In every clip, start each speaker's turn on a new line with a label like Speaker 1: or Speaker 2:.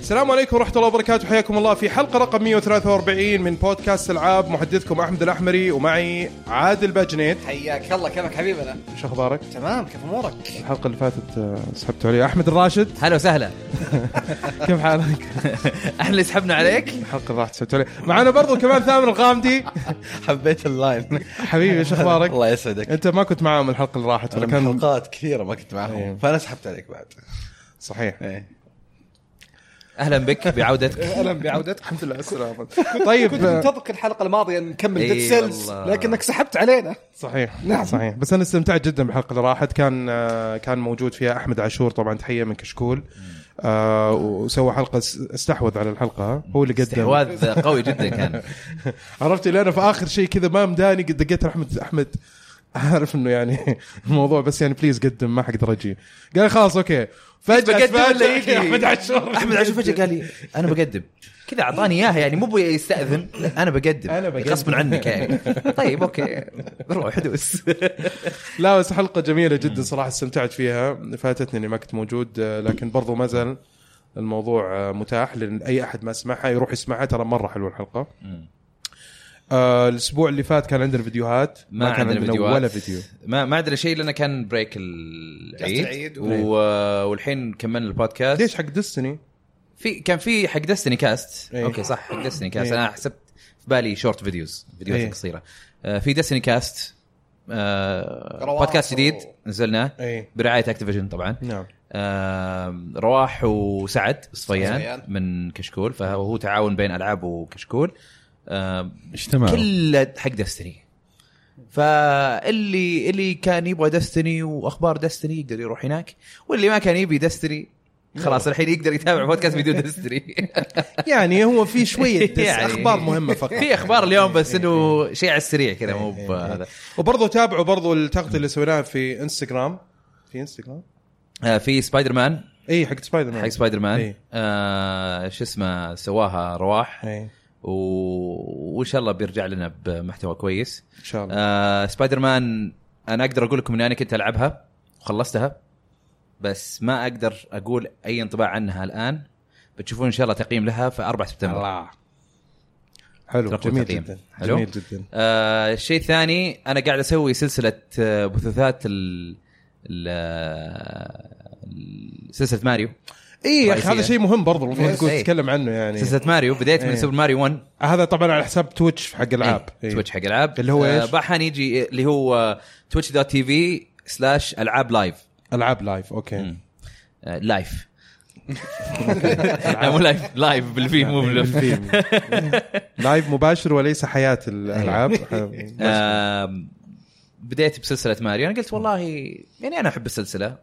Speaker 1: السلام عليكم ورحمة الله وبركاته حياكم الله في حلقة رقم 143 من بودكاست العاب محدثكم احمد الاحمري ومعي عادل باجنيت
Speaker 2: حياك الله كيفك حبيبنا
Speaker 1: شو اخبارك؟
Speaker 2: تمام كيف امورك
Speaker 1: الحلقة اللي فاتت آه، سحبت عليها احمد الراشد
Speaker 3: هلا وسهلا
Speaker 1: كيف حالك؟
Speaker 3: احنا اللي سحبنا عليك
Speaker 1: الحلقة اللي راحت سحبت عليها معنا برضو كمان ثامر الغامدي
Speaker 4: حبيت اللاين
Speaker 1: حبيبي شو اخبارك؟
Speaker 4: الله يسعدك
Speaker 1: انت ما كنت معاهم الحلقة اللي راحت ولا
Speaker 4: انا من
Speaker 1: كان
Speaker 4: حلقات كثيره ما كنت
Speaker 3: إيه.
Speaker 4: معهم فانا سحبت عليك بعد
Speaker 1: صحيح
Speaker 4: إيه.
Speaker 3: اهلا بك بعودتك
Speaker 2: اهلا بعودتك
Speaker 1: الحمد لله على السلامة طيب
Speaker 2: كنت
Speaker 1: آه،
Speaker 2: منتظرك الحلقه الماضيه نكمل
Speaker 3: إي
Speaker 2: ديد سيلز
Speaker 3: والله.
Speaker 2: لكنك سحبت علينا
Speaker 1: صحيح
Speaker 2: نعم.
Speaker 1: صحيح بس انا استمتعت جدا بالحلقه اللي راحت كان آه، كان موجود فيها احمد عاشور طبعا تحيه من كشكول آه، وسوى حلقه س- استحوذ على الحلقه هو اللي قدم
Speaker 3: استحواذ قوي جدا كان
Speaker 1: عرفت اللي انا في اخر شيء كذا ما مداني قد دقيت على احمد احمد عارف انه يعني الموضوع بس يعني بليز قدم ما حقدر اجي قال خلاص اوكي فجاه
Speaker 3: بقدم ولا
Speaker 1: تفاجأ
Speaker 3: يجي؟
Speaker 1: احمد عاشور
Speaker 3: احمد عاشور فجاه قال لي انا بقدم كذا اعطاني اياها يعني مو بيستاذن لا انا بقدم
Speaker 1: أنا بقدم.
Speaker 3: غصب عنك يعني طيب اوكي روح دوس
Speaker 1: لا بس حلقه جميله جدا صراحه استمتعت فيها فاتتني اني ما كنت موجود آه، لكن برضو ما زال الموضوع آه، متاح لان اي احد ما سمعها يروح يسمعها ترى مره حلوه الحلقه آه الاسبوع اللي فات كان عندنا فيديوهات
Speaker 3: ما
Speaker 1: كان
Speaker 3: عندنا فيديوهات
Speaker 1: ولا فيديو
Speaker 3: ما ما عندنا شيء لان كان بريك العيد,
Speaker 2: العيد و-
Speaker 3: و... والحين كملنا البودكاست
Speaker 1: ليش حق دستني
Speaker 3: في كان في حق دستني كاست
Speaker 1: إيه.
Speaker 3: اوكي صح حق دستني كاست
Speaker 1: إيه.
Speaker 3: انا حسبت في بالي شورت فيديوز فيديوهات
Speaker 1: إيه.
Speaker 3: قصيره آه، في دستني كاست آه،
Speaker 2: رواح
Speaker 3: بودكاست
Speaker 2: و-
Speaker 3: جديد نزلناه
Speaker 1: إيه.
Speaker 3: برعايه اكتيفيجن طبعا
Speaker 1: نعم
Speaker 3: آم، رواح وسعد صفيان
Speaker 2: صفيان.
Speaker 3: من كشكول فهو تعاون بين العاب وكشكول آم،
Speaker 5: اجتمعوا
Speaker 3: كله حق دستني فاللي اللي كان يبغى دستني واخبار دستني يقدر يروح هناك واللي ما كان يبي دستني خلاص الحين يقدر يتابع بودكاست بدون دستني
Speaker 1: يعني هو في شويه دس
Speaker 3: يعني.
Speaker 1: اخبار مهمه فقط
Speaker 3: في اخبار اليوم بس انه شيء على السريع كذا
Speaker 1: إيه،
Speaker 3: مو بهذا
Speaker 1: وبرضه تابعوا برضه التغطيه اللي سويناها في انستغرام في انستغرام
Speaker 3: آه، في سبايدر مان
Speaker 1: اي حق سبايدر مان
Speaker 3: حق سبايدر مان
Speaker 1: إيه.
Speaker 3: آه، شو اسمه سواها رواح
Speaker 1: إيه.
Speaker 3: و- وان شاء الله بيرجع لنا بمحتوى كويس
Speaker 1: ان شاء الله
Speaker 3: آه سبايدر مان انا اقدر اقول لكم اني انا كنت العبها وخلصتها بس ما اقدر اقول اي انطباع عنها الان بتشوفون ان شاء الله تقييم لها في 4 سبتمبر الله
Speaker 1: حلو
Speaker 3: اتركوا
Speaker 1: جميل
Speaker 3: تقييم.
Speaker 1: جدا
Speaker 3: حلو؟
Speaker 1: جميل جدا
Speaker 3: آه الشيء الثاني انا قاعد اسوي سلسله آه، بثوثات ال ال- ال- سلسله ماريو
Speaker 1: إيه. اي يا اخي
Speaker 3: رئيسية.
Speaker 1: هذا شيء مهم برضه المفروض
Speaker 3: Yes.
Speaker 1: تقول
Speaker 3: إيه.
Speaker 1: تتكلم عنه يعني
Speaker 3: سلسله ماريو بديت
Speaker 1: إيه.
Speaker 3: من سوبر ماريو 1
Speaker 1: هذا طبعا على حساب تويتش حق العاب
Speaker 3: إيه.
Speaker 1: إيه.
Speaker 3: تويتش حق العاب
Speaker 1: اللي هو
Speaker 3: آه،
Speaker 1: إيش؟
Speaker 3: بحن يجي اللي هو آه، تويتش دوت تي في سلاش العاب لايف
Speaker 1: العاب لايف اوكي
Speaker 3: مم. آه، لايف لا مو لايف لايف بالفي
Speaker 1: يعني
Speaker 3: مو بالف
Speaker 1: بالفيلم. لايف مباشر وليس حياه
Speaker 3: إيه.
Speaker 1: الالعاب
Speaker 3: آم، بديت بسلسله ماريو انا قلت والله يعني انا احب السلسله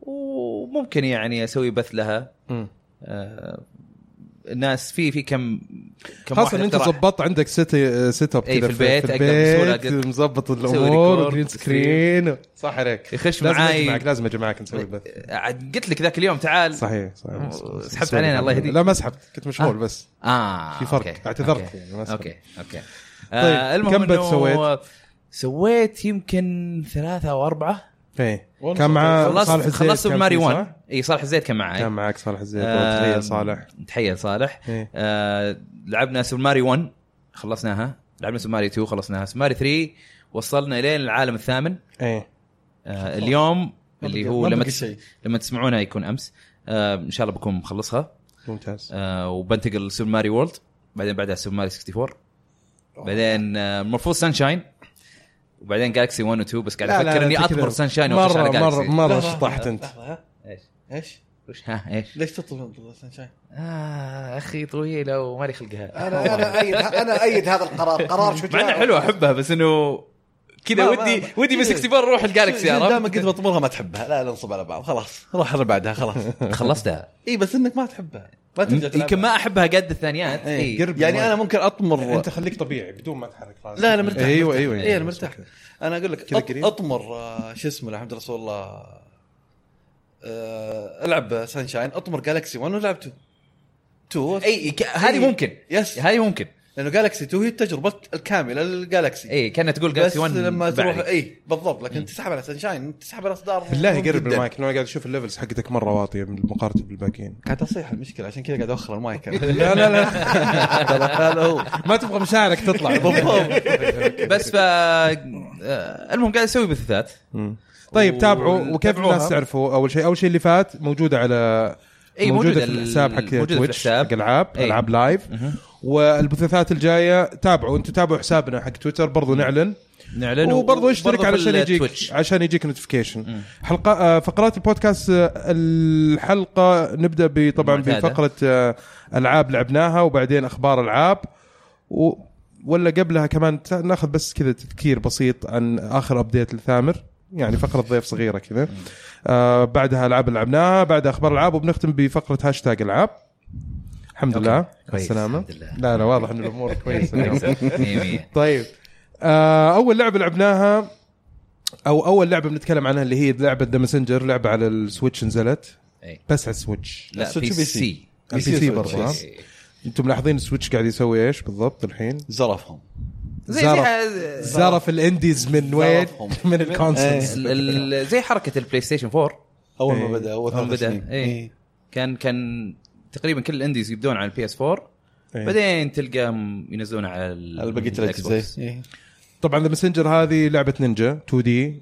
Speaker 3: وممكن يعني اسوي بث لها
Speaker 1: مم.
Speaker 3: آه، الناس في في كم كم
Speaker 1: خاصة ان انت
Speaker 3: اقترح.
Speaker 1: ظبطت عندك سيت سيت اب
Speaker 3: إيه،
Speaker 1: كذا
Speaker 3: في البيت،
Speaker 1: في
Speaker 3: أقدر بسهولة
Speaker 1: البيت
Speaker 3: أقدر
Speaker 1: مظبط
Speaker 3: ريكورد،
Speaker 1: الامور جرين سكرين صح عليك
Speaker 3: يخش
Speaker 1: لازم
Speaker 3: معاي.
Speaker 1: اجمعك لازم اجمعك نسوي البث
Speaker 3: عاد قلت لك ذاك اليوم تعال
Speaker 1: صحيح صحيح
Speaker 3: سحبت علينا، الله يهديك.
Speaker 1: لا ما سحبت كنت مشغول
Speaker 3: آه.
Speaker 1: بس
Speaker 3: اه
Speaker 1: في فرق،
Speaker 3: أوكي.
Speaker 1: اعتذرت
Speaker 3: أوكي.
Speaker 1: يعني، ما سمعت.
Speaker 3: اوكي اوكي
Speaker 1: طيب،
Speaker 3: آه المهم
Speaker 1: كم بث
Speaker 3: إنه
Speaker 1: سويت؟
Speaker 3: سويت يمكن ثلاثة او اربعة
Speaker 1: ايه كان مع
Speaker 3: خلصت
Speaker 1: صالح الزيت
Speaker 3: خلصت
Speaker 1: كان
Speaker 3: بماري
Speaker 1: فيه،
Speaker 3: 1
Speaker 1: صح؟
Speaker 3: اي صالح الزيت كان معي
Speaker 1: كان معك صالح الزيت
Speaker 3: آه،
Speaker 1: تحيه صالح
Speaker 3: تحيه لصالح
Speaker 1: إيه.
Speaker 3: آه لعبنا سوبر ماري 1 خلصناها لعبنا سوبر ماري 2 خلصناها سوبر ماري 3 وصلنا لين العالم الثامن
Speaker 1: ايه
Speaker 3: آه اليوم اللي هو
Speaker 2: ما
Speaker 3: لما
Speaker 2: بقي
Speaker 3: تس...
Speaker 2: شيء.
Speaker 3: لما تسمعونها يكون امس آه ان شاء الله بكون مخلصها
Speaker 1: ممتاز
Speaker 3: آه وبنتقل لسوبر ماري وورلد بعدين بعدها سوبر ماري 64 بعدين آه، المفروض سانشاين وبعدين جالكسي 1 و 2 بس قاعد
Speaker 1: لا، لا،
Speaker 3: افكر
Speaker 1: لا،
Speaker 3: اني
Speaker 1: أنت كده
Speaker 3: اطبر سانشاين واخش
Speaker 1: مره مره
Speaker 3: على جالكسي
Speaker 1: مره
Speaker 2: لحظة،
Speaker 1: شطحت انت
Speaker 2: لحظة، ها؟
Speaker 3: إيش؟
Speaker 2: ايش؟
Speaker 3: وش- ها ايش؟
Speaker 2: ليش تطلب من سانشاين؟
Speaker 3: آه اخي طويله ومالي خلقها
Speaker 2: انا انا ايد انا ايد هذا القرار قرار شجاع
Speaker 3: مع انه حلوه احبها بس انه
Speaker 4: ما-
Speaker 3: كذا
Speaker 4: ما-
Speaker 3: ودي
Speaker 4: ما- إيه.
Speaker 3: ودي بال 64 روح الجالكسي
Speaker 4: دائما
Speaker 3: عرفت؟
Speaker 4: قد ما تمرها ما تحبها لا لا نصب على بعض خلاص روح اللي بعدها خلاص
Speaker 3: خلصتها
Speaker 4: اي بس انك ما تحبها ما ترجع تلعبها.
Speaker 3: يمكن إيه، ما احبها قد الثانيات
Speaker 4: إيه.
Speaker 3: إيه.
Speaker 4: يعني انا ممكن اطمر
Speaker 1: انت خليك طبيعي بدون ما تحرك راسك
Speaker 4: لا انا مرتاح
Speaker 1: ايوه
Speaker 4: مرتاح.
Speaker 1: ايوه
Speaker 4: اي انا مرتاح انا اقول لك
Speaker 1: كذا
Speaker 4: أط-
Speaker 1: قريب.
Speaker 4: اطمر آه، شو اسمه لا حمد رسول الله آه، العب سانشاين اطمر جالكسي 1 ولعب 2 2
Speaker 3: اي إيه، ك- هذه ممكن
Speaker 4: إيه. يس
Speaker 3: هذه ممكن
Speaker 4: لانه جالكسي 2 هي التجربه الكامله للجالكسي
Speaker 3: اي كانت إيه، تقول
Speaker 4: بس
Speaker 3: جالكسي 1
Speaker 4: لما تروح
Speaker 3: بعد.
Speaker 4: اي بالضبط لكن تسحب على سانشاين تسحب على اصدار
Speaker 1: بالله
Speaker 4: مهم
Speaker 1: قرب
Speaker 4: جداً.
Speaker 1: المايك لأنه انا قاعد اشوف الليفلز حقتك مره واطيه مقارنه بالباقيين
Speaker 4: قاعد اصيح المشكله عشان كذا قاعد اوخر المايك
Speaker 1: لا لا لا
Speaker 4: ترى هذا هو
Speaker 1: ما تبغى مشاعرك تطلع
Speaker 4: إيه.
Speaker 3: بس ف آه، المهم قاعد اسوي بثوثات
Speaker 1: طيب تابعوا وكيف
Speaker 3: تابعوها.
Speaker 1: الناس تعرفوا اول شيء اول شيء اللي فات موجوده على
Speaker 3: إي،
Speaker 1: موجوده
Speaker 3: موجودة
Speaker 1: في
Speaker 3: ال-
Speaker 1: الحساب حق
Speaker 3: موجودة في
Speaker 1: تويتش
Speaker 3: الحساب.
Speaker 1: حق العاب
Speaker 3: إي.
Speaker 1: العاب لايف والبثوثات الجايه تابعوا انتم تابعوا حسابنا حق تويتر برضو نعلن
Speaker 3: نعلن
Speaker 1: وبرضه اشترك
Speaker 3: وبرضه في
Speaker 1: علشان يجيك
Speaker 3: التويتش.
Speaker 1: عشان يجيك نوتيفيكيشن حلقه آه، فقرات البودكاست آه، الحلقه نبدا ب- طبعا
Speaker 3: المعتادة.
Speaker 1: بفقره آه، العاب لعبناها وبعدين اخبار العاب و ولا قبلها كمان ت- ناخذ بس كذا تذكير بسيط عن اخر ابديت لثامر يعني فقره ضيف صغيره كذا آه بعدها العاب اللي لعبناها بعدها اخبار العاب وبنختم بفقره هاشتاج العاب الحمد
Speaker 3: أوكي.
Speaker 1: لله
Speaker 3: كويس.
Speaker 1: السلامه
Speaker 3: الحمد لله.
Speaker 1: لا لا واضح ان الامور كويسه اليوم.
Speaker 3: مية مية.
Speaker 1: طيب آه اول لعبه لعبناها او اول لعبه بنتكلم عنها اللي هي لعبه ذا ماسنجر لعبه على السويتش نزلت
Speaker 3: إي.
Speaker 1: بس على السويتش
Speaker 3: إيه. لا إيه.
Speaker 4: بس
Speaker 3: بي
Speaker 4: تو بي
Speaker 3: سي
Speaker 4: سي.
Speaker 1: على البي سي برضه ها؟
Speaker 3: إي.
Speaker 1: انتم ملاحظين السويتش قاعد يسوي ايش بالضبط الحين؟
Speaker 4: زرفهم
Speaker 3: زي
Speaker 1: زرف
Speaker 3: زي
Speaker 1: زرف الانديز من وين؟
Speaker 4: زرفهم.
Speaker 1: من الكونسولز
Speaker 3: إيه. ال- ال- زي حركه البلاي ستيشن 4
Speaker 4: اول
Speaker 1: إيه.
Speaker 4: ما بدا اول
Speaker 3: يوم
Speaker 4: ثلاث سنين. إيه،
Speaker 3: بدا اي كان كان تقريبا كل الانديز يبدون على البي اس 4
Speaker 1: إيه.
Speaker 3: بعدين تلقاهم ينزلون على ال-
Speaker 4: على بقيه
Speaker 3: الإكس بوكس.
Speaker 4: الاجهزه إيه.
Speaker 1: طبعا ذا ماسنجر هذه لعبه نينجا آه، 2 دي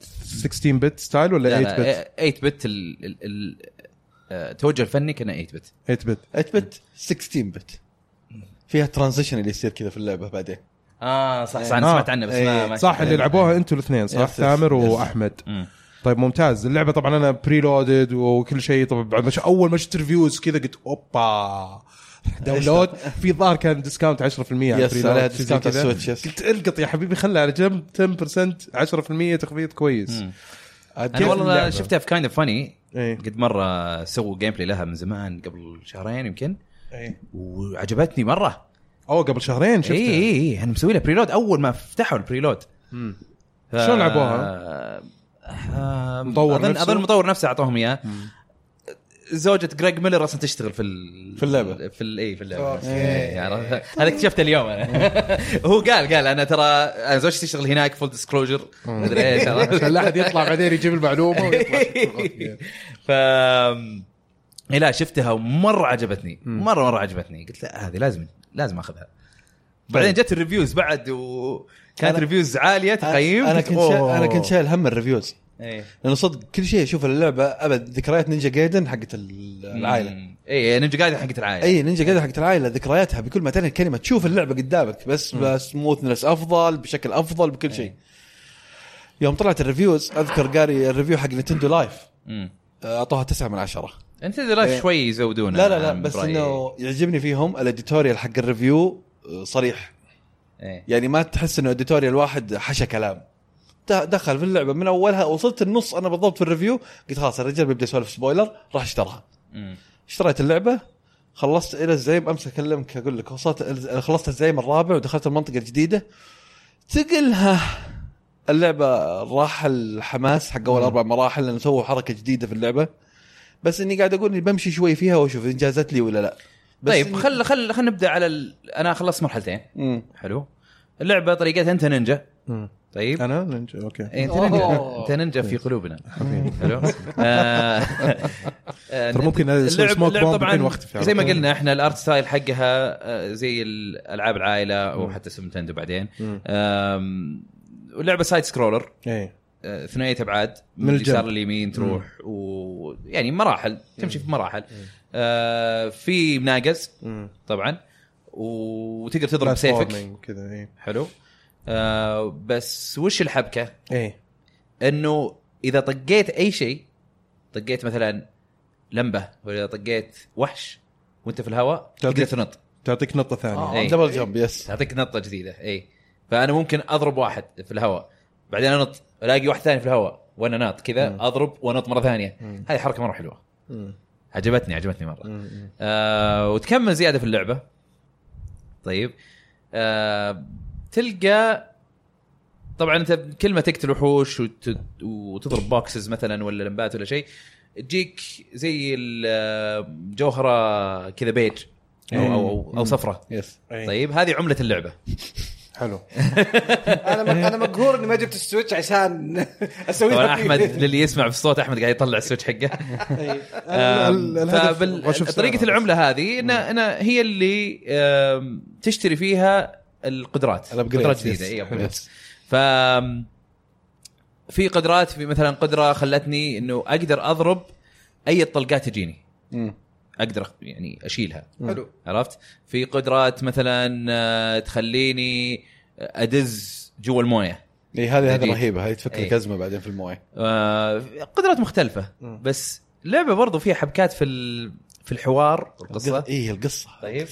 Speaker 1: 16 بت ستايل ولا
Speaker 3: لا
Speaker 1: 8
Speaker 3: لا
Speaker 1: بت؟
Speaker 3: 8 بت ال- ال- ال- آه، التوجه الفني كان 8 بت
Speaker 1: 8 بت
Speaker 4: 8 بت 16 بت فيها ترانزيشن اللي يصير كذا في اللعبه بعدين
Speaker 3: اه صح صح
Speaker 1: آه.
Speaker 3: انا سمعت عنه بس ما
Speaker 4: إيه.
Speaker 3: ما
Speaker 1: صح اللي
Speaker 3: شفته.
Speaker 1: لعبوها انتم الاثنين صح؟
Speaker 4: يس، يس،
Speaker 1: ثامر
Speaker 4: يس.
Speaker 1: واحمد
Speaker 3: مم.
Speaker 1: طيب ممتاز اللعبه طبعا انا بري لودد وكل شيء طبعا بعد ما ش- اول ما شفت ريفيوز كذا قلت اوبا داونلود في ظاهر كان ديسكاونت 10% على
Speaker 4: يس،
Speaker 1: pre-load،
Speaker 4: عليها
Speaker 1: شيء
Speaker 4: discount
Speaker 1: كذا.
Speaker 4: على السويتش، يس.
Speaker 1: قلت القط يا حبيبي خلها على جنب 10% 10% تخفيض كويس
Speaker 3: انا
Speaker 1: كيف
Speaker 3: والله
Speaker 1: اللعبة؟
Speaker 3: شفتها في كايند اوف فاني
Speaker 1: إيه.
Speaker 3: قد مره سووا جيم بلاي لها من زمان قبل شهرين يمكن
Speaker 1: إيه.
Speaker 3: وعجبتني مره
Speaker 1: او قبل شهرين
Speaker 3: اي
Speaker 1: شفتها
Speaker 3: اي اي انا إيه، يعني مسوي لها بريلود اول ما فتحوا البريلود ف...
Speaker 1: شلون لعبوها؟
Speaker 3: آه،
Speaker 1: مطور
Speaker 3: اظن
Speaker 1: نفسه؟
Speaker 3: اظن المطور نفسه اعطاهم اياه زوجة جريج ميلر اصلا تشتغل في ال...
Speaker 4: في اللعبة.
Speaker 3: في ال... اي في اللعبه إيه، عرفت؟ هذا اكتشفته اليوم انا هو قال قال انا ترى انا زوجتي تشتغل هناك فول ديسكلوجر مدري ايش عرفت؟
Speaker 1: عشان لا احد يطلع بعدين يجيب المعلومه ويطلع
Speaker 3: ف إيه لا شفتها ومره عجبتني مره مره عجبتني قلت لا هذه لازم لازم اخذها بعدين جت الريفيوز بعد وكانت
Speaker 4: طيب. أنا-
Speaker 3: ريفيوز عاليه تقييم
Speaker 4: انا كنت شا...
Speaker 3: أوه.
Speaker 4: انا كنت شايل هم الريفيوز
Speaker 3: إيه.
Speaker 4: لانه صدق كل شيء اشوف اللعبه ابد ذكريات نينجا جايدن حقت ال- العائله
Speaker 3: مم. إيه، اي نينجا قاعده حقت العائله
Speaker 4: اي نينجا جايدن حقت العائله ذكرياتها بكل ما تعني الكلمه تشوف اللعبه قدامك بس بسموثنس افضل بشكل افضل بكل شيء يوم طلعت الريفيوز اذكر قاري الريفيو حق نتندو لايف
Speaker 3: مم.
Speaker 4: اعطوها 9 من 10
Speaker 3: انت لا
Speaker 4: إيه.
Speaker 3: شوي يزودون
Speaker 4: لا لا لا بس انه يعجبني فيهم الاديتوريال حق الريفيو آه، صريح
Speaker 3: إيه.
Speaker 4: يعني ما تحس انه اديتوريال واحد حشى كلام د- دخل في اللعبه من اولها وصلت النص انا بالضبط في الريفيو قلت خلاص الرجال بيبدا يسولف سبويلر راح اشتراها
Speaker 3: مم.
Speaker 4: اشتريت اللعبه خلصت الى الزعيم امس اكلمك اقول لك وصلت خلصت الزعيم الرابع ودخلت المنطقه الجديده تقلها اللعبه راح الحماس حق اول اربع مراحل لانه سووا حركه جديده في اللعبه بس اني قاعد اقول اني بمشي شوي فيها واشوف انجازت لي ولا لا بس
Speaker 3: طيب
Speaker 4: إني-
Speaker 3: خل خل خل نبدا على ال... انا خلصت مرحلتين
Speaker 4: مم.
Speaker 3: حلو اللعبه طريقتها انت نينجا
Speaker 1: مم.
Speaker 3: طيب
Speaker 1: انا نينجا اوكي
Speaker 3: إيه، انت نينجا
Speaker 2: أوه.
Speaker 3: انت نينجا في قلوبنا حلو آه، آه،
Speaker 1: ترى ممكن اسوي
Speaker 3: اللعب,
Speaker 1: سموك
Speaker 3: اللعب
Speaker 1: بومب
Speaker 3: طبعا
Speaker 1: الحين واختفي
Speaker 3: زي ما قلنا احنا الارت ستايل حقها آه، زي الالعاب العائله او حتى سوبر نتندو بعدين
Speaker 1: مم.
Speaker 3: آم، واللعبه سايد سكرولر
Speaker 1: ايه
Speaker 3: آه، ثنائيه ابعاد
Speaker 1: من
Speaker 3: من
Speaker 1: الجنب.
Speaker 3: اليسار لليمين تروح ويعني مراحل تمشي في مراحل آه، في مناقز
Speaker 1: مم.
Speaker 3: طبعا وتقدر تضرب سيفك
Speaker 1: Platforming كذا ايه
Speaker 3: حلو آه، بس وش الحبكه؟
Speaker 1: ايه
Speaker 3: انه اذا طقيت اي شيء طقيت مثلا لمبه ولا طقيت وحش وانت في الهواء تقدر
Speaker 1: تعطيك-
Speaker 3: تنط
Speaker 1: تعطيك نقطه ثانيه
Speaker 3: آه. إيه.
Speaker 4: دبل جمب يس
Speaker 3: تعطيك نطه جديده اي فانا ممكن اضرب واحد في الهواء بعدين انط الاقي واحد ثاني في الهواء وانا ناط كذا اضرب وانط مره ثانيه هذه حركه مره حلوه
Speaker 1: مم.
Speaker 3: عجبتني عجبتني مره
Speaker 1: مم. مم.
Speaker 3: آه وتكمل زياده في اللعبه طيب آه تلقى طبعا انت كل ما تقتل وحوش وت... وتضرب بوكسز مثلا ولا لمبات ولا شيء تجيك زي الجوهره آه، كذا بيج او او او, أو صفرة
Speaker 4: يس
Speaker 3: طيب هذه عملة اللعبة
Speaker 1: حلو
Speaker 2: انا م- انا مقهور اني ما جبت السويتش عشان اسوي
Speaker 3: طبعا
Speaker 2: لك-
Speaker 3: احمد
Speaker 1: إيه.
Speaker 3: للي يسمع في الصوت احمد قاعد يطلع السويتش حقه
Speaker 1: ال- الهدف وأشوف
Speaker 3: طريقة
Speaker 1: سعرها.
Speaker 3: العملة هذه إن أنا هي اللي آم، تشتري فيها القدرات
Speaker 4: الأبجريد،
Speaker 3: قدرات
Speaker 4: يس.
Speaker 3: جديدة إيه، اي upgrades.
Speaker 4: يس.
Speaker 3: ف في قدرات في مثلا قدرة خلتني انه اقدر اضرب اي طلقات تجيني
Speaker 4: مم.
Speaker 3: اقدر أخ- يعني اشيلها
Speaker 2: حلو
Speaker 3: عرفت؟ في قدرات مثلا آه، تخليني ادز جوا المويه
Speaker 4: اي إيه، هذه
Speaker 3: جديد. إيه.
Speaker 4: هذه رهيبه هذه تفك لك
Speaker 3: إي.
Speaker 4: ازمه بعدين في المويه
Speaker 3: آه، قدرات مختلفه بس لعبه برضو فيها حبكات في ال- في الحوار والقصه
Speaker 4: اي القصه
Speaker 3: طيب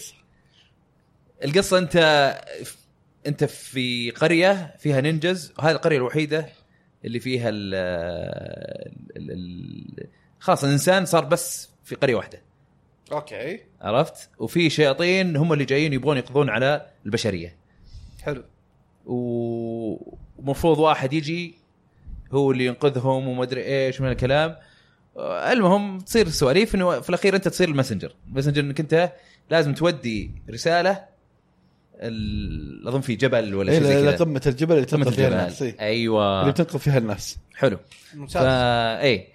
Speaker 3: القصه انت انت في قريه فيها نينجز وهذه القريه الوحيده اللي فيها ال ال- ال- خلاص الانسان صار بس في قريه واحده
Speaker 2: اوكي
Speaker 3: عرفت وفي شياطين هم اللي جايين يبغون يقضون على البشريه
Speaker 2: حلو
Speaker 3: و- ومفروض واحد يجي هو اللي ينقذهم وما ادري ايش من الكلام آه، المهم تصير سواليف انه في الاخير انت تصير المسنجر المسنجر انك انت لازم تودي رساله ال- اظن في جبل ولا شيء
Speaker 4: اي
Speaker 3: زي كذا
Speaker 4: قمه الجبل إيه. اللي
Speaker 3: قمة
Speaker 4: تنقذ فيها الناس إي.
Speaker 3: الجبل
Speaker 4: اللي
Speaker 3: ايوه
Speaker 4: تنقذ فيها الناس
Speaker 3: حلو فا
Speaker 2: ممتاز
Speaker 3: اي إيه.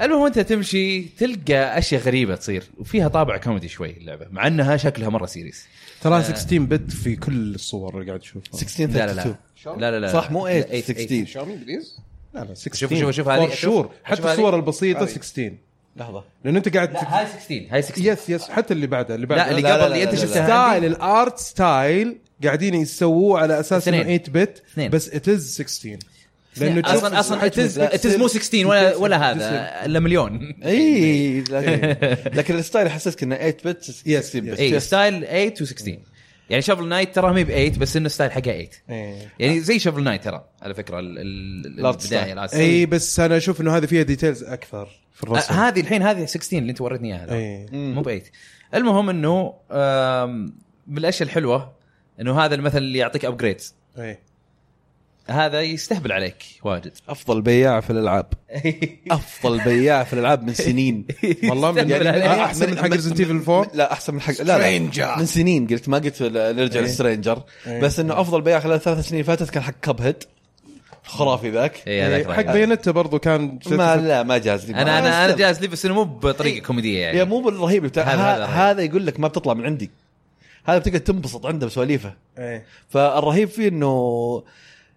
Speaker 3: المهم انت تمشي تلقى اشياء غريبه تصير وفيها طابع كوميدي شوي اللعبه مع انها شكلها مره سيريس
Speaker 1: ترى 16 بت في كل الصور اللي قاعد تشوفها
Speaker 4: 16
Speaker 3: لا لا لا
Speaker 4: 32
Speaker 3: لا لا لا
Speaker 4: صح مو 8
Speaker 3: 8
Speaker 4: 16
Speaker 2: شاومي بليز
Speaker 1: لا لا 16
Speaker 3: شوف- شوف- شوف هذه، شوف-
Speaker 1: شور
Speaker 3: شوف
Speaker 1: حتى
Speaker 3: هذه.
Speaker 1: الصور البسيطه
Speaker 2: هذه.
Speaker 1: 16
Speaker 4: لحظه
Speaker 1: لأن انت قاعد تت-
Speaker 3: لا هاي 16 هاي 16
Speaker 1: يس يس حتى اللي بعدها اللي بعدها
Speaker 3: لا اللي
Speaker 4: لا،
Speaker 3: قبل
Speaker 4: لا،
Speaker 3: اللي
Speaker 4: لا،
Speaker 3: انت
Speaker 4: لا، لا.
Speaker 3: شفتها
Speaker 1: ستايل
Speaker 3: عندي.
Speaker 1: الارت ستايل قاعدين يسووه على اساس انه
Speaker 3: اثنين.
Speaker 1: 8 بت
Speaker 3: اثنين.
Speaker 1: بس ات از 16 لانه تشوف
Speaker 3: اصلا اصلا
Speaker 1: حجم
Speaker 3: اتز
Speaker 1: الزلازل.
Speaker 3: اتز مو 16 ولا ولا
Speaker 1: جسر.
Speaker 3: هذا الا مليون
Speaker 2: إيه،
Speaker 4: اي إيه،
Speaker 3: إيه.
Speaker 4: لكن لكن الستايل حسيتك انه 8 بت 16 بت
Speaker 3: اي ستايل 8 و16 يعني شفل نايت ترى ما هي ب 8 بس انه ستايل حقها 8
Speaker 1: إيه.
Speaker 3: يعني زي شفل نايت ترى على فكره ال- ال-
Speaker 4: الارت
Speaker 3: البدايه
Speaker 4: ستايل.
Speaker 3: الارت ستايل.
Speaker 1: اي بس انا اشوف انه هذه فيها ديتيلز اكثر في
Speaker 3: آه،
Speaker 1: الرسم
Speaker 3: هذه الحين هذه 16 اللي انت وريتني اياها
Speaker 1: اي
Speaker 3: مو ب 8 المهم انه آم، من الاشياء الحلوه انه هذا المثل اللي يعطيك ابجريدز
Speaker 1: اي
Speaker 3: هذا يستهبل عليك واجد
Speaker 4: افضل بياع في الالعاب افضل بياع في الالعاب من سنين
Speaker 1: والله من-
Speaker 3: يستهبل
Speaker 1: يعني-
Speaker 3: عليك.
Speaker 1: أحسن من حق Resident Evil 4
Speaker 4: لا احسن من حق لا, لا
Speaker 2: Stranger.
Speaker 4: من سنين قلت ما قلت ل- نرجع للسترينجر
Speaker 1: إيه.
Speaker 4: بس انه افضل بياع خلال ثلاث سنين فاتت كان حق كاب هيد خرافي ذاك
Speaker 3: إي، إيه، هذاك
Speaker 1: إي، حق
Speaker 3: رأيي.
Speaker 1: بيانتا برضو كان
Speaker 4: ما لا ما جاز لي ما
Speaker 3: انا انا انا
Speaker 4: أستاهل.
Speaker 3: جالس لي بس انه مو بطريقه كوميديه يعني
Speaker 4: إيه. يا مو بالرهيب بتاع
Speaker 3: هذا- هذا
Speaker 4: هذا,
Speaker 3: رهيب.
Speaker 4: هذا يقول لك ما بتطلع من عندي هذا بتقعد تنبسط عنده بسواليفه
Speaker 1: إيه.
Speaker 4: فالرهيب فيه انه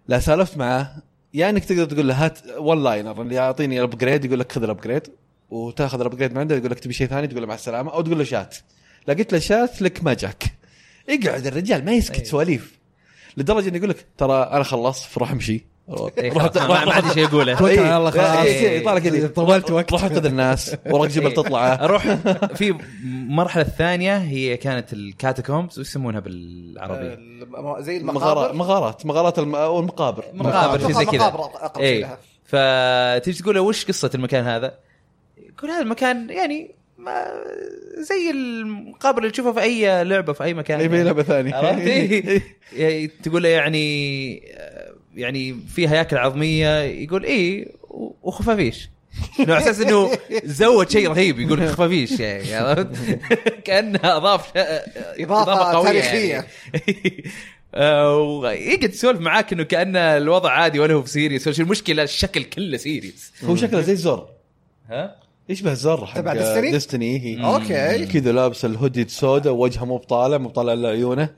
Speaker 4: لا سالفت معاه يا انك تقدر تقول له هات ون لاينر اللي يعطيني الابجريد يقول لك خذ الابجريد وتاخذ الابجريد من عنده يقول لك تبي شيء ثاني تقول له مع السلامه او تقول له شات لا قلت له شات لك ما جاك اقعد الرجال ما
Speaker 3: أيوه.
Speaker 4: يسكت سواليف لدرجه انه يقول لك ترى انا خلصت روح امشي
Speaker 3: إي، إيه، خلاص، ما ما عندي شيء اقوله
Speaker 1: توكل على الله
Speaker 4: إيه،
Speaker 1: خلاص.
Speaker 3: إيه.
Speaker 4: يطلع كذي
Speaker 1: طولت وقت.
Speaker 4: روح خذ الناس وراك جبل تطلع
Speaker 3: اروح إيه. في المرحله الثانيه هي كانت الكاتاكومبس وش يسمونها
Speaker 4: آه،
Speaker 3: بالعربي؟
Speaker 2: الم- زي
Speaker 4: مغارات
Speaker 2: المقابر
Speaker 4: مغارات مغارات الم... والمقابر
Speaker 3: مقابر شيء زي كذا
Speaker 2: مقابر أقرب شيء
Speaker 3: اي
Speaker 2: لها.
Speaker 3: إيه. فتجي تقول له وش قصه المكان هذا؟ يقول هذا المكان يعني ما زي المقابر اللي تشوفها في اي لعبه في اي مكان
Speaker 4: اي
Speaker 3: يعني.
Speaker 4: لعبه ثانيه
Speaker 3: عرفت؟ إيه. يعني تقول له يعني يعني في هياكل عظميه يقول إيه، اي وخفافيش انه على اساس انه زود شيء رهيب يقول خفافيش يعني عرفت؟ كانها اضاف
Speaker 2: إضافة تاريخية.
Speaker 3: يعني. آه، ويقعد يسولف معاك انه كانه الوضع عادي ولا هو في سيريس ولا شيء. المشكله الشكل كله سيريس
Speaker 4: هو شكله زي زور
Speaker 3: ها
Speaker 4: يشبه زر حق
Speaker 2: تبع Destiny؟
Speaker 4: ديستني
Speaker 2: اوكي
Speaker 4: كذا لابس الهودي السوداء وجهه مو بطالع مو بطالع الا عيونه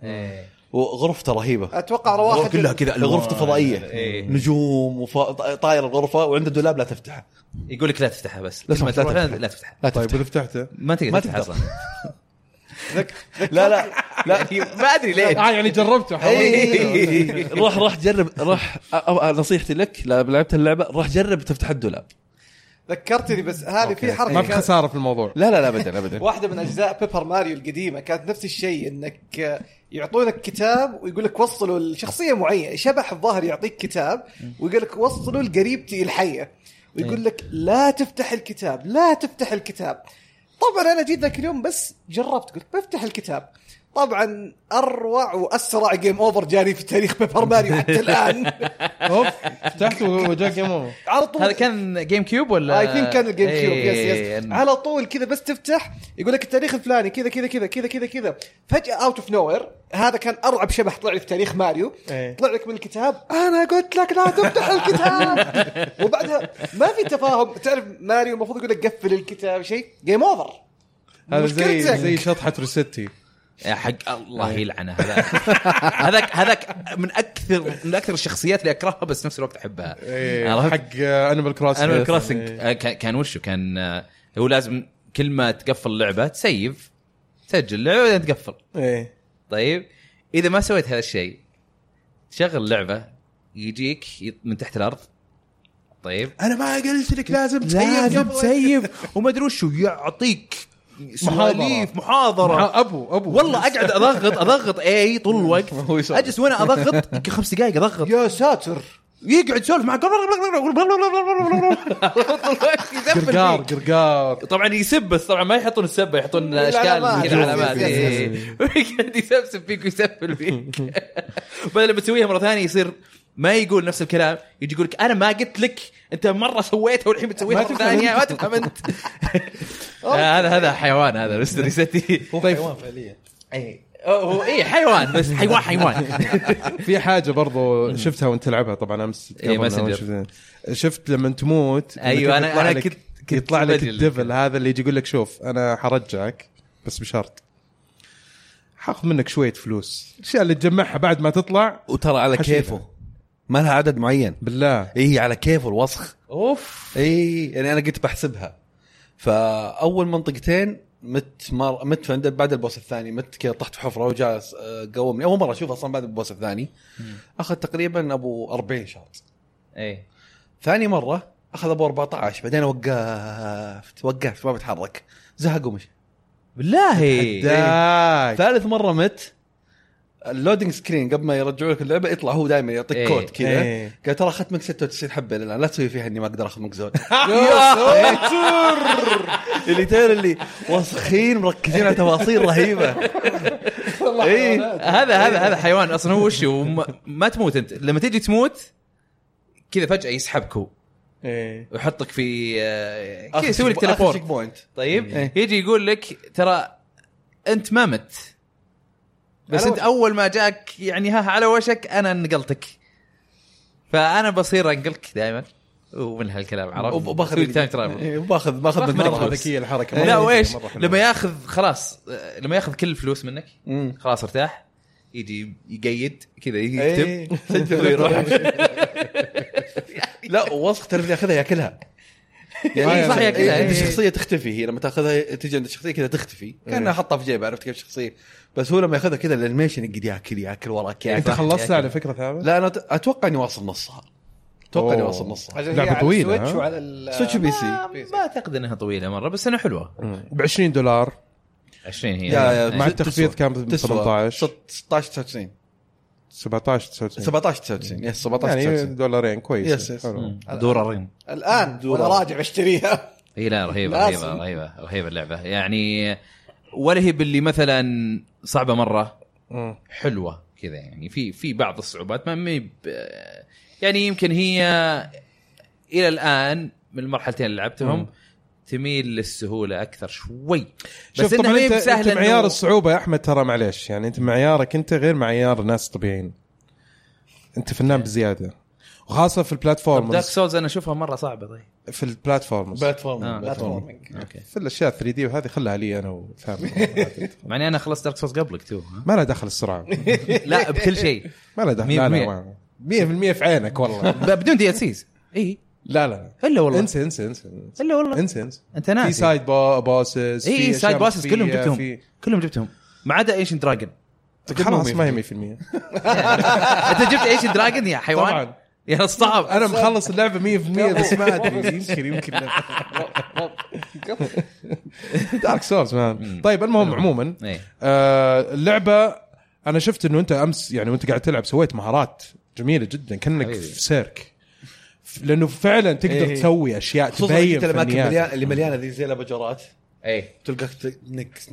Speaker 4: وغرفته رهيبه
Speaker 2: اتوقع واحد
Speaker 4: كلها كذا
Speaker 1: آه،
Speaker 4: غرفته فضائيه
Speaker 3: إيه.
Speaker 4: نجوم وطاير الغرفه وعنده دولاب لا تفتحه
Speaker 3: يقول لك لا تفتحها بس
Speaker 4: لا
Speaker 3: كل ما
Speaker 4: تفتح، لا
Speaker 3: تروح،
Speaker 4: تفتح.
Speaker 3: لا تفتحها
Speaker 4: لا
Speaker 1: طيب
Speaker 4: تفتح
Speaker 1: اذا فتحته
Speaker 3: ما تقدر
Speaker 4: ما
Speaker 3: تفتحها
Speaker 4: تقدر.
Speaker 3: اصلا
Speaker 4: لا لا لا
Speaker 3: يعني ما ادري ليه
Speaker 1: اه يعني جربته
Speaker 4: إيه. روح روح جرب روح أ- أ- نصيحتي لك لا لعبت اللعبه روح جرب تفتح الدولاب
Speaker 2: ذكرتني بس هذه في حركه
Speaker 1: ما
Speaker 3: طيب،
Speaker 1: في
Speaker 2: كانت-
Speaker 1: خساره في الموضوع
Speaker 4: لا لا لا ابدا ابدا
Speaker 2: واحده من اجزاء بيبر ماريو القديمه كانت نفس الشيء انك آه، يعطونك كتاب ويقول لك وصلوا لشخصيه معينه شبح الظاهر يعطيك كتاب ويقول لك وصلوا لقريبتي الحيه ويقول لك لا تفتح الكتاب لا تفتح الكتاب طبعا انا جيت ذاك اليوم بس جربت قلت بفتح الكتاب طبعا اروع واسرع جيم اوفر جاري في تاريخ بيبر ماريو حتى الان
Speaker 1: اوف فتحت وجاك جيم اوفر
Speaker 2: على طول
Speaker 3: هذا كان جيم كيوب ولا
Speaker 1: آه،
Speaker 3: إيه،
Speaker 2: اي ثينك كان الجيم كيوب يس
Speaker 1: إيه،
Speaker 2: يس
Speaker 3: على
Speaker 2: على طول كذا بس تفتح يقول لك التاريخ الفلاني كذا كذا كذا كذا كذا كذا فجاه اوت اوف نو وير هذا كان ارعب شبح طلع لي في تاريخ ماريو
Speaker 1: إيه.
Speaker 2: طلع لك من الكتاب انا قلت لك لا تفتح الكتاب وبعدها ما في تفاهم تعرف ماريو المفروض يقول لك قفل الكتاب شيء جيم اوفر
Speaker 1: هذا زي
Speaker 2: مشكلتك.
Speaker 1: زي شطحه روسيتي
Speaker 3: يا حق الله يلعنه هذاك هذاك هذاك من اكثر من اكثر الشخصيات اللي اكرهها بس نفس الوقت احبها
Speaker 1: إيه،
Speaker 3: عرفت؟
Speaker 1: حق انيمال كروسنج
Speaker 3: انيمال كروسنج كان وشو كان آه، هو لازم كل ما تقفل لعبه تسيف تسجل اللعبه بعدين تقفل
Speaker 1: ايه
Speaker 3: طيب اذا ما سويت هذا الشيء تشغل لعبه يجيك ي- من تحت الارض طيب
Speaker 1: انا ما قلت لك لازم
Speaker 3: لازم
Speaker 1: قبل.
Speaker 3: تسيف وما ادري وشو يعطيك سواليف محاضره
Speaker 1: مع ابو ابو
Speaker 3: والله اقعد اضغط اضغط اي إيه، طول الوقت
Speaker 4: هو يسولف.
Speaker 3: اجلس وانا اضغط يمكن خمس دقائق اضغط
Speaker 2: يا ساتر
Speaker 3: يقعد يسولف معك
Speaker 1: قرقار قرقار
Speaker 3: طبعا يسب بس طبعا ما يحطون السبه يحطون
Speaker 2: العلامات.
Speaker 3: اشكال كذا علامات
Speaker 2: يس- يس-
Speaker 3: إيه. ويقعد يسبسب فيك ويسفل فيك بدل لما تسويها مره ثانيه يصير ما يقول نفس الكلام يجي يقول لك انا ما قلت لك انت مره سويتها والحين بتسويها
Speaker 1: ما
Speaker 3: مره
Speaker 1: تفهم
Speaker 3: ثانيه ما تفهم انت آه، هذا هذا حيوان هذا طيب. مستر سيتي
Speaker 4: حيوان فعليا
Speaker 3: اي هو اي إيه. حيوان بس حيوان حيوان
Speaker 1: في حاجه برضو شفتها وانت تلعبها طبعا امس
Speaker 3: إيه،
Speaker 1: قبل أنا
Speaker 3: Messenger.
Speaker 1: شفت- شفت لما تموت
Speaker 3: أيوة،
Speaker 1: يطلع
Speaker 3: أنا- أنا
Speaker 1: لك-
Speaker 3: كنت- كنت
Speaker 1: يطلع لك
Speaker 3: بجل.
Speaker 1: الدبل هذا اللي يجي يقول لك شوف انا حرجعك بس بشرط حاخذ منك شويه فلوس الاشياء اللي تجمعها بعد ما تطلع
Speaker 4: وترى على
Speaker 1: حشيشة.
Speaker 4: كيفه ما لها عدد معين
Speaker 1: بالله
Speaker 4: اي على كيفه الوسخ
Speaker 3: اوف
Speaker 4: اي يعني انا قلت بحسبها فاول منطقتين مت مر... مت عند بعد البوس الثاني مت كذا طحت في حفره وجاء آه، قومني اول مره اشوف اصلا بعد البوس الثاني اخذ تقريبا ابو 40 شارت
Speaker 3: اي
Speaker 4: ثاني مره اخذ ابو 14 بعدين وقفت وقفت ما بتحرك زهق ومشي
Speaker 3: بالله
Speaker 1: داك
Speaker 4: ثالث مره مت اللودنج سكرين قبل ما يرجعوا لك اللعبه يطلع هو دائما يعطيك
Speaker 3: إيه.
Speaker 4: كود كذا
Speaker 1: إيه.
Speaker 4: قال ترى اخذت منك 96 حبه الان لا تسوي فيها اني ما اقدر اخذ منك زود اللي تعرف اللي وسخين مركزين على تفاصيل إيه. رهيبه اي
Speaker 3: هذا هذا هذا حيوان اصلا هو وش هو؟ ما- ما تموت انت لما تجي تموت كذا فجاه يسحبك هو
Speaker 1: إيه.
Speaker 3: ويحطك في آه، كذا يسوي لك تليبورت
Speaker 4: بوينت
Speaker 3: طيب
Speaker 4: إيه.
Speaker 3: يجي يقول لك ترى انت ما مت بس
Speaker 2: على
Speaker 3: انت
Speaker 2: وشك.
Speaker 3: اول ما جاك يعني ها على وشك انا نقلتك فانا بصير انقلك دائما ومن هالكلام عرفت؟
Speaker 4: وباخذ
Speaker 3: تايم ترافل
Speaker 4: إيه، باخذ باخذ
Speaker 3: باخذ
Speaker 4: من
Speaker 3: منك
Speaker 1: مره
Speaker 4: مرة.
Speaker 3: فلوس.
Speaker 1: ذكيه الحركه
Speaker 4: إيه.
Speaker 1: مرة
Speaker 3: لا وايش
Speaker 1: ذكية، مرة حلوة.
Speaker 3: لما ياخذ خلاص آه، لما ياخذ كل الفلوس منك
Speaker 4: مم.
Speaker 3: خلاص ارتاح يجي يقيد كذا
Speaker 4: إيه.
Speaker 3: يكتب
Speaker 4: سجل ويروح. لا وسخ تعرف اللي ياخذها ياكلها
Speaker 1: إيه، صح،
Speaker 3: ياكلها،
Speaker 4: إيه،
Speaker 3: إيه.
Speaker 4: انت شخصيه تختفي هي لما تاخذها تجي عند الشخصيه كذا تختفي كانها حطها في جيبه عرفت كيف شخصيه بس هو لما ياخذها كذا الانيميشن يقعد ياكل ياكل وراك
Speaker 3: إيه،
Speaker 1: انت
Speaker 4: ياكل
Speaker 1: خلصت على فكره ثابت
Speaker 4: لا انا أت- اتوقع اني واصل نصها اتوقع اني
Speaker 1: أوه.
Speaker 4: واصل نصها
Speaker 2: عشان هي
Speaker 1: لعبة
Speaker 2: على
Speaker 1: طويلة،
Speaker 2: السويتش
Speaker 1: ها؟
Speaker 2: وعلى ال-
Speaker 4: سويتش بي سي
Speaker 3: ما ما اعتقد انها طويله مره بس انها حلوه
Speaker 1: ب 20 دولار
Speaker 3: 20 هي
Speaker 4: يا- يا-
Speaker 3: إيه.
Speaker 1: مع
Speaker 4: تسوى.
Speaker 1: التخفيض كان ب
Speaker 4: تسوى
Speaker 1: 18
Speaker 4: ست- 16 99
Speaker 1: 17 99
Speaker 4: 17 99 يس 17
Speaker 1: إيه. يعني
Speaker 4: 99
Speaker 1: دولارين كويس
Speaker 4: يس، يس.
Speaker 1: حلو.
Speaker 3: دولارين
Speaker 2: الان وانا راجع اشتريها
Speaker 3: اي لا رهيبه
Speaker 2: لازم.
Speaker 3: رهيبه رهيبه رهيبه اللعبه يعني ولا هي باللي مثلا صعبه مره
Speaker 1: مم.
Speaker 3: حلوه كذا يعني في في بعض الصعوبات ما مي ب- يعني يمكن هي الى الان من المرحلتين اللي لعبتهم
Speaker 1: مم.
Speaker 3: تميل للسهوله اكثر شوي
Speaker 1: شوف
Speaker 3: إنها
Speaker 1: طبعا
Speaker 3: ما هي
Speaker 1: انت, انت
Speaker 3: بسهلة إنه-
Speaker 1: معيار الصعوبه يا احمد ترى معليش يعني انت معيارك انت غير معيار ناس طبيعيين انت فنان بزياده وخاصه في
Speaker 3: دارك
Speaker 1: البلاتفورمز
Speaker 3: سولز انا اشوفها مره صعبه طيب
Speaker 1: في البلاتفورمز
Speaker 3: آه.
Speaker 4: بلاتفورم
Speaker 2: بلاتفورمينج
Speaker 3: اوكي
Speaker 1: في الاشياء 3 دي وهذه خلها لي انا وثامر
Speaker 3: مع اني انا خلصت دارك سولز قبلك تو ها؟
Speaker 1: ما لها دخل السرعه
Speaker 3: لا بكل شيء
Speaker 1: ما لها دخل لا لا ما- 100% في عينك والله
Speaker 3: ب- بدون دي ال سيز اي
Speaker 1: لا لا
Speaker 3: الا والله
Speaker 1: انسى انسى انسى
Speaker 3: الا والله
Speaker 1: انسى انسى
Speaker 3: انت
Speaker 1: في
Speaker 3: ناسي إيه،
Speaker 1: سايد بو- بوسز
Speaker 3: اي
Speaker 1: في أشياء
Speaker 3: سايد باسز كلهم
Speaker 1: مخفية،
Speaker 3: جبتهم
Speaker 1: في-
Speaker 3: كلهم جبتهم ما عدا ايشن دراجون
Speaker 1: خلاص ما هي 100%
Speaker 3: انت جبت ايشن دراجون يا حيوان
Speaker 1: طبعا
Speaker 3: يا صعب
Speaker 1: انا مخلص اللعبه 100% بس ما ادري يمكن يمكن لا. دارك سولز مان طيب المهم عموما
Speaker 3: إيه.
Speaker 1: آه، اللعبه انا شفت انه انت امس يعني وانت قاعد تلعب سويت مهارات جميله جدا كانك
Speaker 3: حبيبي.
Speaker 1: في سيرك ف- لانه فعلا تقدر
Speaker 4: إيه.
Speaker 1: تسوي اشياء
Speaker 4: خصوصا
Speaker 1: تبين
Speaker 4: انت الاماكن
Speaker 1: فنيات
Speaker 4: المليانه اللي مليانه ذي زي الابجرات
Speaker 3: ايه
Speaker 4: تلقاك ت- نك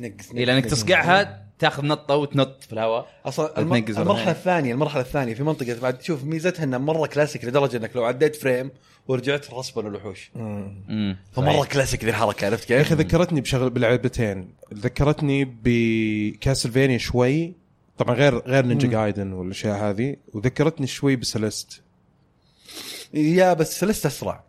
Speaker 4: نك نك
Speaker 3: إيه، لانك تصقعها تاخذ نطه وتنط في الهواء
Speaker 4: اصلا الم...
Speaker 3: تنقز ولا
Speaker 4: المرحله
Speaker 3: حاجة.
Speaker 4: الثانيه المرحله الثانيه في منطقه بعد تشوف ميزتها انها مره كلاسيك لدرجه انك لو عديت فريم ورجعت رسبا الوحوش
Speaker 3: امم
Speaker 4: فمره كلاسيك ذي الحركه عرفت
Speaker 1: يا
Speaker 4: كيف؟
Speaker 1: اخي ذكرتني بشغل بلعبتين ذكرتني بكاسلفينيا شوي طبعا غير غير نينجا جايدن والاشياء هذه وذكرتني شوي بسلست
Speaker 4: يا بس سلست اسرع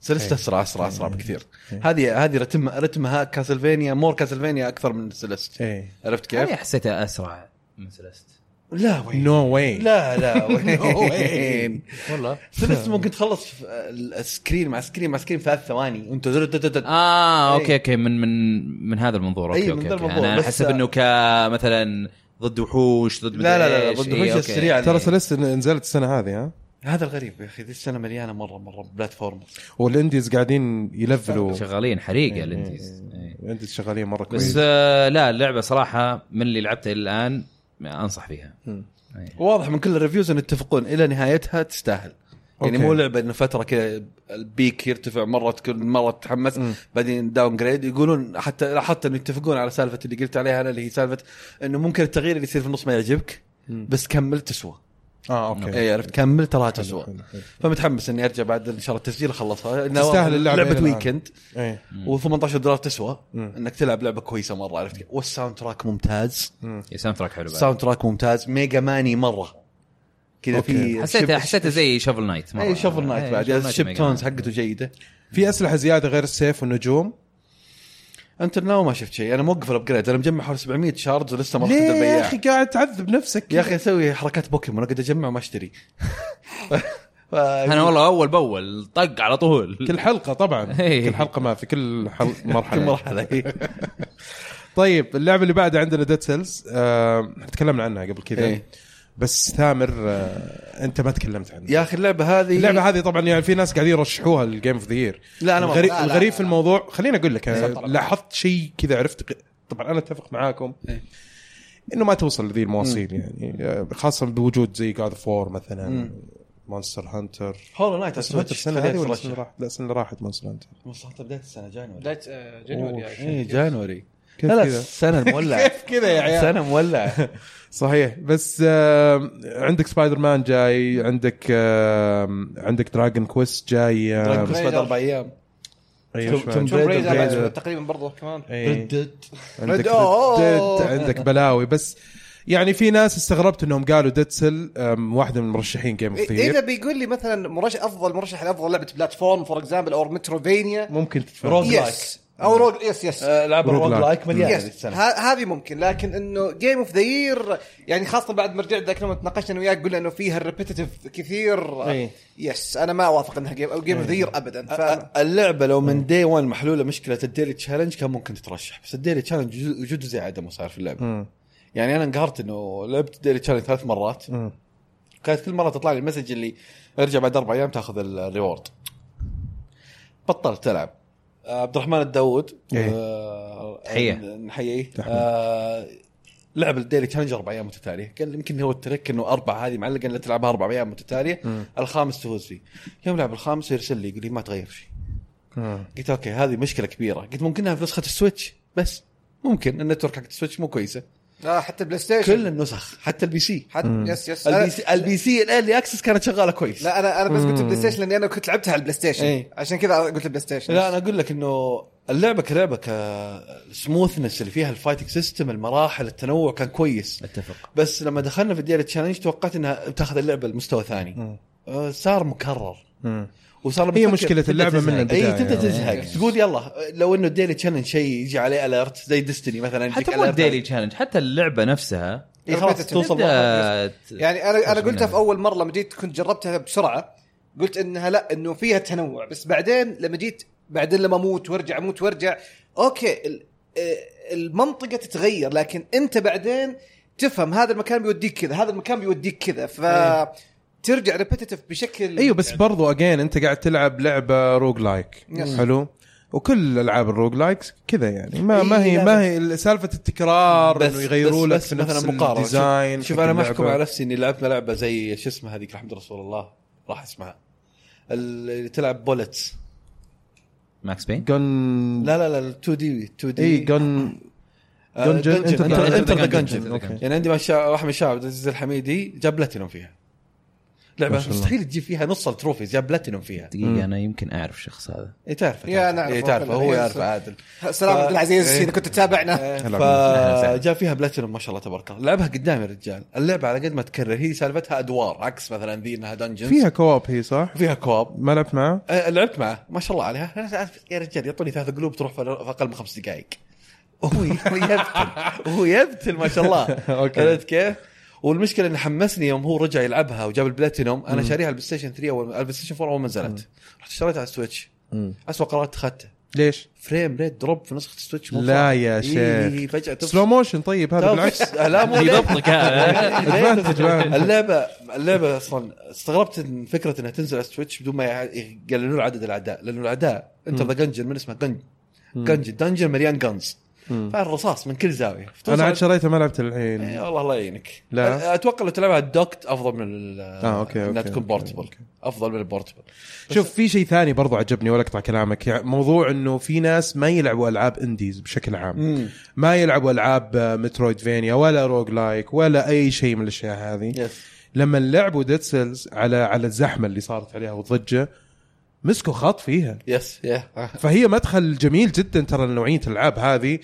Speaker 4: سلست
Speaker 1: إيه.
Speaker 4: اسرع اسرع اسرع بكثير
Speaker 1: إيه.
Speaker 4: هذه هذه رتمها رتمها كاسلفينيا مور كاسلفينيا اكثر من سلست
Speaker 1: ايه
Speaker 4: عرفت
Speaker 3: انا
Speaker 4: كيف؟
Speaker 3: حسيتها اسرع من سلست
Speaker 4: لا وين
Speaker 1: نو واي
Speaker 4: لا لا وين
Speaker 3: والله
Speaker 4: سلست ممكن تخلص في السكرين مع سكرين مع سكرين في ثلاث ثواني وانت زر- تت- تت-
Speaker 3: اه اوكي
Speaker 4: إيه.
Speaker 3: اوكي من من من هذا المنظور اوكي
Speaker 4: إيه،
Speaker 3: اوكي,
Speaker 4: من ذا
Speaker 3: أوكي. يعني
Speaker 4: المنظور،
Speaker 3: انا
Speaker 4: بس-
Speaker 3: حسب انه كمثلا ضد وحوش ضد مدري
Speaker 4: لا لا لا
Speaker 3: إيش.
Speaker 4: ضد
Speaker 3: إيه،
Speaker 4: الهجة
Speaker 3: أوكي.
Speaker 4: السريعة
Speaker 1: ترى سلست نزلت السنه هذه ها
Speaker 4: هذا الغريب يا اخي ذي السنه مليانه مره مره بلاتفورمرز
Speaker 1: والانديز قاعدين يلفلوا
Speaker 3: شغالين حريقه
Speaker 1: إيه.
Speaker 3: الانديز إيه.
Speaker 1: الانديز شغالين مره
Speaker 3: بس
Speaker 1: كويس
Speaker 3: آه لا اللعبه صراحه من اللي لعبتها الى الان انصح فيها
Speaker 1: مم.
Speaker 3: إيه.
Speaker 4: واضح من كل الريفيوز ان يتفقون الى نهايتها تستاهل يعني
Speaker 1: أوكي.
Speaker 4: مو لعبه انه فتره كذا البيك يرتفع مره تكون مره تتحمس
Speaker 1: مم.
Speaker 4: بعدين داون جريد يقولون حتى حتى انه يتفقون على سالفه اللي قلت عليها انا اللي هي سالفه انه ممكن التغيير اللي يصير في النص ما يعجبك
Speaker 1: مم.
Speaker 4: بس كمل تسوى
Speaker 1: اه اوكي
Speaker 4: اي عرفت كمل تراها تسوى
Speaker 1: حلو، حلو.
Speaker 4: فمتحمس اني ارجع بعد ان شاء الله التسجيل اخلصها إنه
Speaker 1: تستاهل اللعبة إلى
Speaker 4: لعبه
Speaker 1: الآن.
Speaker 4: ويكند
Speaker 1: ايه
Speaker 4: و18 دولار تسوى
Speaker 1: مم.
Speaker 4: انك تلعب لعبه كويسه مره عرفت كيف؟ والساوند تراك ممتاز
Speaker 3: يا ساوند تراك حلو بعد.
Speaker 4: الساوند تراك ممتاز ميجا ماني مره كذا في
Speaker 1: أوكي.
Speaker 3: حسيتها
Speaker 4: شب-
Speaker 3: حسيتها زي شافل نايت
Speaker 4: اي شوفل
Speaker 3: إيه،
Speaker 1: إيه،
Speaker 4: نايت إيه، بعد الشيب تونز حقته جيده
Speaker 1: في اسلحه زياده غير السيف والنجوم
Speaker 4: انت ناو ما شفت شيء انا موقف الابجريد انا مجمع حوالي 700 شارج ولسه ما رحت
Speaker 1: ليه يا
Speaker 4: البياع
Speaker 1: اخي قاعد تعذب نفسك
Speaker 4: يا اخي اسوي حركات بوكيمون اقعد اجمع وما اشتري ف...
Speaker 3: انا والله اول باول طق على طول
Speaker 1: كل حلقه طبعا
Speaker 3: إيه.
Speaker 1: كل حلقه ما في كل حل...
Speaker 4: كل
Speaker 1: مرحله
Speaker 4: مرحله إي.
Speaker 1: طيب اللعبه اللي بعدها عندنا ديد سيلز آه، تكلمنا عنها قبل كذا
Speaker 4: إيه.
Speaker 1: بس ثامر آه، انت ما تكلمت عنها
Speaker 4: يا اخي اللعبه هذه
Speaker 1: اللعبه هذه طبعا يعني في ناس قاعدين يرشحوها للجيم اوف ذا يير
Speaker 4: لا انا ما
Speaker 1: الغريب,
Speaker 2: لا، لا،
Speaker 1: الغريب
Speaker 2: لا.
Speaker 1: في الموضوع خليني اقول لك
Speaker 2: إيه.
Speaker 1: أنا لاحظت شيء كذا عرفت ق- طبعا انا اتفق معاكم
Speaker 4: إيه.
Speaker 1: انه ما توصل لذي المواصيل يعني آه، خاصه بوجود زي جاد فور مثلا
Speaker 4: مم.
Speaker 1: مونستر هانتر
Speaker 4: هولو نايت
Speaker 1: مونستر هانتر السنه هذه ولا السنه اللي راحت؟ لا السنه اللي راحت مونستر هانتر
Speaker 4: بدايه السنه جانوري
Speaker 2: بدايه آه، جانوري
Speaker 1: أوه،
Speaker 2: I think.
Speaker 4: اي جانوري
Speaker 1: كيف
Speaker 4: لا لا
Speaker 1: كذا؟
Speaker 4: السنه مولعه
Speaker 1: كيف كذا يا عيال؟
Speaker 4: السنه
Speaker 1: آه،
Speaker 4: مولعه
Speaker 1: صحيح بس آه عندك سبايدر مان جاي عندك آه عندك دراجون كويست جاي آه،
Speaker 4: دراجون
Speaker 2: كويست.
Speaker 4: كويست بعد اربع ايام
Speaker 1: أيوة،
Speaker 4: توم-
Speaker 1: شو
Speaker 4: توم
Speaker 1: بعد؟
Speaker 2: توم
Speaker 4: بريدر
Speaker 2: بريدر
Speaker 1: بريدر.
Speaker 2: تقريبا برضه كمان
Speaker 1: إيه.
Speaker 4: ردت
Speaker 1: عندك
Speaker 2: أوه.
Speaker 4: آه.
Speaker 1: ديد عندك بلاوي بس يعني في ناس استغربت انهم قالوا ديدسل واحده من مرشحين جيم اوف
Speaker 4: إيه،
Speaker 2: اذا إيه، بيقول لي مثلا مرشح افضل مرشح لافضل لعبه بلاتفورم فور اكزامبل او متروفينيا
Speaker 1: ممكن
Speaker 4: روج
Speaker 1: تتفرج
Speaker 4: لايك.
Speaker 2: يس او روج يس يس
Speaker 4: العاب
Speaker 1: روج
Speaker 4: الروج
Speaker 1: لايك.
Speaker 4: لايك مليانه ذي
Speaker 2: يس
Speaker 4: السنه
Speaker 2: ه- هذه ممكن لكن انه جيم اوف ذا يير يعني خاصه بعد ما رجعت ذاك اليوم تناقشنا انا وياك قلنا انه فيها الريبتيتف كثير
Speaker 1: إيه.
Speaker 2: يس انا ما اوافق انها جيم او جيم اوف ذا يير ابدا ف...
Speaker 4: أ- اللعبه آه، لو من
Speaker 1: إيه.
Speaker 4: دي 1 محلوله مشكله الديلي تشالنج كان ممكن تترشح بس الديلي تشالنج جزء- وجوده زي عدمه صار في اللعبه
Speaker 1: مم.
Speaker 4: يعني انا انقهرت انه لعبت ديلي تشالنج ثلاث مرات
Speaker 1: مم.
Speaker 4: كانت كل مره تطلع لي المسج اللي ارجع بعد اربع ايام تاخذ ال- الريورد بطلت العب آه، عبد الرحمن الداوود
Speaker 1: إيه.
Speaker 4: آه،
Speaker 3: تحية.
Speaker 4: آه، نحييه آه، لعب الديلي تشالنج اربع ايام متتاليه قال يمكن هو الترك انه اربع هذه معلقه الا تلعبها اربع ايام متتاليه الخامس تفوز فيه يوم لعب الخامس يرسل لي يقول لي ما تغير شيء
Speaker 1: مم.
Speaker 4: قلت اوكي هذه مشكله كبيره قلت ممكنها في نسخه السويتش بس ممكن النتورك حق السويتش مو كويسه
Speaker 2: آه حتى بلاي ستيشن
Speaker 4: كل النسخ حتى البي سي
Speaker 2: حتى يس يس
Speaker 4: البي
Speaker 2: أنا-
Speaker 4: سي البي سي الالي اكسس كانت شغاله كويس
Speaker 2: لا انا انا بس قلت بلاي ستيشن لاني انا كنت لعبتها على البلاي ستيشن
Speaker 4: إيه.
Speaker 2: عشان كذا قلت بلاي ستيشن
Speaker 4: لا انا اقول لك انه اللعبه كلعبه كسموثنس اللي فيها الفايتنج سيستم المراحل التنوع كان كويس
Speaker 3: اتفق
Speaker 4: بس لما دخلنا في الديالي تشالنج توقعت انها بتاخذ اللعبه لمستوى ثاني آه، صار مكرر
Speaker 1: مم.
Speaker 4: وصار
Speaker 1: هي
Speaker 4: بتفكر-
Speaker 1: مشكلة
Speaker 4: تبدأ
Speaker 1: اللعبة من
Speaker 4: تزهق.
Speaker 1: البداية
Speaker 4: اي تبدا
Speaker 1: يعني.
Speaker 4: تزهق تقول يلا لو انه الديلي تشالنج شيء يجي عليه اليرت زي ديستني مثلا يجيك
Speaker 3: حتى مو
Speaker 4: alert.
Speaker 3: الديلي تشالنج حتى اللعبه نفسها
Speaker 4: إي خلاص
Speaker 2: Repetitive.
Speaker 4: توصل مرحلة.
Speaker 3: تبدأ ت-
Speaker 2: يعني انا انا
Speaker 3: خلاص
Speaker 2: قلتها
Speaker 3: منها.
Speaker 2: في اول مره لما جيت كنت جربتها بسرعه قلت انها لا انه فيها تنوع بس بعدين لما جيت بعدين لما اموت وارجع اموت وارجع اوكي ال- آه، المنطقه تتغير لكن انت بعدين تفهم هذا المكان بيوديك كذا هذا المكان بيوديك كذا ف ترجع ريبتيتف بشكل
Speaker 1: ايوه بس برضو اجين انت قاعد تلعب لعبه روج لايك
Speaker 2: Yes.
Speaker 1: حلو وكل العاب الروج لايك كذا يعني ما
Speaker 4: إيه،
Speaker 1: ما هي
Speaker 4: لا،
Speaker 1: ما هي سالفه التكرار انه يغيروا لك
Speaker 4: بس
Speaker 1: في نفس
Speaker 4: مثلا مقارنة.
Speaker 1: الديزاين
Speaker 4: شوف, شوف
Speaker 1: حق
Speaker 4: انا
Speaker 1: اللعبة.
Speaker 4: محكم على نفسي اني لعبت لعبه زي شو اسمها هذيك الحمد رسول الله راح اسمها اللي تلعب بولتس
Speaker 3: ماكس بين
Speaker 1: جن إيه،
Speaker 4: لا لا لا 2 دي 2 دي
Speaker 1: اي جن
Speaker 4: آه،
Speaker 1: Dungeon-
Speaker 4: Dungeon-
Speaker 1: Enter the-
Speaker 4: Enter-
Speaker 3: Enter the
Speaker 4: Enter the
Speaker 3: Gungeon.
Speaker 4: Gungeon.
Speaker 3: أوكي.
Speaker 4: يعني عندي مع الشا- واحد من الشباب عبد العزيز الحميدي جاب بلاتينوم فيها
Speaker 1: ما
Speaker 4: لعبه
Speaker 1: شاء الله.
Speaker 4: مستحيل تجيب فيها نص التروفيز جاب بلاتينوم فيها
Speaker 3: دقيقه انا يمكن اعرف الشخص هذا
Speaker 4: اي تعرفه
Speaker 2: يا
Speaker 4: تعرفه.
Speaker 2: أنا أعرفه.
Speaker 4: إيه، تعرفه هو
Speaker 2: إيه،
Speaker 4: يعرفه عادل
Speaker 2: سلام
Speaker 4: آه،
Speaker 2: عبد العزيز
Speaker 4: إيه.
Speaker 2: إذا كنت تتابعنا
Speaker 1: هلا
Speaker 4: آه، فجاء فيها بلاتينوم ما شاء الله تبارك الله لعبها قدامي الرجال اللعبه على قد ما تكرر هي سالفتها ادوار عكس مثلا ذي انها دنجنز
Speaker 1: فيها كواب هي صح؟
Speaker 4: فيها كواب
Speaker 1: ما لعبت معاه؟
Speaker 4: آه، لعبت معه ما شاء الله عليها أنا أعرف- يا رجال يعطوني ثلاث قلوب تروح في في اقل من خمس دقائق هو هو يبتل هو يبتل ما شاء الله
Speaker 1: أوكي.
Speaker 4: عرفت كيف؟ والمشكله انه حمسني يوم هو رجع يلعبها وجاب البلاتينوم انا شاريها على البلاي ستيشن 3 اول على البلاي ستيشن 4 اول ما نزلت رحت اشتريتها على السويتش اسوء قرار اتخذته
Speaker 1: ليش؟
Speaker 4: فريم ريت دروب في نسخه السويتش مو
Speaker 1: لا
Speaker 4: صح. إيه،
Speaker 1: يا
Speaker 4: إي،
Speaker 1: شيخ.
Speaker 4: إي، فجاه تفصل.
Speaker 1: سلو موشن طيب هذا
Speaker 4: تفصل.
Speaker 1: بالعكس
Speaker 4: لا مو ليه.
Speaker 3: يضبطك هذا
Speaker 1: Advantage man.
Speaker 4: اللعبه اللعبه اصلا استغربت ان فكره انها تنزل على السويتش بدون ما يع- يقللون عدد الاعداء لانه الاعداء انت ذا جنجن من اسمه جنج جنج دنجن مليان جنز
Speaker 1: مم.
Speaker 4: فالرصاص من كل زاويه
Speaker 1: انا عاد
Speaker 4: فتوصل-
Speaker 1: شريته ما لعبت الحين
Speaker 4: إيه، والله الله يعينك
Speaker 1: لا.
Speaker 4: أ- اتوقع لو تلعب على الدوكت افضل من
Speaker 1: آه، أوكي،
Speaker 4: انها
Speaker 1: أوكي،
Speaker 4: تكون
Speaker 1: أوكي،
Speaker 4: بورتبل افضل من البورتبل
Speaker 1: شوف في شيء ثاني برضو عجبني ولا اقطع كلامك يعني موضوع انه في ناس ما يلعبوا العاب انديز بشكل عام ما يلعبوا العاب آه، مترويد فينيا ولا روج لايك ولا اي شيء من الاشياء هذه
Speaker 4: يس
Speaker 1: لما لعبوا ديد سيلز على على الزحمه اللي صارت عليها والضجه مسكوا خط فيها
Speaker 4: يس يا آه.
Speaker 1: فهي مدخل جميل جدا ترى لنوعيه الالعاب هذه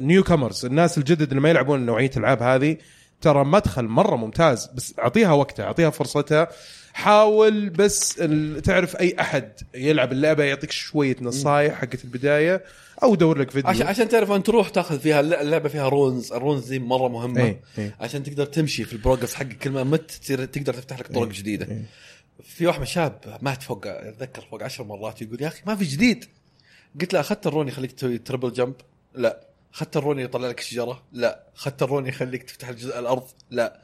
Speaker 1: نيو كامرز الناس الجدد اللي ما يلعبون نوعيه الالعاب هذه ترى مدخل مره ممتاز بس اعطيها وقتها اعطيها فرصتها حاول بس ال- تعرف اي احد يلعب اللعبه يعطيك شويه نصايح حقت البدايه او دور لك فيديو
Speaker 4: عشان عشان تعرف ان تروح تاخذ فيها الل- اللعبه فيها رونز الرونز دي مره مهمه
Speaker 1: إيه، إيه.
Speaker 4: عشان تقدر تمشي في البروجرس حقك كل ما مت تصير تقدر تفتح لك طرق جديده
Speaker 1: إيه.
Speaker 4: في واحد من الشباب مات فوق اتذكر فوق عشر مرات يقول يا اخي ما في جديد قلت له اخذت الرون يخليك تسوي تربل جمب لا اخذت الرون يطلع لك الشجره لا اخذت الرون يخليك تفتح الجزء الارض لا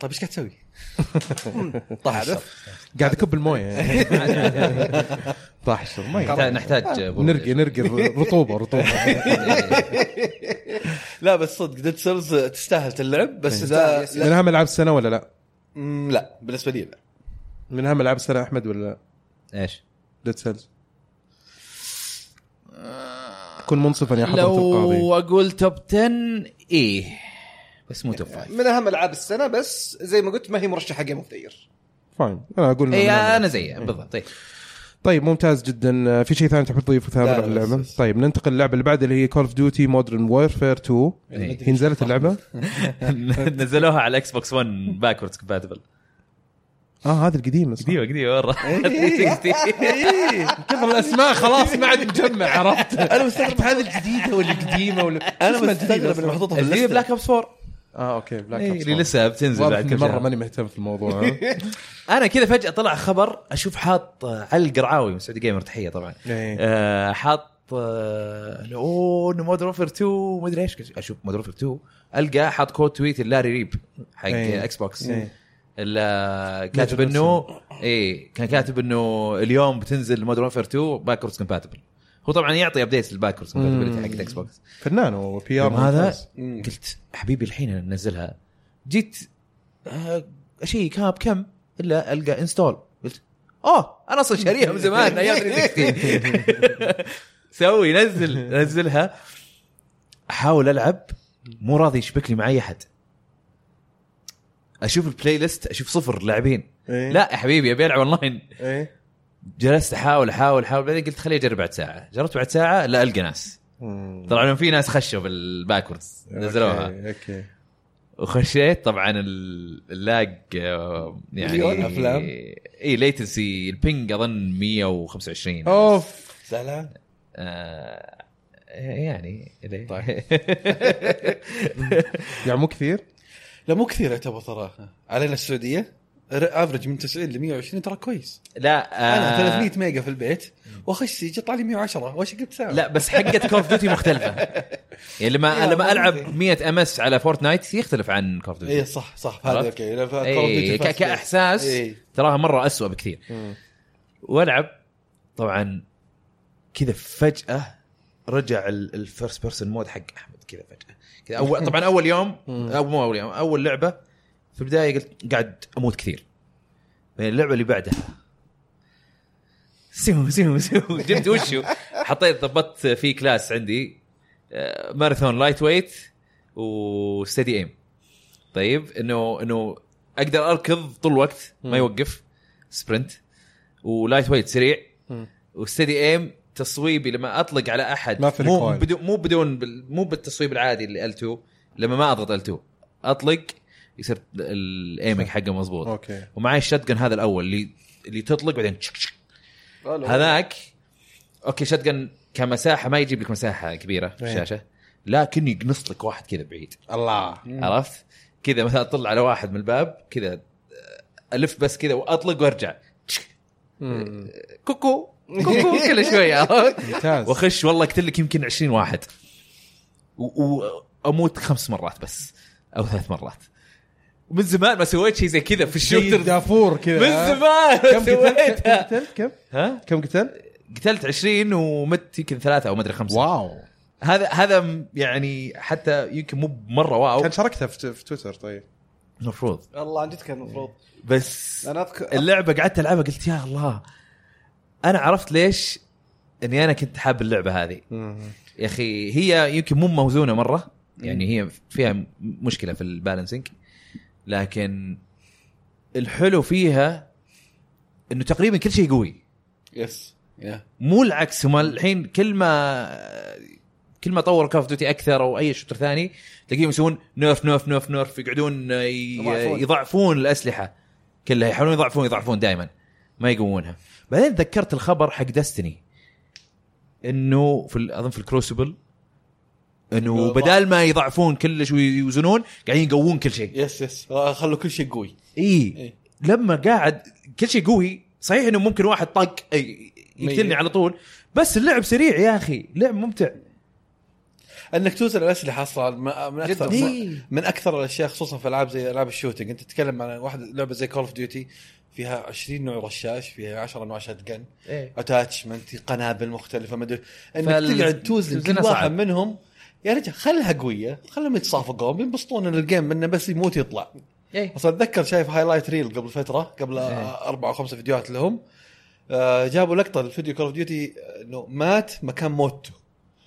Speaker 4: طيب ايش قاعد تسوي؟ طاح الشر.
Speaker 1: قاعد اكب المويه يعني. طاح الشر ميه
Speaker 3: نحتاج- نحتاج برودة.
Speaker 1: نرقي نرقي رطوبه رطوبه
Speaker 4: لا بس صدق ديد سيلز تستاهل تلعب بس
Speaker 1: إيه.
Speaker 2: تستاهل،
Speaker 4: اذا
Speaker 2: يس.
Speaker 1: من
Speaker 4: لا,
Speaker 1: اهم العاب السنه ولا لا؟
Speaker 4: مم، لا بالنسبه لي لا
Speaker 1: من اهم العاب السنه احمد ولا لا؟
Speaker 3: ايش؟
Speaker 1: ديد سيلز كن منصفا يا حضرة القاضي
Speaker 3: لو اقول توب 10 ايه بس مو توب 5
Speaker 2: من اهم العاب السنه بس زي ما قلت ما هي مرشحه جيم اوف ذا
Speaker 1: فاين انا اقول إنه
Speaker 3: اي
Speaker 1: نعم.
Speaker 3: انا زيه إيه، بالضبط إيه.
Speaker 1: طيب ممتاز جدا في شيء ثاني تحب تضيفه
Speaker 4: لا،
Speaker 1: ثامر
Speaker 4: لا،
Speaker 1: على اللعبه
Speaker 4: بس- بس.
Speaker 1: طيب ننتقل للعبه اللي بعدها اللي هي كول اوف ديوتي مودرن وورفير 2
Speaker 3: إيه.
Speaker 1: هي نزلت اللعبه
Speaker 3: نزلوها على الاكس بوكس 1 باكوردز كومباتبل
Speaker 1: اه هذه القديمه صح؟
Speaker 3: قديمه قديمه مره 360
Speaker 1: كثر الاسماء خلاص ما عاد مجمع عرفت انا مستغرب هذه الجديده ولا القديمه ولا
Speaker 4: انا مستغرب اني محطوطها
Speaker 3: الجديده
Speaker 4: بالليست
Speaker 3: بلاك ابس 4
Speaker 1: اه اوكي بلاك
Speaker 3: إيه،
Speaker 1: أوبس
Speaker 3: اللي لسه بتنزل
Speaker 1: واضح
Speaker 3: بعد
Speaker 1: إني
Speaker 3: كم
Speaker 1: مره
Speaker 3: شهر
Speaker 1: ماني مهتم في الموضوع ها؟
Speaker 3: انا كذا فجاه طلع خبر اشوف حاط آه، علي القرعاوي من سعودي جيمر تحيه طبعا
Speaker 1: إيه.
Speaker 3: آه، حاط آه، اوه انه مودرن وورفير 2 مدري ايش اشوف مودرن وورفير 2 القى حاط كود تويت لاري ريب حق
Speaker 1: إيه.
Speaker 3: اكس بوكس
Speaker 1: إيه.
Speaker 3: إلا كاتب
Speaker 1: Major
Speaker 3: انه اي كان كاتب انه اليوم بتنزل مودرن وورفير 2 باكوردز كومباتبل هو طبعا يعطي ابديتس للباكوردز كومباتبلتي حق الاكس بوكس
Speaker 1: فنان هو بي ار
Speaker 3: يوم هذا قلت حبيبي الحين ننزلها جيت آه، اشيك ها بكم الا القى انستول قلت اوه انا اصلا شاريها من زمان ايام 360 سوي نزل نزلها احاول العب مو راضي يشبك لي مع اي احد اشوف البلاي ليست اشوف صفر لاعبين
Speaker 1: إيه.
Speaker 3: لا يا حبيبي ابي العب اونلاين
Speaker 1: ايه
Speaker 3: جلست احاول احاول احاول بعدين قلت خليني اجرب بعد ساعه جربت بعد ساعه لا القى ناس
Speaker 1: مم.
Speaker 3: طلع لهم في ناس خشوا بالباكوردز نزلوها
Speaker 1: أوكي، اوكي
Speaker 3: وخشيت طبعا ال- اللاج آه،
Speaker 4: مليون
Speaker 3: يعني
Speaker 4: أفلام.
Speaker 3: اي ليتنسي البنج اظن 125
Speaker 1: اوف
Speaker 4: سلام
Speaker 3: آه يعني إلي.
Speaker 1: يعني مو كثير
Speaker 4: لا مو كثير يعتبر صراحه علينا السعوديه افرج من 90 ل 120 ترى كويس
Speaker 3: لا
Speaker 4: انا
Speaker 3: آه
Speaker 4: 300 ميجا في البيت واخش يجي يطلع لي 110 وايش قلت ساعه
Speaker 3: لا بس حقه كول اوف ديوتي مختلفه يعني لما
Speaker 4: يا
Speaker 3: لما العب
Speaker 4: ولدي.
Speaker 3: 100 ام اس على فورتنايت يختلف عن كول اوف
Speaker 4: اي
Speaker 3: ديوتي
Speaker 4: إيه، صح صح هذا
Speaker 3: عرفت؟
Speaker 4: اوكي لا، ف- Call of Duty
Speaker 3: إيه، ك-
Speaker 4: Fast Play.
Speaker 3: كاحساس
Speaker 4: إيه.
Speaker 3: تراها مره أسوأ بكثير والعب طبعا كذا فجاه رجع الفيرست بيرسون مود حق احمد كذا فجاه كذا اول طبعا اول يوم او مو اول يوم اول لعبه في البدايه قلت قاعد اموت كثير بعدين اللعبه اللي بعدها سيو سيو سيو جبت وشو حطيت ضبطت في كلاس عندي آه، ماراثون لايت ويت وستدي ايم طيب انه انه اقدر اركض طول الوقت ما
Speaker 1: مم.
Speaker 3: يوقف سبرنت ولايت ويت سريع
Speaker 1: مم.
Speaker 3: وستدي ايم تصويبي لما اطلق على احد
Speaker 1: ما في
Speaker 3: مو
Speaker 1: recoil.
Speaker 3: بدون مو بدون بال- مو بالتصويب العادي اللي L2 لما ما اضغط L2 اطلق يصير الايمنج حقه مضبوط
Speaker 1: اوكي
Speaker 3: ومعي الشتقن هذا الاول اللي اللي تطلق بعدين تشك تشك هذاك اوكي شتقن كمساحه ما يجيب لك مساحه كبيره في
Speaker 1: إيه.
Speaker 3: الشاشه لكن يقنص لك واحد كذا بعيد
Speaker 1: الله
Speaker 3: عرفت؟ كذا مثلا اطلع على واحد من الباب كذا الف بس كذا واطلق وارجع تشك،
Speaker 1: مم.
Speaker 3: كوكو كوكو كل شوي عرفت؟
Speaker 1: ممتاز
Speaker 3: واخش والله اقتل لك يمكن 20 واحد و- واموت خمس مرات بس او ثلاث مرات من زمان ما سويت شيء زي كذا في
Speaker 1: شوتر
Speaker 3: الشوتر
Speaker 1: دافور كذا
Speaker 3: من زمان ما
Speaker 1: كم قتلت كم
Speaker 3: سويتها
Speaker 1: قتلت كم
Speaker 3: ها
Speaker 1: كم قتلت
Speaker 3: قتلت 20 ومت يمكن ثلاثه او ما ادري خمسه
Speaker 1: واو
Speaker 3: هذا هذا م- يعني حتى يمكن مو بمره واو
Speaker 1: كان شاركتها في في تويتر طيب
Speaker 3: المفروض
Speaker 2: الله عن جد كان المفروض
Speaker 3: بس
Speaker 2: انا اذكر
Speaker 3: اللعبه قعدت العبها قلت يا الله انا عرفت ليش اني انا كنت حاب اللعبه هذه يا اخي هي يمكن مو موزونه مره يعني هي فيها م- مشكله في البالانسنج لكن الحلو فيها انه تقريبا كل شيء قوي
Speaker 4: يس يا
Speaker 3: مو العكس هم الحين كل ما كل ما طور كاف دوتي اكثر او اي شوتر ثاني تلاقيهم يسوون نيرف نيرف نيرف نيرف يقعدون ي-
Speaker 2: يضعفون.
Speaker 3: يضعفون الاسلحه كلها يحاولون يضعفون يضعفون دائما ما يقوونها بعدين تذكرت الخبر حق دستني انه في ال- اظن في الكروسبل انه بدال ما يضعفون كلش ويوزنون قاعدين يقوون كل شيء
Speaker 4: يس يس آه، خلوا كل شيء قوي
Speaker 3: اي
Speaker 4: إيه.
Speaker 3: لما قاعد كل شيء قوي صحيح انه ممكن واحد طق أي- يقتلني
Speaker 4: ميت.
Speaker 3: على طول بس اللعب سريع يا اخي لعب ممتع
Speaker 4: انك توزن الاسلحه اصلا م- من اكثر
Speaker 3: جداً. إيه.
Speaker 4: من, من اكثر الاشياء خصوصا في العاب زي العاب الشوتنج انت تتكلم عن واحده لعبه زي كول اوف ديوتي فيها 20 نوع رشاش فيها 10 نوع شاتجن اتاتشمنت قنابل مختلفه ما ادري انك
Speaker 3: فال-
Speaker 4: تقعد توزن كل
Speaker 3: توزنها
Speaker 4: واحد
Speaker 3: صعب.
Speaker 4: منهم يا رجال خلها قويه خلهم يتصافقون بينبسطون ان الجيم منه بس يموت يطلع
Speaker 3: ايه
Speaker 4: اصلا اتذكر شايف هايلايت ريل قبل فتره قبل
Speaker 3: إيه.
Speaker 4: اربع او خمس فيديوهات لهم آه، جابوا لقطه الفيديو كول اوف ديوتي انه مات مكان موته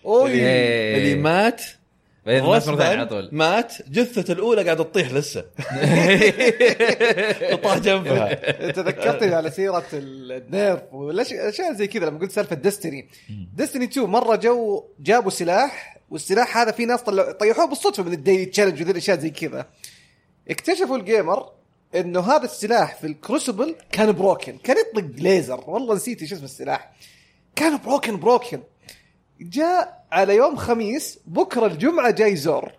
Speaker 2: اوي
Speaker 3: إيه.
Speaker 4: اللي مات
Speaker 3: بعدين مات مرة ثانية على
Speaker 4: غصبا
Speaker 3: طول
Speaker 4: مات جثته الاولى قاعده تطيح لسه تطاح جنبها
Speaker 2: انت ذكرتني على سيره ال- النيرف والاشياء زي كذا لما قلت سالفه ديستني ديستني 2 مره جو جابوا سلاح والسلاح هذا في ناس طلعوا طيحوه بالصدفه من الديلي تشالنج وذي الاشياء زي كذا اكتشفوا الجيمر انه هذا السلاح في الكروسبل كان بروكن كان يطلق ليزر والله نسيت ايش اسم السلاح كان بروكن بروكن جاء على يوم خميس بكره الجمعه جاي زور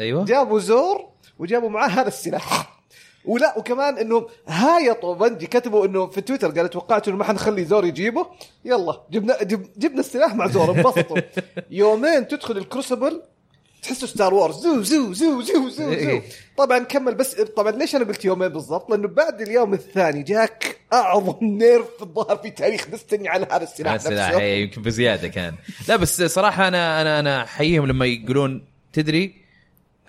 Speaker 3: ايوه
Speaker 2: جابوا زور وجابوا معاه هذا السلاح ولا وكمان انه هايطوا بنجي كتبوا انه في تويتر قالوا توقعتوا انه ما حنخلي زور يجيبه يلا جبنا جب جبنا السلاح مع زور انبسطوا يومين تدخل الكروسبل تحسه ستار وورز زو زو زو زو زو, زو.
Speaker 3: إيه.
Speaker 2: طبعا كمل بس طبعا ليش انا قلت يومين بالضبط؟ لانه بعد اليوم الثاني جاك اعظم نيرف الظاهر في تاريخ دستني على هذا السلاح
Speaker 3: مع السلاح إيه، يمكن بزياده كان لا بس صراحه انا انا انا احييهم لما يقولون تدري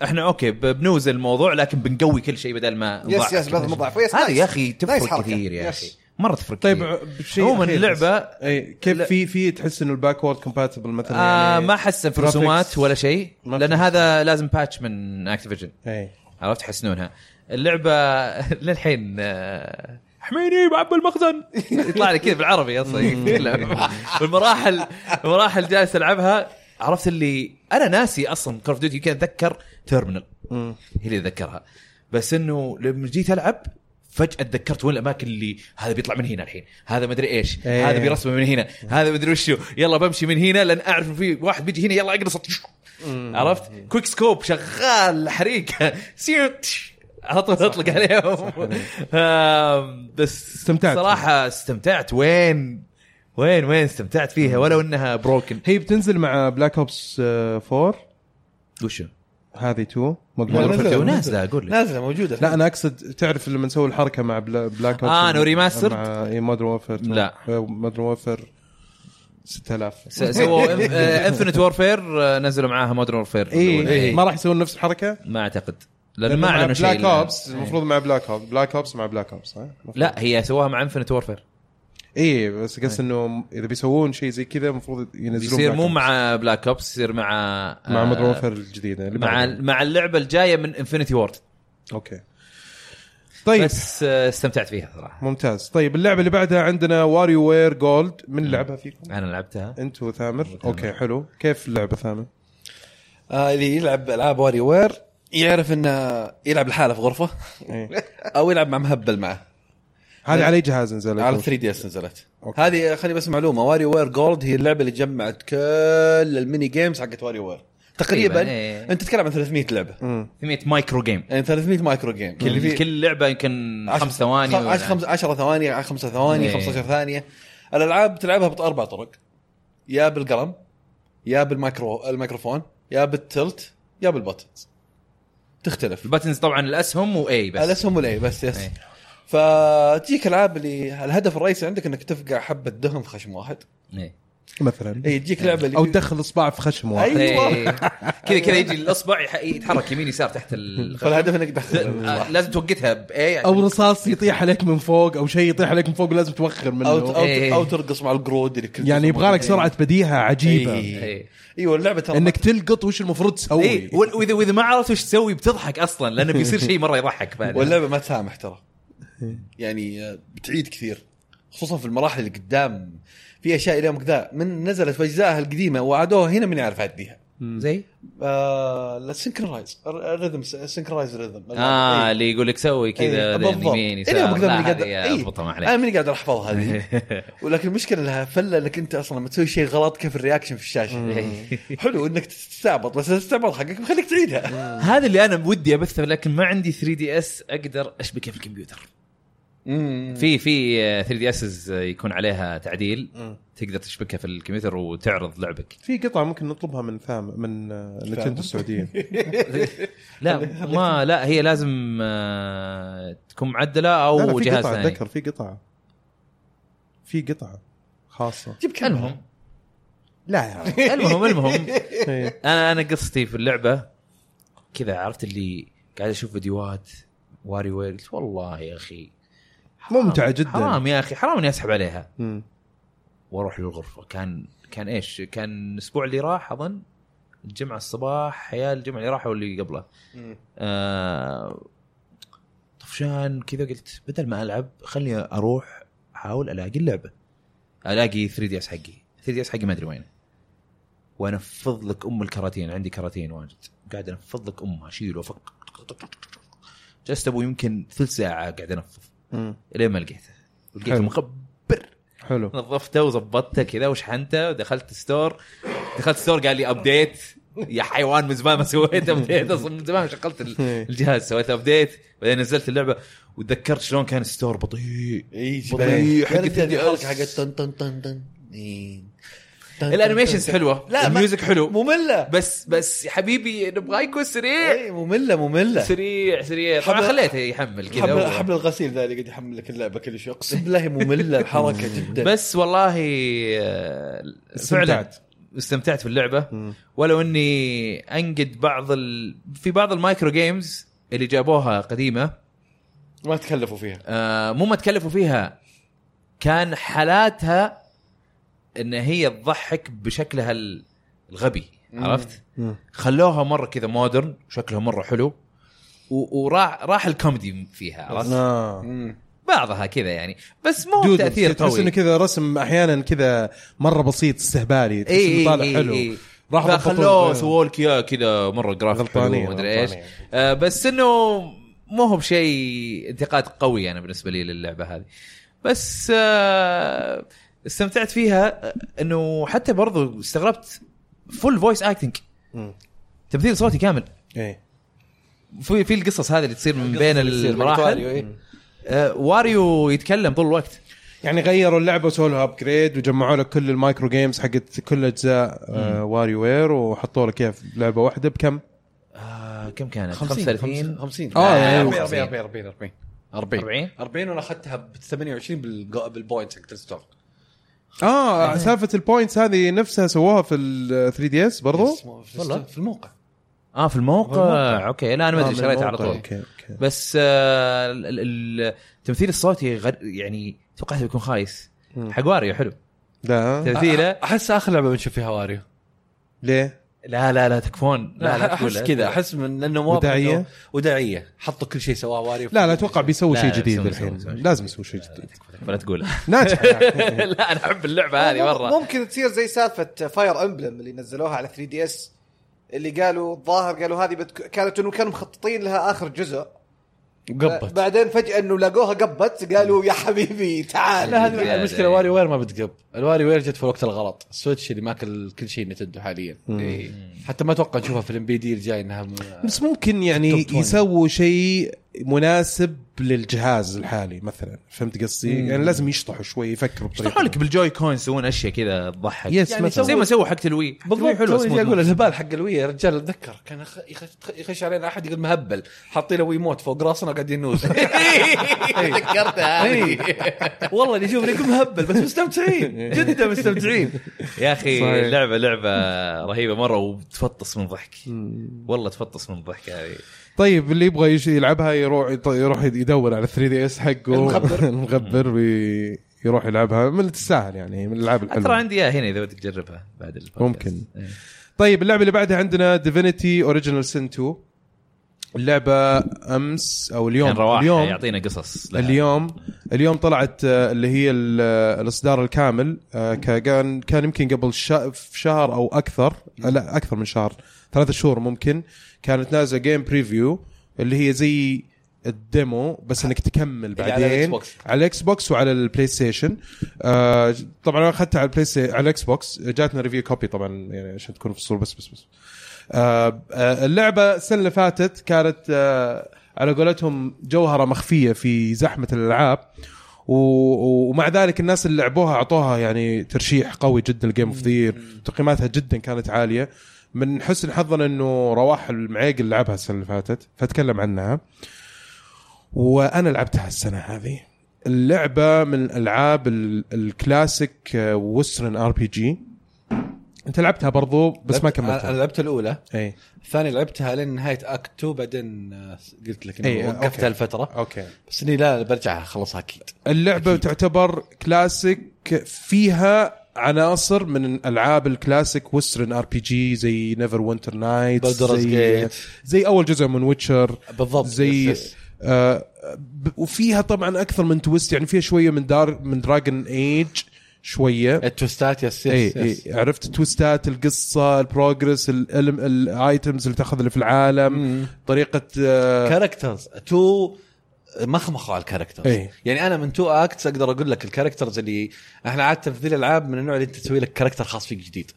Speaker 3: احنا اوكي ب- بنوزن الموضوع لكن بنقوي كل شيء بدل ما
Speaker 2: يس
Speaker 3: نضعف
Speaker 2: يس
Speaker 3: كل
Speaker 2: بدل ما
Speaker 3: شيء.
Speaker 2: نضعف. يس،
Speaker 3: هذه
Speaker 2: نايس.
Speaker 3: يا اخي
Speaker 2: نايس
Speaker 3: تفرق
Speaker 2: حركة.
Speaker 3: كثير يا
Speaker 2: يس.
Speaker 3: اخي مره تفرق
Speaker 1: طيب
Speaker 3: كثير.
Speaker 1: بشيء
Speaker 3: عموماً
Speaker 1: أخير بس.
Speaker 3: اللعبة-
Speaker 1: اي كيف
Speaker 3: لا.
Speaker 1: في في تحس انه الباك وورد كومباتبل مثلا
Speaker 3: آه
Speaker 1: يعني
Speaker 3: ما حسن في
Speaker 1: graphics.
Speaker 3: رسومات ولا شيء
Speaker 1: ما
Speaker 3: لان
Speaker 1: في.
Speaker 3: هذا لازم باتش من اكتيفيجن
Speaker 1: اي
Speaker 3: عرفت يحسنونها اللعبه للحين آه، حميني بعب المخزن يطلع لي كذا بالعربي اصلا يتكلم المراحل المراحل جالس العبها عرفت اللي انا ناسي اصلا كول اوف ديوتي يمكن اتذكر تيرمينال هي اللي اتذكرها بس انه لما جيت العب فجاه تذكرت وين الاماكن اللي هذا بيطلع من هنا الحين هذا مدري ايش
Speaker 1: إيه.
Speaker 3: هذا بيرسمه من هنا هذا مدري وشو يلا بمشي من هنا لان اعرف إن في واحد بيجي هنا يلا اقرص عرفت كويك سكوب شغال حريقه سيوت على طول اطلق عليهم آم، بس
Speaker 1: استمتعت.
Speaker 3: صراحه استمتعت وين وين وين استمتعت فيها ولو انها بروكن
Speaker 1: هي بتنزل مع بلاك اوبس
Speaker 3: آه،
Speaker 1: 4
Speaker 3: وشو؟
Speaker 1: هذه 2
Speaker 4: لا،
Speaker 1: مقبول
Speaker 4: نزل.
Speaker 3: نازله اقول لك
Speaker 4: نازله موجوده
Speaker 1: لا انا اقصد تعرف لما نسوي الحركه مع بلا- بلاك اوبس
Speaker 3: آه، إنه remastered؟
Speaker 1: مع إيه، اي مودرن وورفير
Speaker 3: لا.
Speaker 1: مودرن وورفير 6000
Speaker 3: س- سووا آه، انفنت وورفير آه، نزلوا معاها مودرن وورفير
Speaker 1: اي إيه، ما راح يسوون نفس الحركه
Speaker 3: إيه. ما اعتقد لانه ما اعلنوا شيء
Speaker 1: بلاك
Speaker 3: إلا-
Speaker 1: اوبس المفروض مع بلاك اوبس بلاك اوبس مع بلاك اوبس
Speaker 3: لا هي سواها مع انفنت وورفير
Speaker 1: اي إيه، بس قصدي انه اذا بيسوون شيء زي كذا المفروض ينزلون
Speaker 3: يصير
Speaker 1: Black
Speaker 3: إيه. مو
Speaker 1: Ops.
Speaker 3: مع بلاك اوبس يصير مع
Speaker 1: مع
Speaker 3: آه،
Speaker 1: مودرن وورفير الجديده اللي
Speaker 3: مع
Speaker 1: بعدها.
Speaker 3: مع اللعبه الجايه من انفنتي وورد
Speaker 1: اوكي طيب
Speaker 3: بس آه، استمتعت فيها صراحه
Speaker 1: ممتاز طيب اللعبه اللي بعدها عندنا واريو وير جولد من لعبها فيكم
Speaker 3: انا لعبتها
Speaker 1: انت وثامر اوكي حلو كيف اللعبه ثامر
Speaker 4: آه اللي يلعب العاب واري وير يعرف انه يلعب لحاله في غرفه
Speaker 1: إيه.
Speaker 4: او يلعب مع مهبل معه
Speaker 1: هذه على اي جهاز نزلت
Speaker 4: على 3 دي اس نزلت
Speaker 1: أوكي.
Speaker 4: هذه خلي بس معلومه واري وير جولد هي اللعبه اللي جمعت كل الميني جيمز حقت واري وير تقريبا
Speaker 3: تقريباً، إيه.
Speaker 4: انت تتكلم عن 300 لعبه
Speaker 1: مم.
Speaker 3: 100 مايكرو جيم
Speaker 4: يعني 300 مايكرو جيم اللي فيه
Speaker 3: كل كل لعبه يمكن
Speaker 4: عشر-
Speaker 3: خمس ثواني
Speaker 4: خم-
Speaker 3: ولا-
Speaker 4: عشر- خمس- 10 ثواني 5 ثواني
Speaker 3: إيه.
Speaker 4: 15 ثانيه الالعاب تلعبها باربع طرق يا بالقلم يا بالمايكرو الميكروفون يا بالتلت يا بالبوتنز تختلف
Speaker 3: الباتنز طبعا الاسهم واي بس
Speaker 4: الاسهم والاي بس يس
Speaker 3: إيه.
Speaker 4: فتجيك العاب اللي الهدف الرئيسي عندك انك تفقع حبه دهم في خشم واحد
Speaker 3: إيه.
Speaker 1: مثلا
Speaker 4: اي تجيك لعبه اللي
Speaker 1: او
Speaker 4: فيه-
Speaker 1: تدخل اصبع في خشم واحد
Speaker 4: أيوة.
Speaker 3: إيه. كذا كذا يجي الاصبع يح- يتحرك يمين يسار تحت ال
Speaker 4: فالهدف انك تدخل
Speaker 3: آه، لازم توقتها يعني. باي
Speaker 1: او رصاص يطيح عليك من فوق او شيء يطيح عليك من فوق لازم توخر منه
Speaker 4: او او,
Speaker 3: إيه.
Speaker 4: أو ترقص مع القرود اللي كل
Speaker 1: يعني
Speaker 4: جزء
Speaker 1: يبغى لك
Speaker 4: مرة.
Speaker 1: سرعه بديهه عجيبه
Speaker 4: إيه.
Speaker 3: إيه.
Speaker 4: ايوه اللعبه ترى
Speaker 1: انك تلقط وش المفروض تسوي
Speaker 3: اي وال- واذا واذا ما عرفت وش تسوي بتضحك اصلا لانه بيصير شيء مره يضحك بعدين
Speaker 4: واللعبه ما تسامح ترى يعني آه، بتعيد كثير خصوصا في المراحل اللي قدام في اشياء اليوم كذا من نزلت في اجزائها القديمه وعادوها هنا من يعرف يعديها
Speaker 3: زي
Speaker 4: آه السنكرايز الريذم سنكرايز ريذم
Speaker 3: اه اللي يقول لك سوي كذا بعدين
Speaker 4: بالضبط
Speaker 3: يمين
Speaker 4: إيه،
Speaker 3: يسار
Speaker 4: بقدر
Speaker 3: لا،
Speaker 4: إني قادر-
Speaker 3: هذه
Speaker 4: إيه.
Speaker 3: اضبطها ما
Speaker 4: انا
Speaker 3: عليك
Speaker 4: ماني قادر احفظها هذه ولكن المشكله لها فله انك انت اصلا لما تسوي شيء غلط كيف الرياكشن في الشاشه
Speaker 3: إيه.
Speaker 4: حلو انك تستعبط بس الاستعباط حقك بخليك تعيدها
Speaker 3: هذا اللي انا ودي ابثه لكن ما عندي 3 دي اس اقدر اشبكه في الكمبيوتر
Speaker 4: مم.
Speaker 3: في في 3 دي اس يكون عليها تعديل تقدر تشبكها في الكمبيوتر وتعرض لعبك
Speaker 1: في قطعه ممكن نطلبها من ثام من آه، نتندو السعوديه
Speaker 3: لا ما لا هي لازم آه، تكون
Speaker 1: لا،
Speaker 3: معدله
Speaker 1: لا،
Speaker 3: او
Speaker 1: في
Speaker 3: جهاز
Speaker 1: قطعه
Speaker 3: ثاني
Speaker 1: اتذكر في قطعه في قطعه خاصه
Speaker 4: جيب كاميرا.
Speaker 3: المهم
Speaker 1: لا يا
Speaker 3: المهم المهم
Speaker 1: إيه.
Speaker 3: انا انا قصتي في اللعبه كذا عرفت اللي قاعد اشوف فيديوهات واري وير قلت والله يا اخي حرام-
Speaker 1: ممتعة جداً.
Speaker 3: حرام يا اخي حرام اني اسحب عليها
Speaker 1: مم.
Speaker 3: واروح للغرفه كان كان ايش؟ كان الاسبوع اللي راح اظن الجمعه الصباح يا الجمعه اللي راح او اللي قبله
Speaker 4: مم.
Speaker 3: آه طفشان كذا قلت بدل ما العب خلني اروح احاول الاقي اللعبه الاقي 3 دي اس حقي 3 دي اس حقي ما ادري وينه وانفض لك ام الكراتين عندي كراتين واجد قاعد انفض لك امها اشيل وافك جلست ابو يمكن ثلث ساعه قاعد انفض
Speaker 1: مم.
Speaker 3: الين ما لقيته لقيته
Speaker 1: حلو.
Speaker 3: مخبر
Speaker 1: حلو
Speaker 3: نظفته وظبطته كذا وشحنته ودخلت ستور دخلت ستور قال لي ابديت يا حيوان من زمان ما سويت ابديت اصلا من زمان ما شغلت ال-
Speaker 4: إيه.
Speaker 3: الجهاز سويت ابديت بعدين نزلت اللعبه وتذكرت شلون كان ستور بطيء
Speaker 4: اي
Speaker 3: بطيء. حق
Speaker 4: حقت
Speaker 3: الثدي
Speaker 4: الحركه
Speaker 3: أس.
Speaker 4: حقت طن طن طن طن إيه. طن طن
Speaker 3: الانيميشنز
Speaker 4: طن.
Speaker 3: حلوه
Speaker 4: لا،
Speaker 3: لا
Speaker 4: ما-
Speaker 3: الميوزك حلو
Speaker 4: ممله
Speaker 3: بس بس يا حبيبي نبغى يكون سريع
Speaker 4: اي ممله ممله
Speaker 3: سريع سريع طبعا
Speaker 4: حبل-
Speaker 3: خليته يحمل كذا
Speaker 4: حبل,
Speaker 3: و-
Speaker 4: حبل الغسيل ذا اللي قاعد يحمل لك اللعبه كل شيء اقسم بالله ممله الحركه جدا
Speaker 3: بس والله آه، فعلا
Speaker 1: استمتعت.
Speaker 3: استمتعت في اللعبه
Speaker 1: مم.
Speaker 3: ولو اني انقد بعض ال... في بعض المايكرو جيمز اللي جابوها قديمه
Speaker 4: ما تكلفوا فيها
Speaker 3: آه، مو ما تكلفوا فيها كان حالاتها ان هي تضحك بشكلها ال- الغبي عرفت؟
Speaker 1: مم.
Speaker 3: خلوها مره كذا مودرن شكلها مره حلو و- وراح راح الكوميدي فيها عرفت؟
Speaker 1: آه.
Speaker 3: بعضها كذا يعني بس مو
Speaker 1: دود
Speaker 3: تاثير
Speaker 1: تحس
Speaker 3: قوي
Speaker 1: انه كذا رسم احيانا كذا مره بسيط استهبالي تحس
Speaker 3: إيه،
Speaker 1: إيه، انه طالع حلو راح
Speaker 3: راح
Speaker 1: ضبطوه. إيه.
Speaker 3: خلوه سووا لك اياه كذا مره جرافيك حلو
Speaker 1: غلطانين،
Speaker 3: ومدري ايش
Speaker 1: غلطانين.
Speaker 3: آه بس انه مو هو بشيء انتقاد قوي انا بالنسبه لي للعبه هذه بس آه استمتعت فيها آه، انه حتى برضو استغربت فول فويس اكتنج
Speaker 1: مم.
Speaker 3: تمثيل صوتي كامل
Speaker 1: ايه
Speaker 3: في في القصص هذه اللي تصير من بين
Speaker 4: واريو،
Speaker 3: المراحل
Speaker 4: إيه.
Speaker 3: آه واريو يتكلم طول الوقت
Speaker 1: يعني غيروا اللعبه وسووا لها ابجريد وجمعوا لك كل المايكرو جيمز حقت كل اجزاء آه واري وير وحطوا لك اياها في لعبه واحده بكم؟
Speaker 3: آه كم كانت
Speaker 4: 35
Speaker 3: 35
Speaker 4: 50
Speaker 1: آه،
Speaker 4: لا،
Speaker 1: أيوة.
Speaker 4: 40 40 40 40
Speaker 3: 40
Speaker 4: 40 وانا اخذتها ب 28 بالجو- بالبوينتس حقت الستور
Speaker 1: اه سالفه البوينتس هذه نفسها سووها في ال آه، 3 دي اس برضو؟
Speaker 4: والله في الموقع
Speaker 3: اه في الموقع اوكي لا انا ما ادري
Speaker 1: آه، من
Speaker 3: شريتها على
Speaker 1: الموقع.
Speaker 3: طول
Speaker 1: اوكي اوكي
Speaker 3: بس آه، ال- ال- التمثيل الصوتي غير يعني توقعت بيكون خايس حق واريو حلو
Speaker 1: لا
Speaker 3: تمثيله
Speaker 4: احس اخر لعبه بنشوف فيها واريو
Speaker 1: ليه؟
Speaker 3: لا لا لا تكفون لا لا تقول
Speaker 4: احس كذا احس من انه واضح
Speaker 1: وداعية؟
Speaker 4: إنه- وداعيه حطوا كل شيء سواه واريو
Speaker 1: لا لا اتوقع بيسوي
Speaker 3: لا،
Speaker 1: شيء
Speaker 3: لا،
Speaker 1: جديد
Speaker 3: بيسوي-
Speaker 1: الحين
Speaker 3: بيسوي-
Speaker 1: لازم يسوي شيء جديد
Speaker 3: ولا تقول
Speaker 1: ناجح يعني.
Speaker 3: لا انا احب اللعبه آه، هذه مره
Speaker 2: آه، ممكن تصير زي سالفه فاير امبلم اللي نزلوها على 3 دي اس اللي قالوا الظاهر قالوا هذه بتك... كانت انه كانوا مخططين لها اخر جزء
Speaker 4: قبت
Speaker 2: بعدين فجاه انه لاقوها قبت قالوا يا حبيبي تعال
Speaker 4: لا
Speaker 3: زيادة
Speaker 4: هذه المشكله
Speaker 3: يعني.
Speaker 4: واري وير ما بتقب الواري وير جت في الوقت الغلط السويتش اللي ماكل كل شيء نتندو حاليا إيه. حتى ما اتوقع نشوفها في الام بي دي الجاي انها م...
Speaker 1: بس ممكن يعني
Speaker 4: توب 20.
Speaker 1: يسووا شيء مناسب للجهاز الحالي مثلا فهمت قصدي؟ يعني لازم يشطحوا شوي يفكروا
Speaker 3: يشرحوا
Speaker 1: بطريقه
Speaker 3: لك بالجوي كوين يسوون اشياء كذا تضحك
Speaker 1: يس
Speaker 4: يعني
Speaker 1: مثلا
Speaker 4: سووا-
Speaker 3: زي ما سووا حق الوي حق الوي حلوه
Speaker 4: توني جاي
Speaker 3: smooth
Speaker 4: اقول
Speaker 3: motion.
Speaker 4: الهبال حق الوي يا رجال اتذكر كان يخ- يخ- يخش علينا احد يقول مهبل حاطين له ويموت فوق راسنا قاعدين نوز
Speaker 3: تذكرتها
Speaker 1: إيه.
Speaker 3: هذه.
Speaker 4: والله اللي يشوفنا يقول مهبل بس مستمتعين جدا مستمتعين
Speaker 3: يا اخي
Speaker 1: صحيح.
Speaker 3: اللعبه لعبه رهيبه مره وتفطس من ضحك والله تفطس من ضحك هذه
Speaker 1: طيب اللي يبغى يش- يلعبها يروح يروح يدور على 3 دي اس حقه
Speaker 2: المغبر.
Speaker 1: المغبر ويروح يلعبها من اللي تستاهل يعني من الالعاب
Speaker 3: ترى
Speaker 1: الحلوه
Speaker 3: عندي اياها هنا اذا بدك تجربها بعد البودكاست
Speaker 1: ممكن.
Speaker 3: إيه.
Speaker 1: طيب اللعبه اللي بعدها عندنا ديفينيتي اوريجينال سن 2 اللعبه امس او اليوم
Speaker 3: كان يعني رواح
Speaker 1: اليوم
Speaker 3: يعطينا قصص لها.
Speaker 1: اليوم اليوم طلعت آه، اللي هي ال- آه، الاصدار الكامل آه، ك- كان كان يمكن قبل شا- في شهر او اكثر آه، لا اكثر من شهر ثلاثة شهور ممكن كانت نازله جيم بريفيو اللي هي زي الديمو بس انك تكمل
Speaker 4: اللي يعني على الإكس
Speaker 1: بعدين
Speaker 4: بوكس.
Speaker 1: على الاكس بوكس وعلى البلاي ستيشن آه، طبعا انا اخذتها على البلاي ستيشن على الاكس بوكس جاتنا ريفيو كوبي طبعا يعني عشان تكون في الصوره بس بس بس آه، آه، اللعبه السنه اللي فاتت كانت آه، على قولتهم جوهره مخفيه في زحمه الالعاب و- و- ومع ذلك الناس اللي لعبوها اعطوها يعني ترشيح قوي جدا لجيم اوف ذير تقييماتها جدا كانت عاليه من حسن حظنا انه رواح المعيق اللي لعبها السنه اللي فاتت فاتكلم عنها وانا لعبتها السنه هذه اللعبه من الالعاب ال- الكلاسيك آه، وسترن ار بي جي انت لعبتها برضو بس ما
Speaker 4: انا
Speaker 1: كملتها
Speaker 4: لعبت الاولى
Speaker 1: اي
Speaker 4: الثانيه لعبتها لين نهايه اكت 2 بعدين آه، قلت لك
Speaker 1: إيه،
Speaker 4: انه
Speaker 1: أوكي.
Speaker 4: وقفتها الفتره
Speaker 1: اوكي
Speaker 4: بس اني لا برجع اخلصها اكيد
Speaker 1: اللعبه أكيد. تعتبر كلاسيك فيها عناصر من العاب الكلاسيك وسترن ار بي جي زي نيفر وينتر نايت
Speaker 4: Baldur's
Speaker 1: زي
Speaker 4: Gate.
Speaker 1: زي اول جزء من ويتشر
Speaker 4: بالضبط
Speaker 1: زي
Speaker 4: يس، يس.
Speaker 1: آه ب- وفيها طبعا اكثر من تويست يعني فيها شويه من دار من دراجن ايج شويه
Speaker 4: التوستات يس
Speaker 1: اي
Speaker 4: يس, يس.
Speaker 1: اي إيه، عرفت تويستات القصه البروجرس الايتمز اللي تاخذ اللي في العالم طريقه آه
Speaker 4: كاركترز تو uh, مخمخوا على الكاركترز
Speaker 1: إيه.
Speaker 4: يعني انا من تو اكتس اقدر اقول لك الكاركترز اللي احنا عاده في ذي الالعاب من النوع اللي انت تسوي لك كاركتر خاص فيك جديد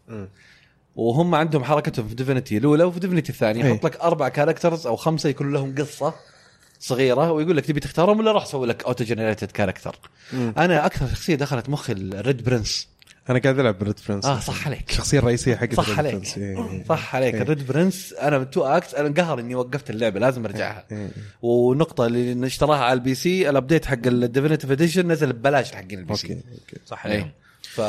Speaker 4: وهم عندهم حركتهم في ديفينيتي الاولى وفي ديفينيتي الثانيه
Speaker 1: إيه.
Speaker 4: يحط لك اربع كاركترز او خمسه يكون لهم قصه صغيره ويقول لك تبي تختارهم ولا راح اسوي لك اوتو جنريتد كاركتر انا اكثر شخصيه دخلت مخي الريد برنس
Speaker 1: انا قاعد العب بريد فرنس
Speaker 4: اه صح عليك
Speaker 1: الشخصيه الرئيسيه حقت
Speaker 4: صح
Speaker 1: Red
Speaker 4: عليك
Speaker 1: Prince. إي، إي.
Speaker 4: صح عليك
Speaker 1: إيه.
Speaker 4: الريد برنس انا من تو اكس انا انقهر اني وقفت اللعبه لازم ارجعها
Speaker 1: إيه.
Speaker 4: ونقطه اللي اشتراها على البي سي الابديت حق الديفينيتيف اديشن نزل ببلاش حقين البي
Speaker 1: اوكي
Speaker 4: سي
Speaker 1: اوكي
Speaker 3: صح
Speaker 4: إيه.
Speaker 3: عليهم
Speaker 4: ف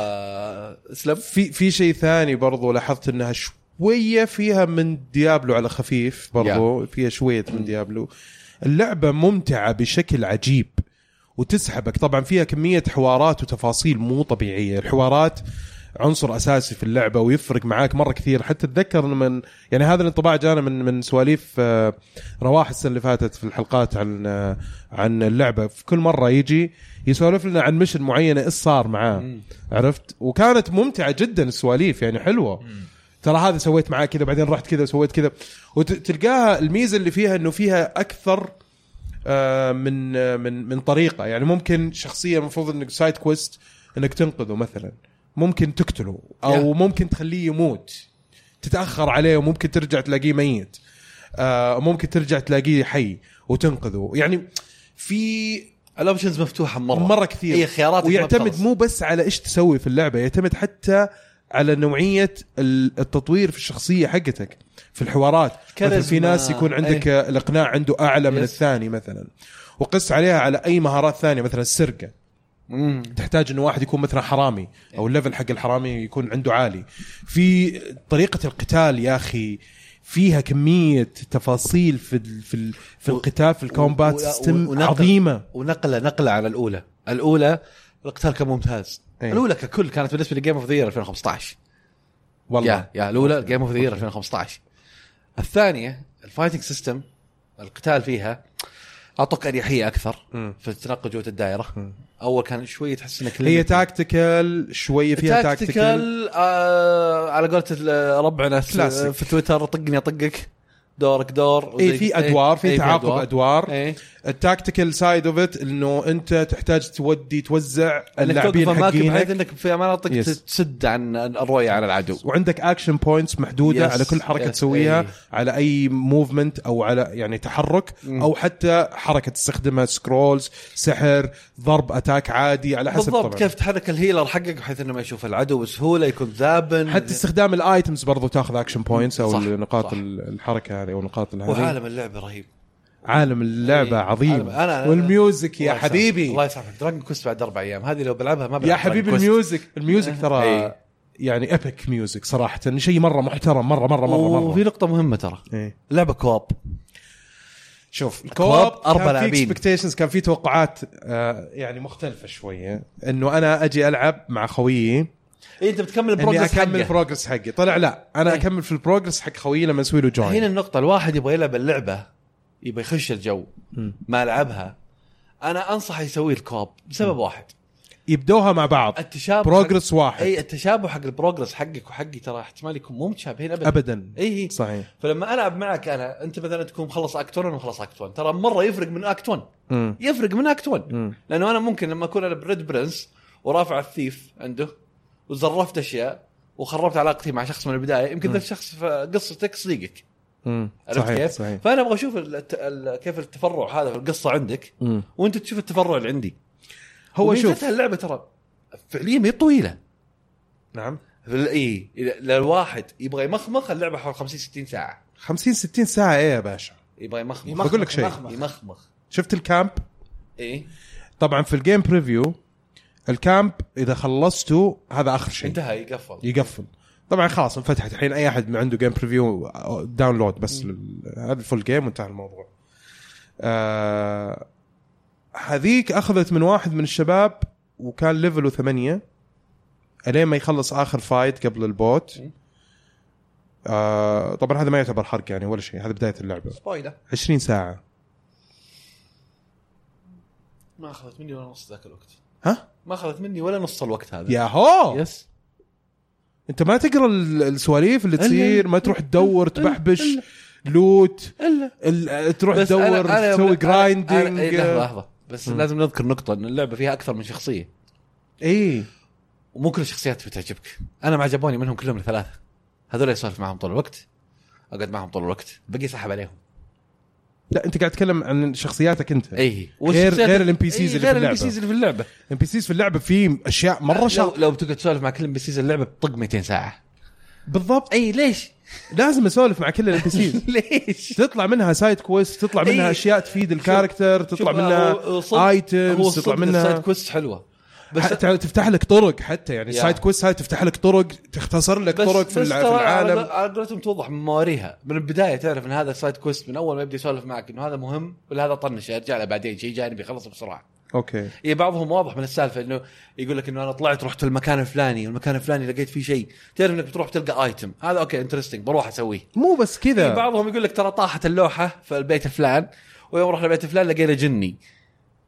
Speaker 4: اسلم
Speaker 1: في في شيء ثاني برضو لاحظت انها شويه فيها من ديابلو على خفيف برضو yeah. فيها شويه من ديابلو اللعبه ممتعه بشكل عجيب وتسحبك طبعا فيها كميه حوارات وتفاصيل مو طبيعيه الحوارات عنصر اساسي في اللعبه ويفرق معاك مره كثير حتى اتذكر من يعني هذا الانطباع جانا من من سواليف آه، رواح السنه اللي فاتت في الحلقات عن آه، عن اللعبه في كل مره يجي يسولف لنا عن مشن معينه ايش صار معاه عرفت وكانت ممتعه جدا السواليف يعني حلوه ترى هذا سويت معاه كذا بعدين رحت كذا وسويت كذا وتلقاها الميزه اللي فيها انه فيها اكثر آه، من آه، من من طريقه يعني ممكن شخصيه المفروض انك سايد كويست انك تنقذه مثلا ممكن تقتله او
Speaker 4: Yeah.
Speaker 1: ممكن تخليه يموت تتاخر عليه وممكن ترجع تلاقيه ميت آه، ممكن ترجع تلاقيه حي وتنقذه يعني في
Speaker 4: الاوبشنز مفتوحه مره
Speaker 1: مره كثير
Speaker 4: هي إيه، خيارات
Speaker 1: ويعتمد مو بس على ايش تسوي في اللعبه يعتمد حتى على نوعيه ال- التطوير في الشخصيه حقتك في الحوارات مثلا في
Speaker 4: كاريزما. إيه.
Speaker 1: ناس يكون عندك أيه. الاقناع عنده اعلى من
Speaker 4: يس.
Speaker 1: الثاني مثلا وقس عليها على اي مهارات ثانيه مثلا السرقه تحتاج انه واحد يكون مثلا حرامي او
Speaker 4: إيه.
Speaker 1: الليفل حق الحرامي يكون عنده عالي في طريقه القتال يا اخي فيها كميه تفاصيل في ال- في ال- في القتال في الكومبات سيستم عظيمه
Speaker 4: ونقله نقله على الاولى الاولى القتال كان ممتاز
Speaker 1: إيه.
Speaker 4: الاولى ككل كانت بالنسبه لي جيم اوف ذا 2015
Speaker 1: والله
Speaker 4: يا يا الاولى جيم اوف ذا 2015 الثانيه الفايتنج سيستم القتال فيها اعطوك اريحيه اكثر
Speaker 1: مم.
Speaker 4: في التنقل جوه الدائره اول كان شويه تحس انك
Speaker 1: هي تاكتيكال شوي فيها تاكتيكال
Speaker 4: تاكتيكال آه على قولة ال- ربعنا
Speaker 1: كلاسيك.
Speaker 4: في تويتر طقني اطقك دورك دور إيه،
Speaker 1: اي إيه، في ادوار في تعاقب ادوار
Speaker 4: اي
Speaker 1: التاكتيكال سايد اوف ات انه انت تحتاج تودي توزع
Speaker 4: انك توقف
Speaker 1: اللاعبين
Speaker 4: اماكن بحيث
Speaker 1: حقينك
Speaker 4: انك في مناطق
Speaker 1: Yes.
Speaker 4: تسد عن الرؤيه على العدو
Speaker 1: وعندك اكشن بوينتس محدوده
Speaker 4: Yes.
Speaker 1: على كل حركه
Speaker 4: Yes.
Speaker 1: تسويها
Speaker 4: إيه.
Speaker 1: على اي موفمنت او على يعني تحرك
Speaker 4: مم.
Speaker 1: او حتى حركه تستخدمها سكرولز سحر ضرب اتاك عادي على حسب
Speaker 4: بالضبط
Speaker 1: طبعاً.
Speaker 4: كيف تحرك الهيلر حقك بحيث انه ما يشوف العدو بسهوله يكون ذابن
Speaker 1: حتى استخدام الايتمز برضو تاخذ اكشن بوينتس او
Speaker 4: صح،
Speaker 1: نقاط
Speaker 4: صح.
Speaker 1: الحركه هذه او نقاط هذه
Speaker 4: وعالم اللعبة رهيب
Speaker 1: عالم اللعبه
Speaker 4: إيه.
Speaker 1: عظيم
Speaker 4: عالم- أنا- أنا-
Speaker 1: والميوزك يا
Speaker 4: الله يسامحك.
Speaker 1: حبيبي
Speaker 4: الله يسامحك دراجون كوست بعد اربع ايام هذه لو بلعبها ما بلعب
Speaker 1: يا
Speaker 4: Dragon
Speaker 1: حبيبي
Speaker 4: Quest.
Speaker 1: الميوزك الميوزك ترى
Speaker 4: إيه.
Speaker 1: يعني ابيك ميوزك صراحه شيء مره محترم مره مره مره
Speaker 4: وفي
Speaker 1: مره
Speaker 4: نقطه مهمه ترى
Speaker 1: إيه.
Speaker 4: لعبه كواب
Speaker 1: شوف
Speaker 4: كواب،
Speaker 1: الكواب كان
Speaker 4: أربع
Speaker 1: في
Speaker 4: لاعبين.
Speaker 1: اكسبكتيشنز كان في توقعات آه يعني مختلفه شويه انه انا اجي العب مع خويي
Speaker 4: إيه، انت بتكمل
Speaker 1: اني
Speaker 4: البروجرس
Speaker 1: اكمل
Speaker 4: حقه
Speaker 1: البروجرس حقي طلع لا انا
Speaker 4: إيه.
Speaker 1: اكمل في البروجرس حق خويي لما اسوي له
Speaker 4: هنا
Speaker 1: جوين
Speaker 4: النقطة الواحد يبغى يلعب اللعبة يبغى يخش الجو
Speaker 1: مم.
Speaker 4: ما لعبها أنا أنصح يسوي الكوب بسبب واحد
Speaker 1: يبدوها مع بعض
Speaker 4: التشابه
Speaker 1: بروجرس
Speaker 4: حق-
Speaker 1: واحد
Speaker 4: أي التشابه حق البروجرس حقك وحقي ترى احتمال يكون مو متشابهين أبدا
Speaker 1: ابدا
Speaker 4: أي
Speaker 1: صحيح
Speaker 4: فلما ألعب معك أنا أنت مثلا تكون مخلص أكت 1 وأنا مخلص أكت 1 ترى مرة يفرق من أكت 1
Speaker 1: مم.
Speaker 4: يفرق من أكت 1
Speaker 1: مم.
Speaker 4: لانه انا ممكن لما اكون انا بريد برنس ورافع الثيف عنده وزرفت اشياء وخربت علاقتي مع شخص من البدايه يمكن ذا الشخص في قصتك صديقك
Speaker 1: مم.
Speaker 4: عرفت
Speaker 1: صحيح
Speaker 4: كيف؟
Speaker 1: صحيح
Speaker 4: فانا ابغى اشوف الت... ال... كيف التفرع هذا في القصه عندك
Speaker 1: مم.
Speaker 4: وانت تشوف التفرع اللي عندي
Speaker 1: هو
Speaker 4: وميزتها
Speaker 1: شوف
Speaker 4: اللعبه ترى فعليا ما هي طويله
Speaker 1: نعم
Speaker 4: اي للواحد يبغى يمخمخ اللعبه حول 50 60 ساعه
Speaker 1: 50 60 ساعه ايه يا باشا
Speaker 4: يبغى يمخمخ
Speaker 2: يمخمخ،
Speaker 1: بقول لك شيء.
Speaker 2: يمخمخ.
Speaker 4: يمخمخ
Speaker 1: شفت الكامب إيه.
Speaker 4: اي
Speaker 1: طبعا في الجيم بريفيو الكامب اذا خلصته هذا اخر شيء
Speaker 4: انتهى يقفل
Speaker 1: يقفل طبعا خلاص انفتحت الحين اي احد عنده جيم بريفيو داونلود بس لل- هذا الفول جيم وانتهى الموضوع آه، هذيك اخذت من واحد من الشباب وكان ليفله ثمانية الين ما يخلص اخر فايت قبل البوت
Speaker 4: مم.
Speaker 1: آه طبعا هذا ما يعتبر حرق يعني ولا شيء هذا بدايه اللعبه
Speaker 4: سبويلر
Speaker 1: 20 ساعه
Speaker 4: ما اخذت مني ولا نص ذاك الوقت
Speaker 1: ها
Speaker 4: ما اخذت مني ولا نص الوقت هذا
Speaker 1: ياهو
Speaker 4: يس
Speaker 1: انت ما تقرا ال- السواليف اللي
Speaker 4: إلا-
Speaker 1: تصير ما تروح تدور تبحبش لوت
Speaker 4: الا
Speaker 1: ال- تروح تدور تسوي جرايندنج
Speaker 4: لحظه لحظه إيه، بس م. لازم نذكر نقطه ان اللعبه فيها اكثر من شخصيه
Speaker 1: اي
Speaker 4: ومو كل الشخصيات بتعجبك انا ما عجبوني منهم كلهم الثلاثه هذول اسولف معهم طول الوقت اقعد معهم طول الوقت بقي سحب عليهم
Speaker 1: لا انت قاعد تتكلم عن شخصياتك انت
Speaker 4: اي
Speaker 1: إيه. غير غير الام بي سيز اللي في
Speaker 4: إيه. غير الام
Speaker 1: اللعبه
Speaker 4: بي سيز اللي في اللعبه
Speaker 1: الام بي سيز في اللعبه في اشياء مره
Speaker 4: لو,
Speaker 1: شاطره
Speaker 4: لو بتقعد تسولف مع كل ام بي سيز اللعبه بتطق 200 ساعه
Speaker 1: بالضبط
Speaker 4: اي ليش؟
Speaker 1: لازم اسولف مع كل الام بي سيز
Speaker 4: ليش؟
Speaker 1: تطلع منها سايد كويست تطلع منها
Speaker 4: إي.
Speaker 1: اشياء تفيد الكاركتر تطلع
Speaker 4: إيه. شوف، هو- هو صدق-
Speaker 1: منها
Speaker 4: هو
Speaker 1: ايتمز
Speaker 4: صدق
Speaker 1: تطلع
Speaker 4: السايد
Speaker 1: منها
Speaker 4: كويست حلوه
Speaker 1: بس
Speaker 4: بس
Speaker 1: تفتح لك طرق حتى يعني
Speaker 4: يا.
Speaker 1: السايد كويست هاي تفتح لك طرق تختصر لك طرق في الع- في
Speaker 4: ترى
Speaker 1: العالم
Speaker 4: على- على قولتهم توضح من مواريها من البدايه تعرف ان هذا سايد كويست من اول ما يبدا يسولف معك انه هذا مهم ولا هذا طنش ارجع له بعدين شيء جانبي خلص بسرعه
Speaker 1: اوكي
Speaker 4: اي إيه، بعضهم واضح من السالفه انه يقول لك انه انا طلعت رحت المكان الفلاني والمكان الفلاني لقيت فيه شيء تعرف انك بتروح تلقى ايتم هذا اوكي انترستنج بروح اسويه
Speaker 1: مو بس
Speaker 4: إيه
Speaker 1: كذا
Speaker 4: بعضهم يقول لك ترى طاحت اللوحه في البيت الفلان ويوم رحنا البيت الفلان لقينا جني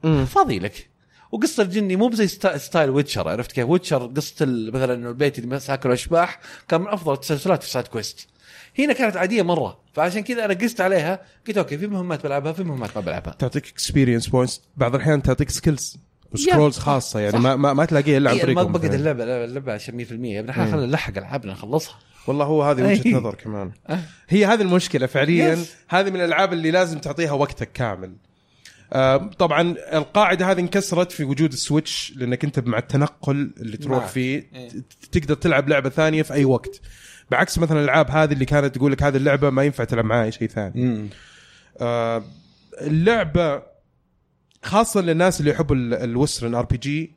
Speaker 1: مم.
Speaker 4: فاضي لك وقصه الجني مو بزي ستا- ستايل ويتشر عرفت كيف ويتشر قصه ال- مثلا انه البيت اللي مساكن الاشباح كان من افضل التسلسلات في سايد كويست هنا كانت عاديه مره فعشان كذا انا قست عليها قلت اوكي في مهمات بلعبها في مهمات ما بلعبها
Speaker 1: تعطيك اكسبيرينس بوينتس بعض الاحيان تعطيك سكيلز وسكرولز
Speaker 4: Yeah.
Speaker 1: خاصه يعني
Speaker 4: صح.
Speaker 1: ما ما, ما تلاقيها الا عن
Speaker 4: إيه، ما
Speaker 1: طريقهم
Speaker 4: بقعد
Speaker 1: مثلاً.
Speaker 4: اللعبه اللعبه عشان 100% يا ابن الحلال خلينا نلحق العابنا نخلصها
Speaker 1: والله هو هذه وجهه
Speaker 4: أي.
Speaker 1: نظر كمان
Speaker 4: أه.
Speaker 1: هي هذه المشكله فعليا
Speaker 4: Yes.
Speaker 1: هذه من الالعاب اللي لازم تعطيها وقتك كامل آه، طبعا القاعده هذه انكسرت في وجود السويتش لانك انت مع التنقل اللي تروح
Speaker 4: معك.
Speaker 1: فيه
Speaker 4: إيه.
Speaker 1: ت- تقدر تلعب لعبه ثانيه في اي وقت بعكس مثلا الالعاب هذه اللي كانت تقول لك هذه اللعبه ما ينفع تلعب معها اي شيء ثاني آه، اللعبه خاصه للناس اللي يحبوا ال- الوسترن ار بي جي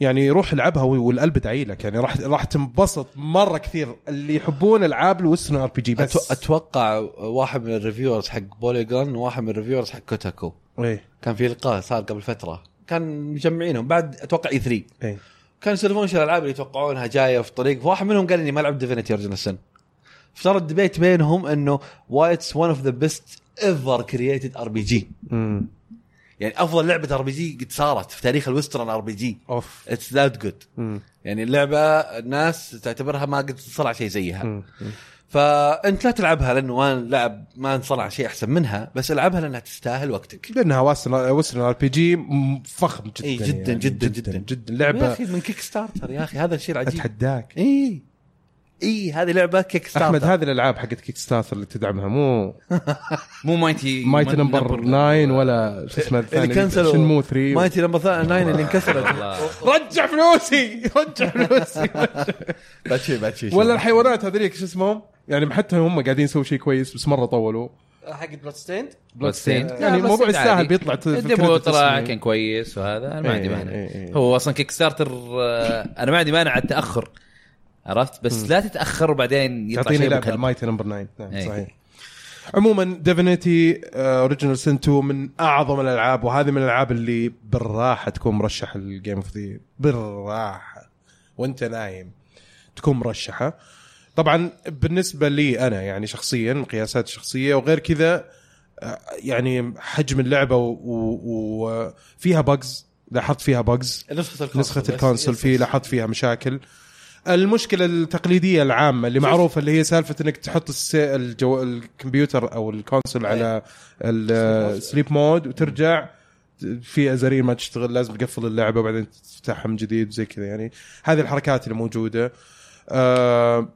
Speaker 1: يعني روح العبها والقلب داعي لك يعني راح راح تنبسط مره كثير اللي يحبون العاب الوسترن ار بي جي بس
Speaker 4: أتو- اتوقع واحد من الريفيورز حق بوليجون وواحد من الريفيورز حق كوتاكو
Speaker 1: ايه
Speaker 4: كان في لقاء صار قبل فتره كان مجمعينهم بعد اتوقع اي 3
Speaker 1: ايه
Speaker 4: كانوا يسولفون ايش الالعاب اللي يتوقعونها جايه في طريق فواحد منهم قال اني ما لعبت ديفينيتي اوريجن السن فصار الديبيت بينهم انه واي اتس ون اوف ذا بيست ايفر كرييتد ار بي جي
Speaker 1: مم.
Speaker 4: يعني افضل لعبه ار بي جي قد صارت في تاريخ الويسترن ار بي جي
Speaker 1: اوف
Speaker 4: اتس ذات جود
Speaker 1: مم.
Speaker 4: يعني اللعبه الناس تعتبرها ما قد صنع شيء زيها
Speaker 1: مم.
Speaker 4: فانت لا تلعبها لانه ما لعب ما انصنع شيء احسن منها بس العبها لانها تستاهل وقتك
Speaker 1: لانها وسترن ار بي جي فخم جدا
Speaker 4: إيه، جداً،
Speaker 1: يعني
Speaker 4: جداً، جداً.
Speaker 1: جدا
Speaker 4: يا
Speaker 1: لعبه
Speaker 4: اخي من كيك ستارتر يا اخي هذا الشيء العجيب
Speaker 1: اتحداك
Speaker 4: اي اي هذه لعبه كيك ستارتر
Speaker 1: احمد هذه الالعاب حقت كيك ستارتر اللي تدعمها مو
Speaker 3: مو مايتي
Speaker 1: مايتي نمبر 9 ولا شو اسمه الثاني
Speaker 4: اللي إيه، كنسلوا
Speaker 1: شنمو 3
Speaker 4: مايتي نمبر 9 اللي انكسرت
Speaker 3: والله.
Speaker 1: رجع فلوسي رجع فلوسي
Speaker 4: باتشي باتشي
Speaker 1: ولا الحيوانات هذوليك شو اسمهم يعني حتى هم قاعدين يسووا شيء كويس بس مره طولوا
Speaker 2: حق بلاد ستيند
Speaker 3: بلودستيند.
Speaker 1: يعني الموضوع
Speaker 3: بلودستيند
Speaker 1: يستاهل
Speaker 3: عادي.
Speaker 1: بيطلع ت- في
Speaker 3: الديمو
Speaker 1: الكريدت
Speaker 3: طلع
Speaker 1: اسمه.
Speaker 3: كان كويس وهذا انا ما
Speaker 1: إيه،
Speaker 3: عندي مانع
Speaker 1: إيه، إيه.
Speaker 3: هو اصلا كيك ستارتر آه، انا ما عندي مانع على التاخر عرفت بس لا تتاخر وبعدين يطلع
Speaker 1: تعطيني
Speaker 3: شيء
Speaker 1: لعبه
Speaker 3: بالكلب.
Speaker 1: المايتي نمبر 9 نعم
Speaker 3: إيه.
Speaker 1: صحيح آه، عموما ديفينيتي اوريجينال سن 2 من اعظم الالعاب وهذه من الالعاب اللي بالراحه تكون مرشحه للجيم اوف ذا بالراحه وانت نايم تكون مرشحه طبعا بالنسبه لي انا يعني شخصيا قياسات شخصيه وغير كذا آه، يعني حجم اللعبه وفيها بجز لاحظت فيها بجز
Speaker 4: نسخه الكونسول
Speaker 1: نسخه الكونسول في لاحظت فيها مشاكل المشكله التقليديه العامه اللي معروفه اللي هي سالفه انك تحط الس... الجو... الكمبيوتر او الكونسول على السليب مود وترجع في ازرير ما تشتغل لازم تقفل اللعبه وبعدين تفتحها من جديد زي كذا يعني هذه الحركات اللي موجوده آه...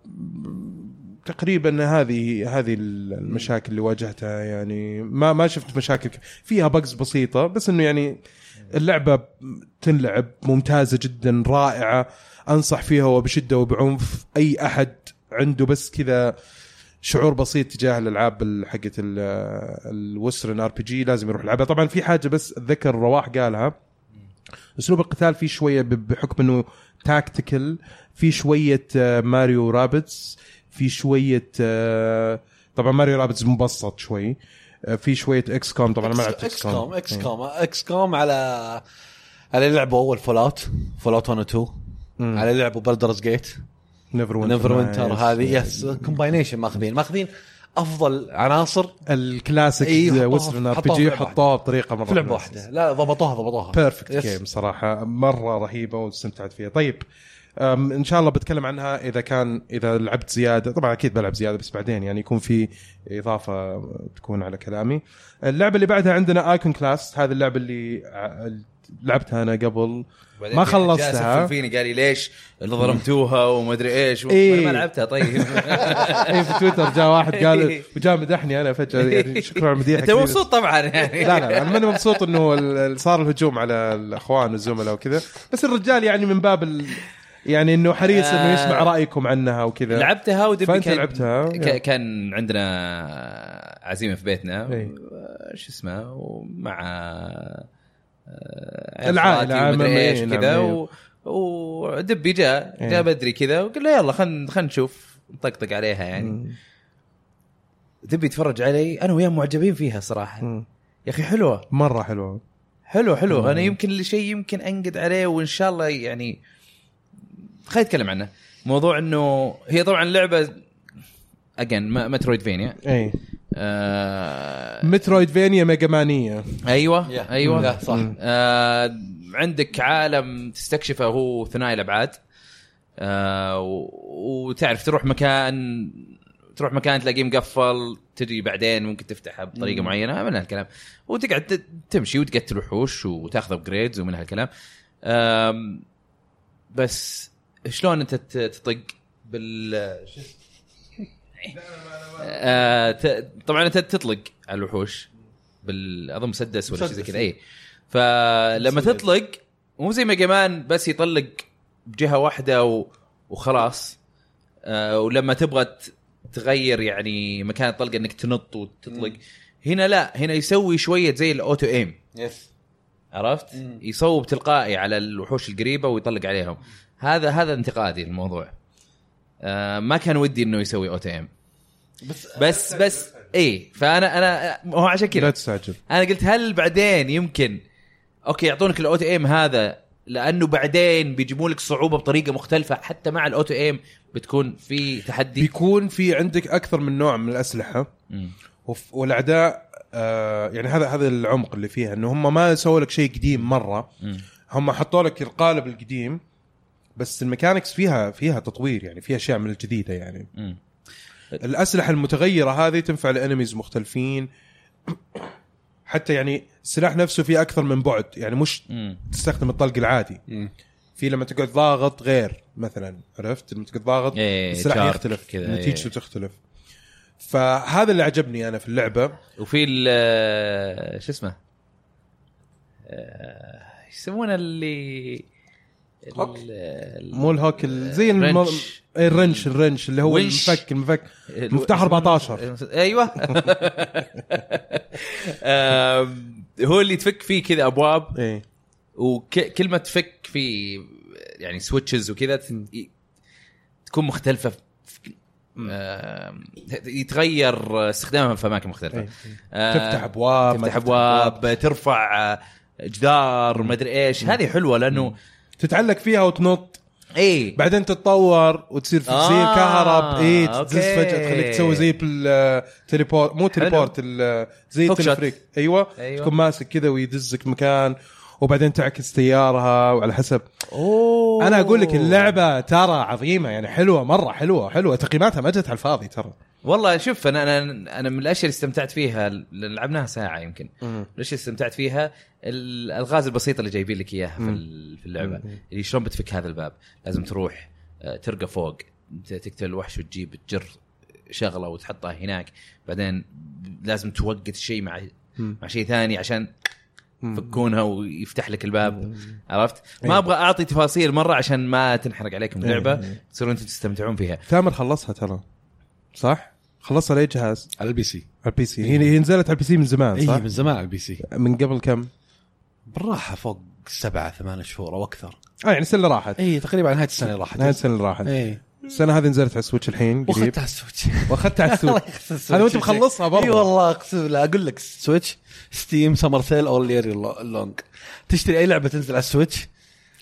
Speaker 1: تقريبا هذه هذه المشاكل اللي واجهتها يعني ما ما شفت مشاكل ك- فيها بجز بسيطه بس انه يعني اللعبه تنلعب ممتازه جدا رائعه انصح فيها وبشده وبعنف اي احد عنده بس كذا شعور بسيط تجاه الالعاب ال- حقت الوسترن ار بي جي لازم يروح يلعبها طبعا في حاجه بس اتذكر رواح قالها اسلوب القتال فيه شويه ب- بحكم انه تاكتيكال في شويه آه، ماريو رابتس في شويه آه، طبعا ماريو رابتس مبسط شوي آه، في شويه اكس كوم طبعا أنا ما لعبت
Speaker 4: اكس كوم اكس كوم اكس كوم على على اللي لعبوا اول فول اوت فول اوت 1 و 2 على اللي لعبوا بلدرز جيت
Speaker 1: نيفر وينتر
Speaker 4: نيفر وينتر هذه يس كومباينيشن ماخذين ماخذين افضل عناصر
Speaker 1: الكلاسيك
Speaker 4: إيه، حطوها-
Speaker 1: وسترن ار بي
Speaker 4: حطوها في
Speaker 1: جي
Speaker 4: لعبة
Speaker 1: حطوها بطريقه مره
Speaker 4: في لعبه واحده لا ضبطوها ضبطوها
Speaker 1: بيرفكت
Speaker 4: Yes.
Speaker 1: جيم صراحه مره رهيبه واستمتعت فيها طيب أم، ان شاء الله بتكلم عنها اذا كان اذا لعبت زياده طبعا اكيد بلعب زياده بس بعدين يعني يكون في اضافه تكون على كلامي اللعبه اللي بعدها عندنا ايكون كلاس هذه اللعبه اللي ع- لعبتها انا قبل
Speaker 3: بعدين
Speaker 1: ما
Speaker 3: جاء
Speaker 1: خلصتها.
Speaker 3: سفل فيني قال لي ليش اللي ظلمتوها وما ادري ايش
Speaker 1: إيه.
Speaker 3: وانا ما لعبتها طيب
Speaker 1: اي إيه، في تويتر جاء واحد قال وجاء مدحني انا فجاه يعني شكرا على مديحك
Speaker 3: انت مبسوط طبعا يعني
Speaker 1: لا لا انا ماني مبسوط انه ال- ال- صار الهجوم على الاخوان والزملاء وكذا بس الرجال يعني من باب ال... يعني انه حريص انه يسمع رايكم عنها وكذا
Speaker 3: لعبتها ودبي
Speaker 1: فأنت
Speaker 3: كان
Speaker 1: لعبتها،
Speaker 3: ك-
Speaker 1: يلا.
Speaker 3: كان عندنا عزيمه في بيتنا
Speaker 1: إيه.
Speaker 3: آه، شو اسمه ومع آه، عيال
Speaker 1: العائلة
Speaker 3: خالاتي ومدري
Speaker 1: عامة،
Speaker 3: ايش
Speaker 1: نعم،
Speaker 3: كذا
Speaker 1: إيه.
Speaker 3: و- ودبي جاء
Speaker 1: إيه.
Speaker 3: جاء بدري كذا وقلنا يلا خلينا خلينا نشوف نطقطق عليها يعني
Speaker 1: مم.
Speaker 3: دبي يتفرج علي انا وياه معجبين فيها صراحه يا
Speaker 1: مم.
Speaker 3: اخي حلوه
Speaker 1: مره حلوه
Speaker 3: حلو حلو انا يمكن اللي شيء يمكن انقد عليه وان شاء الله يعني خلينا نتكلم عنه موضوع انه هي طبعا لعبه اجين مترويد فينيا
Speaker 1: اي
Speaker 3: آه
Speaker 1: مترويد فينيا إيه. ميجا مانيه
Speaker 3: ايوه
Speaker 4: Yeah.
Speaker 3: ايوه
Speaker 4: Yeah, صح.
Speaker 3: آه عندك عالم تستكشفه هو ثنائي الابعاد آه و- وتعرف تروح مكان تروح مكان تلاقيه مقفل تجي بعدين ممكن تفتحها بطريقه معينه من هالكلام وتقعد ت- تمشي وتقتل وحوش وتاخذ ابجريدز ومن هالكلام آم، بس شلون انت ت- تطق بال شو اسمه؟ آه، ت- طبعا انت تطلق على الوحوش بال اظن مسدس ولا شيء زي كذا اي فلما
Speaker 4: مسدس.
Speaker 3: تطلق مو زي ما جمان بس يطلق بجهه واحده و... وخلاص آه ولما تبغى ت- تغير يعني مكان الطلقه انك تنط وتطلق هنا لا هنا يسوي شويه زي الاوتو ايم
Speaker 4: يس
Speaker 3: عرفت؟
Speaker 4: مم.
Speaker 3: يصوب تلقائي على الوحوش القريبه ويطلق عليهم هذا هذا انتقادي للموضوع آه ما كان ودي انه يسوي او تي ام
Speaker 4: بس
Speaker 3: بس بس إيه، اي فانا انا هو عشان
Speaker 1: لا
Speaker 3: كذا
Speaker 1: تستعجل
Speaker 3: انا قلت هل بعدين يمكن اوكي يعطونك الاو تي ام هذا لانه بعدين بيجيبوا لك صعوبه بطريقه مختلفه حتى مع الاو تي ام بتكون في تحدي
Speaker 1: بيكون في عندك اكثر من نوع من الاسلحه
Speaker 3: مم.
Speaker 1: وف- والاعداء آه يعني هذا هذا العمق اللي فيها انه هم ما سووا لك شيء قديم مره
Speaker 3: مم.
Speaker 1: هم حطوا لك القالب القديم بس الميكانكس فيها فيها تطوير يعني فيها اشياء من الجديده يعني
Speaker 3: مم.
Speaker 1: الاسلحه المتغيره هذه تنفع لانميز مختلفين حتى يعني السلاح نفسه فيه اكثر من بعد يعني مش
Speaker 3: مم.
Speaker 1: تستخدم الطلق العادي
Speaker 4: مم.
Speaker 1: في لما تقعد ضاغط غير مثلا عرفت لما تقعد ضاغط
Speaker 3: إيه،
Speaker 1: السلاح
Speaker 3: شارك
Speaker 1: يختلف
Speaker 3: كذا،
Speaker 1: كذا نتيجته
Speaker 3: إيه.
Speaker 1: تختلف فهذا اللي عجبني انا في اللعبه
Speaker 3: وفي ال- شو اسمه آه، يسمونه اللي ال-
Speaker 2: هوك؟
Speaker 3: ال-
Speaker 1: مو الهوك ال- زي الم...
Speaker 3: رنش.
Speaker 1: إيه، الرنش الرنش اللي هو
Speaker 3: ونش.
Speaker 1: المفك المفك
Speaker 3: ال-
Speaker 1: مفتاح 14
Speaker 3: ايوه آم، هو اللي تفك فيه كذا ابواب
Speaker 1: ايه
Speaker 3: وكل ما تفك في يعني سويتشز وكذا ت- ي- تكون مختلفه في- آم، يتغير استخدامها في اماكن مختلفه
Speaker 1: إيه.
Speaker 3: آه،
Speaker 1: تفتح ابواب ما
Speaker 3: تفتح ابواب ترفع آه، جدار مدري ايش هذه حلوه لانه
Speaker 1: تتعلق فيها وتنط
Speaker 3: اي
Speaker 1: بعدين تتطور وتصير في
Speaker 3: آه،
Speaker 1: زي الكهرب اي تزز
Speaker 3: أوكي.
Speaker 1: فجاه تخليك تسوي زي التليبورت مو تليبورت ال- زي
Speaker 3: هوك شوت.
Speaker 1: التلفريك ايوه
Speaker 3: أيوة.
Speaker 1: تكون ماسك كذا ويدزك مكان وبعدين تعكس تيارها وعلى حسب
Speaker 3: اوه
Speaker 1: انا اقول لك اللعبه ترى عظيمه يعني حلوه مره حلوه حلوه تقييماتها ما جت على الفاضي ترى
Speaker 3: والله شوف انا انا انا من الاشياء اللي استمتعت فيها ل- لعبناها ساعه يمكن الاشياء اللي استمتعت فيها الالغاز البسيطه اللي جايبين لك اياها في ال- في اللعبه
Speaker 1: مم.
Speaker 3: اللي شلون بتفك هذا الباب لازم تروح آه، ترقى فوق ت- تقتل الوحش وتجيب تجر شغله وتحطها هناك بعدين لازم توقت شيء مع
Speaker 1: مم.
Speaker 3: مع شيء ثاني عشان يفكونها ويفتح لك الباب
Speaker 1: مم.
Speaker 3: عرفت؟ ما
Speaker 1: أيوة.
Speaker 3: ابغى اعطي تفاصيل مره عشان ما تنحرق عليكم اللعبه
Speaker 1: أيوة.
Speaker 3: تصيرون انتم تستمتعون فيها
Speaker 1: ثامر خلصها ترى صح؟ خلصها لاي جهاز؟
Speaker 4: على البي سي
Speaker 1: على البي سي هي هي نزلت على البي سي من زمان
Speaker 4: اي
Speaker 1: صح؟
Speaker 4: إيه، من زمان على البي سي
Speaker 1: من قبل كم؟
Speaker 4: بالراحه فوق سبعة ثمان شهور او اكثر
Speaker 1: اه يعني السنه اللي راحت
Speaker 4: اي تقريبا على نهايه السنه اللي راحت
Speaker 1: نهاية السنه اللي راحت
Speaker 4: اي
Speaker 1: السنه هذه نزلت على السويتش الحين قريب
Speaker 4: واخذتها على السويتش
Speaker 1: واخذتها على
Speaker 4: الله
Speaker 1: السوق
Speaker 4: يخسر السويتش.
Speaker 1: هذا وانت مخلصها برضه
Speaker 4: اي والله اقسم بالله اقول لك سويتش ستيم سمر سيل او اليري لونج تشتري اي لعبه تنزل على السويتش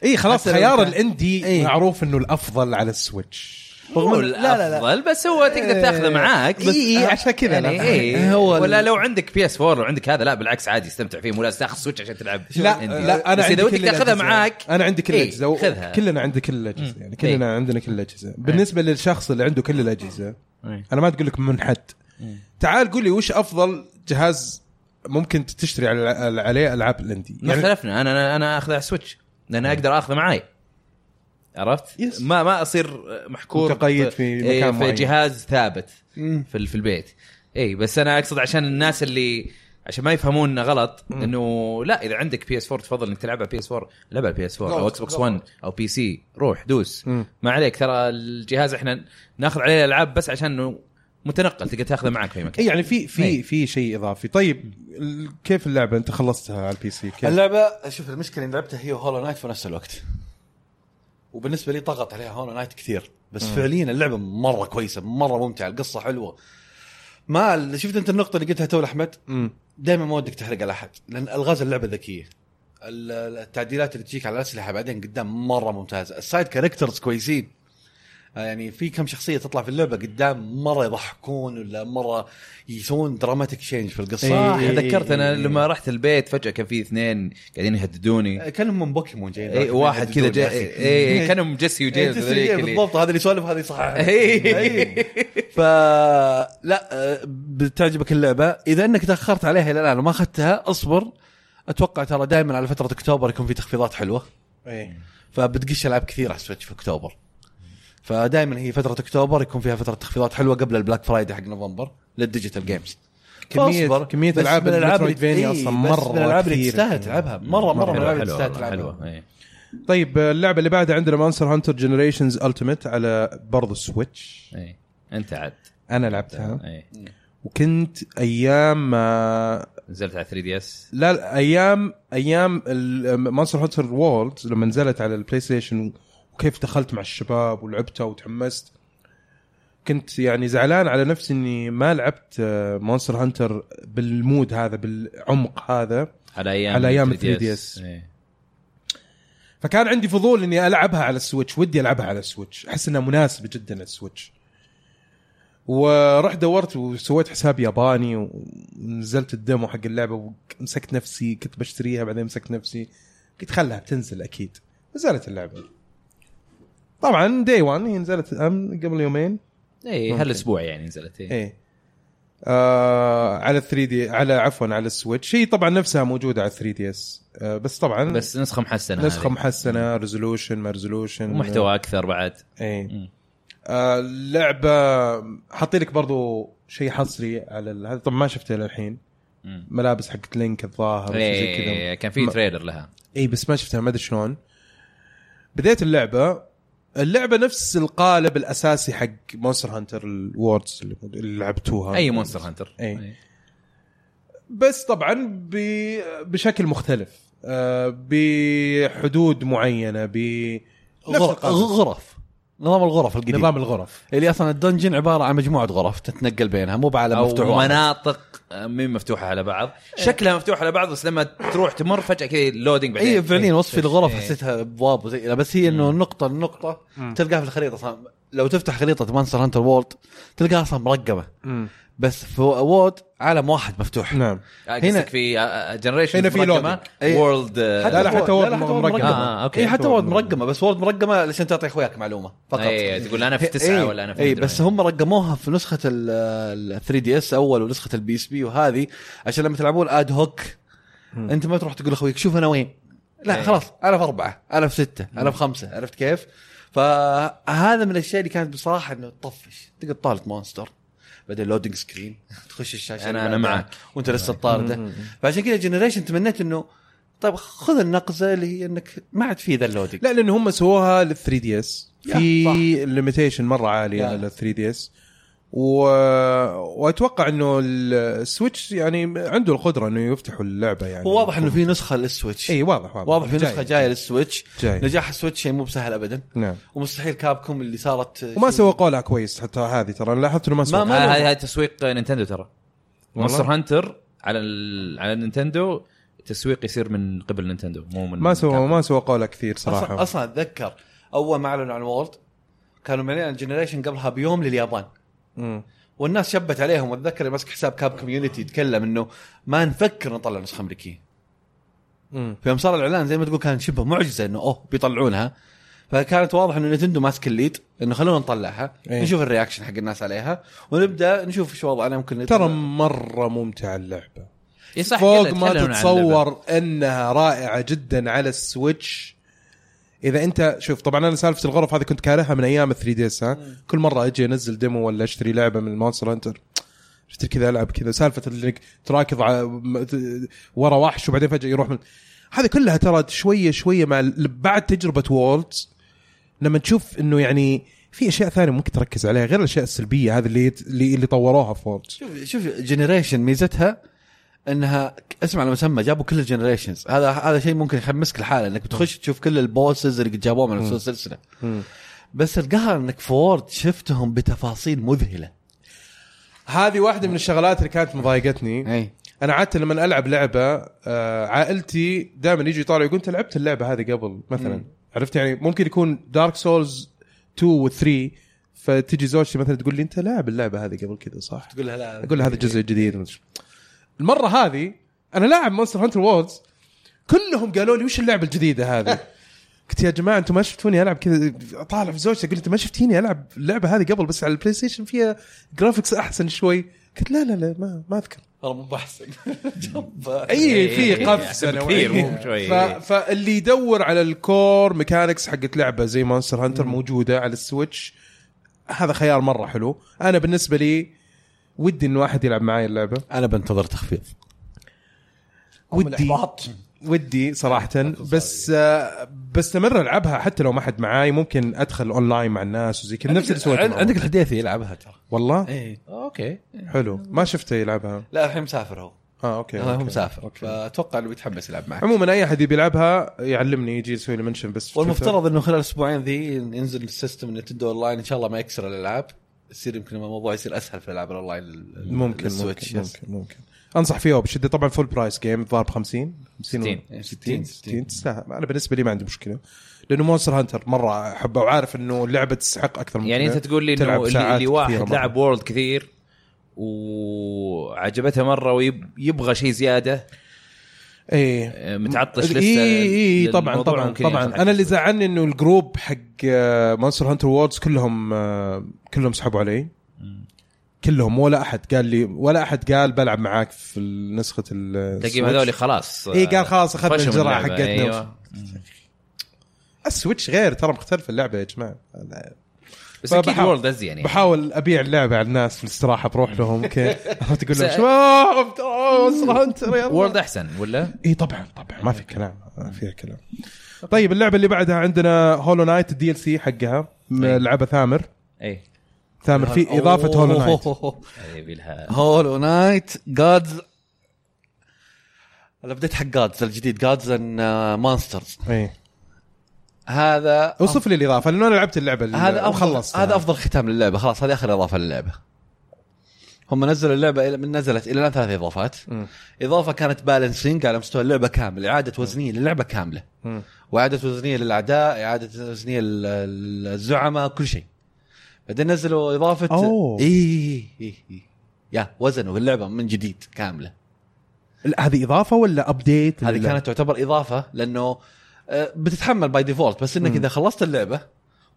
Speaker 1: اي خلاص
Speaker 4: حتى لو
Speaker 1: خيار
Speaker 4: كان-
Speaker 1: الاندي
Speaker 4: إيه.
Speaker 1: معروف انه الافضل على السويتش
Speaker 3: هو
Speaker 4: إن- لا لا لا
Speaker 3: الافضل بس هو تقدر
Speaker 1: إيه،
Speaker 3: تاخذه معاك
Speaker 1: إي إي، عشان كذا
Speaker 3: يعني
Speaker 1: لا.
Speaker 3: إي
Speaker 4: هو ال-
Speaker 3: ولا لو عندك بي اس 4 لو عندك هذا لا بالعكس عادي استمتع فيه مو لازم تاخذ سويتش عشان تلعب
Speaker 1: لا
Speaker 3: عندي.
Speaker 1: لا انا
Speaker 3: بس
Speaker 1: عندي
Speaker 3: اذا
Speaker 1: كل
Speaker 3: ودك تاخذها
Speaker 1: الأجهزة.
Speaker 3: معاك
Speaker 1: انا عندي كل
Speaker 3: إيه،
Speaker 1: الاجهزه و-
Speaker 3: خذها.
Speaker 1: كلنا عندي كل الاجهزه يعني كلنا عندنا كل الاجهزه بالنسبه للشخص اللي عنده كل الاجهزه
Speaker 3: إيه.
Speaker 1: انا ما تقول لك منحد تعال قول لي وش افضل جهاز ممكن تشتري على- عليه يعني- العاب الاندي
Speaker 3: ما اختلفنا انا انا, أنا اخذه على السويتش لان اقدر اخذه معاي عرفت؟
Speaker 1: يس.
Speaker 3: ما ما اصير محكور
Speaker 1: متقيد في
Speaker 3: إي،
Speaker 1: مكان
Speaker 3: في
Speaker 1: معين.
Speaker 3: جهاز ثابت في ال- في البيت اي بس انا اقصد عشان الناس اللي عشان ما يفهموننا غلط انه لا اذا عندك بي اس 4 تفضل انك تلعبها بي اس 4 لعبها بي اس 4 او
Speaker 2: جود،
Speaker 3: اكس بوكس
Speaker 2: جود.
Speaker 3: 1 او بي سي روح دوس
Speaker 1: مم.
Speaker 3: ما عليك ترى الجهاز احنا ناخذ عليه الالعاب بس عشان انه متنقل تقدر تاخذه معك في مكان
Speaker 1: اي يعني في
Speaker 3: إيه.
Speaker 1: في في شيء اضافي طيب ال- كيف اللعبه انت خلصتها على البي سي كيف
Speaker 4: اللعبه شوف المشكله اني لعبتها هي هولو نايت في نفس الوقت وبالنسبه لي ضغط عليها هولو نايت كثير بس فعليا اللعبه مره كويسه مره ممتعه القصه حلوه ما شفت انت النقطه اللي قلتها تو لاحمد
Speaker 1: مم.
Speaker 4: دائما ما ودك تحرق على احد لان الغاز اللعبه ذكيه ال- ال- التعديلات اللي تجيك على الاسلحه بعدين قدام مره ممتازه السايد كاركترز كويسين آه، يعني في كم شخصيه تطلع في اللعبه قدام مره يضحكون ولا مره يسوون دراماتيك تشينج في آه، القصه
Speaker 3: صح
Speaker 1: إي، إي،
Speaker 3: تذكرت انا
Speaker 1: إي.
Speaker 3: لما رحت البيت فجاه كان في اثنين قاعدين يهددوني
Speaker 4: آه، كانهم من بوكيمون جايين
Speaker 1: إيه،
Speaker 3: اي
Speaker 4: راكبين
Speaker 3: إيه، واحد كذا
Speaker 4: يهددون
Speaker 3: جا...
Speaker 4: ناسي.
Speaker 3: اي إي، كانهم إيه، جيسي وجيمس
Speaker 4: إيه،
Speaker 3: هذوليك اللي-
Speaker 4: بالضبط هذا اللي يسولف هذا يصحح
Speaker 1: إيه.
Speaker 3: إي.
Speaker 4: إيه. ف لا آه، بتعجبك اللعبه اذا انك تاخرت عليها الى الان وما اخذتها اصبر اتوقع ترى دائما على فتره اكتوبر يكون في تخفيضات حلوه
Speaker 1: إيه.
Speaker 4: فبتقش العاب كثير على السويتش في اكتوبر فدائما هي فتره اكتوبر يكون فيها فتره تخفيضات حلوه قبل البلاك فرايداي حق نوفمبر للديجيتال جيمز
Speaker 1: كمية
Speaker 4: فاصبر.
Speaker 1: كمية
Speaker 4: بس
Speaker 1: العاب
Speaker 4: من الألعاب اللي-
Speaker 1: المترويدفينيا
Speaker 4: إيه،
Speaker 1: اصلا
Speaker 4: بس
Speaker 1: مرة
Speaker 4: من الالعاب اللي
Speaker 1: كثير.
Speaker 4: تستاهل تلعبها مره مره من الالعاب اللي تستاهل
Speaker 3: والله،
Speaker 4: تلعبها
Speaker 3: إي.
Speaker 1: طيب اللعبة اللي بعدها عندنا مانسر هانتر جنريشنز التيمت على برضو السويتش
Speaker 3: اي انت إيه. عاد إيه.
Speaker 1: انا لعبتها
Speaker 3: اي
Speaker 1: وكنت ايام ما
Speaker 3: نزلت على 3 دي اس
Speaker 1: لا لا، ايام ايام مونستر هانتر وورلد لما نزلت على البلاي ستيشن وكيف دخلت مع الشباب ولعبتها وتحمست كنت يعني زعلان على نفسي اني ما لعبت مونستر هانتر بالمود هذا بالعمق هذا
Speaker 3: على ايام
Speaker 1: على أيام
Speaker 3: 3DS.
Speaker 1: 3DS.
Speaker 3: إيه.
Speaker 1: فكان عندي فضول اني العبها على السويتش ودي العبها على السويتش احس انها مناسبه جدا للسويتش ورحت دورت وسويت حساب ياباني ونزلت الديمو حق اللعبه ومسكت نفسي كنت بشتريها بعدين مسكت نفسي قلت خلها بتنزل اكيد نزلت اللعبه طبعا دي 1 هي نزلت أم قبل يومين
Speaker 3: اي
Speaker 1: ممكن.
Speaker 3: هالاسبوع يعني نزلت إيه.
Speaker 1: ايه آه على 3 دي على عفوا على السويتش هي طبعا نفسها موجوده على 3 دي اس آه بس طبعا
Speaker 3: بس نسخه محسنه
Speaker 1: نسخه
Speaker 3: هذه.
Speaker 1: محسنه ريزولوشن ما ريزولوشن
Speaker 3: ومحتوى اكثر بعد
Speaker 1: اي
Speaker 3: مم.
Speaker 1: آه، اللعبه حاطين لك برضو شيء حصري على ال- هذا طبعا ما شفته للحين
Speaker 3: مم.
Speaker 1: ملابس حقت لينك الظاهر وشي زي كذا
Speaker 3: إيه، كان في
Speaker 1: ما-
Speaker 3: تريلر لها
Speaker 1: اي بس ما شفتها ما ادري شلون بديت اللعبه اللعبه نفس القالب الاساسي حق مونستر هانتر الوردز اللي- اللي لعبتوها
Speaker 3: اي مونستر هانتر
Speaker 1: آه. إيه. بس طبعا ب- بشكل مختلف آه، بحدود معينه ب نفس
Speaker 4: غرف
Speaker 1: القالب.
Speaker 4: غرف. نظام الغرف القديم
Speaker 1: نظام الغرف
Speaker 4: اللي اصلا الدنجن عباره عن مجموعه غرف تتنقل بينها مو بعالم مفتوح
Speaker 3: او
Speaker 4: واحد.
Speaker 3: مناطق مين مفتوحه على بعض
Speaker 1: إيه.
Speaker 3: شكلها مفتوحه على بعض بس لما تروح تمر فجاه كذا لودينج بعدين
Speaker 4: اي فعليا وصفي الغرف
Speaker 3: إيه.
Speaker 4: حسيتها ابواب وزي كذا، بس هي انه نقطه لنقطه تلقاها في الخريطه اصلا لو تفتح خريطه مانستر هانتر وورلد تلقاها اصلا مرقمه بس في وورد عالم واحد مفتوح
Speaker 1: نعم
Speaker 3: هنا
Speaker 4: هنا-
Speaker 3: في آه، جنريشن
Speaker 1: هنا في loading.
Speaker 4: إيه.
Speaker 3: وورلد
Speaker 1: لا، لا، حتى وورد مرقمة.
Speaker 3: آه، أوكي.
Speaker 4: اي إيه، حتى
Speaker 1: حتى
Speaker 4: وورد
Speaker 1: وورد
Speaker 4: مرقمه بس وورد مرقمه لسان تعطي اخوياك معلومه فقط
Speaker 3: اي تقول انا في تسعه
Speaker 4: إيه،
Speaker 3: ولا انا في
Speaker 4: اي
Speaker 3: مدري
Speaker 4: بس
Speaker 3: وين.
Speaker 4: هم رقموها في نسخه ال 3 دي اس اول ونسخه البي اس بي وهذه عشان لما تلعبون اد هوك
Speaker 1: مم.
Speaker 4: انت ما تروح تقول لاخويك شوف انا وين لا
Speaker 3: إيه.
Speaker 4: خلاص انا في اربعه انا في سته انا في خمسه عرفت كيف؟ فهذا من الاشياء اللي كانت بصراحه انه تطفش تقعد طالت مونستر بعدين لودنج سكرين تخش الشاشه
Speaker 3: أنا-
Speaker 4: اللي
Speaker 3: أنا
Speaker 4: بعدها
Speaker 3: معك.
Speaker 4: وانت
Speaker 1: إيه.
Speaker 4: لسه طارده فعشان كذا جنريشن تمنيت انه طيب خذ النقزه اللي هي انك ما عاد في ذا اللودنج
Speaker 1: لا لان هم سووها لل 3 دي اس
Speaker 4: يا،
Speaker 1: في ليميتيشن مره عاليه
Speaker 4: يا.
Speaker 1: على 3 دي اس و... واتوقع انه السويتش يعني عنده القدره انه يفتحوا اللعبه يعني
Speaker 4: هو واضح انه في نسخه للسويتش
Speaker 1: اي واضح واضح
Speaker 4: واضح في
Speaker 1: جاي.
Speaker 4: نسخه جايه للسويتش
Speaker 1: جاي.
Speaker 4: نجاح السويتش شيء مو بسهل ابدا
Speaker 1: نعم
Speaker 4: ومستحيل كابكم اللي صارت
Speaker 1: وما سوقوا لها كويس حتى هذه ترى أنا لاحظت انه ما سوقوا
Speaker 4: ما-
Speaker 3: آه،
Speaker 4: لهم.
Speaker 3: هذا هذا تسويق نينتندو ترى
Speaker 1: والله؟
Speaker 3: مونستر هانتر على ال... على نينتندو تسويق يصير من قبل نينتندو مو من
Speaker 1: ما سووا
Speaker 3: كابكوم.
Speaker 1: ما سوقوا لها كثير
Speaker 4: صراحه
Speaker 1: صراحه
Speaker 4: اصلا, أصلاً اتذكر اول ما اعلنوا عن وورد كانوا معلنين عن جنريشن قبلها بيوم لليابان
Speaker 1: مم.
Speaker 4: والناس شبت عليهم واتذكر اللي ماسك حساب كاب كوميونتي يتكلم انه ما نفكر نطلع نسخه امريكيه
Speaker 1: مم.
Speaker 4: فيوم صار الاعلان زي ما تقول كان شبه معجزه انه اوه بيطلعونها فكانت واضح انه نتندو ماسك الليد انه خلونا نطلعها
Speaker 1: إيه.
Speaker 4: نشوف الرياكشن حق الناس عليها ونبدا نشوف ايش وضعنا يمكن
Speaker 1: ترى مره ممتعه اللعبه
Speaker 3: إيه صح،
Speaker 1: فوق
Speaker 3: كذا
Speaker 1: ما
Speaker 3: تكلمنا عن اللعبة.
Speaker 1: تتصور انها رائعه جدا على السويتش اذا انت شوف طبعا انا سالفه الغرف هذه كنت كارهها من ايام 3 دي اس ها كل مره اجي انزل ديمو ولا اشتري لعبه من مونستر هانتر شفت كذا العب كذا سالفه انك تراكض ع- م- ت- ورا وحش وبعدين فجاه يروح من هذه كلها ترى شويه شويه مع ال- بعد تجربه وولدز لما تشوف انه يعني في اشياء ثانيه ممكن تركز عليها غير الاشياء السلبيه هذه اللي اللي, اللي طوروها في وولدز
Speaker 4: شوف شوف جنريشن ميزتها انها اسمع على مسمى جابوا كل الجنريشنز هذا هذا شيء ممكن يحمسك الحالة انك بتخش تشوف كل البوسز اللي قد جابوهم من نفس السلسله بس القهر انك فورد شفتهم بتفاصيل مذهله
Speaker 1: هذه واحده من الشغلات اللي كانت مضايقتني
Speaker 4: اي
Speaker 1: انا عاده لما العب لعبه آه، عائلتي دائما يجوا يطالعوا يقول انت لعبت اللعبه هذه قبل مثلا
Speaker 4: مم.
Speaker 1: عرفت يعني ممكن يكون دارك سولز 2 و 3 فتجي زوجتي مثلا تقول لي انت لاعب اللعبه هذه قبل كذا صح؟
Speaker 4: تقول لها لا
Speaker 1: اقول لها هذا الجزء الجديد مدري شو. المره هذه انا لاعب مونستر هانتر وورلدز كلهم قالوا لي وش اللعبه الجديده هذه؟ قلت يا جماعه انتم ما شفتوني العب كذا طالع في زوجتي اقول انت ما شفتيني العب اللعبه هذه قبل بس على البلاي ستيشن فيها جرافيكس احسن شوي قلت لا لا لا ما ما اذكر
Speaker 4: والله مو بحسن
Speaker 2: آه.
Speaker 1: اي في
Speaker 3: إيه،
Speaker 1: قفزه
Speaker 3: يعني كثير
Speaker 1: نوعية.
Speaker 3: مو شوي.
Speaker 1: ف... فاللي يدور على الكور ميكانكس حقت لعبه زي مونستر هانتر موجوده على السويتش هذا خيار مره حلو انا بالنسبه لي ودي انه واحد يلعب معي اللعبه
Speaker 4: انا بنتظر تخفيض
Speaker 1: ودي
Speaker 2: الاحباط
Speaker 1: ودي صراحه بس آه، بستمر العبها حتى لو ما حد معاي ممكن ادخل اونلاين مع الناس وزي كذا نفس اللي سويته
Speaker 4: عن-
Speaker 1: معه.
Speaker 4: عندك الحديثي يلعبها ترى
Speaker 3: إيه.
Speaker 1: والله
Speaker 4: ايه
Speaker 3: اوكي
Speaker 1: حلو ما شفته يلعبها
Speaker 4: لا الحين مسافر هو
Speaker 1: اه اوكي
Speaker 4: هو
Speaker 1: أوكي.
Speaker 4: مسافر
Speaker 1: أوكي.
Speaker 4: فاتوقع انه بيتحمس يلعب معك
Speaker 1: عموما اي احد يبي يلعبها يعلمني يجي يسوي لي منشن بس في تويتر.
Speaker 4: والمفترض انه خلال اسبوعين ذي ينزل السيستم نتندو اونلاين ان شاء الله ما يكسر الالعاب يصير يمكن الموضوع يصير اسهل في الالعاب الاونلاين لل-
Speaker 1: ممكن
Speaker 4: للسويتش.
Speaker 1: ممكن, ممكن ممكن انصح فيها وبشده طبعا فول برايس جيم ضارب 50
Speaker 3: 60.
Speaker 1: 60
Speaker 4: 60.
Speaker 1: 60 تستاهل انا بالنسبه لي ما عندي مشكله لانه مونستر هانتر مره احبه وعارف انه اللعبه تستحق اكثر من
Speaker 3: يعني
Speaker 1: كذا.
Speaker 3: انت تقول لي
Speaker 1: تلعب
Speaker 3: انه اللي,
Speaker 1: ساعات
Speaker 3: اللي
Speaker 1: كثيرة
Speaker 3: واحد
Speaker 1: مرة.
Speaker 3: لعب وورلد كثير وعجبته مره ويبغى شيء زياده
Speaker 1: ايه
Speaker 3: آه، متعطش لسه
Speaker 1: اي اي
Speaker 3: للموضوع
Speaker 1: طبعا طبعا
Speaker 3: ممكن
Speaker 1: طبعا
Speaker 3: ينفتح.
Speaker 1: انا اللي زعلني انه الجروب حق آه، مونستر هانتر ووردز كلهم آه، كلهم سحبوا علي كلهم ولا احد قال لي ولا احد قال بلعب معاك في نسخه ال
Speaker 3: تلاقيهم هذول خلاص
Speaker 1: اي إيه، قال خلاص اخذنا
Speaker 3: فشموا
Speaker 1: الجرعه
Speaker 3: اللعبة،
Speaker 1: حقتنا
Speaker 3: أيوة.
Speaker 1: السويتش غير ترى مختلف اللعبه يا جماعه أنا
Speaker 3: بس اكيد
Speaker 1: فبحاول-
Speaker 3: وورلد ازين
Speaker 4: إيه.
Speaker 3: يعني
Speaker 1: بحاول ابيع اللعبه على الناس في الاستراحه بروح لهم اوكي عرفت اقول لهم
Speaker 3: س-
Speaker 1: شباب ترى مونستر هانتر يلا
Speaker 3: وورلد احسن ولا؟
Speaker 1: اي طبعا طبعا ما في كلام ما فيها كلام طيب اللعبه اللي بعدها عندنا هولو نايت الدي ال سي حقها م-
Speaker 3: أي.
Speaker 1: لعبه ثامر
Speaker 3: اي
Speaker 1: ثامر في اضافه
Speaker 4: أوه.
Speaker 1: هولو نايت
Speaker 3: يبي لها
Speaker 4: هولو نايت جادز انا بديت حق جادز الجديد جادز ان مانسترز
Speaker 1: اي
Speaker 4: هذا
Speaker 1: اوصف لي الاضافه لانه انا لعبت اللعبه اللي-
Speaker 4: هذا
Speaker 1: وخلصت
Speaker 4: افضل هذا افضل ختام للعبه خلاص هذه اخر اضافه للعبه هم نزلوا اللعبه إلى من نزلت الى الان ثلاث اضافات
Speaker 1: مم.
Speaker 4: اضافه كانت بالانسنج على مستوى اللعبه كامل اعاده وزنيه للعبه كامله
Speaker 1: مم.
Speaker 4: واعاده وزنيه للاعداء اعاده وزنيه لل- للزعماء كل شيء بعدين نزلوا إيه، اضافه
Speaker 1: أوه.
Speaker 4: اي إي إي إي. إيه. يا وزنوا اللعبه من جديد كامله
Speaker 1: لا، هذه اضافه ولا ابديت
Speaker 4: هذه كانت تعتبر اضافه لانه آه، بتتحمل باي ديفولت بس انك
Speaker 1: مم.
Speaker 4: اذا خلصت اللعبه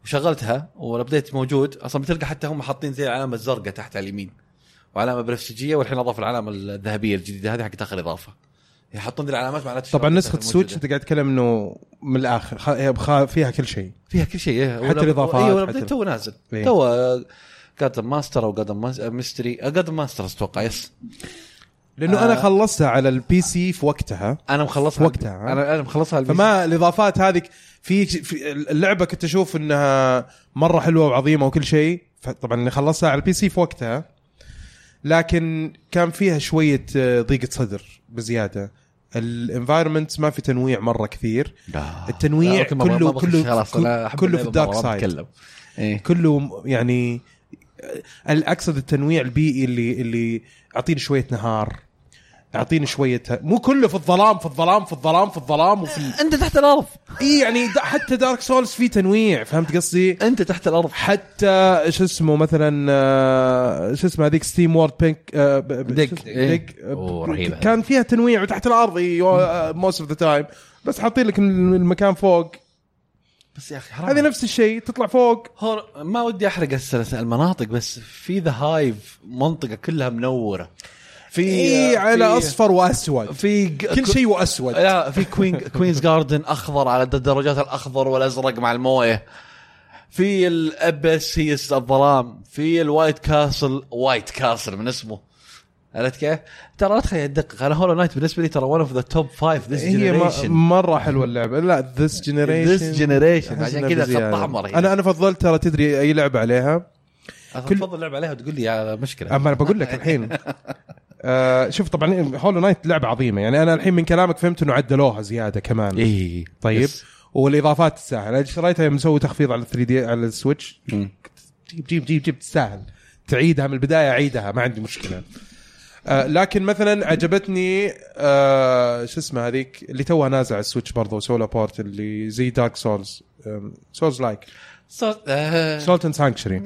Speaker 4: وشغلتها والابديت موجود اصلا بتلقى حتى هم حاطين زي العلامه الزرقاء تحت على اليمين وعلامه بنفسجيه والحين اضافوا العلامه الذهبيه الجديده هذه حقت اخر اضافه يحطون ذي العلامات معناته
Speaker 1: طبعا
Speaker 4: الشغلة
Speaker 1: نسخه
Speaker 4: موجودة.
Speaker 1: سويتش انت قاعد تتكلم انه من الاخر خ- هي بخا- فيها كل شيء
Speaker 4: فيها كل شيء إيه.
Speaker 1: حتى الإضافات،
Speaker 4: ايوه
Speaker 1: حتى ال-
Speaker 4: الابديت تو نازل
Speaker 1: إيه.
Speaker 4: تو آه، قدم ماستر او قدم ميستري قدم ماستر اتوقع يس
Speaker 1: لانه
Speaker 4: آه.
Speaker 1: انا خلصتها على البي سي في وقتها
Speaker 4: انا مخلصها
Speaker 1: وقتها، ها؟
Speaker 4: انا انا مخلصها على البي
Speaker 1: فما الاضافات هذيك في في اللعبه كنت اشوف انها مره حلوه وعظيمه وكل شيء طبعا اللي خلصتها على البي سي في وقتها لكن كان فيها شويه آه، ضيقه صدر بزياده الانفايرمنت ما في تنويع مره كثير
Speaker 4: لا.
Speaker 1: التنويع
Speaker 4: لا، أوكي، ما- ما-
Speaker 1: كله-
Speaker 4: ما بخش،
Speaker 1: كله-
Speaker 4: خلاص، أنا أحب
Speaker 1: كله في
Speaker 4: اللعبة،
Speaker 1: الدارك
Speaker 4: ما- ما
Speaker 1: سايد.
Speaker 4: بتكلم. إيه.
Speaker 1: كله م- يعني آه، اقصد التنويع البيئي اللي اللي اعطيني شويه نهار اعطيني شويه مو كله في الظلام في الظلام في الظلام في الظلام وفي ال-
Speaker 4: انت تحت الارض
Speaker 1: اي يعني دا حتى دارك سولز في تنويع فهمت قصدي؟
Speaker 4: انت تحت الارض
Speaker 1: حتى شو اسمه مثلا آه، شو اسمه هذيك ستيم وورد بينك آه، ب- ب-
Speaker 4: ديك.
Speaker 1: شو اسمه؟
Speaker 4: إيه.
Speaker 1: ديك آه،
Speaker 3: أوه،
Speaker 1: ب-
Speaker 3: رهيبة.
Speaker 1: كان فيها تنويع وتحت الارض موست اوف ذا تايم بس حاطين لك المكان فوق
Speaker 4: بس يا اخي
Speaker 1: هذه
Speaker 4: حرام
Speaker 1: نفس الشيء تطلع فوق
Speaker 4: هور ما ودي احرق السلس- المناطق بس في ذا هايف منطقه كلها منوره في
Speaker 1: اي
Speaker 4: آه،
Speaker 1: إيه، على
Speaker 4: في-
Speaker 1: اصفر واسود
Speaker 4: في ج-
Speaker 1: كل شيء واسود
Speaker 4: لا في كوين كوينز جاردن اخضر على الدرجات الاخضر والازرق مع المويه في الابس هي الظلام في الوايت كاسل وايت كاسل من اسمه عرفت كيف؟ ترى لا تخيل تدقق انا هولو نايت بالنسبه لي ترى ون اوف ذا توب فايف ذيس
Speaker 1: هي م-
Speaker 4: جنريشن
Speaker 1: مره حلوه اللعبه لا ذس جنريشن
Speaker 4: This generation. عشان كذا خط أحمر هي.
Speaker 1: انا انا فضلت ترى تدري اي لعبه عليها كل-
Speaker 4: تفضل لعب عليها وتقول لي على مشكله
Speaker 1: اما انا بقول لك الحين آه شوف طبعا هولو نايت لعبه عظيمه يعني انا الحين من كلامك فهمت انه عدلوها زياده كمان
Speaker 4: اي
Speaker 1: طيب والاضافات تستاهل انا شريتها يوم مسوي تخفيض على 3 دي على السويتش
Speaker 4: مم.
Speaker 1: جيب جيب جيب جيب تستاهل تعيدها من البدايه اعيدها ما عندي مشكله آه لكن مثلا عجبتني آه شو اسمه هذيك اللي توها نازع على السويتش برضو سولا بورت اللي زي دارك سولز سولز لايك
Speaker 4: صوت آه.
Speaker 1: سولت اند سانكشري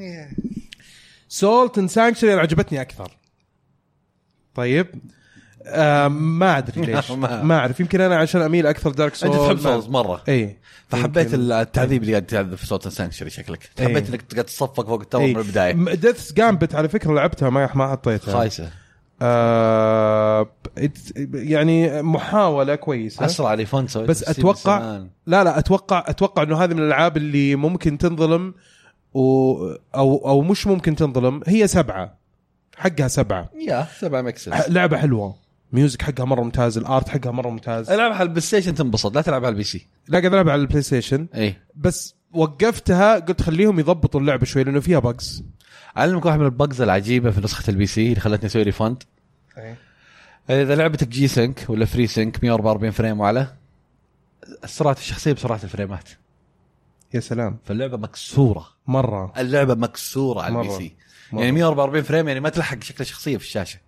Speaker 1: سولت اند سانكشري عجبتني اكثر طيب آه ما ادري ليش
Speaker 4: ما-
Speaker 1: ما اعرف يمكن انا عشان اميل اكثر دارك
Speaker 4: انت
Speaker 1: سولز
Speaker 4: تحب سولز مره
Speaker 1: اي
Speaker 4: نعم. فحبيت التعذيب اللي قاعد تعذب في صوت سانكشري شكلك
Speaker 1: إيه.
Speaker 4: حبيت انك قاعد تصفق فوق التور من البدايه
Speaker 1: ديث جامبت على فكره لعبتها ما ما حطيتها
Speaker 4: خايسه
Speaker 1: آه إت- يعني محاوله كويسه
Speaker 4: اسرع لي فون سويته
Speaker 1: بس
Speaker 4: في ستيم
Speaker 1: أتوقع-
Speaker 4: زمان.
Speaker 1: لا لا اتوقع اتوقع انه هذه من الالعاب اللي ممكن تنظلم و او او مش ممكن تنظلم هي سبعه حقها سبعه
Speaker 4: يا سبعة مكسس
Speaker 1: لعبه حلوه ميوزك حقها مره ممتاز الارت حقها مره ممتاز
Speaker 4: العب على البلاي ستيشن تنبسط لا تلعب على البي سي
Speaker 1: لا قاعد العبها على البلاي ستيشن
Speaker 4: اي
Speaker 1: بس وقفتها قلت خليهم يضبطوا اللعبه شوي لانه فيها بجز
Speaker 4: اعلمك واحد من البجز العجيبه في نسخه البي سي اللي خلتني اسوي ريفند اذا لعبتك جي سync ولا فري سync 144 فريم وعلى سرعه الشخصيه بسرعه الفريمات
Speaker 1: يا سلام
Speaker 4: فاللعبه مكسوره
Speaker 1: مره
Speaker 4: اللعبه مكسوره على البي
Speaker 1: مرة.
Speaker 4: سي
Speaker 1: مرة.
Speaker 4: يعني 144 فريم يعني ما تلحق شكل الشخصيه في الشاشه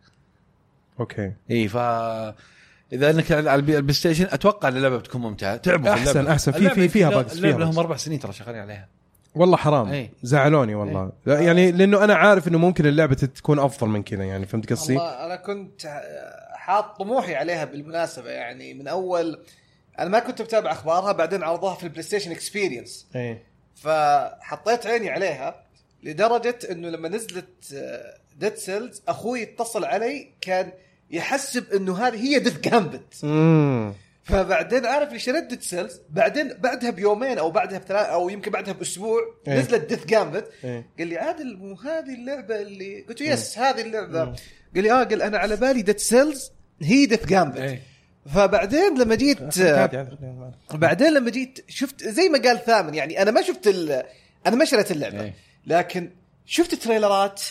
Speaker 1: اوكي
Speaker 4: اي ف اذا انك على البي- البلاي ستيشن اتوقع ان اللعبه بتكون ممتعه تعبوا في
Speaker 1: أحسن-
Speaker 4: اللعبة.
Speaker 1: أحسن. في-
Speaker 4: اللعبة
Speaker 1: في- فيها
Speaker 4: لا-
Speaker 1: bugs،
Speaker 4: اللعبة
Speaker 1: فيها
Speaker 4: لهم
Speaker 1: bugs.
Speaker 4: اربع سنين ترى شغالين عليها
Speaker 1: والله حرام
Speaker 4: إيه.
Speaker 1: زعلوني والله لا يعني لانه انا عارف انه ممكن اللعبه تكون افضل من كذا يعني فهمت قصدي؟
Speaker 2: والله انا كنت آه، حاط طموحي عليها بالمناسبه يعني من اول انا ما كنت متابع اخبارها بعدين عرضوها في البلاي ستيشن اكسبيرينس
Speaker 1: ايه
Speaker 2: فحطيت عيني عليها لدرجه انه لما نزلت ديد سيلز اخوي اتصل علي كان يحسب انه هذه هي ديد جامبت
Speaker 1: امم
Speaker 2: فبعدين عارف اللي شريت ديد سيلز بعدين بعدها بيومين او بعدها بثلاث او يمكن بعدها باسبوع
Speaker 1: إيه.
Speaker 2: نزلت ديث جامبت
Speaker 1: إيه.
Speaker 2: قال لي عادل مو هذه اللعبه اللي قلت له يس هذه اللعبه
Speaker 1: إيه.
Speaker 2: قال لي اه قال انا على بالي ديد سيلز هي ديث جامبت
Speaker 1: إيه.
Speaker 2: فبعدين لما جيت بعدين لما جيت شفت زي ما قال ثامن يعني انا ما شفت ال... انا ما شريت اللعبه
Speaker 4: إيه.
Speaker 2: لكن شفت تريلرات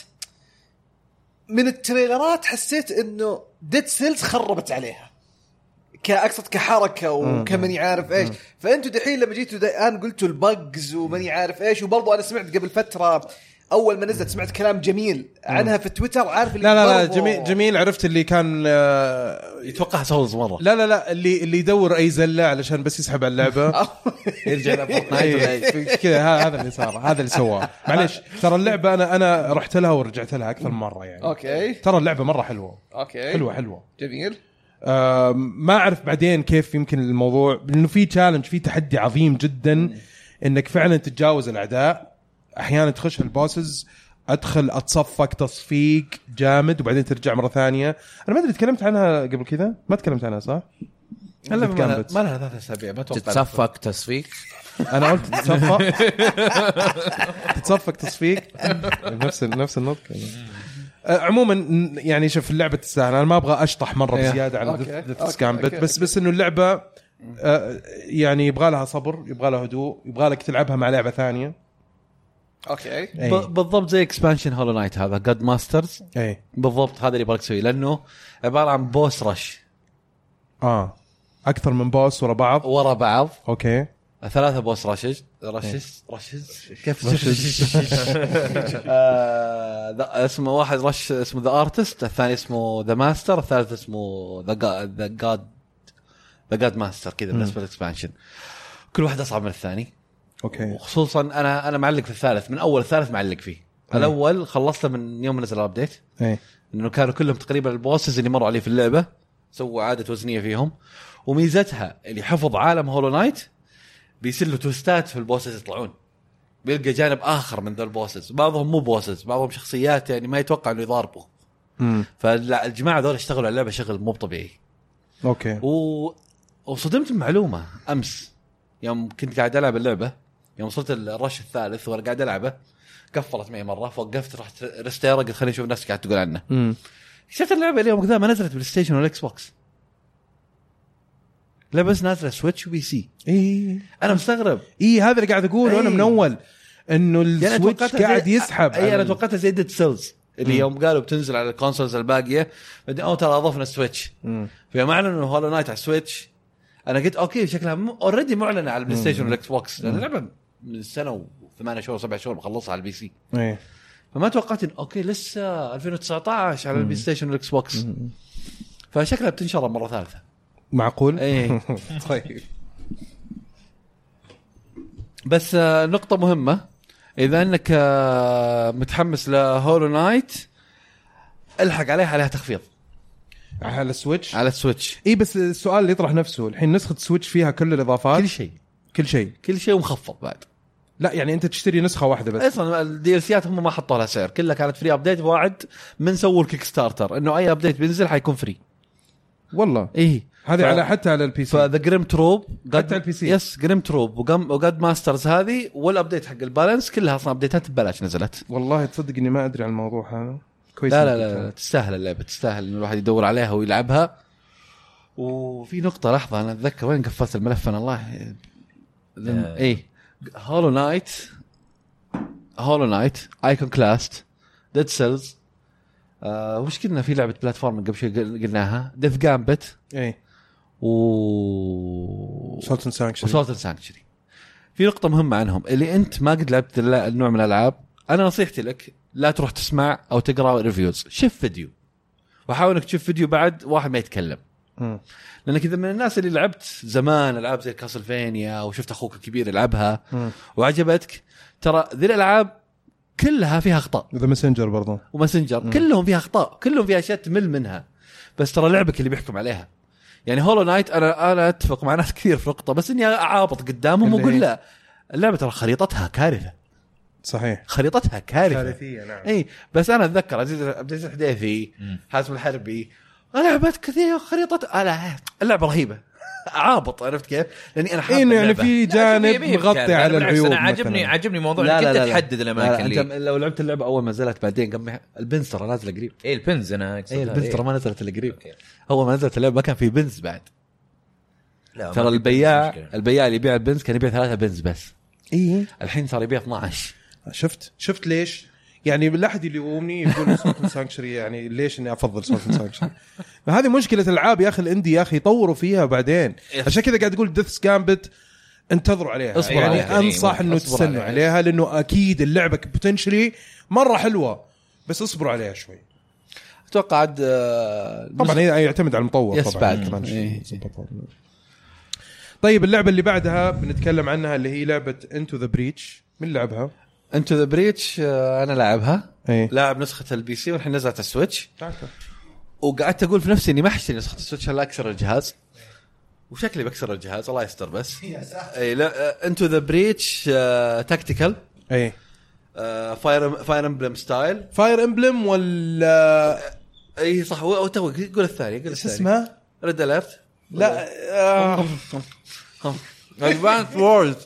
Speaker 2: من التريلرات حسيت انه ديد سيلز خربت عليها كاقصد كحركه وكماني عارف ايش فانتوا دحين لما جيتوا الان قلتوا البجز وماني عارف ايش وبرضو انا سمعت قبل فتره اول ما نزلت سمعت كلام جميل عنها في تويتر عارف اللي
Speaker 1: لا لا لا
Speaker 2: برضو-
Speaker 1: جميل جميل عرفت اللي كان آه،
Speaker 4: يتوقع سولز مره
Speaker 1: لا لا لا اللي اللي يدور اي زله علشان بس يسحب على اللعبه
Speaker 4: يرجع
Speaker 1: إيه،
Speaker 4: يلعب فورتنايت ولا إيش.
Speaker 1: أي، كذا ه- هذا اللي صار هذا اللي سواه معلش ترى اللعبه انا انا رحت لها ورجعت لها اكثر من مره يعني
Speaker 2: اوكي
Speaker 1: ترى اللعبه مره حلوه
Speaker 2: اوكي
Speaker 1: حلوه حلوه
Speaker 2: جميل
Speaker 1: آم، آه، ما اعرف بعدين كيف يمكن الموضوع لانه في تشالنج في تحدي عظيم جدا انك فعلا تتجاوز الاعداء احيانا تخش البوسز ادخل اتصفق تصفيق جامد وبعدين ترجع مره ثانيه انا ما ادري تكلمت عنها قبل كذا ما تكلمت عنها صح
Speaker 4: لا، ما لها-
Speaker 1: جامبت.
Speaker 4: ما لها ثلاث اسابيع ما اتوقع
Speaker 3: تتصفق تصفيق
Speaker 1: انا قلت تتصفق تتصفق تصفيق نفس نفس النطق آه، عموما ن- يعني شوف اللعبه تستاهل انا ما ابغى اشطح مره
Speaker 4: إيه.
Speaker 1: بزياده على
Speaker 2: أوكي.
Speaker 1: ذا
Speaker 2: أوكي،
Speaker 1: جامبت
Speaker 2: أوكي،
Speaker 1: بس بس انه اللعبه آه، يعني يبغى لها صبر يبغى لها هدوء يبغى لك تلعبها مع لعبه ثانيه
Speaker 2: اوكي
Speaker 4: ب- بالضبط زي اكسبانشن هولو نايت هذا جاد ماسترز
Speaker 1: اي
Speaker 4: بالضبط هذا اللي يبغاك تسويه لانه عباره عن بوس رش
Speaker 1: اه اكثر من بوس ورا بعض
Speaker 4: ورا بعض
Speaker 1: اوكي
Speaker 4: ثلاثة بوس رشز رشز رشز كيف آه، ذا- اسمه واحد رش اسمه ذا ارتست الثاني اسمه ذا ماستر الثالث اسمه ذا ذا جاد ذا جاد ماستر كذا بالنسبه للاكسبانشن كل واحد اصعب من الثاني
Speaker 1: اوكي
Speaker 4: وخصوصا انا انا معلق في الثالث من اول ثالث معلق فيه الاول خلصته من يوم نزل الابديت
Speaker 1: اي
Speaker 4: انه كانوا كلهم تقريبا البوسز اللي مروا عليه في اللعبه سووا عاده وزنيه فيهم وميزتها اللي حفظ عالم هولو نايت بيصير له توستات في البوسز يطلعون بيلقى جانب اخر من ذا البوسز بعضهم مو بوسز بعضهم شخصيات يعني ما يتوقع انه يضاربوا
Speaker 1: أمم.
Speaker 4: فالجماعه ذول اشتغلوا على اللعبه شغل مو طبيعي
Speaker 1: اوكي
Speaker 4: و... وصدمت بمعلومه امس يوم كنت قاعد العب اللعبه يوم وصلت الرش الثالث وانا قاعد العبه قفلت معي مره فوقفت رحت رستيرا قلت خليني اشوف الناس قاعد تقول عنه
Speaker 1: أمم.
Speaker 4: شفت اللعبه اليوم كذا ما نزلت بلاي ستيشن ولا اكس بوكس لا بس نازله سويتش وبي سي
Speaker 1: اي
Speaker 4: انا مستغرب
Speaker 1: اي إيه. هذا اللي قاعد اقوله انا
Speaker 4: إي.
Speaker 1: من اول انه
Speaker 4: يعني
Speaker 1: السويتش
Speaker 4: توقعتها زي- إيه،
Speaker 1: قاعد يسحب
Speaker 4: اي
Speaker 1: على
Speaker 4: انا
Speaker 1: ال-
Speaker 4: توقعتها زي ديد سيلز اللي يوم قالوا بتنزل على الكونسولز الباقيه بعدين او ترى اضفنا السويتش
Speaker 1: مم.
Speaker 4: فيوم اعلنوا إنه هولو نايت على السويتش انا قلت اوكي شكلها اوريدي معلنه على البلاي ستيشن والاكس بوكس لان اللعبه من سنه وثمانية شهور سبعة شهور مخلصها على البي سي
Speaker 1: ايه
Speaker 4: فما توقعت ان اوكي لسه 2019 على البلاي ستيشن والاكس بوكس فشكلها بتنشر مره ثالثه
Speaker 1: معقول؟
Speaker 4: ايه
Speaker 1: طيب
Speaker 4: بس آه، نقطة مهمة إذا أنك آه، متحمس لهولو نايت الحق عليها عليها تخفيض
Speaker 1: على السويتش
Speaker 4: على السويتش
Speaker 1: اي أه. إيه، بس السؤال اللي يطرح نفسه الحين نسخه سويتش فيها كل الاضافات
Speaker 4: كل شيء
Speaker 1: كل شيء
Speaker 4: كل شيء ومخفض بعد
Speaker 1: لا يعني انت تشتري نسخه واحده بس
Speaker 4: اصلا الديلسيات هم ما حطوا لها سعر كلها كانت فري ابديت واعد من سووا الكيك ستارتر انه اي ابديت بينزل حيكون فري
Speaker 1: والله
Speaker 4: ايه
Speaker 1: هذه
Speaker 4: ف-
Speaker 1: على حتى على البي سي
Speaker 4: فذا جريم تروب
Speaker 1: حتى على البي سي.
Speaker 4: يس جريم تروب وقم- وقاد ماسترز هذه والابديت حق البالانس كلها اصلا ابديتات ببلاش نزلت
Speaker 1: والله تصدق اني ما ادري عن الموضوع هذا كويس
Speaker 4: لا
Speaker 1: إنك
Speaker 4: لا لا, لا
Speaker 1: قلتها.
Speaker 4: تستاهل اللعبه تستاهل ان الواحد يدور عليها ويلعبها وفي نقطه لحظه انا اتذكر وين قفلت الملف انا الله إيه.
Speaker 3: آه.
Speaker 4: اي هولو نايت هولو نايت ايكون كلاست ديد سيلز آه، وش قلنا في لعبه بلاتفورم قبل شوي قل- قلناها ديف جامبت
Speaker 1: اي
Speaker 4: و
Speaker 1: سولت اند سانكشن
Speaker 4: وسولت سانكشري في نقطة مهمة عنهم اللي أنت ما قد لعبت الل- النوع من الألعاب أنا نصيحتي لك لا تروح تسمع أو تقرأ ريفيوز شوف فيديو وحاول إنك تشوف فيديو بعد واحد ما يتكلم لأنك إذا من الناس اللي لعبت زمان ألعاب زي كاسلفينيا وشفت أخوك الكبير يلعبها وعجبتك ترى ذي الألعاب كلها فيها أخطاء
Speaker 1: ذا ماسنجر برضو
Speaker 4: وماسنجر كلهم فيها اخطاء كلهم فيها اشياء تمل منها بس ترى لعبك اللي بيحكم عليها يعني هولو نايت انا انا اتفق مع ناس كثير في نقطه بس اني اعابط قدامهم
Speaker 1: اللي
Speaker 4: واقول
Speaker 1: هي؟
Speaker 4: لا اللعبه ترى خريطتها كارثه
Speaker 1: صحيح
Speaker 4: خريطتها كارثه
Speaker 1: كارثيه نعم
Speaker 4: اي بس انا اتذكر عزيز عبد العزيز الحديثي
Speaker 3: مم.
Speaker 4: حازم الحربي لعبات كثيره خريطه ألا اللعبه رهيبه اعابط عرفت كيف؟ لاني انا حاب
Speaker 1: انه يعني
Speaker 4: اللعبة.
Speaker 1: في
Speaker 3: لا،
Speaker 1: جانب
Speaker 3: شوف، يبيه
Speaker 1: مغطي
Speaker 3: بكارثة.
Speaker 1: على
Speaker 3: بالعكس،
Speaker 1: العيوب
Speaker 3: انا عاجبني
Speaker 1: مثلاً.
Speaker 3: عجبني موضوع انك انت تحدد الاماكن
Speaker 4: لا، انت
Speaker 3: اللي
Speaker 4: لو لعبت اللعبه اول ما نزلت بعدين قبل البنز ترى نازله قريب
Speaker 3: ايه البنز انا اقصد
Speaker 4: اي إيه، البنز ترى ما نزلت الا قريب
Speaker 3: أوكي.
Speaker 4: اول ما نزلت اللعبه ما كان في بنز بعد ترى البياع البياع اللي يبيع البنز كان يبيع ثلاثه بنز بس
Speaker 1: اي
Speaker 4: الحين صار يبيع 12
Speaker 1: شفت شفت ليش؟ يعني لا احد يلومني يقول سولت سانكشري يعني ليش اني افضل سولت سانكشري؟ هذه مشكله العاب يا اخي الاندي يا اخي يطوروا فيها بعدين عشان كذا قاعد اقول ديث جامبت انتظروا عليها
Speaker 4: اصبر
Speaker 1: يعني
Speaker 4: عليها. إيه،
Speaker 1: انصح انه
Speaker 4: اصبر
Speaker 1: تستنوا عليها.
Speaker 4: عليها.
Speaker 1: لانه اكيد اللعبه بوتنشلي مره حلوه بس اصبروا عليها شوي
Speaker 4: اتوقع عاد آه،
Speaker 1: طبعا
Speaker 4: نسخ-
Speaker 1: هي- يعتمد على المطور
Speaker 4: يس
Speaker 1: طبعا
Speaker 4: بعد.
Speaker 1: كمان شيء
Speaker 4: إيه.
Speaker 1: يظبطها. طيب اللعبه اللي بعدها بنتكلم عنها اللي هي لعبه انتو ذا بريتش من لعبها؟
Speaker 4: انتو ذا بريتش آه، انا لاعبها
Speaker 1: ايه
Speaker 4: لاعب نسخه البي سي والحين نزلت على السويتش
Speaker 1: تعال.
Speaker 4: وقعدت اقول في نفسي اني ما حشتري نسخه السويتش الا اكسر الجهاز وشكلي بكسر الجهاز الله يستر بس اي لا آه، انتو ذا بريتش آه، تكتيكال
Speaker 1: ايه
Speaker 4: آه، فاير فاير امبلم ستايل
Speaker 1: فاير امبلم ولا
Speaker 4: اي إيه، صح هو هو تو قول الثاني قول
Speaker 1: ايش
Speaker 4: الثاني
Speaker 1: اسمه؟
Speaker 4: ريد اليرت
Speaker 1: لا آه،
Speaker 4: ادفانس وورلد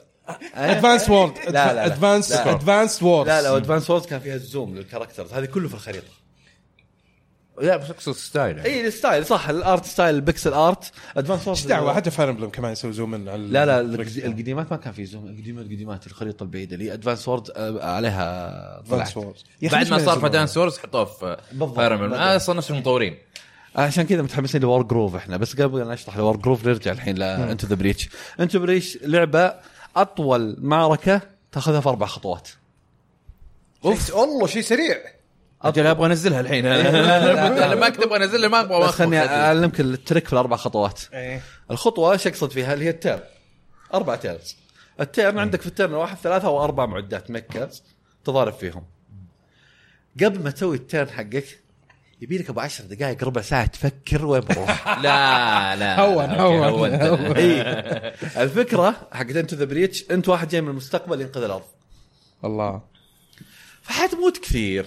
Speaker 1: ادفانس وورد
Speaker 4: لا، لا.
Speaker 1: ادفانس
Speaker 4: لا.
Speaker 1: ادفانس وورد
Speaker 4: لا لا ادفانس وورلد كان فيها الزوم للكاركترز هذه كله في الخريطه
Speaker 3: لا بس اقصد ستايل يعني.
Speaker 4: اي الستايل صح الارت ستايل البكسل ارت ادفانس وورلد
Speaker 1: ايش دعوه حتى فاير امبلم كمان يسوي زوم من على
Speaker 4: لا لا القدي- القديمات ما كان في زوم القديمات القديمات الخريطه البعيده اللي ادفانس وورد آه، عليها ضلعت
Speaker 1: ادفانس وورد
Speaker 3: بعد ما صار في دانس وورز حطوه في
Speaker 4: بالضبط.
Speaker 3: فاير امبلم آه، صار نفس المطورين
Speaker 4: آه، عشان كذا متحمسين لوار جروف احنا بس قبل لا نشرح لوار جروف نرجع الحين لانتو ذا بريتش انتو بريتش لعبه اطول معركه تاخذها في اربع خطوات
Speaker 2: اوف والله شيء سريع
Speaker 3: اجل ابغى انزلها الحين انا ما كنت ابغى انزلها ما ابغى
Speaker 4: بس
Speaker 3: ما
Speaker 4: خليني
Speaker 3: أخذ.
Speaker 4: اعلمك التريك في الاربع خطوات
Speaker 1: إيه.
Speaker 4: الخطوه ايش اقصد فيها اللي هي التيرن اربع تيرنز التيرن عندك في التيرن واحد ثلاثه او اربع معدات مكرز تضارب فيهم قبل ما تسوي التيرن حقك يبي لك ابو 10 دقائق ربع ساعه تفكر وين بروح
Speaker 3: لا لا
Speaker 1: هون،
Speaker 3: أوكي،
Speaker 1: هون،
Speaker 3: هون.
Speaker 4: اي الفكره حقت انت ذا بريتش انت واحد جاي من المستقبل ينقذ الارض
Speaker 1: الله
Speaker 4: فحتموت كثير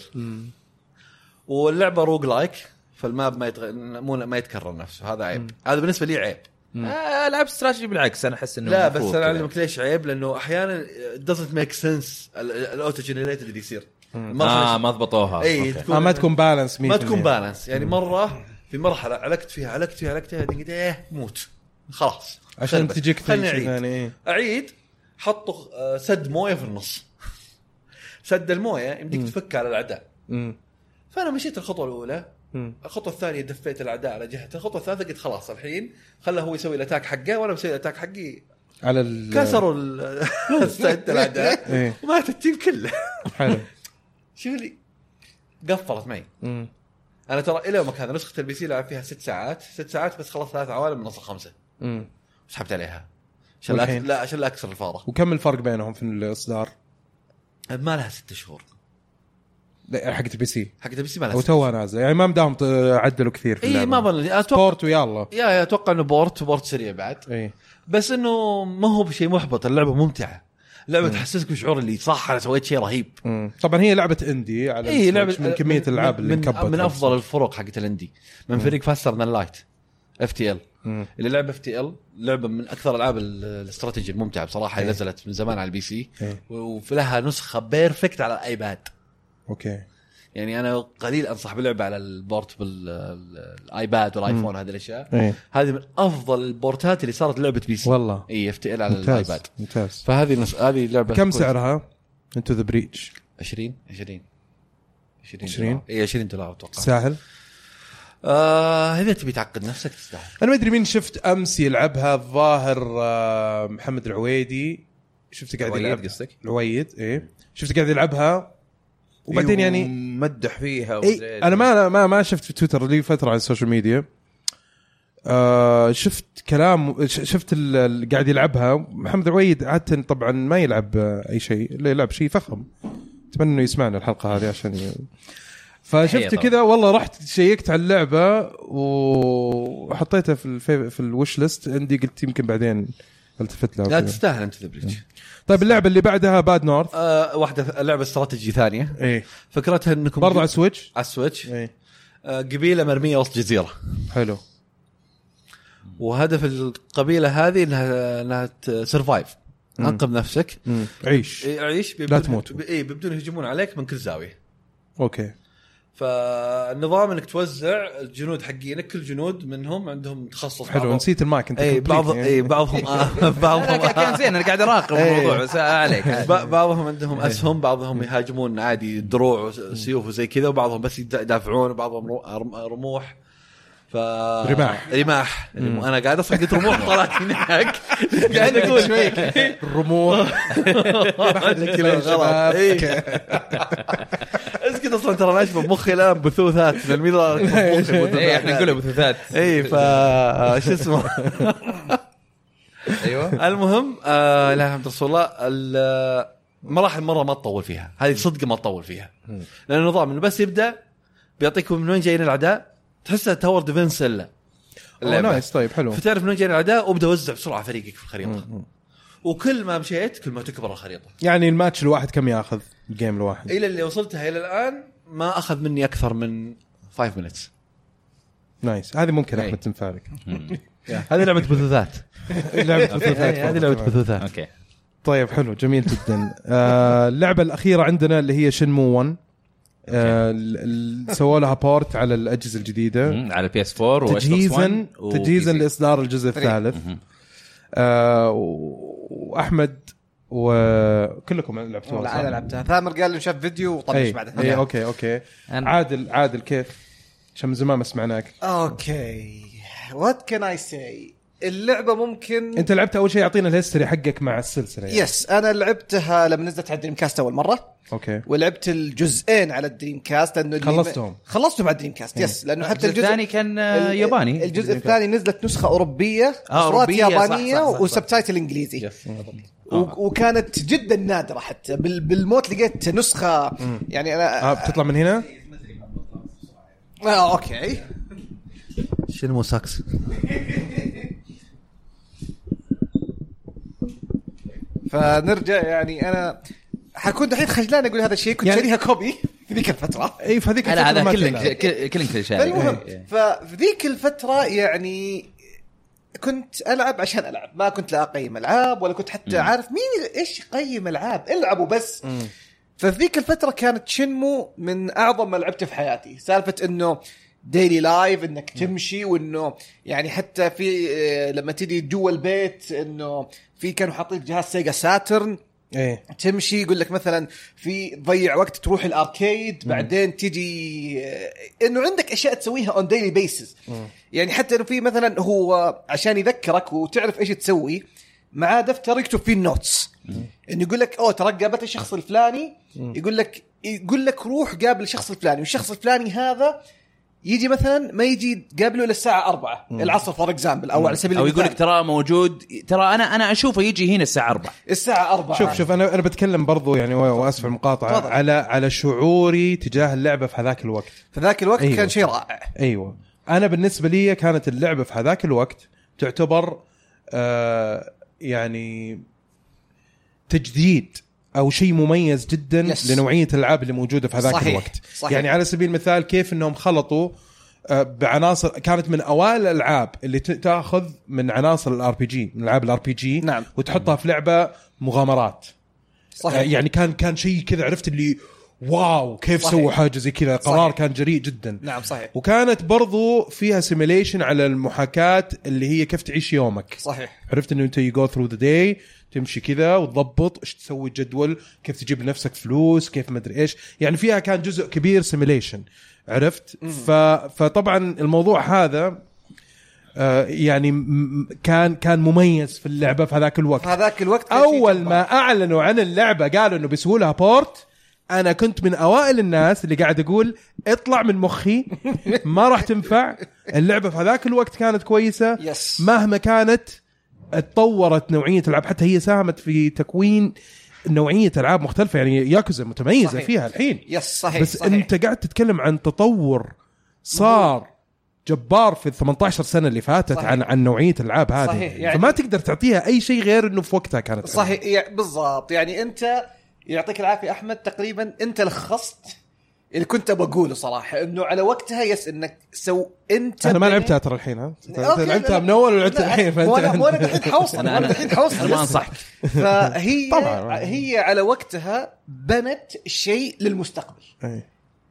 Speaker 4: واللعبه روج لايك فالماب ما يتغ... مو ما يتكرر نفسه هذا عيب هذا بالنسبه لي عيب
Speaker 3: آه، العاب استراتيجي بالعكس انا احس انه
Speaker 4: لا بس
Speaker 3: المفروض
Speaker 4: انا
Speaker 3: كذا.
Speaker 4: اعلمك ليش عيب لانه احيانا دزنت ميك سنس الاوتو جنريتد اللي يصير
Speaker 3: اه
Speaker 4: ما
Speaker 3: ما ضبطوها
Speaker 4: اي
Speaker 3: أوكي.
Speaker 1: آه ما تكون بالانس
Speaker 4: ما تكون بالانس يعني مره في مرحله علقت فيها علقت فيها علقت فيها دقيقة، ايه موت خلاص
Speaker 1: عشان
Speaker 4: خربت.
Speaker 1: تجيك
Speaker 4: خلني
Speaker 1: شيء
Speaker 4: اعيد
Speaker 1: ثاني إيه.
Speaker 4: اعيد حطوا آه، سد مويه في النص سد المويه يمديك تفك على الاعداء
Speaker 1: مم.
Speaker 4: فانا مشيت الخطوه الاولى
Speaker 1: مم.
Speaker 4: الخطوه الثانيه دفيت الاعداء على جهته الخطوه الثالثه قلت خلاص الحين خله هو يسوي الاتاك حقه وانا بسوي الاتاك حقي
Speaker 1: على ال
Speaker 4: كسروا ال- السد الاعداء
Speaker 1: إيه.
Speaker 4: ومات التيم كله
Speaker 1: حلو
Speaker 4: شوف لي قفلت معي
Speaker 1: مم.
Speaker 4: انا ترى الى يومك هذا نسخه البي سي لعب فيها ست ساعات ست ساعات بس خلصت ثلاث عوالم من اصل خمسه
Speaker 1: مم.
Speaker 4: سحبت عليها عشان لا
Speaker 1: والحين؟
Speaker 4: أك- لا عشان لا اكسر الفاره
Speaker 1: وكم الفرق بينهم في الاصدار
Speaker 4: ما لها ست شهور
Speaker 1: لا، حقت البي سي
Speaker 4: حق البي سي ما لها
Speaker 1: او
Speaker 4: ست شهور
Speaker 1: توها نازله يعني ما مداهم ط- عدلوا كثير في
Speaker 4: اي
Speaker 1: اللعبة.
Speaker 4: إيه، ما اظن اتوقع
Speaker 1: بورت ويلا
Speaker 4: يا يا اتوقع انه بورت بورت سريع بعد
Speaker 1: اي
Speaker 4: بس انه ما هو بشيء محبط اللعبه ممتعه اللعبه تحسسك بشعور اللي صح انا سويت شيء رهيب
Speaker 1: مم. طبعا هي لعبه اندي على
Speaker 4: اي
Speaker 1: السويتش
Speaker 4: لعبه
Speaker 1: من كميه الالعاب اللي
Speaker 4: إيه، من,
Speaker 1: انكبت
Speaker 4: من افضل الفروق حقت الاندي من فريق فاستر ذان لايت اف تي ال
Speaker 1: مم.
Speaker 4: اللي لعب اف تي ال لعبه من اكثر العاب ال- الاستراتيجي الممتعه بصراحه اللي نزلت من زمان على البي سي
Speaker 1: إيه.
Speaker 4: ولها نسخه بيرفكت على الايباد
Speaker 1: اوكي
Speaker 4: يعني انا قليل انصح بلعبه على البورتبل ال- ال- الايباد والايفون هذه الاشياء
Speaker 1: إيه.
Speaker 4: هذه من افضل البورتات اللي صارت لعبه بي سي إيه،
Speaker 1: والله
Speaker 4: اي اف تي ال على
Speaker 1: ممتاز
Speaker 4: الايباد
Speaker 1: ممتاز
Speaker 4: فهذه نس... هذه لعبه
Speaker 1: كم
Speaker 4: كويسة.
Speaker 1: سعرها؟ انتو ذا بريتش
Speaker 4: 20 20 20
Speaker 1: 20
Speaker 4: 20 اي 20 دولار اتوقع
Speaker 1: سهل
Speaker 4: آه اذا تبي تعقد نفسك تستاهل
Speaker 1: انا ما ادري مين شفت امس يلعبها الظاهر آه، محمد العويدي شفته قاعد
Speaker 3: العويد
Speaker 1: يلعب
Speaker 3: قصدك؟
Speaker 1: العويد ايه شفته قاعد يلعبها
Speaker 3: إيه،
Speaker 1: وبعدين يعني
Speaker 3: مدح فيها
Speaker 1: اي انا ما ما ما شفت في تويتر لي فتره على السوشيال ميديا آه شفت كلام ش- شفت ال- اللي قاعد يلعبها محمد عويد عاده طبعا ما يلعب آه، اي شيء لا يلعب شيء فخم اتمنى انه يسمعنا الحلقه هذه عشان ي...
Speaker 3: تحية
Speaker 1: فشفت
Speaker 3: طبعاً.
Speaker 1: كذا والله رحت شيكت على اللعبه وحطيتها في الفي... في الوش ليست عندي قلت يمكن بعدين التفت لها
Speaker 4: لا
Speaker 1: وكذا.
Speaker 4: تستاهل انت ذا بريتش
Speaker 1: طيب اللعبه اللي بعدها باد نورث
Speaker 4: آه واحده لعبه استراتيجي ثانيه
Speaker 1: ايه
Speaker 4: فكرتها انكم
Speaker 1: برضه على السويتش
Speaker 4: على السويتش
Speaker 1: ايه
Speaker 4: آه، قبيله مرميه وسط جزيره
Speaker 1: حلو
Speaker 4: وهدف القبيله هذه انها انها سرفايف انقذ نفسك
Speaker 1: مم. عيش
Speaker 4: إيه، عيش بدون-
Speaker 1: لا تموت.
Speaker 4: ب- اي بدون يهجمون عليك من كل زاويه
Speaker 1: اوكي
Speaker 4: فالنظام انك توزع الجنود حقينك كل جنود منهم عندهم تخصص
Speaker 1: حلو
Speaker 4: بعضهم-
Speaker 1: نسيت المايك انت
Speaker 4: اي
Speaker 1: complete
Speaker 4: بعض
Speaker 1: يعني.
Speaker 4: اي بعضهم آه، بعضهم
Speaker 3: أنا كان زين انا قاعد اراقب الموضوع بس عليك
Speaker 4: ب- بعضهم عندهم اسهم بعضهم يهاجمون عادي دروع وسيوف وزي كذا وبعضهم بس يد- يدافعون وبعضهم رو- رم- رموح ف
Speaker 1: رماح.
Speaker 4: رماح رم- انا قاعد اصلا قلت رموح طلعت هناك قاعد اقول
Speaker 1: الرموح
Speaker 4: غلط إي. اسكت اصلا ترى انا اشبه مخي الان بثوثات لان مين رأى
Speaker 3: إيه.
Speaker 4: مخي
Speaker 3: اي احنا
Speaker 4: بثوثات
Speaker 3: نقولها بثوثات
Speaker 4: اي ف آه، شو اسمه
Speaker 3: ايوه
Speaker 4: المهم آه لا الحمد رسول الله ال- مراحل مره ما تطول فيها هذه صدق ما تطول فيها لان النظام انه بس يبدا بيعطيكم من وين جايين الاعداء تحسها تاور ديفنس الا
Speaker 1: أوه،
Speaker 4: اللعبة.
Speaker 1: نايس طيب حلو
Speaker 4: فتعرف من وين جايين الاعداء وابدا وزع بسرعه فريقك في الخريطه وكل ما مشيت كل ما تكبر الخريطه
Speaker 1: يعني الماتش الواحد كم ياخذ الجيم الواحد
Speaker 4: الى اللي وصلتها الى الان ما اخذ مني اكثر من 5 minutes
Speaker 1: نايس هذه ممكن
Speaker 3: أي.
Speaker 1: احمد تنفعلك
Speaker 4: هذه لعبه بثوثات
Speaker 1: لعبة بثوثات
Speaker 4: هذه لعبه بثوثات
Speaker 3: اوكي
Speaker 1: إيه، طيب حلو جميل جدا آه، اللعبه الاخيره عندنا اللي هي شنمو 1 آه، ال- ال- سووا لها بورت على الاجهزه الجديده
Speaker 3: على بي اس 4 و
Speaker 1: تجهيزا تجهيزا لاصدار الجزء الثالث آه، و- واحمد وكلكم لعبتوها
Speaker 2: لا
Speaker 1: صح؟
Speaker 2: انا لعبتها ثامر قال لي شاف فيديو وطنش
Speaker 3: إيه.
Speaker 1: اي
Speaker 2: بعدها
Speaker 1: اي اوكي اوكي إيه، عادل عادل كيف؟ عشان من زمان ما سمعناك
Speaker 2: اوكي وات كان اي سي اللعبه ممكن
Speaker 1: انت لعبت اول شيء اعطينا الهيستوري حقك مع السلسله يعني.
Speaker 2: يس انا لعبتها لما نزلت على الدريم كاست اول مره
Speaker 1: اوكي
Speaker 2: ولعبت الجزئين على الدريم كاست لانه اللي-
Speaker 1: خلصتهم.
Speaker 2: خلصتهم على الدريم كاست يس لانه حتى الجزء
Speaker 3: إيه. الثاني كان آه،
Speaker 2: ال-
Speaker 3: ياباني إيه.
Speaker 2: الجزء الثاني نزلت نسخه اوروبيه
Speaker 3: آه،
Speaker 2: اصوات
Speaker 3: أوروبية، صح،
Speaker 2: يابانيه
Speaker 3: صح، صح، آه. صح.
Speaker 2: وسبتايتل انجليزي و- وكانت جدا نادره حتى بال- بالموت لقيت نسخه يعني انا
Speaker 1: آه بتطلع من هنا؟
Speaker 2: آه اوكي
Speaker 4: شنو ساكس
Speaker 2: فنرجع يعني انا حكون دحين خجلان اقول هذا الشيء كنت
Speaker 1: يعني-
Speaker 2: شاريها كوبي في ذيك الفتره
Speaker 1: اي إيه، في هذيك
Speaker 3: انا
Speaker 1: الفترة ما
Speaker 3: هذا
Speaker 1: تلعب.
Speaker 3: كلينج كلينج
Speaker 2: فالمهم
Speaker 3: إيه.
Speaker 2: ففي ذيك الفتره يعني كنت العب عشان العب ما كنت لا اقيم العاب ولا كنت حتى عارف مين ايش يقيم العاب العبوا بس ففي ذيك الفتره كانت شنمو من اعظم ما لعبته في حياتي سالفه انه ديلي لايف انك تمشي وانه يعني حتى في آه، لما تجي جوا البيت انه في كانوا حاطين جهاز سيجا ساترن
Speaker 1: ايه
Speaker 2: تمشي يقول لك مثلا في ضيع وقت تروح الاركيد بعدين تجي آه، انه عندك اشياء تسويها اون ديلي بيسز يعني حتى انه في مثلا هو عشان يذكرك وتعرف ايش تسوي معاه دفتر يكتب فيه النوتس انه يقول لك اوه ترى قابلت الشخص الفلاني يقول لك يقول لك روح قابل الشخص الفلاني والشخص الفلاني هذا يجي مثلا ما يجي تقابله الا الساعه 4 العصر فور اكزامبل او على سبيل
Speaker 3: او يقول
Speaker 2: المثال
Speaker 3: لك ترى موجود ترى انا انا اشوفه يجي هنا الساعه 4
Speaker 2: الساعه 4
Speaker 1: شوف شوف انا انا بتكلم برضو يعني و- واسف على المقاطعه
Speaker 2: تفضل.
Speaker 1: على على شعوري تجاه اللعبه في هذاك الوقت
Speaker 2: في ذاك الوقت
Speaker 1: أيوه.
Speaker 2: كان شيء رائع
Speaker 1: ايوه انا بالنسبه لي كانت اللعبه في هذاك الوقت تعتبر آه يعني تجديد او شيء مميز جدا
Speaker 2: Yes.
Speaker 1: لنوعيه الالعاب اللي موجوده في هذاك
Speaker 2: صحيح.
Speaker 1: الوقت
Speaker 2: صحيح.
Speaker 1: يعني على سبيل المثال كيف انهم خلطوا آه، بعناصر كانت من اوائل الالعاب اللي ت- تاخذ من عناصر الار بي جي من العاب الار بي جي
Speaker 2: نعم.
Speaker 1: وتحطها في لعبه مغامرات آه،
Speaker 2: صحيح
Speaker 1: أيوه. يعني كان كان شيء كذا عرفت اللي واو كيف
Speaker 2: صحيح.
Speaker 1: سووا حاجه زي كذا قرار
Speaker 2: صحيح.
Speaker 1: كان جريء جدا
Speaker 2: نعم صحيح
Speaker 1: وكانت برضو فيها سيميليشن على المحاكاه اللي هي كيف تعيش يومك
Speaker 2: صحيح
Speaker 1: عرفت انه انت يو جو ثرو ذا داي تمشي كذا وتضبط ايش تسوي جدول كيف تجيب لنفسك فلوس كيف مدري ايش يعني فيها كان جزء كبير سيميليشن عرفت ف... فطبعا الموضوع هذا آه، يعني م- م- كان كان مميز في اللعبه في هذاك الوقت
Speaker 2: هذاك الوقت كان شيء
Speaker 1: اول
Speaker 2: جبار.
Speaker 1: ما اعلنوا عن اللعبه قالوا انه بيسووا لها بورت انا كنت من اوائل الناس اللي قاعد اقول اطلع من مخي ما راح تنفع اللعبه في هذاك الوقت كانت كويسه
Speaker 2: يس.
Speaker 1: مهما كانت اتطورت نوعيه العاب حتى هي ساهمت في تكوين نوعيه العاب مختلفه يعني ياكوزا متميزه
Speaker 2: صحيح.
Speaker 1: فيها الحين
Speaker 2: يس صحيح
Speaker 1: بس
Speaker 2: إيه، صحيح.
Speaker 1: انت قاعد تتكلم عن تطور صار جبار في ال 18 سنه اللي فاتت
Speaker 2: صحيح.
Speaker 1: عن عن نوعيه الالعاب هذه
Speaker 2: صحيح، يعني-
Speaker 1: فما تقدر تعطيها اي شيء غير انه في وقتها كانت حلوة.
Speaker 2: صحيح يع- بالضبط يعني انت يعطيك العافيه احمد تقريبا انت لخصت اللي كنت بقوله صراحه انه على وقتها يس انك سو انت
Speaker 1: انا ما
Speaker 2: بني-
Speaker 1: لعبتها ترى الحين ها أنت
Speaker 2: أوكي،
Speaker 1: لعبتها
Speaker 2: لا-
Speaker 1: من اول ولعبتها
Speaker 2: لا،
Speaker 1: الحين
Speaker 2: مو انا مو انا
Speaker 1: فانت
Speaker 2: الحين حوصل
Speaker 3: أنا-
Speaker 2: انا الحين حوصل
Speaker 3: انا ما
Speaker 2: لسه.
Speaker 3: انصحك
Speaker 2: فهي
Speaker 1: طبعاً.
Speaker 2: هي على وقتها بنت شيء للمستقبل
Speaker 1: أي.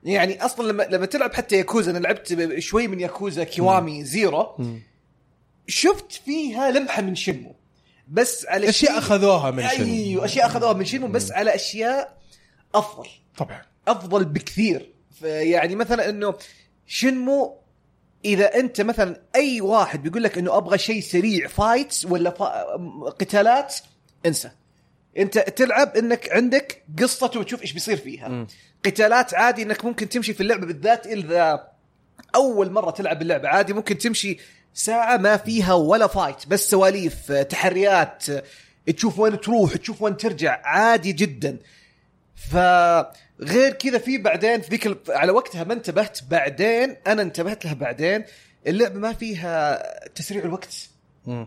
Speaker 2: يعني اصلا لما لما تلعب حتى ياكوزا انا لعبت ب- شوي من ياكوزا كيوامي زيرو شفت فيها لمحه من شنمو بس على
Speaker 1: اشياء
Speaker 2: شيء-
Speaker 1: اخذوها من شيء
Speaker 2: ايوه اشياء اخذوها من شنمو بس على اشياء افضل
Speaker 1: طبعا
Speaker 2: افضل بكثير ف- يعني مثلا انه شنمو اذا انت مثلا اي واحد بيقول لك انه ابغى شيء سريع فايتس ولا فا... م- قتالات انسى انت تلعب انك عندك قصته وتشوف ايش بيصير فيها م. قتالات عادي انك ممكن تمشي في اللعبه بالذات اذا اول مره تلعب اللعبه عادي ممكن تمشي ساعه ما فيها ولا فايت بس سواليف آه، تحريات آه، تشوف وين تروح تشوف وين ترجع عادي جدا فغير كذا في بعدين في ذيك ال- على وقتها ما انتبهت بعدين انا انتبهت لها بعدين اللعبه ما فيها تسريع الوقت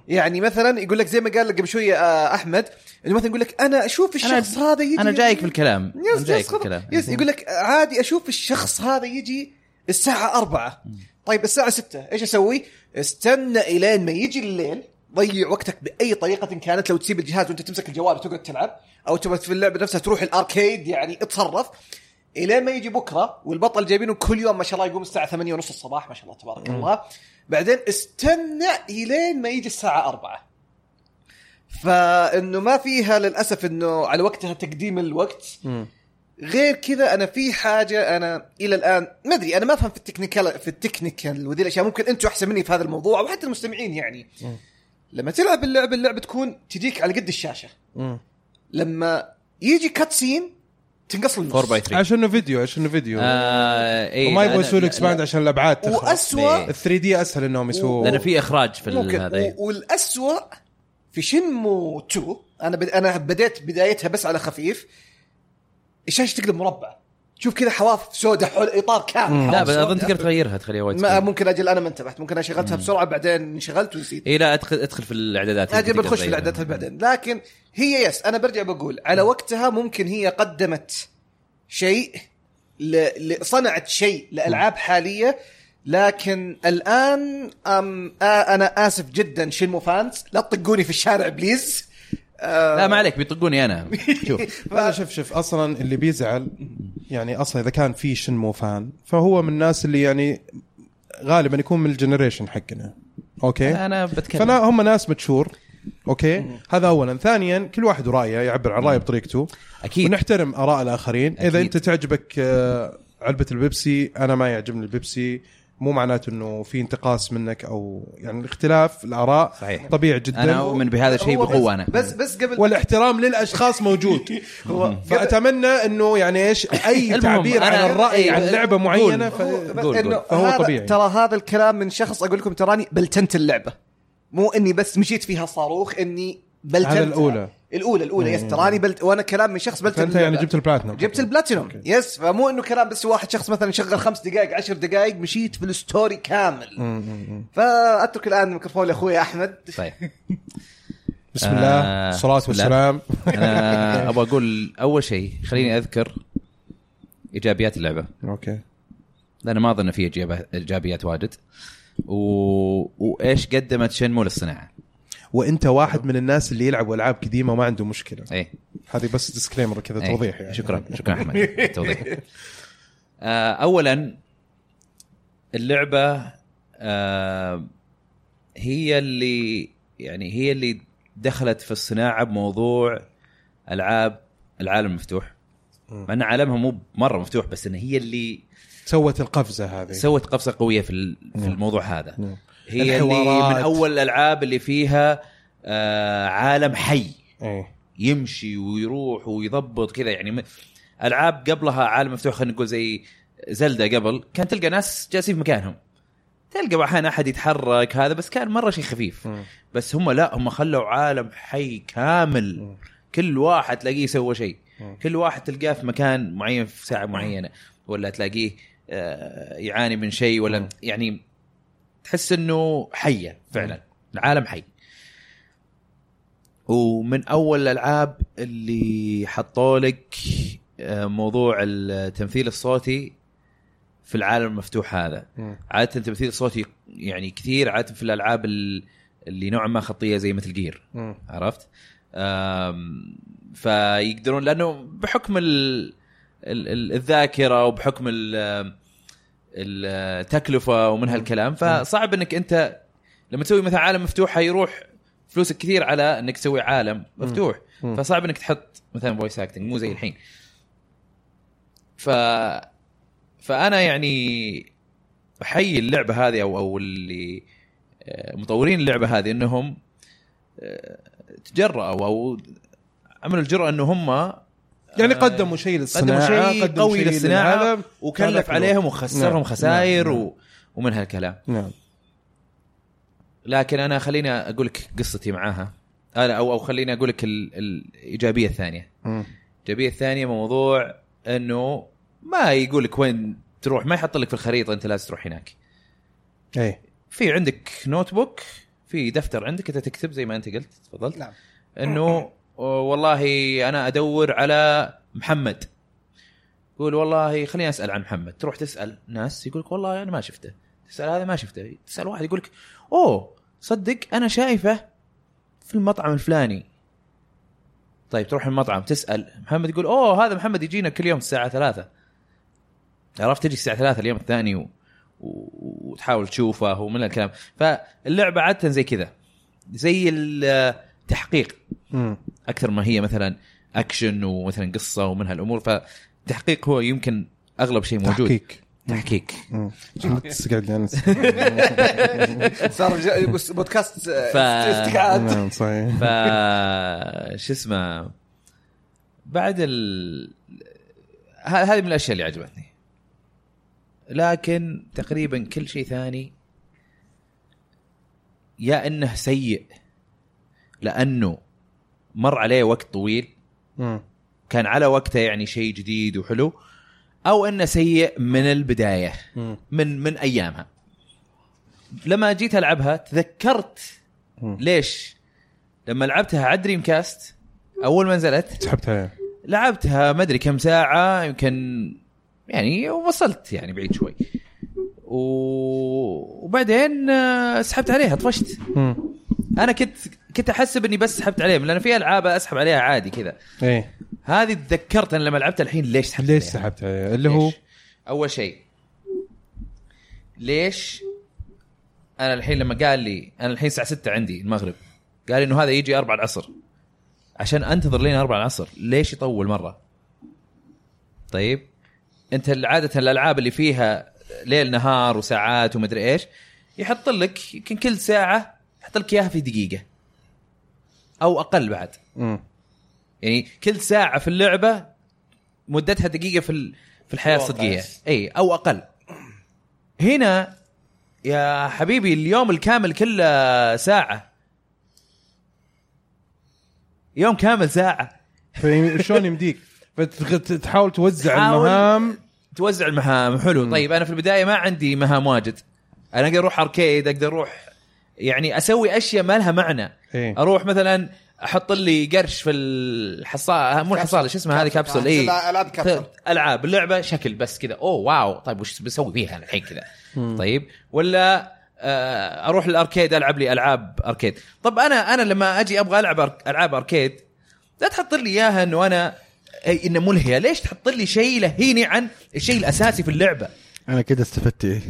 Speaker 2: يعني مثلا يقول لك زي ما قال لك قبل شويه آه، احمد انه مثلا يقول لك انا اشوف الشخص هذا يجي
Speaker 3: انا جايك في الكلام انا
Speaker 2: يس
Speaker 3: جايك
Speaker 2: يس,
Speaker 3: في الكلام
Speaker 2: يس يقول لك عادي اشوف الشخص هذا يجي الساعة أربعة طيب الساعة ستة ايش اسوي؟ استنى الين ما يجي الليل ضيع وقتك بأي طريقة كانت لو تسيب الجهاز وانت تمسك الجوال وتقعد تلعب او تبغى في اللعبة نفسها تروح الاركيد يعني اتصرف الين ما يجي بكره والبطل جايبينه كل يوم ما شاء الله يقوم الساعة ثمانية ونص الصباح ما شاء الله تبارك الله بعدين استنى الين ما يجي الساعة أربعة فانه ما فيها للاسف انه على وقتها تقديم الوقت غير كذا انا في حاجه انا الى الان ما ادري انا ما افهم في التكنيكال في التكنيكال وذي الاشياء ممكن انتم احسن مني في هذا الموضوع او حتى المستمعين يعني لما تلعب اللعبه اللعبه تكون تجيك على قد الشاشه لما يجي كاتسين تنقص للنص
Speaker 3: 4 باي 3
Speaker 1: عشان انه فيديو عشان انه فيديو
Speaker 3: آه،
Speaker 1: وما
Speaker 3: وما
Speaker 1: يبغوا يسووا الاكسباند عشان الابعاد تخلص
Speaker 2: واسوء
Speaker 1: ال 3 دي اسهل انهم يسووا
Speaker 3: لانه في اخراج في ال-
Speaker 2: ممكن
Speaker 3: هذا إيه.
Speaker 2: و- والاسوء في شنمو 2 انا بد... انا بديت بدايتها بس على خفيف الشاشه تقلب مربع تشوف كذا حواف سوداء حول اطار كامل
Speaker 3: لا بس
Speaker 2: سوداء.
Speaker 3: اظن تقدر تغيرها تخليها وايد
Speaker 2: ما
Speaker 3: سكرين.
Speaker 2: ممكن اجل انا ما انتبهت ممكن انا شغلتها بسرعه بعدين انشغلت ونسيت
Speaker 3: اي إيه، لا ادخل ادخل في الاعدادات
Speaker 2: اجل بنخش في الاعدادات بعدين لكن هي يس انا برجع بقول على وقتها ممكن هي قدمت شيء ل... ل... صنعت شيء لالعاب حاليه لكن الان أم... آ... انا اسف جدا شنمو فانس لا تطقوني في الشارع بليز آه...
Speaker 3: لا ما عليك بيطقوني انا شوف
Speaker 1: لا شوف شوف اصلا اللي بيزعل يعني اصلا اذا كان في شنمو فان فهو من الناس اللي يعني غالبا يكون من الجنريشن حقنا اوكي
Speaker 3: انا بتكلم
Speaker 1: فانا هم ناس متشور اوكي هذا اولا ثانيا كل واحد رايه يعبر عن رايه بطريقته
Speaker 3: اكيد
Speaker 1: ونحترم اراء الاخرين أكيد. اذا
Speaker 3: أكيد.
Speaker 1: انت تعجبك آه، علبه البيبسي انا ما يعجبني البيبسي مو معناته انه في انتقاص منك او يعني اختلاف الاراء
Speaker 3: صحيح.
Speaker 1: طبيعي جدا
Speaker 3: انا اؤمن بهذا الشيء
Speaker 2: هو
Speaker 3: بقوه
Speaker 2: بس-
Speaker 3: انا
Speaker 2: بس بس قبل
Speaker 1: والاحترام للاشخاص موجود
Speaker 2: هو
Speaker 1: فاتمنى انه يعني ايش اي
Speaker 3: المهم،
Speaker 1: تعبير عن
Speaker 3: أنا-
Speaker 1: الراي عن
Speaker 3: أيوة.
Speaker 1: لعبه معينه ف...
Speaker 2: بس
Speaker 3: قول-
Speaker 2: إنه
Speaker 3: قول.
Speaker 1: فهو
Speaker 2: هذا
Speaker 1: طبيعي.
Speaker 2: ترى هذا الكلام من شخص اقول لكم تراني بلتنت اللعبه مو اني بس مشيت فيها صاروخ اني بلتنت
Speaker 1: هذا الأولى.
Speaker 2: الاولى الاولى يس تراني بلت وانا كلام من شخص بلتنت
Speaker 1: فانت يعني
Speaker 2: اللعبة.
Speaker 1: جبت البلاتنم
Speaker 2: جبت البلاتينوم يس فمو انه كلام بس واحد شخص مثلا شغل خمس دقائق عشر دقائق مشيت في الستوري كامل فاترك الان الميكروفون لاخوي احمد
Speaker 3: طيب
Speaker 1: بسم الله
Speaker 3: آه،
Speaker 1: الصلاه
Speaker 3: بسم الله.
Speaker 1: والسلام
Speaker 3: انا ابغى اقول اول شيء خليني اذكر ايجابيات اللعبه
Speaker 1: اوكي
Speaker 3: لان ما اظن في إيجابي- ايجابيات واجد و... وايش قدمت شنمو للصناعه
Speaker 1: وانت واحد من الناس اللي يلعبوا العاب قديمه وما عنده مشكله
Speaker 3: ايه
Speaker 1: هذه بس ديسكليمر كذا
Speaker 3: إيه.
Speaker 1: توضيح يعني
Speaker 3: شكرا شكرا احمد التوضيح آه، اولا اللعبه آه، هي اللي يعني هي اللي دخلت في الصناعه بموضوع العاب العالم المفتوح
Speaker 1: مم.
Speaker 3: مع ان عالمها مو مره مفتوح بس ان هي اللي
Speaker 1: سوت القفزه هذه
Speaker 3: سوت قفزه قويه في ال- في
Speaker 1: إيه. مم.
Speaker 3: الموضوع هذا
Speaker 1: مم.
Speaker 3: هي اللي
Speaker 1: الحوارات.
Speaker 3: من اول الالعاب اللي فيها آه، عالم حي
Speaker 1: ايه
Speaker 3: يمشي ويروح ويضبط كذا يعني م- العاب قبلها عالم مفتوح خلينا نقول زي زلدا قبل كان تلقى ناس جالسين في مكانهم تلقى احيانا احد يتحرك هذا بس كان مره شيء خفيف
Speaker 1: مم.
Speaker 3: بس هم لا هم خلوا عالم حي كامل
Speaker 1: مم.
Speaker 3: كل واحد تلاقيه سوى شيء
Speaker 1: مم.
Speaker 3: كل واحد تلقاه في مكان معين في ساعه معينه ولا تلاقيه آه، يعاني من شيء ولا
Speaker 1: مم.
Speaker 3: يعني تحس انه حيه فعلا العالم حي ومن اول الالعاب اللي حطوا لك آه، موضوع التمثيل الصوتي في العالم المفتوح هذا
Speaker 1: مم.
Speaker 3: عاده التمثيل الصوتي يعني كثير عاده في الالعاب ال- اللي نوعا ما خطيه زي مثل جير
Speaker 1: مم.
Speaker 3: عرفت؟ آم، فيقدرون لانه بحكم ال ال- ال- الذاكره وبحكم ال- التكلفه ومن هالكلام فصعب انك انت لما تسوي مثلا عالم مفتوح حيروح فلوسك كثير على انك تسوي عالم مفتوح
Speaker 1: مم.
Speaker 3: فصعب انك تحط مثلا فويس اكتنج مو زي الحين ف فانا يعني احيي اللعبه هذه او او اللي آه، مطورين اللعبه هذه انهم آه، تجرأوا او عملوا الجرأة ان هم
Speaker 1: يعني
Speaker 3: آه،
Speaker 1: قدموا شيء للصناعه
Speaker 3: قدموا شيء قوي
Speaker 1: شيء
Speaker 3: للصناعة.
Speaker 1: للعالم. هذا
Speaker 3: وكلف
Speaker 1: حلو.
Speaker 3: عليهم وخسرهم
Speaker 1: نعم،
Speaker 3: خسائر
Speaker 1: نعم،
Speaker 3: و... ومن هالكلام
Speaker 1: نعم
Speaker 3: لكن انا خليني اقول لك قصتي معاها انا او او خليني اقول لك ال... الايجابيه الثانيه
Speaker 1: مم.
Speaker 3: الايجابيه الثانيه موضوع انه ما يقول لك وين تروح ما يحط لك في الخريطه انت لازم تروح هناك
Speaker 1: ايه
Speaker 3: في عندك نوت بوك في دفتر عندك انت تكتب زي ما انت قلت تفضلت
Speaker 2: نعم.
Speaker 3: انه والله انا ادور على محمد يقول والله خليني اسال عن محمد تروح تسال ناس يقول لك والله انا ما شفته تسال هذا ما شفته تسال واحد يقول لك اوه صدق انا شايفه في المطعم الفلاني طيب تروح المطعم تسال محمد يقول اوه هذا محمد يجينا كل يوم الساعه ثلاثة عرفت تجي الساعه ثلاثة اليوم الثاني و... و... وتحاول تشوفه ومن الكلام فاللعبه عاده زي كذا زي التحقيق
Speaker 1: مم.
Speaker 3: اكثر ما هي مثلا اكشن ومثلا قصه ومن هالامور فالتحقيق هو يمكن اغلب شيء موجود تحقيق,
Speaker 1: تحقيق يعني-
Speaker 3: تحقيق.
Speaker 1: مم. عشان ما تستقعد لي أنس.
Speaker 2: صار ج- بس- بودكاست آه،
Speaker 3: ف-
Speaker 2: استقعاد
Speaker 1: نعم صحيح
Speaker 3: ف شو اسمه بعد ال ه- هذه من الاشياء اللي عجبتني لكن تقريبا كل شيء ثاني يا انه سيء لانه مر عليه وقت طويل
Speaker 1: مم.
Speaker 3: كان على وقته يعني شيء جديد وحلو او انه سيء من البدايه
Speaker 1: مم.
Speaker 3: من من ايامها لما جيت العبها تذكرت
Speaker 1: مم.
Speaker 3: ليش لما لعبتها على دريم كاست اول ما نزلت
Speaker 1: سحبتها
Speaker 3: لعبتها ما ادري كم ساعه يمكن يعني وصلت يعني بعيد شوي و... وبعدين آه، سحبت عليها طفشت
Speaker 1: مم.
Speaker 3: انا كنت كنت احسب اني بس سحبت عليها لان في العاب اسحب عليها عادي كذا
Speaker 1: ايه
Speaker 3: هذه تذكرت انا لما لعبتها الحين ليش سحبت
Speaker 1: ليش
Speaker 3: عليها.
Speaker 1: سحبت عليها؟ اللي هو
Speaker 3: ليش؟ اول شيء ليش انا الحين لما قال لي انا الحين الساعه 6 عندي المغرب قال لي انه هذا يجي 4 العصر عشان انتظر لين 4 العصر ليش يطول مره طيب انت عاده الالعاب اللي فيها ليل نهار وساعات ومدري ايش يحط لك يمكن كل ساعه يحط لك اياها في دقيقه او اقل بعد
Speaker 1: مم.
Speaker 3: يعني كل ساعه في اللعبه مدتها دقيقه في ال- في الحياه
Speaker 4: الواقع.
Speaker 3: الصدقيه اي او اقل هنا يا حبيبي اليوم الكامل كله ساعه يوم كامل ساعه
Speaker 1: فشلون يمديك؟ فتحاول توزع
Speaker 3: تحاول-
Speaker 1: المهام
Speaker 3: توزع المهام حلو طيب انا في البدايه ما عندي مهام واجد انا اقدر اروح اركيد اقدر اروح يعني اسوي اشياء ما لها معنى
Speaker 1: ايه
Speaker 3: اروح مثلا احط لي قرش في الحصاله مو الحصاله شو اسمها هذه إيه. كابسول اي
Speaker 2: لا، العاب كابسول
Speaker 3: العاب اللعبه شكل بس كذا اوه واو طيب وش بسوي فيها أنا الحين كذا طيب ولا آه، اروح الاركيد العب لي العاب اركيد طب انا انا لما اجي ابغى العب أر- العاب اركيد لا تحط لي اياها انه انا أي انه ملهيه ليش تحط لي شيء يلهيني عن الشيء الاساسي في اللعبه
Speaker 5: انا كده استفدت ايه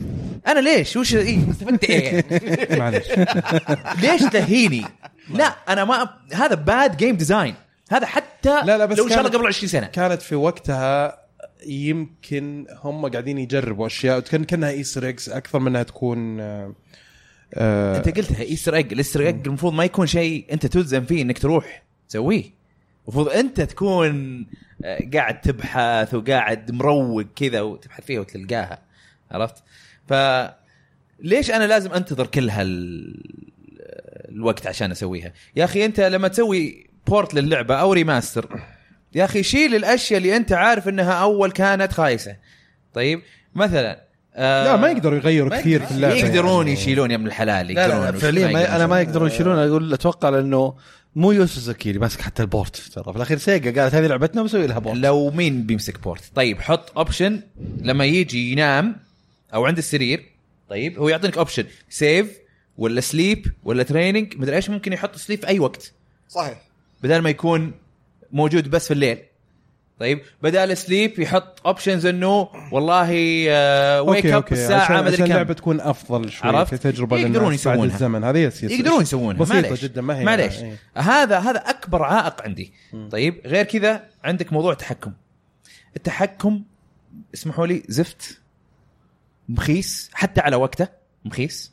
Speaker 3: انا ليش وش إيه؟ استفدت ايه
Speaker 1: إيه، معليش
Speaker 3: ليش تلهيني لا انا ما أب- هذا باد جيم ديزاين هذا حتى
Speaker 1: لا، لا، بس
Speaker 3: لو ان شاء الله
Speaker 1: كان-
Speaker 3: قبل 20 سنه
Speaker 1: كانت في وقتها يمكن هم قاعدين يجربوا اشياء كان كانها ايستر اكس اكثر منها تكون آه، آه،
Speaker 3: انت قلتها ايستر ايج الايستر ايج المفروض ما يكون شيء انت تلزم فيه انك تروح تسويه المفروض انت تكون آه، قاعد تبحث وقاعد مروق كذا وتبحث فيها وتلقاها عرفت ف ليش انا لازم انتظر كل هال آه، الوقت عشان اسويها يا اخي انت لما تسوي بورت للعبه او ريماستر يا اخي شيل الاشياء اللي انت عارف انها اول كانت خايسه طيب مثلا آه
Speaker 1: لا ما يقدروا يغيروا
Speaker 3: ما
Speaker 1: كثير في اللعبه
Speaker 3: يقدرون يشيلون يا ابن الحلال
Speaker 5: يعني لا
Speaker 3: يقدرون
Speaker 5: لا فعليا ما انا ما يقدرون يشيلون اقول اتوقع لانه مو يوسف زكيري ماسك حتى البورت ترى في الاخير سيجا قالت هذه لعبتنا بنسوي لها بورت
Speaker 3: لو مين بيمسك بورت طيب حط اوبشن لما يجي ينام او عند السرير طيب هو يعطيك اوبشن سيف ولا سليب ولا تريننج مدري ايش ممكن يحط سليب في اي وقت
Speaker 2: صحيح
Speaker 3: بدل ما يكون موجود بس في الليل طيب بدال سليب يحط اوبشنز انه والله آه، ويك
Speaker 1: أوكي،
Speaker 3: اب
Speaker 1: أوكي، عشان-
Speaker 3: الساعه
Speaker 1: عشان
Speaker 3: مدري كم
Speaker 1: اللعبه تكون افضل شوي
Speaker 3: عرفت؟
Speaker 1: عرفت؟ كتجربه
Speaker 3: يقدرون
Speaker 1: للناس بعد
Speaker 3: يسوونها.
Speaker 1: الزمن هذه يس- يس-
Speaker 3: يقدرون يسوونها
Speaker 1: بسيطه
Speaker 3: معليش.
Speaker 1: جدا ما هي
Speaker 3: معليش
Speaker 1: إيه.
Speaker 3: هذا هذا اكبر عائق عندي طيب غير كذا عندك موضوع تحكم التحكم اسمحوا لي زفت مخيس حتى على وقته مخيس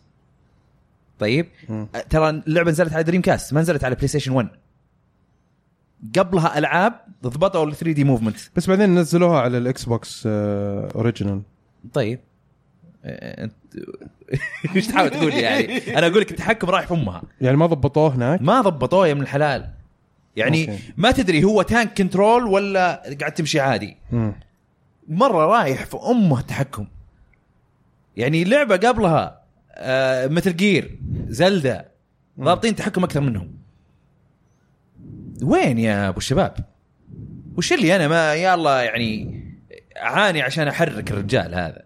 Speaker 3: طيب أه، ترى اللعبه نزلت على دريم كاست ما نزلت على بلاي ستيشن 1 قبلها العاب ضبطوا ال 3 دي موفمنت
Speaker 1: بس بعدين نزلوها على الاكس بوكس آه، اوريجينال
Speaker 3: طيب أه، أنت- وش تحاول تقول لي يعني انا اقول لك التحكم رايح في امها
Speaker 1: يعني ما ضبطوه هناك
Speaker 3: ما ضبطوه يا من الحلال يعني
Speaker 1: أوكي.
Speaker 3: ما تدري هو تانك كنترول ولا قاعد تمشي عادي
Speaker 1: مم.
Speaker 3: مره رايح في امه التحكم يعني لعبه قبلها آه مثل جير زلدا ضابطين تحكم اكثر منهم وين يا ابو الشباب وش اللي انا ما يلا يعني اعاني عشان احرك الرجال هذا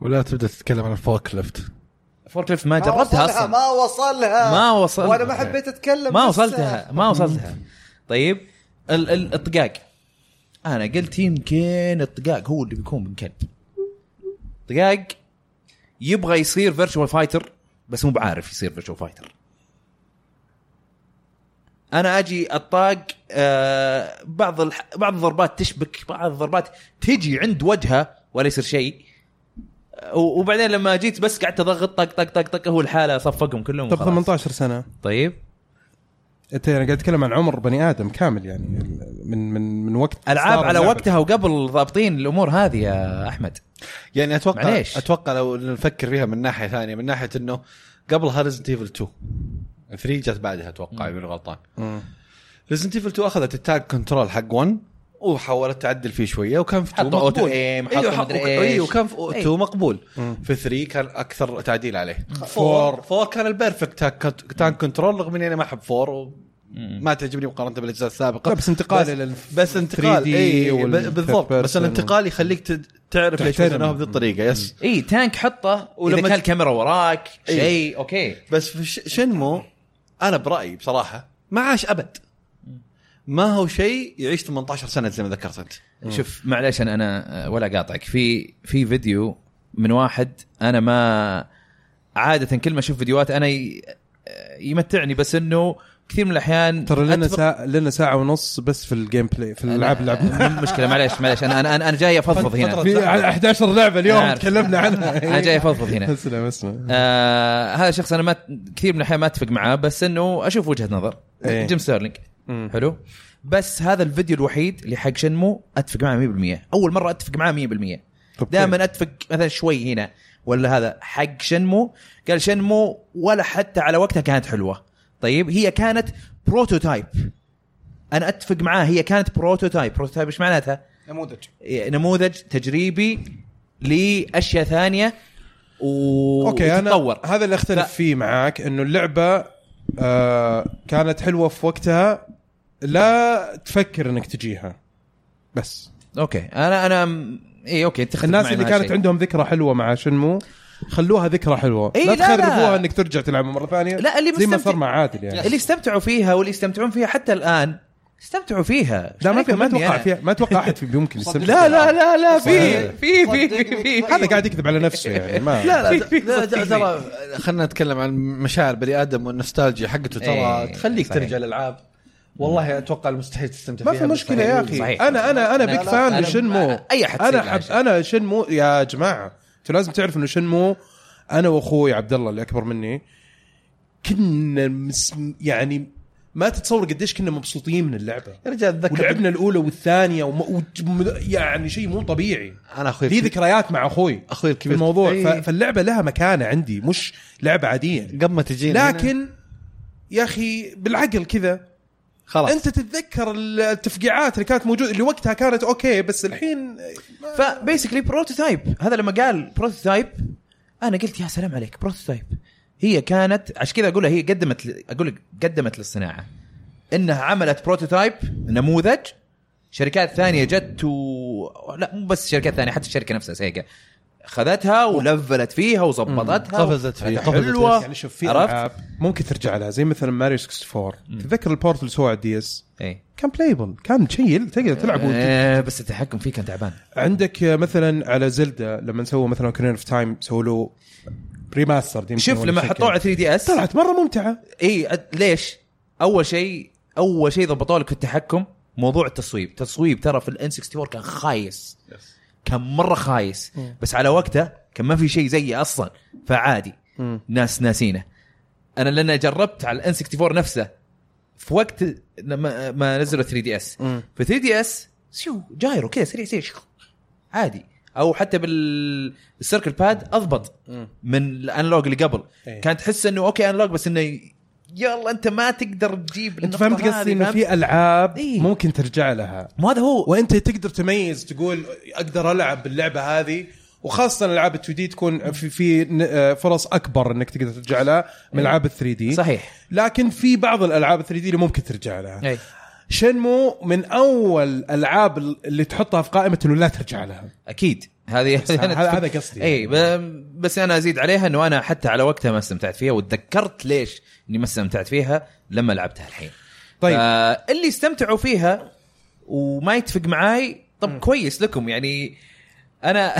Speaker 5: ولا تبدا تتكلم عن الفورك ليفت
Speaker 3: فوركليفت ما
Speaker 2: ما
Speaker 3: جربتها
Speaker 2: آه، وصلها،
Speaker 3: اصلا
Speaker 2: ما وصلها
Speaker 3: ما وصلها.
Speaker 2: وانا ما حبيت اتكلم
Speaker 3: ما
Speaker 2: لسه.
Speaker 3: وصلتها ما وصلتها طيب ال- ال- الطقاق انا قلت يمكن الطقاق هو اللي بيكون من كلب طقاق يبغى يصير فيرتشوال فايتر بس مو بعارف يصير فيرتشوال فايتر انا اجي الطاق آه بعض الح... بعض الضربات تشبك بعض الضربات تجي عند وجهه ولا يصير شيء آه، و- وبعدين لما جيت بس قعدت اضغط طق طق طق طق هو الحاله صفقهم كلهم
Speaker 1: طب
Speaker 3: وخلاص.
Speaker 1: 18 سنه
Speaker 3: طيب
Speaker 1: انت انا قاعد اتكلم عن عمر بني ادم كامل يعني ال- من من من وقت
Speaker 3: العاب
Speaker 1: إصدار
Speaker 3: على
Speaker 1: اللعبة.
Speaker 3: وقتها وقبل ضابطين الامور هذه يا احمد
Speaker 5: يعني اتوقع
Speaker 3: معليش.
Speaker 5: معليش. اتوقع لو نفكر فيها من ناحيه ثانيه من ناحيه انه قبل ريزنت ايفل 2 3 جت بعدها اتوقع اذا ماني غلطان
Speaker 1: مم.
Speaker 5: ريزنت ايفل 2 اخذت التاج كنترول حق 1 وحاولت تعدل فيه شويه وكان في 2
Speaker 3: حطوا
Speaker 5: مقبول.
Speaker 3: auto aim، حطوا
Speaker 5: أيوه، حق-
Speaker 3: مدري إيش.
Speaker 5: ايوه كان في 2 مقبول
Speaker 1: مم.
Speaker 5: في 3 كان اكثر تعديل عليه
Speaker 1: فور.
Speaker 5: 4 4 كان البيرفكت تاج كنترول رغم اني انا ما احب 4 وما تعجبني مقارنه بالاجزاء
Speaker 1: لا
Speaker 5: السابقه
Speaker 1: بس انتقال
Speaker 5: بس-
Speaker 1: الى
Speaker 5: بس انتقال
Speaker 1: 3D
Speaker 5: اي
Speaker 1: وال-
Speaker 5: ب- بالضبط
Speaker 1: third
Speaker 5: بس
Speaker 1: person.
Speaker 5: الانتقال يخليك تد- تعرف ليش
Speaker 1: تحترم.
Speaker 5: بنوها بهذه الطريقه يس
Speaker 3: اي تانك حطه ولما
Speaker 5: ولما
Speaker 3: اذا كان
Speaker 5: ت-
Speaker 3: الكاميرا وراك
Speaker 5: إيه.
Speaker 3: شيء اوكي
Speaker 5: بس في ش- شنمو انا برايي بصراحه ما عاش ابد ما هو شيء يعيش 18 سنه زي ما ذكرت انت
Speaker 3: شوف معلش انا انا آه، ولا قاطعك في في فيديو من واحد انا ما عاده كل ما اشوف فيديوهات انا ي- آه، يمتعني بس انه كثير من الاحيان
Speaker 1: ترى لنا
Speaker 3: أتفق-
Speaker 1: ساعه لنا ساعه ونص بس في الجيم بلاي في الالعاب اللي لعبناها
Speaker 3: مو مشكله معليش معليش انا انا انا جاي افضفض هنا
Speaker 1: في 11 لعبه
Speaker 3: أنا
Speaker 1: اليوم
Speaker 3: عارف.
Speaker 1: تكلمنا عنها إيه.
Speaker 3: انا جاي افضفض هنا
Speaker 1: اسلم اسلم
Speaker 3: آه هذا شخص انا ما كثير من الاحيان ما اتفق معاه بس انه اشوف وجهه نظر
Speaker 1: إيه.
Speaker 3: جيم ستيرلينج
Speaker 1: مم.
Speaker 3: حلو بس هذا الفيديو الوحيد اللي حق شنمو اتفق معه 100% اول مره اتفق معه 100%
Speaker 1: طب طيب.
Speaker 3: دائما اتفق مثلا شوي هنا ولا هذا حق شنمو قال شنمو ولا حتى على وقتها كانت حلوه طيب هي كانت بروتوتايب انا اتفق معاه هي كانت بروتوتايب بروتوتايب ايش معناتها
Speaker 2: نموذج
Speaker 3: نموذج تجريبي لاشياء ثانيه و...
Speaker 1: اوكي انا
Speaker 3: وتتطور.
Speaker 1: هذا اللي اختلف
Speaker 3: ف-
Speaker 1: فيه معاك انه اللعبه آه كانت حلوه في وقتها لا تفكر انك تجيها بس
Speaker 3: اوكي انا انا م- اي اوكي تختلف
Speaker 1: الناس
Speaker 3: معي
Speaker 1: اللي
Speaker 3: مع
Speaker 1: كانت
Speaker 3: شيء.
Speaker 1: عندهم ذكرى حلوه مع شنمو خلوها ذكرى حلوه
Speaker 3: إي،
Speaker 1: لا
Speaker 3: لا، لا.
Speaker 1: تخربوها انك ترجع تلعبها مره ثانيه
Speaker 3: لا، اللي
Speaker 1: زي ما
Speaker 3: مستمتع-
Speaker 1: صار مع عادل يعني
Speaker 3: اللي استمتعوا فيها واللي يستمتعون فيها حتى الان استمتعوا فيها
Speaker 1: لا ما
Speaker 3: عليك
Speaker 1: في ما
Speaker 3: مني
Speaker 1: اتوقع
Speaker 3: أنا.
Speaker 1: في ما اتوقع احد في يمكن يستمتع
Speaker 3: لا لا لا لا في
Speaker 2: صحيح.
Speaker 3: في في في في
Speaker 1: هذا قاعد يكذب على نفسه يعني ما
Speaker 5: لا لا
Speaker 3: في-
Speaker 5: لا،
Speaker 3: في-
Speaker 5: ترى خلينا نتكلم عن مشاعر بني ادم والنوستالجيا حقته ترى
Speaker 3: إيه،
Speaker 5: تخليك
Speaker 3: صحيح.
Speaker 5: ترجع الالعاب والله اتوقع المستحيل تستمتع
Speaker 1: ما
Speaker 5: فيها
Speaker 1: في مشكله يا
Speaker 5: مستحيل.
Speaker 1: اخي
Speaker 3: صحيح.
Speaker 1: انا انا انا
Speaker 3: لا،
Speaker 1: بيك
Speaker 2: لا،
Speaker 1: فان
Speaker 3: أنا-
Speaker 1: لشنمو
Speaker 3: أي أحد
Speaker 1: انا
Speaker 3: سيد
Speaker 1: حب
Speaker 3: العاشر.
Speaker 1: انا شنمو يا جماعه انتوا لازم تعرفوا انه شنمو انا واخوي عبد الله اللي اكبر مني كنا مس يعني ما تتصور قديش كنا مبسوطين من اللعبه
Speaker 5: يا رجال اتذكر
Speaker 1: ولعبنا الاولى والثانيه وم... وم... يعني شيء مو طبيعي
Speaker 5: انا اخوي
Speaker 1: لي ذكريات مع اخوي
Speaker 5: اخوي
Speaker 1: في
Speaker 5: الكبير
Speaker 1: الموضوع ف...
Speaker 5: إيه.
Speaker 1: فاللعبه لها مكانه عندي مش لعبه عاديه
Speaker 5: قبل ما تجينا هنا،
Speaker 1: لكن يا اخي بالعقل كذا
Speaker 5: خلاص
Speaker 1: انت تتذكر التفقيعات اللي كانت موجوده اللي وقتها كانت اوكي بس الحين
Speaker 3: فبيسكلي بروتوتايب هذا لما قال بروتوتايب انا قلت يا سلام عليك بروتوتايب هي كانت عشان كذا اقولها هي قدمت ل- اقول لك قدمت للصناعه انها عملت بروتوتايب نموذج شركات ثانيه جت و لا مو بس شركات ثانيه حتى الشركه نفسها سيجا خذتها ولفلت فيها وظبطتها
Speaker 5: قفزت فيها. قفزت
Speaker 3: حلوه
Speaker 1: يعني شوف في
Speaker 3: عرفت؟
Speaker 5: آه،
Speaker 1: العاب ممكن ترجع لها زي مثلا ماريو 64 تتذكر البورتل سوى على الدي اس
Speaker 3: ايه
Speaker 1: كان بلايبل كان شيء تقدر تلعب وت-
Speaker 3: آه، بس التحكم فيه كان تعبان
Speaker 1: عندك مثلا على زلدة لما سووا مثلا اوكرين اوف تايم سووا له ريماستر
Speaker 3: شوف لما حطوه على 3 دي اس
Speaker 1: طلعت مره ممتعه
Speaker 3: اي إيه، أد- ليش؟ اول شيء اول شيء ضبطوا لك في التحكم موضوع التصويب، تصويب ترى في الان 64 كان خايس كان مره خايس بس على وقته كان ما في شيء زيه اصلا فعادي ناس ناسينه انا لان جربت على الان 64 نفسه في وقت لما ما نزلوا 3 دي اس في 3 دي اس شو جايرو كذا سريع سريع شخ. عادي او حتى بالسيركل باد اضبط من الانلوج اللي قبل
Speaker 1: إيه.
Speaker 3: كان تحس انه اوكي انلوج بس انه ي- يلا انت ما تقدر تجيب
Speaker 1: انت
Speaker 3: النقطة
Speaker 1: فهمت
Speaker 3: هذه،
Speaker 1: قصدي انه
Speaker 3: فهمت؟
Speaker 1: في العاب
Speaker 3: إيه.
Speaker 1: ممكن ترجع لها
Speaker 3: مو هذا هو
Speaker 1: وانت تقدر تميز تقول اقدر العب باللعبه هذه وخاصه الالعاب ال 2 دي تكون في في ن- آه، فرص اكبر انك تقدر ترجع لها من العاب ال 3 دي
Speaker 3: إيه. صحيح إيه.
Speaker 1: لكن في بعض الالعاب ال 3 دي اللي ممكن ترجع لها
Speaker 3: اي
Speaker 1: شنمو من اول الالعاب اللي تحطها في قائمه انه لا ترجع لها
Speaker 3: اكيد هذه
Speaker 1: بس هذا- هذا قصدي. يعني.
Speaker 3: اي ب- بس انا ازيد عليها انه انا حتى على وقتها ما استمتعت فيها وتذكرت ليش اني ما استمتعت فيها لما لعبتها الحين
Speaker 1: طيب
Speaker 3: آه اللي استمتعوا فيها وما يتفق معاي طب م. كويس لكم يعني انا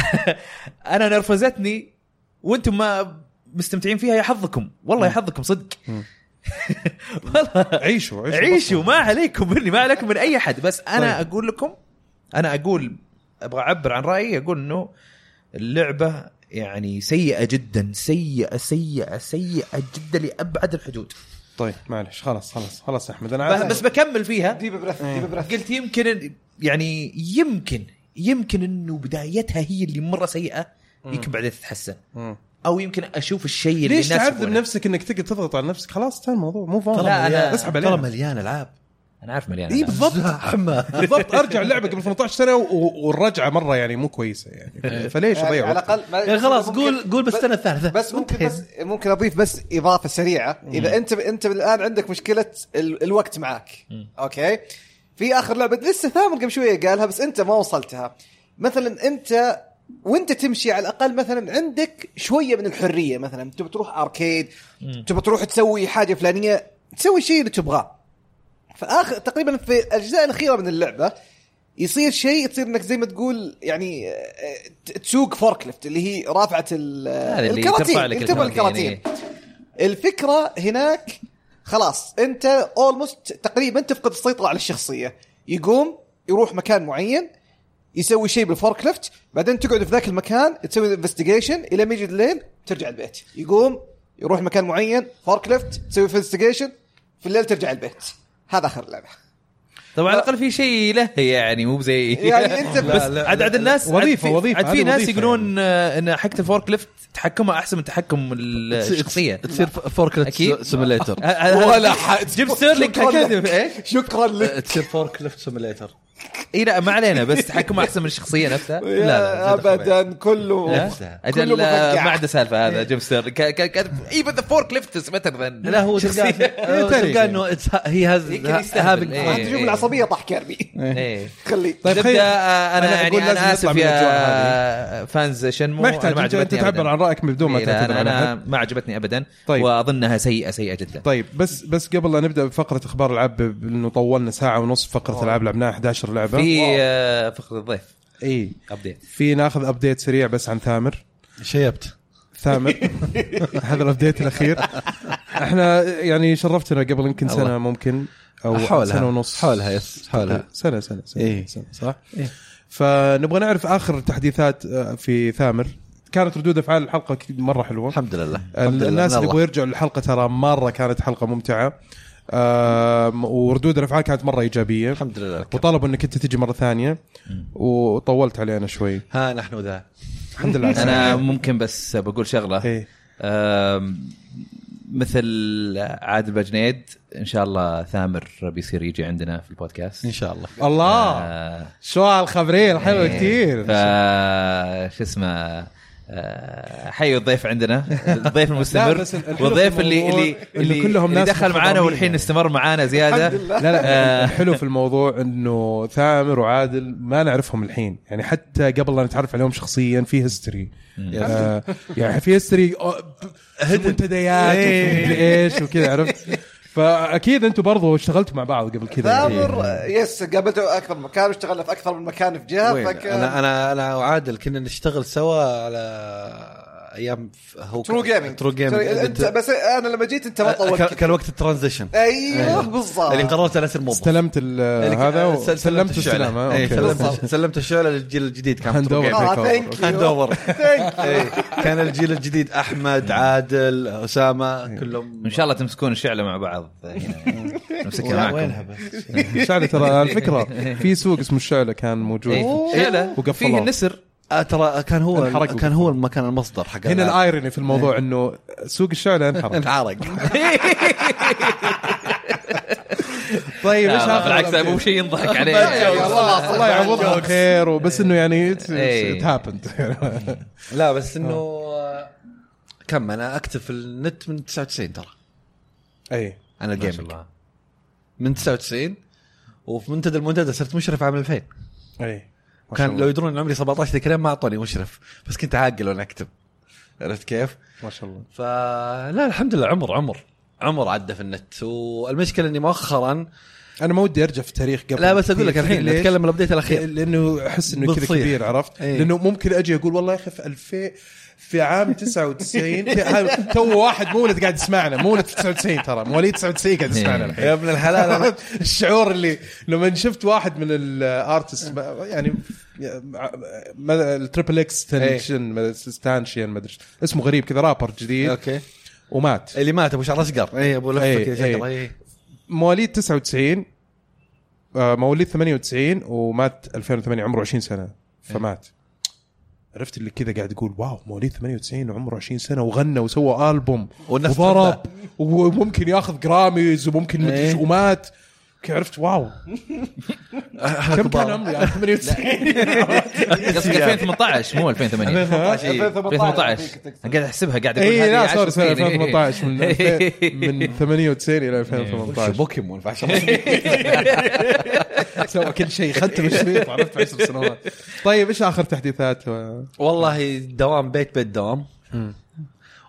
Speaker 3: انا نرفزتني وانتم ما مستمتعين فيها يا حظكم والله يا حظكم صدق والله
Speaker 1: عيشوا عيشوا
Speaker 3: عيشوا ما عليكم مني ما عليكم من اي احد بس انا طيب. اقول لكم انا اقول ابغى اعبر عن رايي اقول انه اللعبه يعني سيئه جدا سيئه سيئه سيئه جدا لابعد الحدود
Speaker 1: طيب معلش خلاص خلاص خلاص احمد انا
Speaker 3: بس
Speaker 1: عارف-
Speaker 3: بس بكمل فيها
Speaker 2: ديب بريث ديب بريث
Speaker 3: قلت يمكن يعني يمكن يمكن انه بدايتها هي اللي مره سيئه يمكن بعدين تتحسن
Speaker 1: مم.
Speaker 3: او يمكن اشوف الشيء اللي
Speaker 1: ليش
Speaker 3: الناس
Speaker 1: تعذب
Speaker 3: يبغونه.
Speaker 1: نفسك انك تقدر تضغط على نفسك خلاص انتهى الموضوع مو فاهم
Speaker 3: لا، أنا-
Speaker 1: اسحب
Speaker 5: ترى
Speaker 1: عليه
Speaker 5: مليان العاب
Speaker 3: انا عارف مليان
Speaker 1: اي
Speaker 3: ألعاب.
Speaker 1: بالضبط
Speaker 5: زحمه
Speaker 1: بالضبط ارجع لعبه قبل 18 سنه و- والرجعه مره يعني مو كويسه
Speaker 3: إيه،
Speaker 1: يعني فليش
Speaker 2: يعني
Speaker 1: اضيع
Speaker 2: على
Speaker 1: وقت؟
Speaker 2: الاقل ما-
Speaker 5: يعني خلاص
Speaker 2: ممكن-
Speaker 5: قول قول بالسنه الثالثه
Speaker 2: بس ممكن بس ممكن اضيف بس اضافه سريعه اذا انت انت الان عندك مشكله ال... الوقت معك اوكي في اخر لعبه لسه ثامر قبل شويه قالها بس انت ما وصلتها مثلا انت وانت تمشي على الاقل مثلا عندك شويه من الحريه مثلا تبي تروح اركيد تبي تروح تسوي حاجه فلانيه تسوي الشيء اللي تبغاه فاخر تقريبا في الاجزاء الاخيره من اللعبه يصير شيء تصير انك زي ما تقول يعني آه، ت- تسوق فوركليفت اللي هي رافعه ال- آه،
Speaker 3: هذا اللي ترفع لك
Speaker 2: الكراتين ترفع
Speaker 3: الكراتين، يعني.
Speaker 2: الكراتين الفكره هناك خلاص انت اولموست تقريبا تفقد السيطره على الشخصيه يقوم يروح مكان معين يسوي شيء بالفوركليفت بعدين تقعد في ذاك المكان تسوي انفستيجيشن الى ما يجي الليل ترجع البيت يقوم يروح مكان معين فوركليفت تسوي انفستيجيشن في الليل ترجع البيت هذا اخر لعبه
Speaker 3: طبعا على الاقل في شيء له يعني مو زي
Speaker 2: يعني أنت
Speaker 3: بس
Speaker 2: لا، لا،
Speaker 3: عد عد الناس عد
Speaker 1: وظيفة-
Speaker 3: في-
Speaker 1: وظيفة،
Speaker 3: عد في
Speaker 1: هذه
Speaker 3: ناس
Speaker 1: وظيفة
Speaker 3: يقولون آه، ان حقه الفورك ليفت تحكمها احسن من تحكم ال- الشخصيه
Speaker 5: تصير فوركليفت
Speaker 3: أكيد.
Speaker 5: سيميليتر
Speaker 3: ولا حد جبت سيرلينج
Speaker 2: شكراً
Speaker 3: كذب
Speaker 2: لك.
Speaker 3: ايش
Speaker 2: شكرا لك
Speaker 5: تصير فوركليفت سيميليتر
Speaker 3: اي لا ما علينا بس تحكم احسن من الشخصيه نفسها لا لا
Speaker 2: يا
Speaker 3: زاد خبر.
Speaker 2: ابدا كله
Speaker 3: لا.
Speaker 2: كله
Speaker 3: اجل آه،
Speaker 2: مفقع.
Speaker 3: ما عنده سالفه هذا جيم ستيرن كاتب اي بس فور كليفت از بيتر ذان
Speaker 4: لا هو تلقاه هو تلقاه انه it's- هي
Speaker 3: يمكن
Speaker 4: هاز
Speaker 3: يستهبل. إيه.
Speaker 4: هافينج
Speaker 2: انت تشوف العصبيه طاح كيربي
Speaker 3: ايه
Speaker 2: خليك
Speaker 1: طيب
Speaker 3: زبدة،
Speaker 1: خلينا- أنا
Speaker 3: آه، انا يعني
Speaker 1: أقول لازم نطلع
Speaker 3: انا اسف
Speaker 1: من
Speaker 3: يا فانز شنمو
Speaker 1: ما يحتاج انت أنت تعبر عن رايك بدون ما تعتذر
Speaker 3: انا
Speaker 1: على
Speaker 3: انا
Speaker 1: أحد.
Speaker 3: إيه، ما عجبتني ابدا
Speaker 1: طيب.
Speaker 3: واظنها سيئه سيئه جدا
Speaker 1: طيب بس بس قبل لا نبدا بفقره اخبار العاب ب- لانه طولنا ساعه ونص فقره العاب لعبناها 11 لعبه
Speaker 3: في آه، فقره الضيف
Speaker 1: اي
Speaker 3: ابديت
Speaker 1: إيه. في ناخذ ابديت سريع بس عن ثامر
Speaker 4: شيبت
Speaker 1: ثامر هذا الابديت الاخير احنا يعني شرفتنا قبل يمكن سنه ممكن او
Speaker 4: حولها.
Speaker 1: سنه ونص
Speaker 4: حولها يس حولها
Speaker 1: سنه سنه سنه,
Speaker 4: إيه.
Speaker 1: سنة صح؟ فنبغى نعرف اخر تحديثات آه، في ثامر كانت ردود افعال الحلقه ك- مره حلوه
Speaker 4: الحمد لله الحمد
Speaker 1: الناس
Speaker 4: لله من
Speaker 1: اللي
Speaker 4: الله.
Speaker 1: يبغوا يرجعوا للحلقه ترى مره كانت حلقه ممتعه آم، وردود الافعال كانت مره ايجابيه
Speaker 4: الحمد لله لك.
Speaker 1: وطلبوا انك انت تجي مره ثانيه وطولت علينا شوي
Speaker 4: ها نحن ذا
Speaker 1: الحمد لله على
Speaker 3: انا
Speaker 1: السلامة.
Speaker 3: ممكن بس بقول شغله
Speaker 1: إيه.
Speaker 3: آم، مثل عادل بجنيد ان شاء الله ثامر بيصير يجي عندنا في البودكاست
Speaker 4: ان شاء الله
Speaker 1: الله
Speaker 3: آه،
Speaker 1: شو هالخبرين حلوه
Speaker 3: إيه.
Speaker 1: كثير
Speaker 3: ف شو اسمه آه، حيوا الضيف عندنا الضيف
Speaker 1: لا،
Speaker 3: المستمر
Speaker 1: بس الحلو في
Speaker 3: والضيف اللي
Speaker 1: الموضوع
Speaker 3: اللي
Speaker 1: إنه
Speaker 3: اللي,
Speaker 1: كلهم
Speaker 3: اللي
Speaker 1: ناس
Speaker 3: دخل معانا
Speaker 1: متضامنين.
Speaker 3: والحين استمر معانا زياده
Speaker 2: الحمد لله
Speaker 1: لا لا
Speaker 3: آه.
Speaker 1: الحلو في الموضوع انه ثامر وعادل ما نعرفهم الحين يعني حتى قبل لا نتعرف عليهم شخصيا في هيستوري آه يعني في هيستوري منتديات ومدري ايش وكذا عرفت فاكيد انتم برضو اشتغلتوا مع بعض قبل كذا
Speaker 2: ثامر
Speaker 1: يعني.
Speaker 2: آه،
Speaker 3: إيه.
Speaker 2: يس قابلته اكثر من مكان واشتغلنا في اكثر من مكان في جهه
Speaker 4: وين؟
Speaker 2: فكان
Speaker 4: انا انا انا وعادل كنا نشتغل سوا على ايام ف- هو
Speaker 2: ترو جيمنج
Speaker 4: ترو جيمنج
Speaker 2: انت بس انا لما جيت انت ما طولت
Speaker 4: كان-
Speaker 2: كثير.
Speaker 4: كان وقت الترانزيشن
Speaker 2: ايوه بالضبط
Speaker 4: اللي قررت انا اصير موظف
Speaker 1: استلمت ال- هذا
Speaker 4: آه، سل-
Speaker 1: وسلمت
Speaker 4: الشعلة.
Speaker 1: السلامه
Speaker 4: إيه،
Speaker 1: أوكي.
Speaker 4: سلمت سلمت الشعله للجيل الجديد كان
Speaker 1: هاند
Speaker 4: ترو
Speaker 1: أوفر.
Speaker 4: جيمنج.
Speaker 2: اه
Speaker 1: Thank
Speaker 2: ثانك
Speaker 4: هاند
Speaker 2: يو
Speaker 4: أوفر. إيه، كان الجيل الجديد احمد عادل
Speaker 1: إيه.
Speaker 4: اسامه كلهم
Speaker 3: ان شاء الله تمسكون الشعله مع بعض هنا نمسكها معكم
Speaker 4: وينها بس
Speaker 1: الشعله ترى على فكره في سوق اسمه الشعله كان موجود
Speaker 3: إيه، شعله
Speaker 1: وقفلوه.
Speaker 3: فيه النسر
Speaker 4: آه، ترى كان هو
Speaker 1: انحرق
Speaker 4: كان هو المكان المصدر حق
Speaker 1: هنا
Speaker 4: الألعاب.
Speaker 1: الايروني في
Speaker 4: إيه.
Speaker 1: الموضوع انه سوق الشعله انحرق
Speaker 4: انحرق
Speaker 1: طيب ايش
Speaker 3: لا، لا،
Speaker 1: آخر
Speaker 3: بالعكس
Speaker 1: الأبديت؟
Speaker 3: مو شيء ينضحك عليه
Speaker 1: الله الله يعوضها خير وبس انه يعني
Speaker 3: إيه.
Speaker 1: ات هابند
Speaker 4: لا بس انه آه، كم انا اكتب في النت من 99 ترى
Speaker 1: اي
Speaker 4: انا
Speaker 3: ما شاء
Speaker 4: الجيمنج
Speaker 3: الله
Speaker 4: من 99 وفي منتدى المنتدى صرت مشرف عام 2000
Speaker 1: اي
Speaker 4: كان لو يدرون ان عمري 17 ذيك الأيام ما اعطوني مشرف بس كنت عاقل وانا اكتب عرفت كيف؟
Speaker 1: ما شاء الله
Speaker 4: فلا الحمد لله عمر عمر عمر عدى في النت والمشكله اني مؤخرا
Speaker 1: انا ما ودي ارجع في تاريخ قبل
Speaker 4: لا بس اقول لك
Speaker 1: كثير.
Speaker 4: الحين
Speaker 1: ليش؟
Speaker 4: نتكلم الابديت الاخير
Speaker 1: لانه احس انه كذا
Speaker 4: بتصيح.
Speaker 1: كبير عرفت؟
Speaker 4: إيه.
Speaker 1: لانه ممكن اجي اقول والله يا اخي في 2000 في عام 99 في عام- تو واحد مولد قاعد يسمعنا مولد في 99 ترى مواليد 99 قاعد يسمعنا
Speaker 3: إيه.
Speaker 1: الحين
Speaker 4: ابن الحلال أنا-
Speaker 1: الشعور اللي لما شفت واحد من الارتست يعني التريبل اكس
Speaker 4: إيه.
Speaker 1: تنشن ستانشين ما ادري إيش. اسمه غريب كذا رابر جديد
Speaker 4: اوكي
Speaker 1: ومات
Speaker 4: اللي مات ابو شعر اصقر اي ابو لفه
Speaker 1: إيه،
Speaker 4: كذا
Speaker 1: إيه.
Speaker 4: شقر إيه.
Speaker 1: مواليد 99 آه، مواليد 98 ومات 2008 عمره 20 سنه فمات عرفت اللي كذا قاعد يقول واو مواليد 98 وعمره 20 سنه وغنى وسوى البوم
Speaker 4: والناس
Speaker 1: وضرب وممكن ياخذ جراميز وممكن مدري ايش ومات ك- عرفت واو كم كان عمري يعني 98
Speaker 3: قصدك 2018 مو 2008 2018 انا قاعد احسبها قاعد اقول
Speaker 1: اي
Speaker 3: هذه
Speaker 1: إيه، لا
Speaker 3: 10
Speaker 1: سوري سوري
Speaker 3: سنين.
Speaker 1: 2018 من
Speaker 3: إيه.
Speaker 1: من 98 الى 2018
Speaker 4: بوكيمون فعشان
Speaker 1: سوى كل شيء اخذته بالشريط عرفت 10 سنوات طيب ايش اخر تحديثات و-
Speaker 4: والله دوام بيت بيت دوام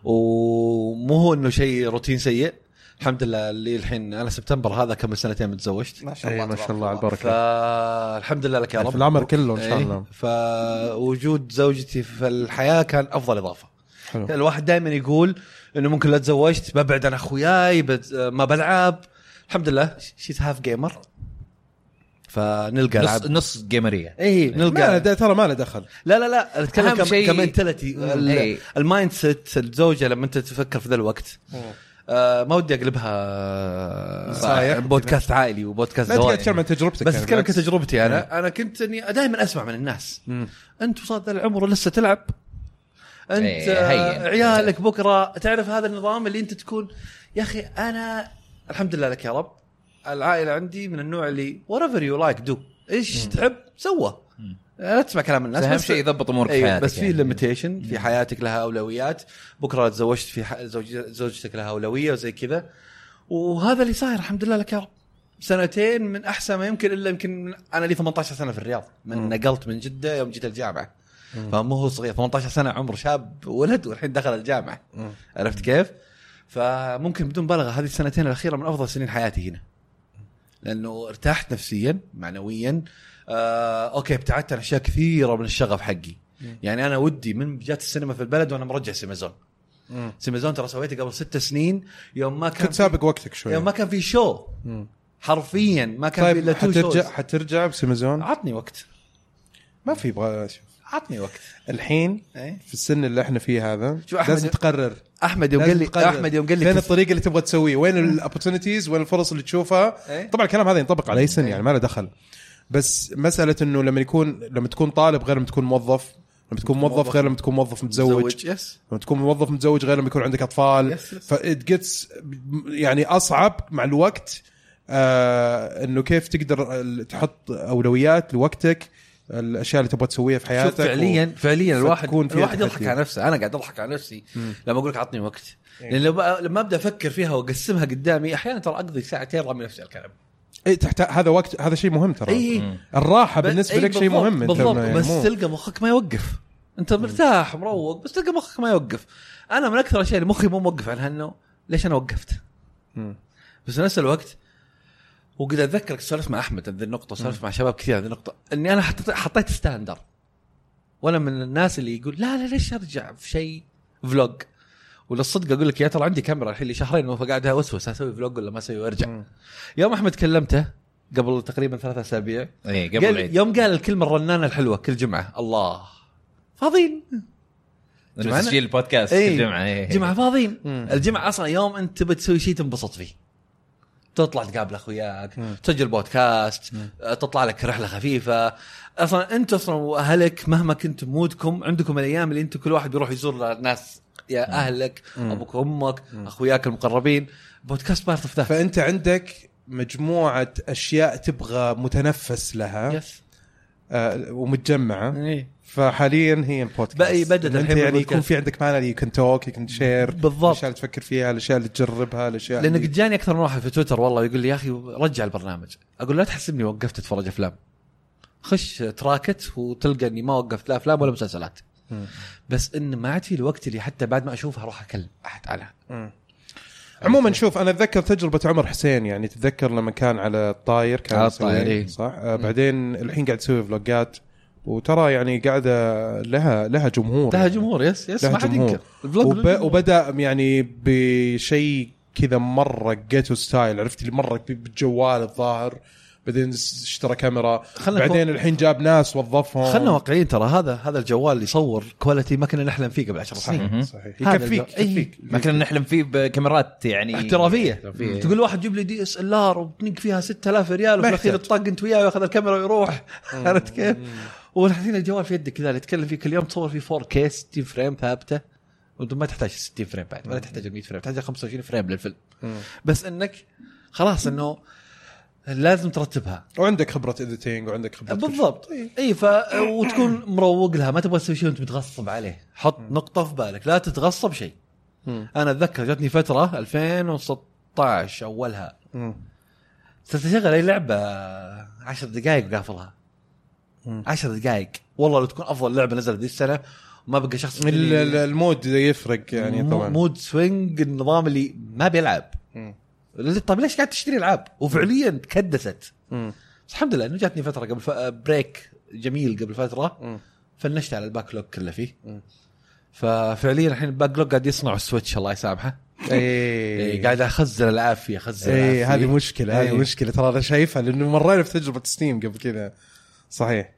Speaker 4: ومو هو انه شيء روتين سيء الحمد لله اللي الحين انا سبتمبر هذا كم سنتين متزوجت
Speaker 2: ما شاء
Speaker 1: اي
Speaker 2: الله
Speaker 1: إيه، ما شاء الله على البركه
Speaker 4: فالحمد لله لك يا رب
Speaker 1: في العمر كله ان شاء
Speaker 4: إيه.
Speaker 1: الله
Speaker 4: فوجود زوجتي في الحياه كان افضل اضافه
Speaker 1: حلو.
Speaker 4: الواحد دائما يقول انه ممكن لو تزوجت ببعد عن اخوياي بت- ما بلعب الحمد لله شيت هاف جيمر فنلقى
Speaker 3: نص
Speaker 4: العاب
Speaker 3: نص جيمريه
Speaker 4: اي
Speaker 1: ما
Speaker 4: نلقى
Speaker 1: له- ترى ما له دخل
Speaker 4: لا لا لا
Speaker 3: أهم
Speaker 4: اتكلم كم
Speaker 3: شيء-
Speaker 4: شيء... كمنتاليتي
Speaker 3: إيه.
Speaker 4: المايند سيت الزوجه لما انت تفكر في ذا الوقت
Speaker 3: أمم.
Speaker 4: آه ما ودي اقلبها
Speaker 1: نصايح.
Speaker 4: صح، بودكاست عائلي وبودكاست
Speaker 1: لا
Speaker 4: دوائي.
Speaker 1: تقعد تتكلم عن تجربتك
Speaker 4: بس
Speaker 1: يعني
Speaker 4: اتكلم
Speaker 1: بالعكس.
Speaker 4: كتجربتي انا
Speaker 3: إيه.
Speaker 4: انا كنت اني دائما اسمع من الناس انت وصلت ذا العمر لسه تلعب انت
Speaker 3: إيه، هين.
Speaker 4: آه، عيالك بكره تعرف هذا النظام اللي انت تكون يا اخي انا الحمد لله لك يا رب العائله عندي من النوع اللي whatever you like do ايش تعب سوى
Speaker 3: مم.
Speaker 4: لا تسمع كلام الناس
Speaker 3: اهم
Speaker 4: بس-
Speaker 3: شيء يضبط امورك في
Speaker 4: أيوة،
Speaker 3: حياتك
Speaker 4: بس في
Speaker 3: يعني.
Speaker 4: ليميتيشن في حياتك لها اولويات بكره لو تزوجت في ح... زوج... زوجتك لها اولويه وزي كذا وهذا اللي صاير الحمد لله لك يا رب سنتين من احسن ما يمكن الا يمكن من... انا لي 18 سنه في الرياض من نقلت من جده يوم جيت الجامعه فمو هو صغير 18 سنه عمر شاب ولد والحين دخل الجامعه عرفت كيف؟ فممكن بدون مبالغه هذه السنتين الاخيره من افضل سنين حياتي هنا لانه ارتحت نفسيا معنويا آه، اوكي ابتعدت عن اشياء كثيره من الشغف حقي يعني انا ودي من جات السينما في البلد وانا مرجع سيمازون
Speaker 1: مم.
Speaker 4: سيمازون ترى سويته قبل ست سنين يوم ما كان
Speaker 1: كنت سابق وقتك شوي
Speaker 4: يوم ما كان في شو
Speaker 1: مم.
Speaker 4: حرفيا ما كان في
Speaker 1: طيب
Speaker 4: الا تو آه.
Speaker 1: حترجع
Speaker 4: shows.
Speaker 1: حترجع بسيمازون
Speaker 4: عطني وقت
Speaker 1: ما في يبغى شوف
Speaker 4: عطني وقت
Speaker 1: الحين
Speaker 4: إيه.
Speaker 1: في السن اللي احنا فيه هذا
Speaker 4: شو أحمد-
Speaker 1: لازم تقرر
Speaker 4: احمد يوم قال
Speaker 1: لازم
Speaker 4: لي
Speaker 1: تقرر.
Speaker 4: احمد يوم قال لي
Speaker 1: فين
Speaker 4: تس-
Speaker 1: الطريقه اللي تبغى تسويه وين الاوبورتونيتيز وين الفرص اللي تشوفها
Speaker 4: إيه.
Speaker 1: طبعا الكلام هذا ينطبق على اي سن يعني ما له دخل بس مساله انه لما يكون لما تكون طالب غير لما تكون موظف لما تكون موظف غير لما تكون موظف متزوج
Speaker 4: يس
Speaker 1: لما تكون موظف متزوج غير لما يكون عندك اطفال
Speaker 4: Yes, yes.
Speaker 1: فإت جيتس يعني اصعب مع الوقت آه انه كيف تقدر ال- تحط اولويات لوقتك الاشياء اللي تبغى تسويها في حياتك
Speaker 4: شوف فعليا فعليا الواحد
Speaker 1: فتكون فيها
Speaker 4: الواحد يضحك
Speaker 1: تحدي.
Speaker 4: على نفسه انا قاعد اضحك على نفسي لما اقول لك عطني وقت
Speaker 1: إيه.
Speaker 4: لان لو بقى- لما ابدا افكر فيها واقسمها قدامي احيانا ترى اقضي ساعتين رامي نفسي على الكلام
Speaker 1: اي تحت إيه، هذا وقت هذا شيء مهم ترى
Speaker 4: اي
Speaker 1: الراحه
Speaker 4: ب-
Speaker 1: بالنسبه
Speaker 4: أي
Speaker 1: لك شيء
Speaker 4: إيه. بالضبط،
Speaker 1: مهم أنت
Speaker 4: بالضبط
Speaker 1: يعني
Speaker 4: بس
Speaker 1: مو-
Speaker 4: تلقى مخك ما يوقف انت مرتاح مروق بس تلقى مخك ما يوقف انا من اكثر الاشياء اللي مخي مو موقف عنها انه ليش انا وقفت؟
Speaker 1: مم.
Speaker 4: بس في نفس الوقت وقد اتذكرك سولفت مع احمد عن ذي النقطه سولفت مع شباب كثير عن ذي النقطه اني انا حطيت حطيت ستاندر وانا من الناس اللي يقول لا لا ليش ارجع في شيء فلوج وللصدق اقول لك يا ترى عندي كاميرا الحين لي شهرين وقاعد اوسوس اسوي فلوج ولا ما اسوي وارجع يوم احمد كلمته قبل تقريبا ثلاثة اسابيع
Speaker 3: اي إيه، قبل
Speaker 4: قال
Speaker 3: العيد
Speaker 4: يوم قال الكلمه الرنانه الحلوه كل جمعه الله فاضيين
Speaker 3: لما
Speaker 4: جمعنا-
Speaker 3: تسجيل البودكاست
Speaker 4: إيه.
Speaker 3: كل جمعه إيه.
Speaker 4: جمعه فاضيين الجمعه اصلا يوم انت بتسوي شيء تنبسط فيه تطلع تقابل اخوياك تسجل بودكاست آه، تطلع لك رحله خفيفه اصلا انت اصلا واهلك مهما كنت مودكم عندكم الايام اللي انت كل واحد بيروح يزور ناس يا اهلك ابوك وامك اخوياك المقربين بودكاست بارت اوف ذات
Speaker 1: فانت عندك مجموعه اشياء تبغى متنفس لها
Speaker 4: يس
Speaker 1: آه ومتجمعه
Speaker 4: إيه.
Speaker 1: فحاليا هي البودكاست
Speaker 4: بقى يبدد
Speaker 1: إن انت
Speaker 4: الحين
Speaker 1: يعني
Speaker 4: بالبودكاست.
Speaker 1: يكون في عندك مانر يو كان توك يو كان شير
Speaker 4: بالضبط.
Speaker 1: الاشياء اللي تفكر فيها الاشياء اللي تجربها الاشياء
Speaker 4: لان
Speaker 1: اللي
Speaker 4: قد جاني اكثر من واحد في تويتر والله يقول لي يا اخي رجع البرنامج اقول لا تحسبني وقفت اتفرج افلام خش تراكت وتلقى اني ما وقفت لا افلام ولا مسلسلات
Speaker 1: مم.
Speaker 4: بس ان ما عاد في الوقت اللي حتى بعد ما اشوفها اروح اكلم احد عنها
Speaker 1: عموما شوف انا اتذكر تجربه عمر حسين يعني تتذكر لما كان على الطاير كان
Speaker 4: على
Speaker 1: يسوي-
Speaker 4: الطاير، إيه.
Speaker 1: صح آه بعدين الحين قاعد يسوي فلوجات وترى يعني قاعده لها لها جمهور
Speaker 4: لها
Speaker 1: يعني.
Speaker 4: جمهور يس يس
Speaker 1: لها
Speaker 4: ما حد
Speaker 1: جمهور.
Speaker 4: ينكر الفلوج
Speaker 1: وب...
Speaker 4: للجمهور.
Speaker 1: وبدا يعني بشيء كذا مره جيتو ستايل عرفت اللي مره ب- بالجوال الظاهر بعدين س- اشترى كاميرا
Speaker 4: خلنا
Speaker 1: بعدين الحين جاب ناس وظفهم
Speaker 4: خلنا واقعيين ترى هذا هذا الجوال اللي يصور كواليتي ما كنا نحلم فيه قبل 10 سنين
Speaker 3: مهم.
Speaker 1: صحيح
Speaker 4: هذا
Speaker 1: يكفيك
Speaker 4: الجو- إيه.
Speaker 1: يكفيك
Speaker 3: ما كنا نحلم فيه بكاميرات يعني
Speaker 4: احترافيه
Speaker 3: احترافية.
Speaker 4: تقول واحد جيب لي دي اس ال ار وبتنق فيها 6000 ريال
Speaker 1: ما
Speaker 4: وفي الاخير
Speaker 1: يحتاج.
Speaker 4: تطق انت وياه وياخذ الكاميرا ويروح عرفت كيف؟ والحين الجوال في يدك كذا اللي تتكلم فيه كل يوم تصور فيه 4 كي 60 فريم ثابته وانت ما تحتاج 60 فريم بعد ولا تحتاج 100 فريم تحتاج 25 فريم للفيلم بس انك خلاص انه لازم ترتبها
Speaker 1: وعندك خبره اديتنج وعندك خبره كل شيء.
Speaker 4: بالضبط
Speaker 1: طيب.
Speaker 4: اي ف وتكون مروق لها ما تبغى تسوي شيء وانت متغصب عليه حط نقطه في بالك لا تتغصب شيء
Speaker 1: مم.
Speaker 4: انا اتذكر جاتني فتره 2016 اولها
Speaker 1: مم.
Speaker 4: تشغل اي لعبه عشر دقائق وقافلها
Speaker 1: مم.
Speaker 4: عشر دقائق والله لو تكون افضل لعبه نزلت ذي السنه ما بقى شخص
Speaker 1: ال- ال- المود يفرق يعني
Speaker 4: مو-
Speaker 1: طبعا
Speaker 4: مود سوينج النظام اللي ما بيلعب
Speaker 1: مم.
Speaker 4: طيب ليش قاعد تشتري العاب وفعليا تكدست
Speaker 1: مم.
Speaker 4: بس الحمد لله انه جاتني فتره قبل ف... بريك جميل قبل فتره
Speaker 1: مم.
Speaker 4: فنشت على الباك لوج كله فيه ففعليا الحين الباك لوج قاعد يصنع السويتش الله يسامحه إيه،
Speaker 1: ايه
Speaker 4: قاعد اخزن العاب فيه اخزن
Speaker 1: اي
Speaker 4: العاب فيه.
Speaker 1: إيه، هذه مشكله هذه
Speaker 4: إيه.
Speaker 1: مشكله ترى انا شايفها لانه مرينا في تجربه ستيم قبل كذا صحيح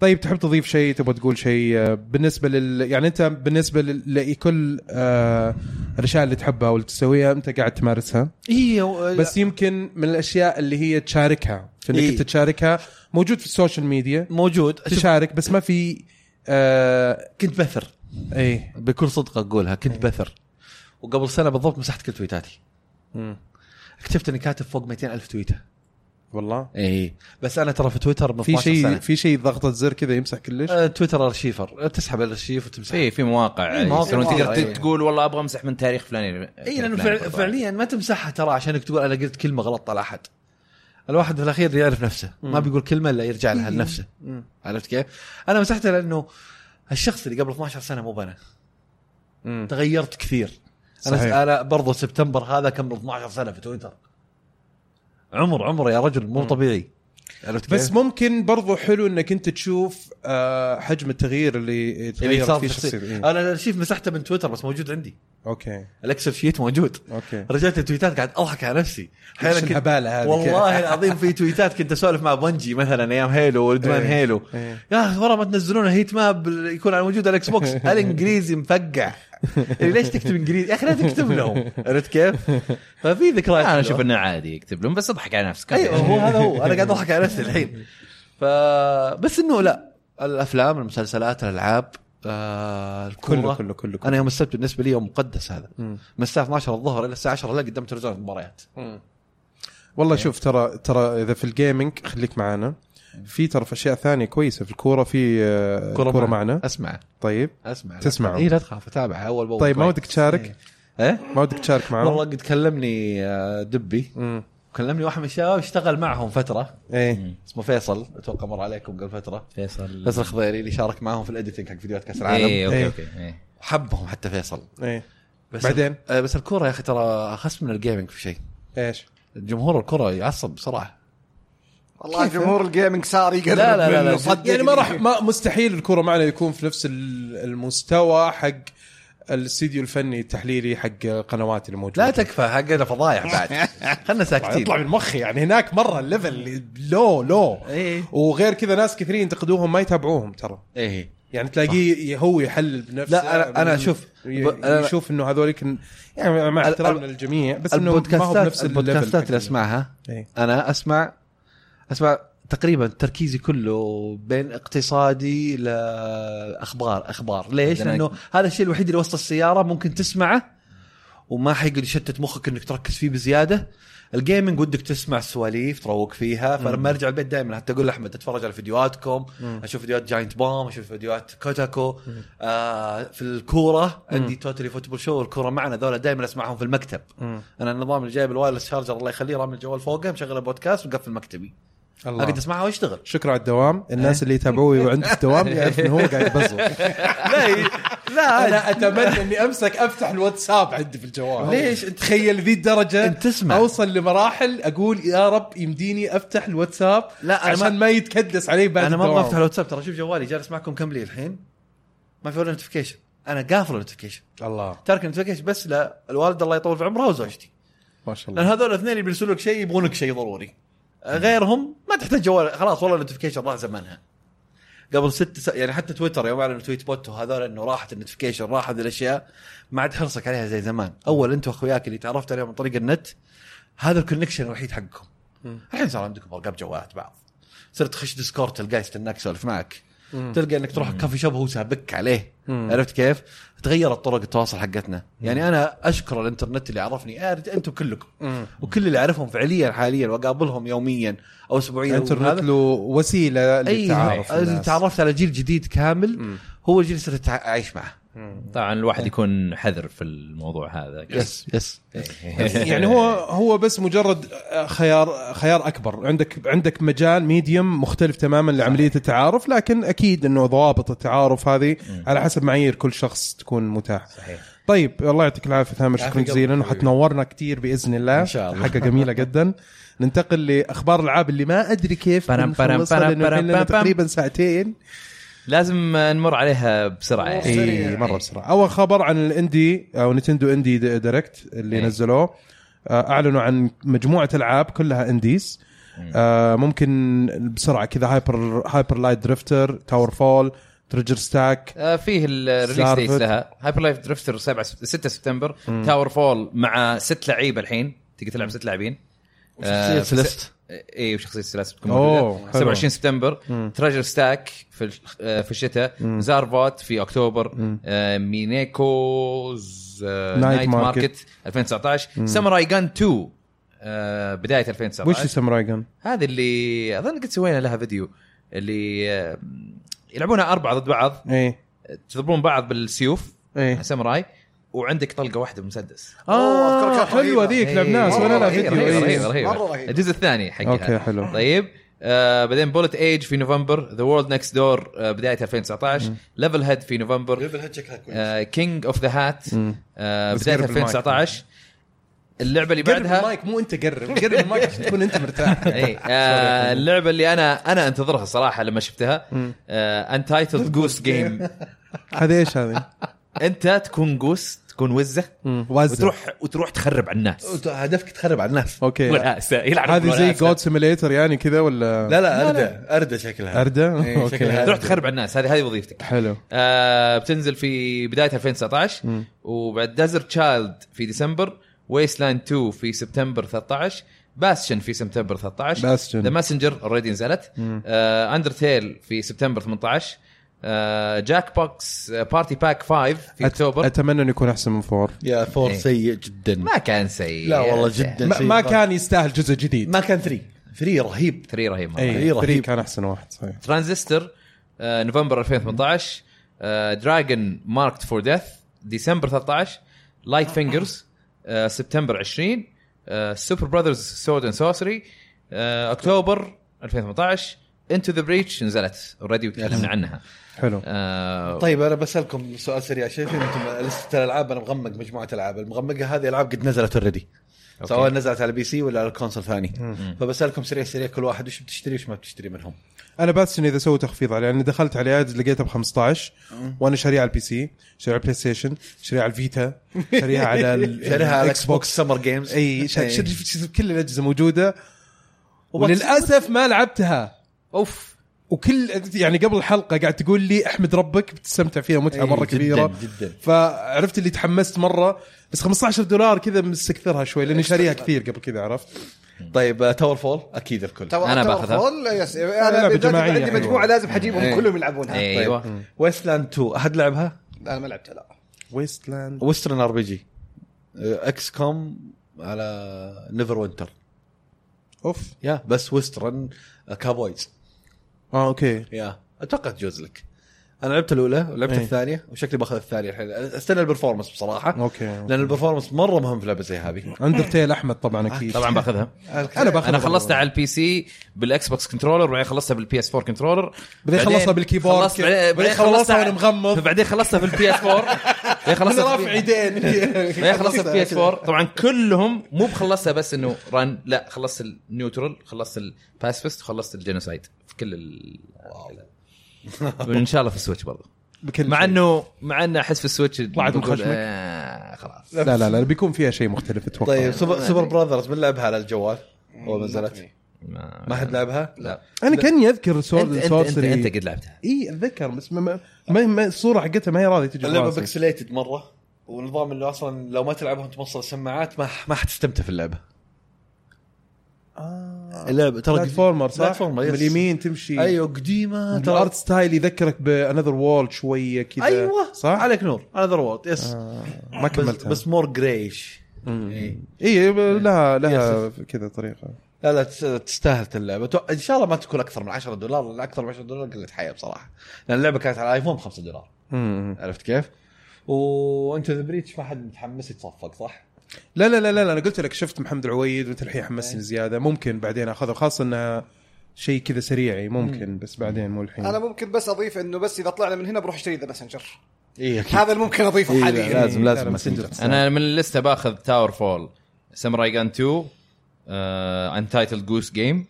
Speaker 1: طيب تحب تضيف شيء تبغى تقول شيء آه، بالنسبه لل يعني انت بالنسبه لل- لكل آه، الاشياء اللي تحبها واللي تسويها انت قاعد تمارسها
Speaker 4: إيه، و-
Speaker 1: بس يمكن من الاشياء اللي هي تشاركها في انك
Speaker 4: إيه.
Speaker 1: انت تشاركها موجود في السوشيال ميديا
Speaker 4: موجود شوف،
Speaker 1: تشارك بس ما في آه
Speaker 4: كنت بثر
Speaker 1: ايه
Speaker 4: بكل صدق اقولها كنت
Speaker 1: إيه.
Speaker 4: بثر وقبل سنه بالضبط مسحت كل تويتاتي
Speaker 1: مم.
Speaker 4: اكتشفت اني كاتب فوق 200 الف تويته
Speaker 1: والله
Speaker 4: اي بس انا ترى في تويتر من
Speaker 1: في
Speaker 4: 12
Speaker 1: شيء
Speaker 4: سنه
Speaker 1: في شيء ضغطه زر كذا يمسح كلش
Speaker 4: آه، تويتر ارشيفر آه، تسحب الارشيف وتمسح
Speaker 3: إيه، في في مواقع
Speaker 4: مواقع
Speaker 3: يصيرون تقدر
Speaker 4: مرة، إيه.
Speaker 3: تقول والله ابغى امسح من تاريخ فلاني
Speaker 4: اي لانه فع- فعليا ما تمسحها ترى عشانك تقول انا قلت كلمه غلط على احد الواحد في الاخير يعرف نفسه ما بيقول كلمه الا يرجع لها لنفسه عرفت كيف؟ انا مسحتها لانه الشخص اللي قبل 12 سنه مو بنا
Speaker 1: مم.
Speaker 4: تغيرت كثير
Speaker 1: صحيح.
Speaker 4: انا انا برضو سبتمبر هذا كم 12 سنه في تويتر عمر عمر يا رجل مو طبيعي عرفت كيف؟
Speaker 1: بس ممكن برضو حلو انك انت تشوف آه، حجم التغيير اللي
Speaker 4: اللي
Speaker 1: تغير
Speaker 4: صار
Speaker 1: فيه إيه.
Speaker 4: في
Speaker 1: شخصيتك
Speaker 4: انا الارشيف مسحته من تويتر بس موجود عندي
Speaker 1: اوكي
Speaker 4: الاكسل شيت موجود
Speaker 1: اوكي
Speaker 4: رجعت التويتات قاعد اضحك على نفسي
Speaker 1: ايش
Speaker 4: كنت-
Speaker 1: الهباله هذه
Speaker 4: والله العظيم في تويتات كنت اسولف مع بونجي مثلا ايام هيلو وادمان
Speaker 1: إيه.
Speaker 4: هيلو
Speaker 1: إيه.
Speaker 4: يا اخي ورا ما تنزلون هيت ماب يكون على موجود على الاكس بوكس الانجليزي مفقع يعني ليش تكتب انجليزي يا اخي لا تكتب لهم عرفت كيف؟ ففي ذكريات
Speaker 3: انا
Speaker 4: حلوة.
Speaker 3: اشوف انه عادي يكتب لهم بس اضحك على نفسك
Speaker 4: ايوه هو هذا هو انا قاعد اضحك على نفسي الحين ف بس انه لا الافلام المسلسلات الالعاب آه
Speaker 1: كله
Speaker 4: الكوره
Speaker 1: كله كله كله
Speaker 4: انا يوم السبت بالنسبه لي يوم مقدس هذا
Speaker 1: مم.
Speaker 4: من الساعه 12 الظهر الى الساعه 10 لا قدام تلفزيون المباريات
Speaker 1: والله شوف ترى ترى اذا في الجيمنج خليك معانا في ترى في اشياء ثانيه كويسه في الكوره في آه،
Speaker 4: كرة
Speaker 1: الكوره
Speaker 4: معنا.
Speaker 1: معنا
Speaker 4: اسمع
Speaker 1: طيب
Speaker 4: اسمع
Speaker 1: تسمعه.
Speaker 4: اي لا تخاف اتابع اول باول
Speaker 1: طيب ما
Speaker 4: كويس.
Speaker 1: ودك تشارك؟
Speaker 4: ايه
Speaker 1: ما ودك تشارك
Speaker 4: والله
Speaker 1: معنا؟
Speaker 4: قد كلمني آه، دبي
Speaker 1: مم.
Speaker 4: كلمني واحد من الشباب اشتغل معهم فتره
Speaker 1: ايه
Speaker 4: اسمه فيصل اتوقع مر عليكم قبل فتره
Speaker 3: فيصل
Speaker 4: فيصل الخضيري اللي شارك معهم في الاديتنج حق فيديوهات كاس العالم
Speaker 3: اي اوكي
Speaker 1: إيه.
Speaker 3: اوكي إيه.
Speaker 4: حبهم حتى فيصل
Speaker 1: ايه
Speaker 4: بس
Speaker 1: بعدين؟
Speaker 4: آه، بس الكوره يا اخي ترى اخس من الجيمنج في شيء
Speaker 1: ايش؟
Speaker 4: جمهور الكره يعصب بصراحه
Speaker 2: والله جمهور الجيمنج صار يقرب
Speaker 4: لا لا لا لا.
Speaker 2: منه، صدق
Speaker 1: يعني ما راح ما مستحيل الكوره معنا يكون في نفس ال- المستوى حق الاستديو الفني التحليلي حق القنوات اللي موجوده
Speaker 4: لا تكفى حقنا فضايح بعد خلنا ساكتين
Speaker 1: يطلع من مخي يعني هناك مره الليفل لو لو
Speaker 4: ايه
Speaker 1: وغير كذا ناس كثيرين ينتقدوهم ما يتابعوهم ترى
Speaker 4: ايه
Speaker 1: يعني تلاقيه هو يحلل بنفسه
Speaker 4: لا، أنا- أنا أشوف-
Speaker 1: ي- يشوف انه هذوليك ن- يعني مع
Speaker 4: ال-
Speaker 1: احترامنا للجميع بس انه ما هو بنفس الليفل
Speaker 4: البودكاستات البودكاستات
Speaker 1: حق
Speaker 4: اللي اسمعها
Speaker 1: إيه.
Speaker 4: انا اسمع اسمع تقريبا تركيزي كله بين اقتصادي لاخبار اخبار ليش؟
Speaker 3: عندنا-
Speaker 4: لانه هذا الشيء الوحيد اللي وسط السياره ممكن تسمعه وما حيقعد يشتت مخك انك تركز فيه بزياده الجيمنج ودك تسمع سواليف تروق فيها فلما ارجع البيت دائما حتى اقول لاحمد اتفرج على فيديوهاتكم اشوف فيديوهات جاينت بام اشوف فيديوهات كوتاكو آه في الكوره عندي توتالي فوتبول شو والكوره معنا ذولا دائما اسمعهم في المكتب
Speaker 1: مم.
Speaker 4: انا النظام اللي جايب الوايرلس شارجر الله يخليه رامي الجوال فوقه مشغل بودكاست مقفل مكتبي
Speaker 1: الله.
Speaker 4: اقعد اسمعها واشتغل
Speaker 1: شكرا على الدوام الناس اللي يتابعوه وعنده في الدوام يعرف انه هو قاعد يبزر
Speaker 4: لا لا
Speaker 1: انا اتمنى اني امسك افتح الواتساب عندي في الجوال
Speaker 4: ليش؟ أنت-
Speaker 1: تخيل ذي الدرجه
Speaker 4: أنت تسمع.
Speaker 1: اوصل لمراحل اقول يا رب يمديني افتح الواتساب
Speaker 4: لا، أنا
Speaker 1: عشان ما,
Speaker 4: ما-
Speaker 1: يتكدس علي بعد
Speaker 4: انا ما
Speaker 1: الدوام.
Speaker 4: ابغى افتح الواتساب ترى شوف جوالي جالس معكم كم لي الحين ما في ولا نوتيفيكيشن انا قافل النوتيفيكيشن
Speaker 1: الله
Speaker 4: تارك النوتيفيكيشن بس للوالد الله يطول في عمره وزوجتي
Speaker 1: ما شاء
Speaker 4: لان
Speaker 1: الله
Speaker 4: هذول الاثنين اللي بيرسلوا لك شيء يبغونك شيء ضروري غيرهم ما تحتاج جوال خلاص والله النوتيفيكيشن راح زمانها قبل ست س... يعني حتى تويتر يوم اعلنوا تويت بوت وهذول انه راحت النوتيفيكيشن راح هذه الاشياء ما عاد حرصك عليها زي زمان اول انت واخوياك اللي تعرفت عليهم من طريق النت هذا الكونكشن الوحيد حقكم الحين صار عندكم ارقام جوالات بعض صرت تخش ديسكورد تلقاه يستناك يسولف معك تلقى انك تروح كافي شوب هو سابك عليه عرفت كيف؟ تغيرت طرق التواصل حقتنا، يعني انا اشكر الانترنت اللي عرفني آه، انتم كلكم وكل اللي اعرفهم فعليا حاليا واقابلهم يوميا او اسبوعيا
Speaker 1: الانترنت
Speaker 4: وهذا. نعم.
Speaker 1: له وسيله للتعارف
Speaker 4: اي
Speaker 1: الناس.
Speaker 4: تعرفت على جيل جديد كامل هو الجيل اللي صرت اعيش معه
Speaker 3: طبعا
Speaker 1: إيه.
Speaker 3: الواحد يكون حذر في الموضوع هذا
Speaker 4: يس يس
Speaker 1: يعني هو هو بس مجرد خيار خيار اكبر عندك عندك مجال ميديوم مختلف تماما لعمليه التعارف لكن اكيد انه ضوابط التعارف هذه على حسب معايير كل شخص تكون متاح صحيح طيب الله يعطيك العافيه ثامر شكرا
Speaker 4: يعافيك
Speaker 1: جزيلا
Speaker 4: قلبك
Speaker 1: وحتنورنا كتير باذن الله
Speaker 4: إن شاء الله.
Speaker 1: حاجه جميله جدا ننتقل لاخبار العاب اللي ما ادري كيف
Speaker 3: برم- برم- برم-
Speaker 1: بنخلصها لأنه
Speaker 3: برم-
Speaker 1: الحين لنا
Speaker 3: برم-
Speaker 1: تقريبا ساعتين
Speaker 3: لازم نمر عليها بسرعه يعني
Speaker 1: اي مره بسرعه اول خبر عن الاندي او نتندو اندي دي- دايركت اللي
Speaker 3: إيه.
Speaker 1: نزلوه آه، اعلنوا عن مجموعه العاب كلها انديز آه، ممكن بسرعه كذا هايبر هايبر لايت درفتر تاور فول تريجر ستاك
Speaker 3: آه، فيه الريليس
Speaker 1: Starfield.
Speaker 3: ديت لها هايبر لايف درفتر 7 6 سبتمبر تاور فول مع ست لعيبه الحين تقدر تلعب ست لاعبين آه، في
Speaker 4: سلست.
Speaker 3: س- اي وشخصيه سلاست بتكون
Speaker 1: أوه،
Speaker 3: موجوده
Speaker 1: حلو.
Speaker 3: 27 سبتمبر تريجر ستاك في ال- آه، في الشتاء زارفوت في اكتوبر آه، مينيكو ز- آه،
Speaker 1: نايت
Speaker 3: نايت
Speaker 1: ماركت.
Speaker 3: ماركت 2019 ساموراي جان 2 آه، بدايه 2019
Speaker 1: وش الساموراي جن؟
Speaker 3: هذه اللي اظن قد سوينا لها فيديو اللي آه، يلعبونها اربعه ضد بعض
Speaker 1: ايه
Speaker 3: تضربون بعض بالسيوف
Speaker 1: ايه
Speaker 3: ساموراي وعندك طلقه واحده بمسدس
Speaker 2: أوه، أذكر
Speaker 1: اه
Speaker 2: كانت
Speaker 1: حلوه
Speaker 2: رهيبة.
Speaker 1: ذيك
Speaker 3: إيه.
Speaker 1: لعبناها
Speaker 2: مرة
Speaker 1: سوينا لها
Speaker 2: رهيبة،
Speaker 1: فيديو
Speaker 2: رهيبة،
Speaker 1: إيه.
Speaker 3: رهيبة.
Speaker 2: مره رهيبه
Speaker 3: الجزء الثاني حقها
Speaker 1: اوكي حلو
Speaker 3: طيب آه بعدين بولت ايج في نوفمبر ذا وورلد نكست دور بدايه 2019 ليفل هيد في نوفمبر آه،
Speaker 4: ليفل هيد شكلها كويس
Speaker 3: كينج اوف ذا هات
Speaker 1: مم. بس
Speaker 3: بدايه
Speaker 1: قرب المايك.
Speaker 3: 2019 اللعبه اللي
Speaker 1: قرب
Speaker 3: بعدها
Speaker 1: المايك مو انت قرب قرب المايك عشان تكون انت مرتاح
Speaker 3: اي آه اللعبه اللي انا انا انتظرها صراحه لما شفتها آه، انتايتلد جوس جيم
Speaker 1: هذه ايش هذه؟
Speaker 3: انت تكون جوس تكون وزه
Speaker 1: وزع
Speaker 3: وتروح وتروح تخرب على الناس
Speaker 4: وت- هدفك تخرب على الناس
Speaker 1: اوكي
Speaker 3: والعاسة، يلعب
Speaker 1: هذه زي
Speaker 3: والعاسة.
Speaker 1: جود سيميليتر يعني كذا ولا
Speaker 4: لا لا اردى اردى شكلها
Speaker 1: اردة؟
Speaker 4: إيه، شكلها.
Speaker 1: اوكي
Speaker 3: تروح تخرب على الناس هذه هذه وظيفتك
Speaker 1: حلو
Speaker 3: آه بتنزل في بدايه 2019
Speaker 1: مم.
Speaker 3: وبعد دازر تشايلد في ديسمبر ويست لاند 2 في سبتمبر 13 باستشن في سبتمبر 13
Speaker 1: Bastion.
Speaker 3: ذا ماسنجر اوريدي نزلت
Speaker 1: مم.
Speaker 3: آه اندرتيل في سبتمبر 18 آه جاك بوكس آه، بارتي باك 5 في
Speaker 1: أت-
Speaker 3: اكتوبر
Speaker 1: اتمنى انه يكون احسن من فور
Speaker 4: يا فور
Speaker 3: إيه.
Speaker 4: سيء جدا
Speaker 3: ما كان سيء
Speaker 4: لا والله جدا
Speaker 1: ما,
Speaker 4: سيء.
Speaker 1: ما كان يستاهل جزء جديد
Speaker 4: ما كان ثري ثري رهيب
Speaker 3: 3 رهيب مره
Speaker 1: اي
Speaker 4: إيه، رهيب.
Speaker 1: رهيب كان احسن واحد صحيح
Speaker 3: ترانزستور آه، نوفمبر 2018 آه، دراجون ماركت فور ديث ديسمبر 13 لايت فينجرز آه، سبتمبر 20 سوبر براذرز سورد اند سورسري آه، اكتوبر 2018 انتو ذا بريتش نزلت اوريدي وتكلمنا عنها
Speaker 1: حلو
Speaker 3: آه،
Speaker 4: طيب انا بسالكم سؤال سريع شايفين انتم لسته الالعاب انا مغمق مجموعه العاب المغمقه هذه العاب قد نزلت اوريدي
Speaker 3: أوكي.
Speaker 4: سواء نزلت على بي سي ولا على الكونسول ثاني فبسالكم سريع سريع كل واحد وش بتشتري وش ما بتشتري منهم
Speaker 1: انا باستن اذا سووا تخفيض عليه لاني دخلت على اد لقيتها ب 15 وانا شاريها على البي سي شاريها على البلاي ستيشن شاريها على الفيتا شاريها على ال-
Speaker 4: شاريها على
Speaker 1: الإكس
Speaker 4: اكس بوكس سمر جيمز
Speaker 1: اي شا-
Speaker 4: إي.
Speaker 1: شا- شا- كل الاجهزه موجوده وللاسف ما لعبتها
Speaker 3: اوف
Speaker 1: وكل يعني قبل الحلقه قاعد تقول لي احمد ربك بتستمتع فيها متعه مره
Speaker 4: جداً،
Speaker 1: كبيره
Speaker 4: جداً.
Speaker 1: فعرفت اللي تحمست مره بس 15 دولار كذا مستكثرها شوي لاني شاريها كثير قبل كذا عرفت
Speaker 4: طيب آه، تاور فول اكيد الكل
Speaker 3: أنا باخذها.
Speaker 1: لعبة
Speaker 2: انا بالذات إذا
Speaker 1: جماعية
Speaker 2: عندي
Speaker 1: حلوة.
Speaker 2: مجموعه لازم حجيبهم
Speaker 4: إيه.
Speaker 2: كلهم يلعبونها
Speaker 3: ايوه
Speaker 4: ويست لاند 2 احد لعبها؟
Speaker 2: انا ما لعبتها لا
Speaker 1: ويستلاند
Speaker 4: وسترن ار بي جي اكس كوم Uh, على نيفر وينتر
Speaker 1: اوف
Speaker 4: يا بس uh, وسترن كابويز
Speaker 1: اه اوكي
Speaker 4: يا اتوقع تجوز لك انا لعبت الاولى ولعبت
Speaker 1: إيه.
Speaker 4: الثانيه وشكلي باخذ الثانيه الحين استنى البرفورمانس بصراحه
Speaker 1: اوكي
Speaker 4: لان البرفورمانس مره مهم في لعبه زي هذه
Speaker 1: اندرتيل احمد طبعا اكيد
Speaker 3: طبعا باخذها
Speaker 1: انا باخذ
Speaker 3: انا خلصتها على البي سي بالاكس بوكس كنترولر وبعدين خلصتها بالبي اس 4 كنترولر
Speaker 1: بعدين خلصنا بالكيبورد
Speaker 3: خلصت بعدين- بعدين
Speaker 1: خلصنا
Speaker 3: خلصتها
Speaker 1: وانا مغمض
Speaker 3: بعدين خلصتها في البي اس 4 بعدين
Speaker 1: انا
Speaker 3: خلصتها في-
Speaker 1: رافع يدين
Speaker 3: ما هي خلصت بي اس 4 طبعا كلهم مو بخلصها بس انه رن لا خلصت النيوترال خلصت الباسفست وخلصت الجينوسايد في كل ال وان شاء الله في السويتش برضه
Speaker 1: بكل
Speaker 3: مع
Speaker 1: شيء.
Speaker 3: انه مع انه احس في السويتش طلعت
Speaker 1: من خشمك؟
Speaker 3: آه خلاص
Speaker 1: لا لا لا بيكون فيها شيء مختلف اتوقع
Speaker 4: طيب سوبر, سوبر براذرز من لعبها على الجوال اول ما نزلت
Speaker 3: ما,
Speaker 4: ما حد لعبها؟
Speaker 3: لا
Speaker 1: انا كاني اذكر سورد
Speaker 3: انت انت, انت,
Speaker 1: سورسري
Speaker 3: انت قد لعبتها
Speaker 1: اي اتذكر بس ما- ما ما- ما الصوره حقتها ما هي راضيه تجي
Speaker 4: اللعبه
Speaker 1: براسي.
Speaker 4: بكسليتد مره ونظام انه اصلا لو ما تلعبها وانت موصل السماعات ما ما حتستمتع في اللعبه
Speaker 1: آه.
Speaker 4: اللعبه ترى
Speaker 1: بلاتفورمر صح؟
Speaker 4: بلاتفورمر، يس.
Speaker 1: من اليمين تمشي
Speaker 4: ايوه قديمه
Speaker 1: الارت ستايل يذكرك بانذر وول شويه كذا
Speaker 4: ايوه
Speaker 1: صح؟
Speaker 4: عليك نور انذر وورد يس
Speaker 1: ما
Speaker 4: بس,
Speaker 1: كملتها
Speaker 4: بس مور جريش إيه.
Speaker 1: اي لها لها كذا طريقه
Speaker 4: لا لا تس- تستاهل اللعبه تو- ان شاء الله ما تكون اكثر من 10 دولار لان اكثر من 10 دولار قله حياه بصراحه لان اللعبه كانت على ايفون ب 5 دولار
Speaker 1: مم.
Speaker 4: عرفت كيف؟ وانت ذا بريتش ما حد متحمس يتصفق صح؟
Speaker 1: لا لا لا لا انا قلت لك شفت محمد العويد وانت الحين
Speaker 2: إيه.
Speaker 1: حمسني زياده ممكن بعدين اخذه خاصه انه شيء كذا سريعي ممكن بس بعدين مو الحين
Speaker 2: انا ممكن بس اضيف انه بس اذا طلعنا من هنا بروح اشتري ذا ماسنجر
Speaker 4: اي اكيد
Speaker 2: هذا اللي ممكن اضيفه
Speaker 4: إيه، لا،
Speaker 2: حاليا
Speaker 4: لازم لازم
Speaker 3: انا من اللسته باخذ تاور فول ساموراي جان 2 انتايتل جوس جيم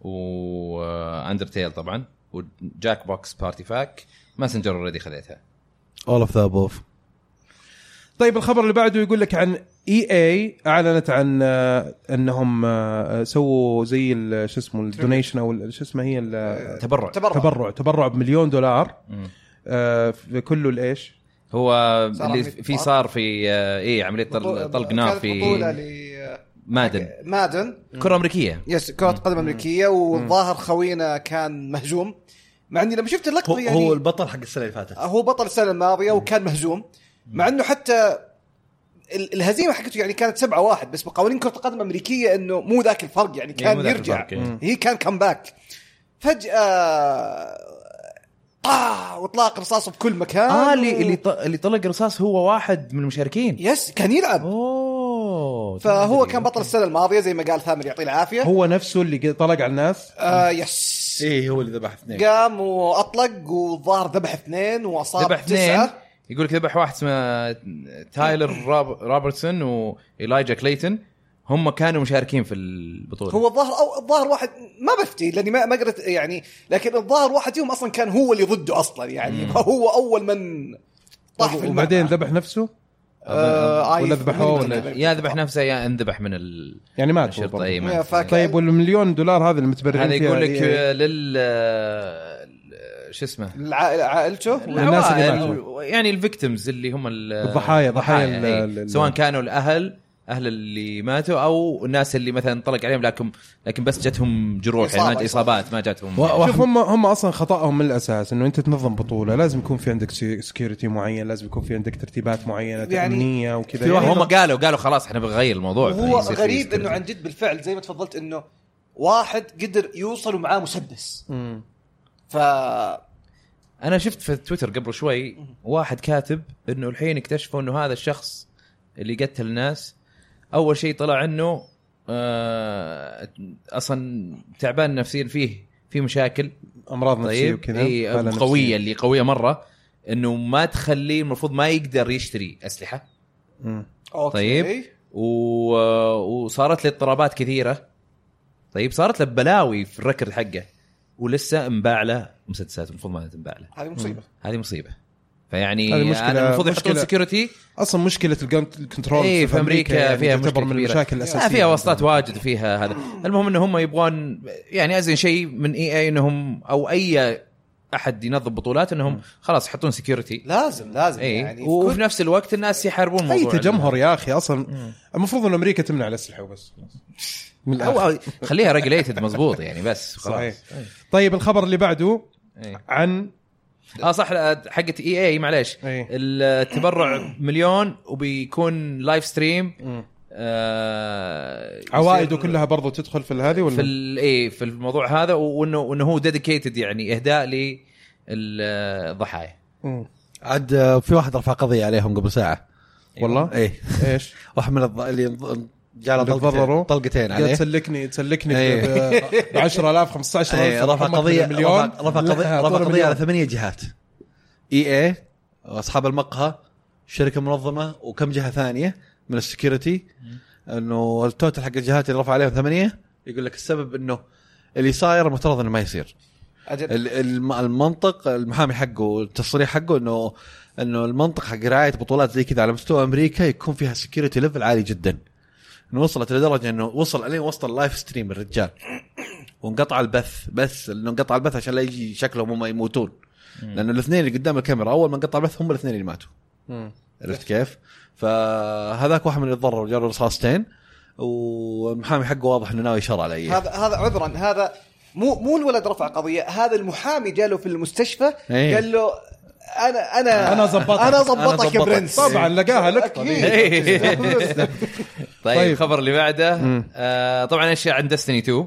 Speaker 3: واندرتيل طبعا وجاك بوكس بارتي فاك ماسنجر اوريدي خذيتها
Speaker 4: اول اوف ذا بوف
Speaker 1: طيب الخبر اللي بعده يقول لك عن اي اي اعلنت عن آه، انهم آه، سووا زي ال- شو اسمه الدونيشن او ال- شو اسمها هي ال-
Speaker 3: تبرع
Speaker 2: تبرع
Speaker 1: تبرع تبرع بمليون دولار
Speaker 3: مم.
Speaker 1: آه، في كله الايش؟
Speaker 3: هو
Speaker 2: صار
Speaker 3: اللي
Speaker 2: عملية
Speaker 3: في
Speaker 2: طلق.
Speaker 3: صار في آه، ايه عمليه طل- طلق نار
Speaker 2: كانت بطوله
Speaker 3: في
Speaker 2: ل
Speaker 3: مادن
Speaker 2: مادن
Speaker 3: كره امريكيه
Speaker 2: يس كره قدم امريكيه والظاهر خوينا كان مهزوم مع اني لما شفت
Speaker 4: هو,
Speaker 2: اللقطه يعني
Speaker 4: هو البطل حق السنه اللي فاتت
Speaker 2: هو بطل السنه الماضيه وكان مهزوم مع انه حتى ال- الهزيمه حقته يعني كانت سبعة واحد بس مقاولين كره القدم الامريكيه انه مو ذاك الفرق يعني
Speaker 3: إيه، مو
Speaker 2: كان
Speaker 3: ذاك
Speaker 2: يرجع
Speaker 3: الفرق، إيه.
Speaker 2: هي كان كمباك فجاه طاه واطلاق رصاص بكل مكان
Speaker 3: اه اللي اللي ط- اللي طلق رصاص هو واحد من المشاركين
Speaker 2: يس كان يلعب
Speaker 3: اوه
Speaker 2: فهو
Speaker 3: تدري.
Speaker 2: كان بطل السنه الماضيه زي ما قال ثامر يعطيه العافيه
Speaker 1: هو نفسه اللي طلق على الناس
Speaker 2: آه يس
Speaker 5: ايه هو اللي ذبح
Speaker 3: إيه.
Speaker 5: اثنين
Speaker 2: قام واطلق والظاهر ذبح اثنين واصاب
Speaker 3: ذبح اثنين
Speaker 2: تسعه
Speaker 3: يقول لك ذبح واحد اسمه تايلر راب روبرتسون وايلايجا كليتن هم كانوا مشاركين في البطوله
Speaker 2: هو الظاهر او الظاهر واحد ما بفتي لاني ما ما قدرت يعني لكن الظاهر واحد فيهم اصلا كان هو اللي ضده اصلا يعني فهو اول من طاح في
Speaker 1: وبعدين
Speaker 2: المعنى.
Speaker 1: ذبح نفسه
Speaker 2: آه، آي-
Speaker 1: ولا ذبحوه
Speaker 2: ماني
Speaker 1: ولا
Speaker 2: متأكد.
Speaker 3: يا ذبح نفسه يا انذبح من ال...
Speaker 1: يعني مات هو
Speaker 3: الشرطه
Speaker 1: برضه.
Speaker 3: اي
Speaker 2: يا
Speaker 3: ما
Speaker 2: فاك-
Speaker 1: طيب والمليون دولار هذا المتبرعين
Speaker 3: هذا
Speaker 1: فيها إيه؟
Speaker 3: يقول لك
Speaker 1: هي-
Speaker 3: آه، لل آه، شو اسمه
Speaker 2: العائلة عائلته
Speaker 1: الناس اللي
Speaker 3: العوائل،
Speaker 1: ماتوا.
Speaker 3: يعني الفيكتيمز اللي هم ال-
Speaker 1: الضحايا- ضحايا ال-
Speaker 3: إيه.
Speaker 1: ال- ال-
Speaker 3: سواء كانوا الاهل اهل اللي ماتوا او الناس اللي مثلا طلق عليهم لكن لكن بس جتهم جروح يعني ما
Speaker 2: إصابة.
Speaker 3: جت اصابات ما جاتهم
Speaker 1: و- شوف هم هم اصلا خطاهم من الاساس انه انت تنظم بطوله لازم يكون في عندك سكيورتي معين لازم يكون في عندك ترتيبات معينه
Speaker 2: يعني-
Speaker 1: تامنيه وكذا
Speaker 3: في واحد
Speaker 1: يعني
Speaker 3: هم قالوا قالوا خلاص احنا بنغير الموضوع يعني
Speaker 2: هو
Speaker 3: يصير في
Speaker 2: غريب
Speaker 3: security.
Speaker 2: انه عن جد بالفعل زي ما تفضلت انه واحد قدر يوصل ومعاه مسدس
Speaker 1: مم.
Speaker 2: ف
Speaker 3: انا شفت في تويتر قبل شوي واحد كاتب انه الحين اكتشفوا انه هذا الشخص اللي قتل الناس اول شيء طلع انه آه، اصلا تعبان نفسيا فيه في مشاكل
Speaker 1: امراض نفسيه
Speaker 3: طيب
Speaker 1: وكذا
Speaker 3: إي،
Speaker 1: حالة نفسية.
Speaker 3: قويه اللي قويه مره انه ما تخليه المفروض ما يقدر يشتري اسلحه
Speaker 1: مم.
Speaker 2: اوكي
Speaker 3: طيب. و... وصارت له اضطرابات كثيره طيب صارت له بلاوي في الركرد حقه ولسه انباع له مسدسات المفروض ما تنباع له
Speaker 2: هذه مصيبه
Speaker 3: هذه مصيبه فيعني
Speaker 1: هذه مشكلة-
Speaker 3: أنا المفروض يحطون
Speaker 1: مشكلة-
Speaker 3: سكيورتي
Speaker 1: اصلا مشكله الجن- الكنترول
Speaker 3: اي إيه، في امريكا
Speaker 1: يعني
Speaker 3: فيها
Speaker 1: تعتبر
Speaker 3: مشكله
Speaker 1: من
Speaker 3: كبيرة.
Speaker 1: المشاكل الاساسيه
Speaker 3: آه، فيها واسطات واجد وفيها هذا المهم ان هم يبغون يعني ازين شيء من اي اي انهم او اي احد ينظم بطولات انهم خلاص يحطون سكيورتي
Speaker 2: لازم لازم
Speaker 3: اي
Speaker 2: يعني
Speaker 3: إيه. وفي
Speaker 2: كل-
Speaker 3: نفس الوقت الناس يحاربون
Speaker 1: اي
Speaker 3: موضوع
Speaker 1: تجمهر يا اخي اصلا المفروض ان امريكا تمنع الاسلحه وبس من
Speaker 3: ال-
Speaker 1: الآخر.
Speaker 3: أو أو خليها ريجليتد مضبوط يعني بس خلاص
Speaker 1: صحيح طيب الخبر اللي بعده
Speaker 3: إي.
Speaker 1: عن
Speaker 3: اه صح لا، حقت اي اي معليش
Speaker 1: إي.
Speaker 3: التبرع مليون وبيكون لايف ستريم
Speaker 1: مم.
Speaker 3: آه يصير-
Speaker 1: عوائده كلها برضو تدخل في هذه ولا
Speaker 3: في ال- ايه في الموضوع هذا و- وانه وانه هو ديديكيتد يعني اهداء للضحايا
Speaker 1: مم.
Speaker 5: عاد آه، في واحد رفع قضيه عليهم قبل ساعه
Speaker 1: والله
Speaker 4: إيه.
Speaker 5: ايه
Speaker 1: ايش
Speaker 5: واحد من الض- اللي انض- جاله
Speaker 1: اللي تضرروا؟
Speaker 5: طلقتين طلقتين
Speaker 1: قاعد
Speaker 5: عليه
Speaker 1: تسلكني تسلكني
Speaker 5: إيه.
Speaker 1: ب 10000 15000
Speaker 5: إيه، رفع
Speaker 1: محمد
Speaker 5: قضيه
Speaker 1: بالمليون.
Speaker 5: رفع رفع
Speaker 1: لا،
Speaker 5: قضيه
Speaker 1: طول
Speaker 5: رفع قضيه
Speaker 1: مليون.
Speaker 5: على ثمانيه جهات اي اي اصحاب المقهى شركه منظمه وكم جهه ثانيه من السكيورتي انه التوتل حق الجهات اللي رفع عليهم ثمانيه يقول لك السبب انه اللي صاير المفترض انه ما يصير
Speaker 2: أجل.
Speaker 5: ال- الم- المنطق المحامي حقه التصريح حقه انه انه المنطق حق رعايه بطولات زي كذا على مستوى امريكا يكون فيها سكيورتي ليفل عالي جدا انه وصلت لدرجه انه وصل الين وصل اللايف ستريم الرجال وانقطع البث بس انه انقطع البث عشان لا يجي شكلهم هم يموتون لانه الاثنين اللي قدام الكاميرا اول ما انقطع البث هم الاثنين اللي ماتوا
Speaker 1: مم.
Speaker 5: عرفت كيف؟ فهذاك واحد من اللي تضرر جاله رصاصتين والمحامي حقه واضح انه ناوي شر على
Speaker 4: إيه.
Speaker 5: ايه
Speaker 2: هذا هذا عذرا هذا مو مو الولد رفع قضيه هذا المحامي جاله في المستشفى
Speaker 5: إيه.
Speaker 2: قال له انا انا
Speaker 1: أنا زبطك.
Speaker 2: انا
Speaker 5: أنا
Speaker 2: زبطك
Speaker 5: زبطك.
Speaker 2: يا برنس
Speaker 1: طبعا لقاها لقطه
Speaker 2: إيه. أكيد.
Speaker 1: ذي.
Speaker 3: طيب,
Speaker 1: طيب.
Speaker 3: الخبر اللي بعده آه طبعا اشياء عن دستني 2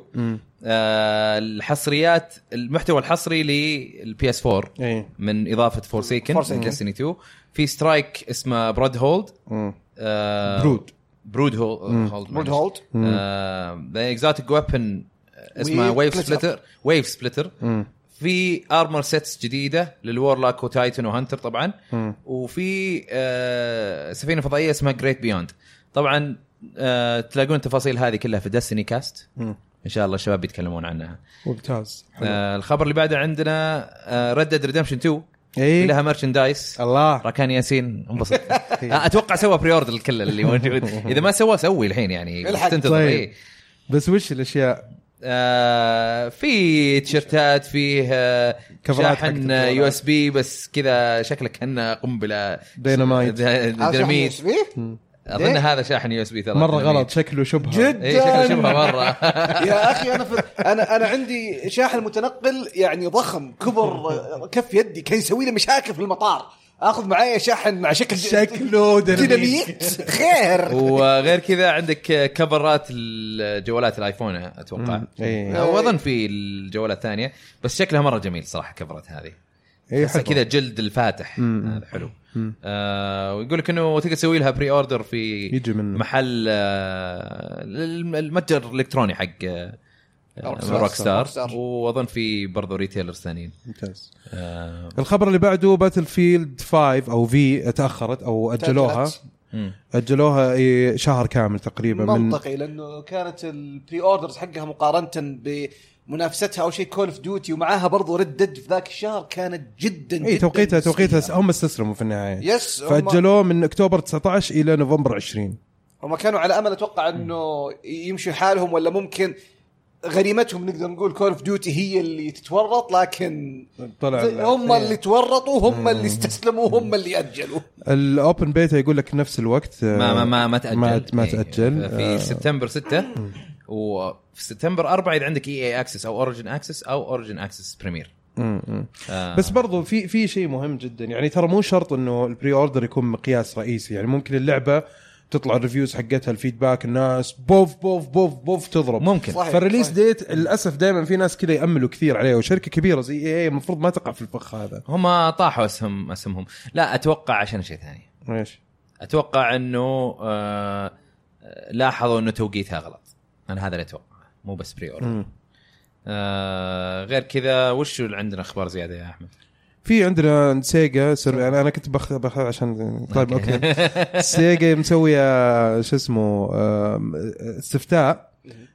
Speaker 3: آه الحصريات المحتوى الحصري للبي اس 4
Speaker 1: إيه.
Speaker 3: من اضافه فورسيكن
Speaker 2: Forsaken.
Speaker 3: دستني 2 في سترايك اسمه براد هولد
Speaker 1: مم.
Speaker 3: آه
Speaker 1: برود
Speaker 3: برود هولد هولد
Speaker 2: برود
Speaker 3: معلش.
Speaker 2: هولد
Speaker 3: ذا اكزوتيك ويبن آه، اسمه
Speaker 2: Wave
Speaker 3: ويف
Speaker 2: Splitter.
Speaker 3: سبلتر ويف سبلتر
Speaker 1: مم.
Speaker 3: في ارمر سيتس جديده للورلاك وتايتن وهانتر طبعا
Speaker 1: مم.
Speaker 3: وفي آه سفينه فضائيه اسمها جريت بيوند طبعا آه تلاقون التفاصيل هذه كلها في دستني كاست
Speaker 1: مم.
Speaker 3: ان شاء الله الشباب بيتكلمون عنها
Speaker 1: ممتاز حلو.
Speaker 3: آه الخبر اللي بعده عندنا آه ريد ريدمشن 2
Speaker 1: ايه
Speaker 3: لها مرشندايز
Speaker 1: الله
Speaker 3: راكان ياسين انبسط
Speaker 1: إيه.
Speaker 3: آه، اتوقع سوى بري اوردر الكل اللي موجود اذا ما سواه سوي الحين يعني
Speaker 2: الحق.
Speaker 3: تنتظر
Speaker 1: طيب.
Speaker 3: إيه.
Speaker 1: بس وش الاشياء
Speaker 3: آه، في تيشرتات فيه آه،
Speaker 1: كفرات حقت
Speaker 3: شاحن آه،
Speaker 1: الكفرات.
Speaker 3: يو اس بي بس كذا شكلك كنا قنبله
Speaker 1: ديناميت.
Speaker 3: د- ديناميت
Speaker 2: إيه؟
Speaker 3: اظن هذا شاحن يو اس بي ترى
Speaker 1: مره
Speaker 3: ديناميت.
Speaker 1: غلط شكله شبهه
Speaker 2: جد
Speaker 3: اي شكله شبه مره
Speaker 2: يا اخي انا في انا انا عندي شاحن متنقل يعني ضخم كبر كف يدي كان يسوي لي مشاكل في المطار اخذ معايا شحن مع شكل
Speaker 1: شكله ديناميت
Speaker 2: ديناميت خير
Speaker 3: وغير كذا عندك كفرات الجوالات الايفون اتوقع
Speaker 1: مم. إيه.
Speaker 3: واظن في الجوالات الثانيه بس شكلها مره جميل صراحه كفرات هذه
Speaker 1: اي
Speaker 3: تحسها
Speaker 1: حلوة.
Speaker 3: كذا جلد الفاتح
Speaker 1: إيه، مم.
Speaker 3: هذا حلو
Speaker 1: مم.
Speaker 3: آه ويقول لك انه تقدر تسوي لها بري اوردر في
Speaker 1: يجي من
Speaker 3: محل آه الم- المتجر الالكتروني حق آه
Speaker 2: روك
Speaker 3: روك
Speaker 2: ستار.
Speaker 3: ستار واظن في برضو ريتيلرز ثانيين
Speaker 1: ممتاز
Speaker 3: آه
Speaker 1: الخبر اللي بعده باتل فيلد 5 او في تاخرت او اجلوها
Speaker 2: تأجلت.
Speaker 3: مم.
Speaker 1: اجلوها إيه، شهر كامل تقريبا من
Speaker 2: منطقي لانه كانت البري اوردرز حقها مقارنه بمنافستها او شيء كول اوف ديوتي ومعاها برضو ردد في ذاك الشهر كانت جدا
Speaker 1: اي
Speaker 2: جداً
Speaker 1: إيه، توقيتها
Speaker 2: سيئة.
Speaker 1: توقيتها هم استسلموا في النهايه
Speaker 2: يس هم,
Speaker 1: فاجلوه من اكتوبر 19 الى نوفمبر 20
Speaker 2: هم كانوا على امل اتوقع انه يمشوا حالهم ولا ممكن غريمتهم نقدر نقول كول اوف ديوتي هي اللي تتورط لكن
Speaker 1: طلع إيه.
Speaker 2: هم اللي تورطوا هم اللي استسلموا هم اللي اجلوا
Speaker 1: الاوبن بيتا يقول لك نفس الوقت آه،
Speaker 3: ما ما ما, ما تاجل
Speaker 1: ما, ما آه.
Speaker 3: إيه.
Speaker 1: تاجل
Speaker 3: في سبتمبر 6 وفي سبتمبر 4 اذا عندك اي اي اكسس او اوريجن اكسس او اوريجن اكسس بريمير
Speaker 1: آه،
Speaker 3: آه،
Speaker 1: مم، مم. بس برضو في في شيء مهم جدا يعني ترى مو شرط انه البري اوردر يكون مقياس رئيسي يعني ممكن اللعبه تطلع الريفيوز حقتها الفيدباك الناس بوف بوف بوف بوف تضرب
Speaker 3: ممكن
Speaker 2: صح. صحيح،
Speaker 1: فالريليس
Speaker 2: صحيح.
Speaker 1: ديت للاسف دائما في ناس كذا ياملوا كثير عليه وشركه كبيره زي اي اي المفروض ما تقع في الفخ هذا
Speaker 3: هم طاحوا اسهم اسهمهم لا اتوقع عشان شيء ثاني
Speaker 1: ايش
Speaker 3: اتوقع انه آه لاحظوا انه توقيتها غلط انا هذا اللي اتوقعه مو بس بري اوردر
Speaker 1: مم.
Speaker 3: آه غير كذا وش اللي عندنا اخبار زياده يا احمد
Speaker 1: في عندنا سيجا سر... انا أنا كنت بخ... بخ... عشان طيب اوكي سيجا مسويه شو اسمه آم، استفتاء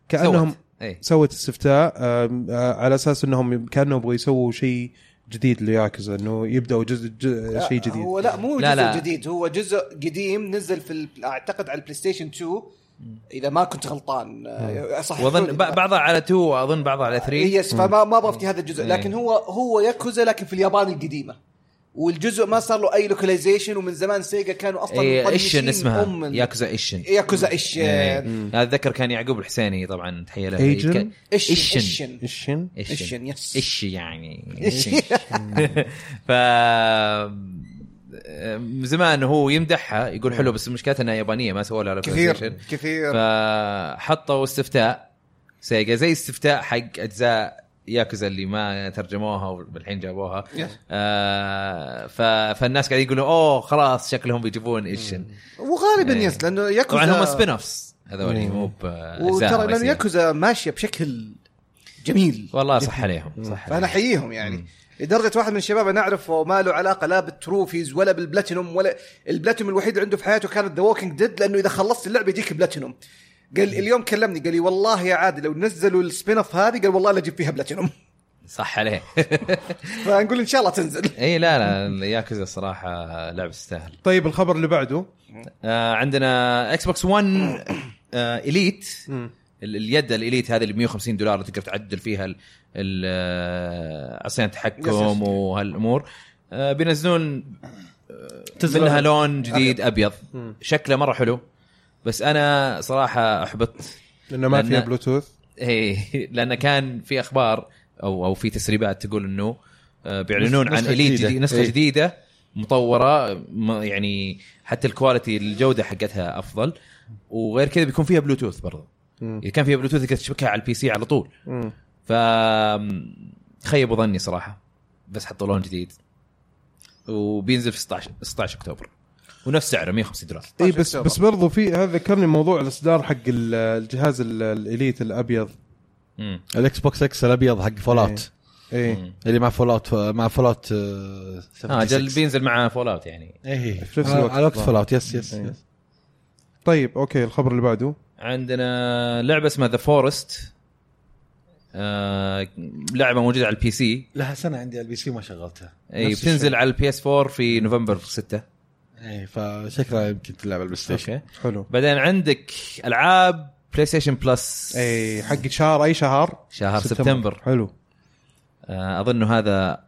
Speaker 1: كانهم
Speaker 3: سوت. إيه. اي
Speaker 1: سوت استفتاء آم، آه، على اساس انهم كانوا يبغوا يسووا شيء جديد لياكوزا انه يبداوا جزء ج... شيء جديد
Speaker 2: هو لا مو
Speaker 3: لا،
Speaker 2: لا جزء
Speaker 3: لا.
Speaker 2: لا. جديد هو جزء قديم نزل في ال- اعتقد على البلاي ستيشن 2 اذا ما كنت غلطان آه، صح
Speaker 3: واظن ب- بعضها على 2 واظن بعضها على 3
Speaker 2: يس فما ما ابغى افتي هذا الجزء
Speaker 3: إيه.
Speaker 2: لكن هو هو ياكوزا لكن في اليابان القديمه والجزء ما صار له اي لوكاليزيشن ومن زمان سيجا كانوا اصلا
Speaker 3: إيه،
Speaker 2: مطنشين
Speaker 3: ايشن اسمها
Speaker 2: أم-
Speaker 3: ياكوزا ايشن
Speaker 2: ياكوزا
Speaker 3: إيه.
Speaker 2: ايشن
Speaker 3: اتذكر كان يعقوب الحسيني طبعا تحيه له
Speaker 1: إيجن؟
Speaker 3: ك-
Speaker 2: ايشن
Speaker 3: إيشن.
Speaker 2: ايشن
Speaker 1: الشن
Speaker 2: إيشن، يس.
Speaker 3: ايش يعني
Speaker 2: إيشن.
Speaker 3: ف من زمان هو يمدحها يقول حلو بس المشكله انها يابانيه ما سووا لها
Speaker 2: كثير
Speaker 3: localization.
Speaker 2: كثير
Speaker 3: فحطوا استفتاء سيجا زي استفتاء حق اجزاء ياكوزا اللي ما ترجموها والحين جابوها آه ف... فالناس قاعدين يقولوا اوه خلاص شكلهم بيجيبون ايشن
Speaker 2: وغالبا
Speaker 3: إيه.
Speaker 2: يس لانه ياكوزا
Speaker 3: طبعا هم سبين اوفس هذول مو ب
Speaker 2: وترى لانه
Speaker 3: ياكوزا
Speaker 2: ياكوزا ماشيه بشكل جميل
Speaker 3: والله صح عليهم صح
Speaker 2: فانا
Speaker 3: عليهم.
Speaker 2: احييهم يعني لدرجه واحد من الشباب انا اعرفه ما له علاقه لا بالتروفيز ولا بالبلاتينوم ولا البلاتينوم الوحيد عنده في حياته كانت ذا ووكينج ديد لانه اذا خلصت اللعبه يجيك بلاتينوم قال اليوم كلمني قال لي والله يا عادل لو نزلوا السبين اوف هذه قال والله لا اجيب فيها بلاتينوم
Speaker 3: صح عليه
Speaker 2: فنقول ان شاء الله تنزل
Speaker 3: اي لا لا ياكوزا صراحه لعبه تستاهل
Speaker 1: طيب الخبر اللي بعده
Speaker 3: آه عندنا اكس بوكس 1 آه اليت
Speaker 1: مم.
Speaker 3: ال- اليد الاليت هذه اللي ب 150 دولار اللي تقدر تعدل فيها ال- ال- آه، عصيان التحكم وهالامور آه بينزلون آه
Speaker 5: تزرع.
Speaker 3: منها لون جديد ابيض شكله مره حلو بس انا صراحه احبطت
Speaker 1: لانه ما
Speaker 3: لأن-
Speaker 1: فيها بلوتوث
Speaker 3: ايه لان كان في اخبار او او في تسريبات تقول انه آه، بيعلنون
Speaker 1: نسخة
Speaker 3: عن اليت
Speaker 1: جديدة.
Speaker 3: جديد نسخه
Speaker 1: إيه.
Speaker 3: جديده مطوره م- يعني حتى الكواليتي الجوده حقتها افضل وغير كذا بيكون فيها بلوتوث برضه
Speaker 1: مم.
Speaker 3: اذا كان فيها بلوتوث تقدر تشبكها على البي سي على طول
Speaker 1: مم.
Speaker 3: ف خيبوا ظني صراحه بس حطوا لون جديد وبينزل في 16 16 اكتوبر ونفس سعره 150 دولار
Speaker 1: اي بس بس برضو في هذا ذكرني موضوع الاصدار حق ال- الجهاز ال- الاليت الابيض
Speaker 3: مم.
Speaker 5: الاكس بوكس اكس الابيض حق فول اوت
Speaker 1: اي
Speaker 5: اللي مع فول اوت مع آه، فول اوت
Speaker 3: اه جل بينزل مع فول اوت يعني
Speaker 5: ايه
Speaker 1: إيه، في نفس
Speaker 5: على-
Speaker 1: الوقت
Speaker 5: على وقت
Speaker 1: طبعاً.
Speaker 5: فول اوت يس يس
Speaker 1: إيه.
Speaker 5: يس.
Speaker 1: طيب اوكي الخبر اللي بعده
Speaker 3: عندنا لعبه اسمها ذا فورست لعبه موجوده على البي سي
Speaker 5: لها سنه عندي على البي سي وما شغلتها
Speaker 3: اي
Speaker 5: نفس
Speaker 3: بتنزل
Speaker 5: الشيء.
Speaker 3: على البي اس 4 في نوفمبر 6
Speaker 5: ايه فشكلها يمكن تلعب على البلاي
Speaker 4: طيب.
Speaker 5: ستيشن
Speaker 3: اوكي
Speaker 1: حلو
Speaker 3: بعدين عندك العاب بلاي ستيشن بلس
Speaker 1: اي حق شهر اي شهر
Speaker 3: شهر سبتمبر
Speaker 1: حلو
Speaker 3: آه، اظن هذا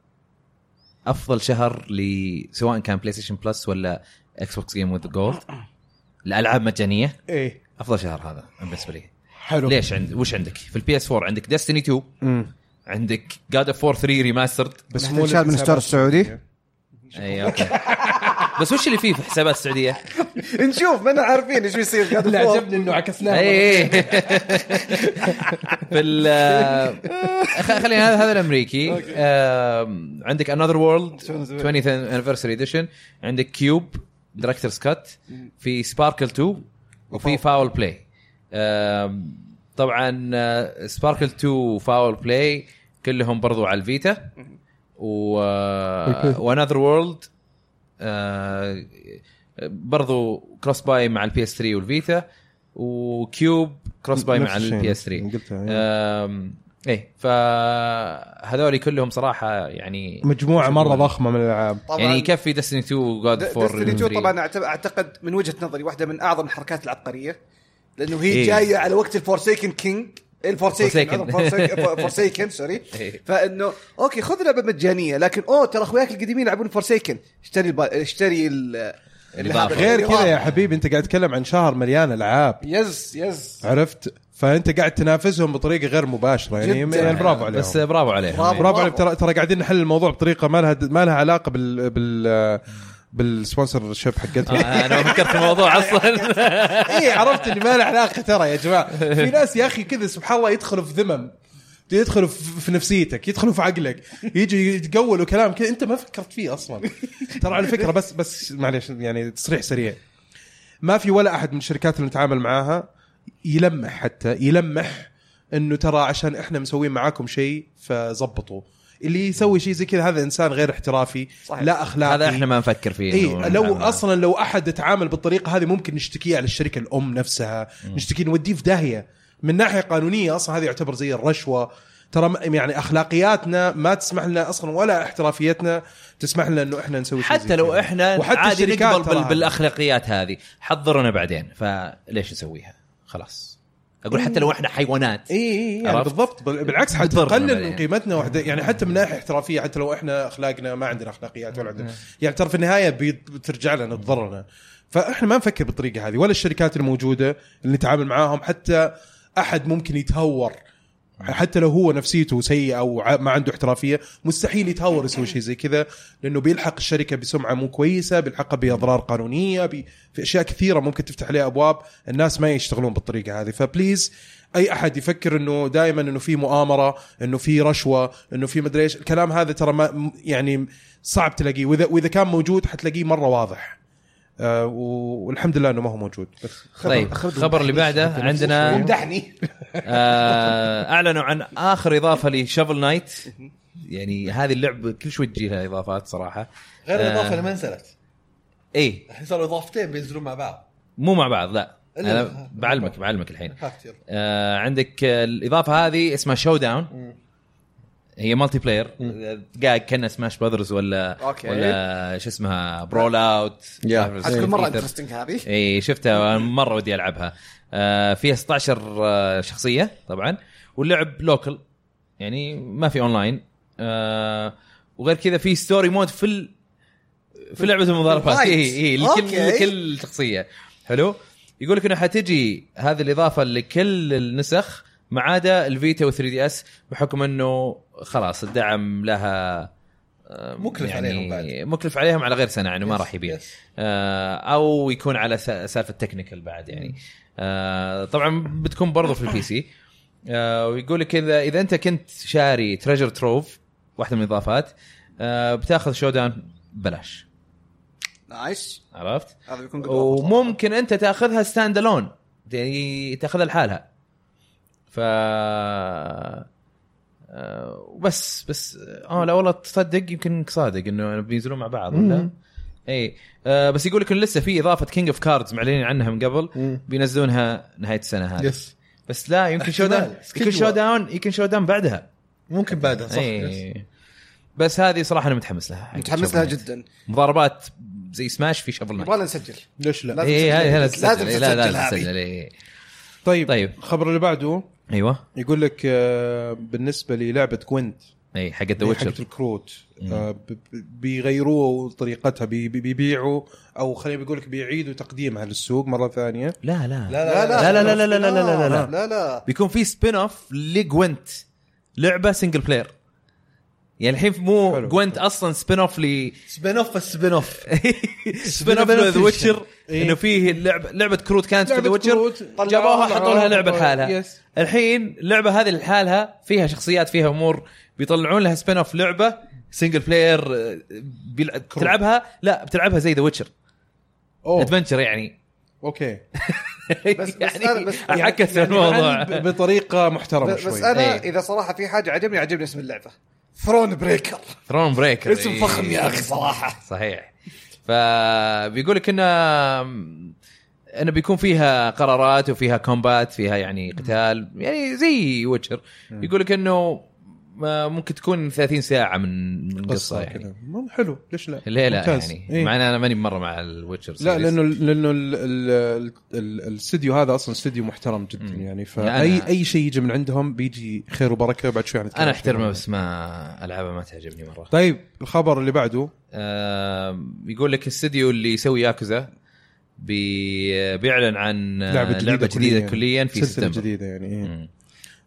Speaker 3: افضل شهر ل سواء كان بلاي ستيشن بلس ولا اكس بوكس جيم وذ جولد الالعاب مجانيه
Speaker 1: ايه
Speaker 3: افضل شهر هذا بالنسبه لي
Speaker 1: حلو
Speaker 3: ليش عند وش عندك في البي اس 4 عندك ديستني 2
Speaker 1: مم.
Speaker 3: عندك جاد اوف 4 3 ريماسترد
Speaker 1: بس
Speaker 2: من حتنشال من ستار السعودي؟
Speaker 3: اي اوكي إيه، بس وش اللي فيه في حسابات السعوديه؟
Speaker 2: نشوف ما احنا عارفين ايش بيصير قاعد
Speaker 6: اللي
Speaker 2: فوق.
Speaker 6: عجبني انه عكسناه
Speaker 3: اي اي بال آه، خ- خلينا هذا هذا الامريكي آم، عندك انذر وورلد 20th anniversary edition عندك كيوب دايركترز كات في سباركل 2 وفي فاول بلاي طبعا سباركل 2 وفاول بلاي كلهم برضو على الفيتا و آه، وانذر وورلد آه، برضو كروس باي مع البي اس 3 والفيتا وكيوب كروس باي مع
Speaker 1: نفس الشيء.
Speaker 3: البي اس 3
Speaker 1: قلتها
Speaker 3: آه،
Speaker 1: يعني.
Speaker 3: أم، ايه فهذول كلهم صراحه يعني
Speaker 1: مجموعه مره ضخمه من الالعاب
Speaker 2: طبعا
Speaker 3: يعني يكفي ديستني 2 وجود فور
Speaker 2: دستني 2 طبعا أعتب- اعتقد من وجهه نظري واحده من اعظم الحركات العبقريه لانه هي
Speaker 3: إيه.
Speaker 2: إيه؟ جايه على وقت الفورسيكن كينج
Speaker 3: Forsaken.
Speaker 2: الفورسيكن فورسيكن سوري
Speaker 3: إيه.
Speaker 2: فانه اوكي خذ لعبه مجانيه لكن اوه ترى اخوياك القديمين يلعبون فورسيكن اشتري الب... اشتري ال...
Speaker 3: الإضافة.
Speaker 1: غير كذا يا حبيبي انت قاعد تتكلم عن شهر مليان العاب
Speaker 2: يس يس
Speaker 1: عرفت فانت قاعد تنافسهم بطريقه غير مباشره يعني,
Speaker 2: جداً.
Speaker 1: يعني برافو عليهم
Speaker 3: بس برافو عليهم
Speaker 2: برافو.
Speaker 1: برافو عليك ترى ترى قاعدين نحل الموضوع بطريقه ما لها ما لها علاقه بال بال بالسبونسر شيب حقتهم
Speaker 3: آه، انا ما فكرت في الموضوع اصلا
Speaker 1: اي إيه، عرفت اللي ما له علاقه ترى يا جماعه في ناس يا اخي كذا سبحان الله يدخلوا في ذمم يدخلوا في في نفسيتك يدخلوا في عقلك يجي يتقولوا كلام كذا انت ما فكرت فيه اصلا ترى على فكره بس بس معليش يعني تصريح سريع ما في ولا احد من الشركات اللي نتعامل معاها يلمح حتى يلمح انه ترى عشان احنا مسوين معاكم شيء فظبطوا اللي يسوي شيء زي كذا هذا انسان غير احترافي
Speaker 2: صحيح.
Speaker 1: لا اخلاقي
Speaker 3: هذا احنا ما نفكر فيه
Speaker 1: اي إيه، لو
Speaker 3: نعم.
Speaker 1: اصلا لو احد تعامل بالطريقه هذه ممكن نشتكيه على الشركه الام نفسها نشتكي نوديه في داهيه من ناحيه قانونيه اصلا هذا يعتبر زي الرشوه ترى م- يعني اخلاقياتنا ما تسمح لنا اصلا ولا احترافيتنا تسمح لنا انه احنا نسوي شيء
Speaker 3: حتى
Speaker 1: زي
Speaker 3: لو
Speaker 1: كذا.
Speaker 3: احنا
Speaker 1: وحتى
Speaker 3: عادي
Speaker 1: الشركات
Speaker 3: نقبل بال-
Speaker 1: تراها.
Speaker 3: بالاخلاقيات هذه حضرنا بعدين فليش نسويها خلاص اقول حتى لو احنا حيوانات
Speaker 1: اي اي إي، يعني
Speaker 3: عرفت؟
Speaker 1: بالضبط بال- بالعكس
Speaker 3: بتضرنا
Speaker 1: حتقلل
Speaker 3: بعدين.
Speaker 1: من قيمتنا واحده يعني حتى من ناحيه احترافيه حتى لو احنا اخلاقنا ما عندنا اخلاقيات ولا عندنا يعني ترى في النهايه بيت- بترجع لنا تضرنا فاحنا ما نفكر بالطريقه هذه ولا الشركات الموجوده اللي نتعامل معاهم حتى احد ممكن يتهور يعني حتى لو هو نفسيته سيئه او ع- ما عنده احترافيه مستحيل يتهور يسوي شيء زي كذا لانه بيلحق الشركه بسمعه مو كويسه بيلحقها باضرار قانونيه بي... في اشياء كثيره ممكن تفتح عليها ابواب الناس ما يشتغلون بالطريقه هذه فبليز اي احد يفكر انه دائما انه في مؤامره انه في رشوه انه في مدري ايش الكلام هذا ترى ما م- يعني صعب تلاقيه واذا واذا كان موجود حتلاقيه مره واضح آه و- والحمد لله انه ما هو موجود بس
Speaker 3: طيب الخبر اللي بعده عندنا
Speaker 6: امدحني
Speaker 3: آه، اعلنوا عن اخر اضافه لشافل نايت يعني هذه اللعبه كل شوي تجي لها اضافات صراحه
Speaker 5: غير الاضافه
Speaker 3: آه.
Speaker 5: اللي ما نزلت
Speaker 3: اي
Speaker 5: الحين صاروا اضافتين بينزلون مع بعض
Speaker 3: إيه، مو مع بعض لا
Speaker 5: إلا-
Speaker 3: انا بعلمك بعلمك الحين
Speaker 5: كافتير
Speaker 3: آه، عندك آه، الاضافه هذه اسمها شو داون هي مالتي بلاير قاعد كانها سماش براذرز ولا
Speaker 2: أوكي.
Speaker 3: ولا شو اسمها برول اوت
Speaker 2: كل مره انترستنج هذه
Speaker 3: اي إيه، شفتها مره ودي العبها آه، فيها 16 آه، شخصيه طبعا واللعب لوكل يعني ما في اونلاين آه، وغير كذا في ستوري مود في ال... في لعبه المضاربات
Speaker 2: Right.
Speaker 3: اي اي لكل
Speaker 2: Okay.
Speaker 3: لكل شخصيه حلو يقول لك انه حتجي هذه الاضافه لكل النسخ ما عدا الفيتا و3 دي اس بحكم انه خلاص الدعم لها آه،
Speaker 5: مكلف عليهم بعد.
Speaker 3: مكلف عليهم على غير سنه يعني ما
Speaker 5: Yes,
Speaker 3: راح يبيع
Speaker 5: yes.
Speaker 3: آه، او يكون على سا- سالفه تكنيكال بعد يعني آه، طبعا بتكون برضو في البي سي آه، ويقول لك اذا اذا انت كنت شاري تريجر تروف واحده من الاضافات آه، بتاخذ شودان ببلاش
Speaker 2: نايس
Speaker 3: عرفت
Speaker 2: هذا بيكون good offer.
Speaker 3: وممكن انت تاخذها ستاند الون يعني تاخذها لحالها ف آه، وبس بس اه لا والله تصدق يمكن صادق انه بينزلون مع بعض ولا اي آه بس يقول لك إنه لسه في اضافه كينج اوف كاردز معلنين عنها من قبل بينزلونها نهايه السنه هذه
Speaker 5: يس
Speaker 3: بس لا يمكن شو داون
Speaker 5: احتمال.
Speaker 3: يمكن شو داون يمكن شو داون بعدها
Speaker 5: ممكن بعدها صح يس.
Speaker 3: اي بس هذه صراحه انا متحمس لها حق
Speaker 2: متحمس
Speaker 3: Shovel
Speaker 2: لها
Speaker 3: Knight.
Speaker 2: جدا
Speaker 3: مضاربات زي سماش في شفل نايت
Speaker 2: يبغى لنا نسجل
Speaker 1: ليش لا
Speaker 2: لازم
Speaker 3: اي
Speaker 2: تسجل.
Speaker 3: هذه لازم
Speaker 2: لازم
Speaker 3: تسجل لا
Speaker 2: تسجل
Speaker 3: لازم
Speaker 2: هذه.
Speaker 3: تسجل إيه.
Speaker 1: طيب
Speaker 3: طيب.
Speaker 1: الخبر اللي بعده
Speaker 3: ايوه
Speaker 1: يقول لك آه، بالنسبه للعبه جوينت
Speaker 3: اي إيه، حق ذا
Speaker 1: اللي حقت
Speaker 3: ويتشر
Speaker 1: الكروت آه، ب- ب- بيغيروه طريقتها بي- بي- بيبيعوا او خلينا بيقول لك بيعيدوا تقديمها للسوق مره ثانيه
Speaker 3: لا لا لا
Speaker 5: لا لا
Speaker 3: لا لا لا لا لا لا لا لا
Speaker 2: لا لا
Speaker 3: بيكون في سبين اوف لجوينت لعبه سنجل بلاير يعني الحين مو
Speaker 1: حلو.
Speaker 3: جوينت اصلا سبين اوف لي
Speaker 5: سبين اوف السبين اوف
Speaker 3: سبين اوف ذا ويتشر
Speaker 5: إيه.
Speaker 3: انه فيه لعبه لعبه كروت كانت في ذا
Speaker 1: لعبة
Speaker 3: ويتشر
Speaker 1: كروت، طلعوها،
Speaker 3: جابوها حطوا لها لعبه
Speaker 1: طلعوها.
Speaker 3: لحالها
Speaker 1: يس.
Speaker 3: الحين اللعبه هذه لحالها فيها شخصيات فيها امور بيطلعون لها سبين اوف لعبه سنجل بلاير بتلعبها آه، لا بتلعبها زي ذا ويتشر
Speaker 1: اوه
Speaker 3: ادفنشر يعني
Speaker 1: اوكي
Speaker 2: بس أنا-
Speaker 3: يعني
Speaker 2: بس يعني-
Speaker 3: حكت
Speaker 2: يعني
Speaker 3: الموضوع
Speaker 1: ب- بطريقه محترمه
Speaker 2: بس
Speaker 1: شوي
Speaker 2: بس انا
Speaker 3: إيه.
Speaker 2: اذا صراحه في حاجه عجبني عجبني اسم اللعبه ثرون بريكر
Speaker 3: ثرون بريكر
Speaker 2: اسم فخم يا أخي صراحة.
Speaker 3: صحيح فبيقول لك انه انه بيكون فيها قرارات وفيها كومبات فيها يعني قتال يعني زي ويتشر يقول لك انه ما ممكن تكون 30 ساعه من من القصه يعني
Speaker 1: كذا. مم، حلو ليش لا؟
Speaker 3: ليه لا
Speaker 1: ممتاز.
Speaker 3: يعني
Speaker 1: إيه.
Speaker 3: مع ان انا ماني مره مع الويتشر
Speaker 1: لا لانه لانه ال- ال- ال- ال- الاستديو هذا اصلا استديو محترم جدا
Speaker 3: مم.
Speaker 1: يعني
Speaker 3: لا،
Speaker 1: فاي
Speaker 3: أنا-
Speaker 1: اي شيء يجي من عندهم بيجي خير وبركه بعد شوي يعني
Speaker 3: انا احترمه بس ما العابه ما تعجبني مره
Speaker 1: طيب الخبر اللي بعده
Speaker 3: آم، يقول لك الاستديو اللي يسوي ياكوزا بي- بيعلن عن
Speaker 1: لعبه جديده
Speaker 3: لعبه جديده
Speaker 1: كلياً.
Speaker 3: كليا في
Speaker 1: سلسله
Speaker 3: سبتمبر
Speaker 1: جديده يعني إيه.
Speaker 3: مم.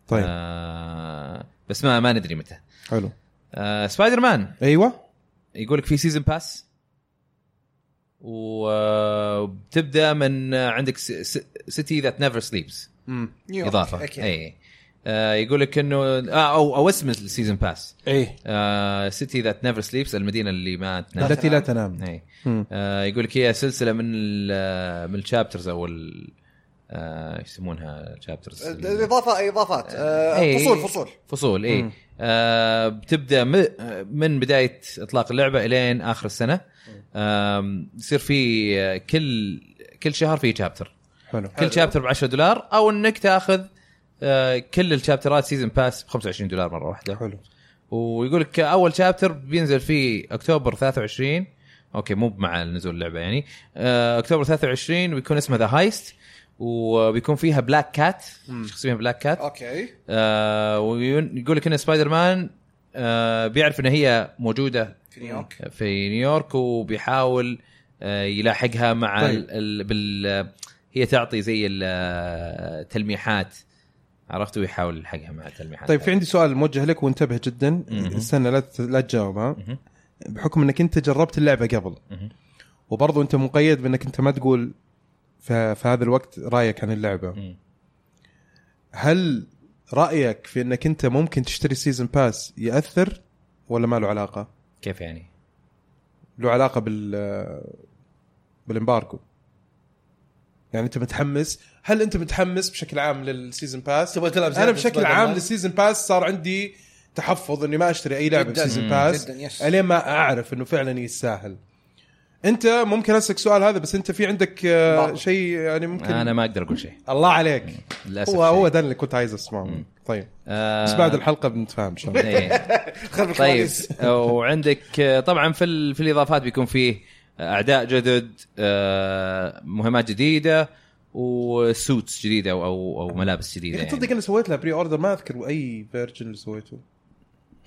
Speaker 1: طيب
Speaker 3: آه بس ما ما ندري متى
Speaker 1: حلو
Speaker 3: آه سبايدر مان
Speaker 1: ايوه
Speaker 3: يقول لك في سيزون باس وبتبدا آه، من آه، عندك سيتي ذات نيفر سليبس
Speaker 1: مم.
Speaker 3: اضافه
Speaker 2: أكيد.
Speaker 3: اي آه يقول لك انه آه او او اسم آه، السيزون باس
Speaker 1: ايه
Speaker 3: سيتي ذات نيفر سليبس المدينه اللي ما تنام
Speaker 1: التي لا تنام
Speaker 3: اي
Speaker 1: مم.
Speaker 3: آه يقول لك هي سلسله من ال- آه، من الشابترز او ال- آه، ايش يسمونها شابترز
Speaker 2: الاضافه اضافات آه،
Speaker 3: إيه.
Speaker 2: فصول فصول
Speaker 3: فصول اي
Speaker 1: مم.
Speaker 3: آه بتبدا م- آه، من بدايه اطلاق اللعبه الين اخر السنه آم، يصير في آه، كل كل شهر في شابتر
Speaker 1: حلو
Speaker 3: كل شابتر ب 10 دولار او انك تاخذ آه كل الشابترات سيزون باس ب 25 دولار مره واحده
Speaker 1: حلو
Speaker 3: ويقول لك اول شابتر بينزل في اكتوبر 23 اوكي مو مع نزول اللعبه يعني آه، اكتوبر 23 ويكون اسمه ذا هايست وبيكون فيها بلاك كات شخصيه بلاك كات
Speaker 2: اوكي
Speaker 3: آه ويقول لك ان سبايدر مان آه بيعرف ان هي موجوده
Speaker 2: في نيويورك
Speaker 3: في نيويورك وبيحاول آه يلاحقها مع
Speaker 1: طيب.
Speaker 3: ال ال بال هي تعطي زي ال- التلميحات عرفت ويحاول يلحقها مع التلميحات
Speaker 1: طيب في عندي سؤال موجه لك وانتبه جدا
Speaker 3: مهم.
Speaker 1: استنى لا تت- لا تجاوب ها
Speaker 3: مهم.
Speaker 1: بحكم انك انت جربت اللعبه قبل
Speaker 3: مهم.
Speaker 1: وبرضه انت مقيد بانك انت ما تقول في, في هذا الوقت رايك عن اللعبه
Speaker 3: مم.
Speaker 1: هل رايك في انك انت ممكن تشتري سيزن باس ياثر ولا ما له علاقه؟
Speaker 3: كيف يعني؟
Speaker 1: له علاقه بال بالامباركو يعني انت متحمس هل انت متحمس بشكل عام للسيزون باس
Speaker 5: تبغى تلعب
Speaker 1: انا بشكل عام للسيزون باس صار عندي تحفظ اني ما اشتري اي لعبه
Speaker 2: جداً.
Speaker 1: بسيزون
Speaker 3: مم.
Speaker 1: باس
Speaker 2: جدا يس
Speaker 1: الين ما اعرف انه فعلا يستاهل انت ممكن اسالك سؤال هذا بس انت في عندك آه،
Speaker 2: بعض.
Speaker 1: شيء يعني ممكن
Speaker 3: انا ما اقدر اقول شيء
Speaker 1: الله عليك
Speaker 2: أمم،
Speaker 3: للاسف
Speaker 1: هو هو
Speaker 3: شيء.
Speaker 1: ده اللي كنت عايز اسمعه
Speaker 3: مم.
Speaker 1: طيب
Speaker 2: أه،
Speaker 3: آه
Speaker 1: بس بعد الحلقه بنتفاهم ان شاء الله
Speaker 3: إيه.
Speaker 2: خرب
Speaker 3: طيب
Speaker 2: الكواليس
Speaker 3: وعندك آه، طبعا في ال- في الاضافات بيكون فيه اعداء جدد آه، مهمات جديده وسوتس جديده او او, أو ملابس جديده
Speaker 1: يعني
Speaker 3: يعني.
Speaker 1: تصدق انا سويت لها بري اوردر ما اذكر اي فيرجن اللي سويته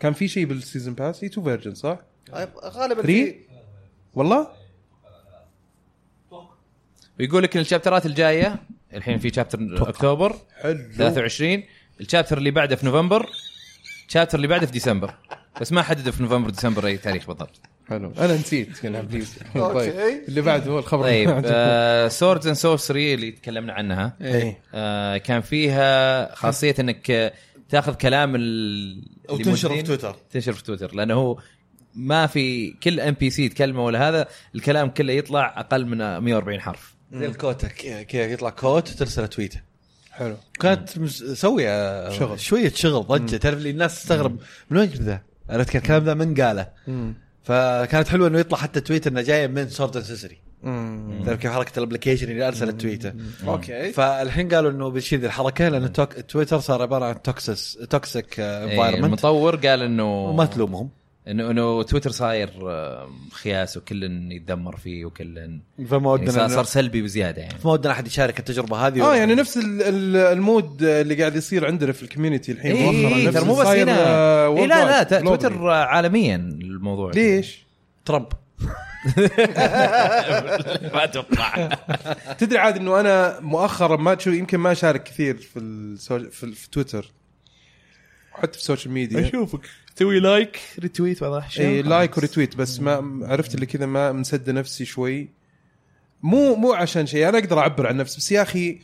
Speaker 1: كان في شيء بالسيزون باس هي تو فيرجن صح؟
Speaker 2: غالبا
Speaker 1: Three؟
Speaker 2: طيب، في
Speaker 1: والله؟
Speaker 3: ويقول لك إن الشابترات الجايه الحين في شابتر اكتوبر
Speaker 1: حلو
Speaker 3: 23 الشابتر اللي بعده في نوفمبر الشابتر اللي بعده في ديسمبر بس ما حددوا في نوفمبر ديسمبر اي تاريخ بالضبط
Speaker 1: حلو انا نسيت يعني بليز طيب
Speaker 2: أوكي.
Speaker 1: اللي بعده هو الخبر
Speaker 3: طيب
Speaker 1: اللي بعده.
Speaker 3: سوردز اند سورسري اللي تكلمنا عنها
Speaker 1: إيه.
Speaker 3: آه، كان فيها خاصيه انك آه، تاخذ كلام ال- اللي
Speaker 5: وتنشر في
Speaker 3: موجودين.
Speaker 5: تويتر
Speaker 3: تنشر في تويتر لانه هو ما في كل ام بي سي يتكلمه ولا هذا الكلام كله يطلع اقل من آه، 140 حرف
Speaker 5: زي الكوتك كذا يطلع كوت وترسله تويته
Speaker 1: حلو
Speaker 5: كانت مس- مسويه
Speaker 1: شغل.
Speaker 5: شغل شويه شغل ضجه تعرف لي الناس تستغرب من وين ذا؟ عرفت كيف؟ الكلام ذا من قاله
Speaker 1: مم.
Speaker 5: فكانت حلوه انه يطلع حتى تويت انه جايه من سورد سيسري
Speaker 1: مم.
Speaker 5: تعرف كيف حركه الابلكيشن اللي ارسلت تويته
Speaker 2: اوكي
Speaker 5: فالحين قالوا انه بنشيل ذي الحركه لان توك- تويتر صار عباره عن توكسس توكسيك
Speaker 3: إيه،
Speaker 5: انفايرمنت
Speaker 3: المطور قال انه
Speaker 5: وما تلومهم
Speaker 3: انه انه تويتر صاير آه، خياس وكل يتدمر فيه وكل
Speaker 5: فما
Speaker 3: يعني صار,
Speaker 5: ودنا
Speaker 3: صار آه،
Speaker 5: صار
Speaker 3: سلبي بزياده يعني
Speaker 5: فما ودنا احد يشارك التجربه
Speaker 3: طيب.
Speaker 5: هذه
Speaker 1: اه يعني نفس ال- ال- المود اللي قاعد يصير عندنا في الكوميونتي الحين
Speaker 3: إيه،
Speaker 1: مؤخراً.
Speaker 3: إيه،
Speaker 1: نفس
Speaker 3: ترى مو
Speaker 1: اللي
Speaker 3: بس
Speaker 1: صاير،
Speaker 3: هنا
Speaker 1: آه،
Speaker 3: إيه، لا لا
Speaker 1: worldwide،
Speaker 3: ت-
Speaker 1: globally.
Speaker 3: تويتر آه، عالميا الموضوع
Speaker 1: ليش؟
Speaker 5: ترامب
Speaker 3: ما اتوقع
Speaker 1: تدري عاد انه انا مؤخرا ما تشوف يمكن ما اشارك كثير في السوش... في, ال- في تويتر حتى في السوشيال ميديا
Speaker 5: اشوفك
Speaker 3: تسوي لايك ريتويت بعض الاحيان
Speaker 5: إيه،
Speaker 1: اي لايك وريتويت إيه، بس ما عرفت اللي كذا ما مسد نفسي شوي مو مو عشان شيء انا اقدر اعبر عن نفسي بس يا اخي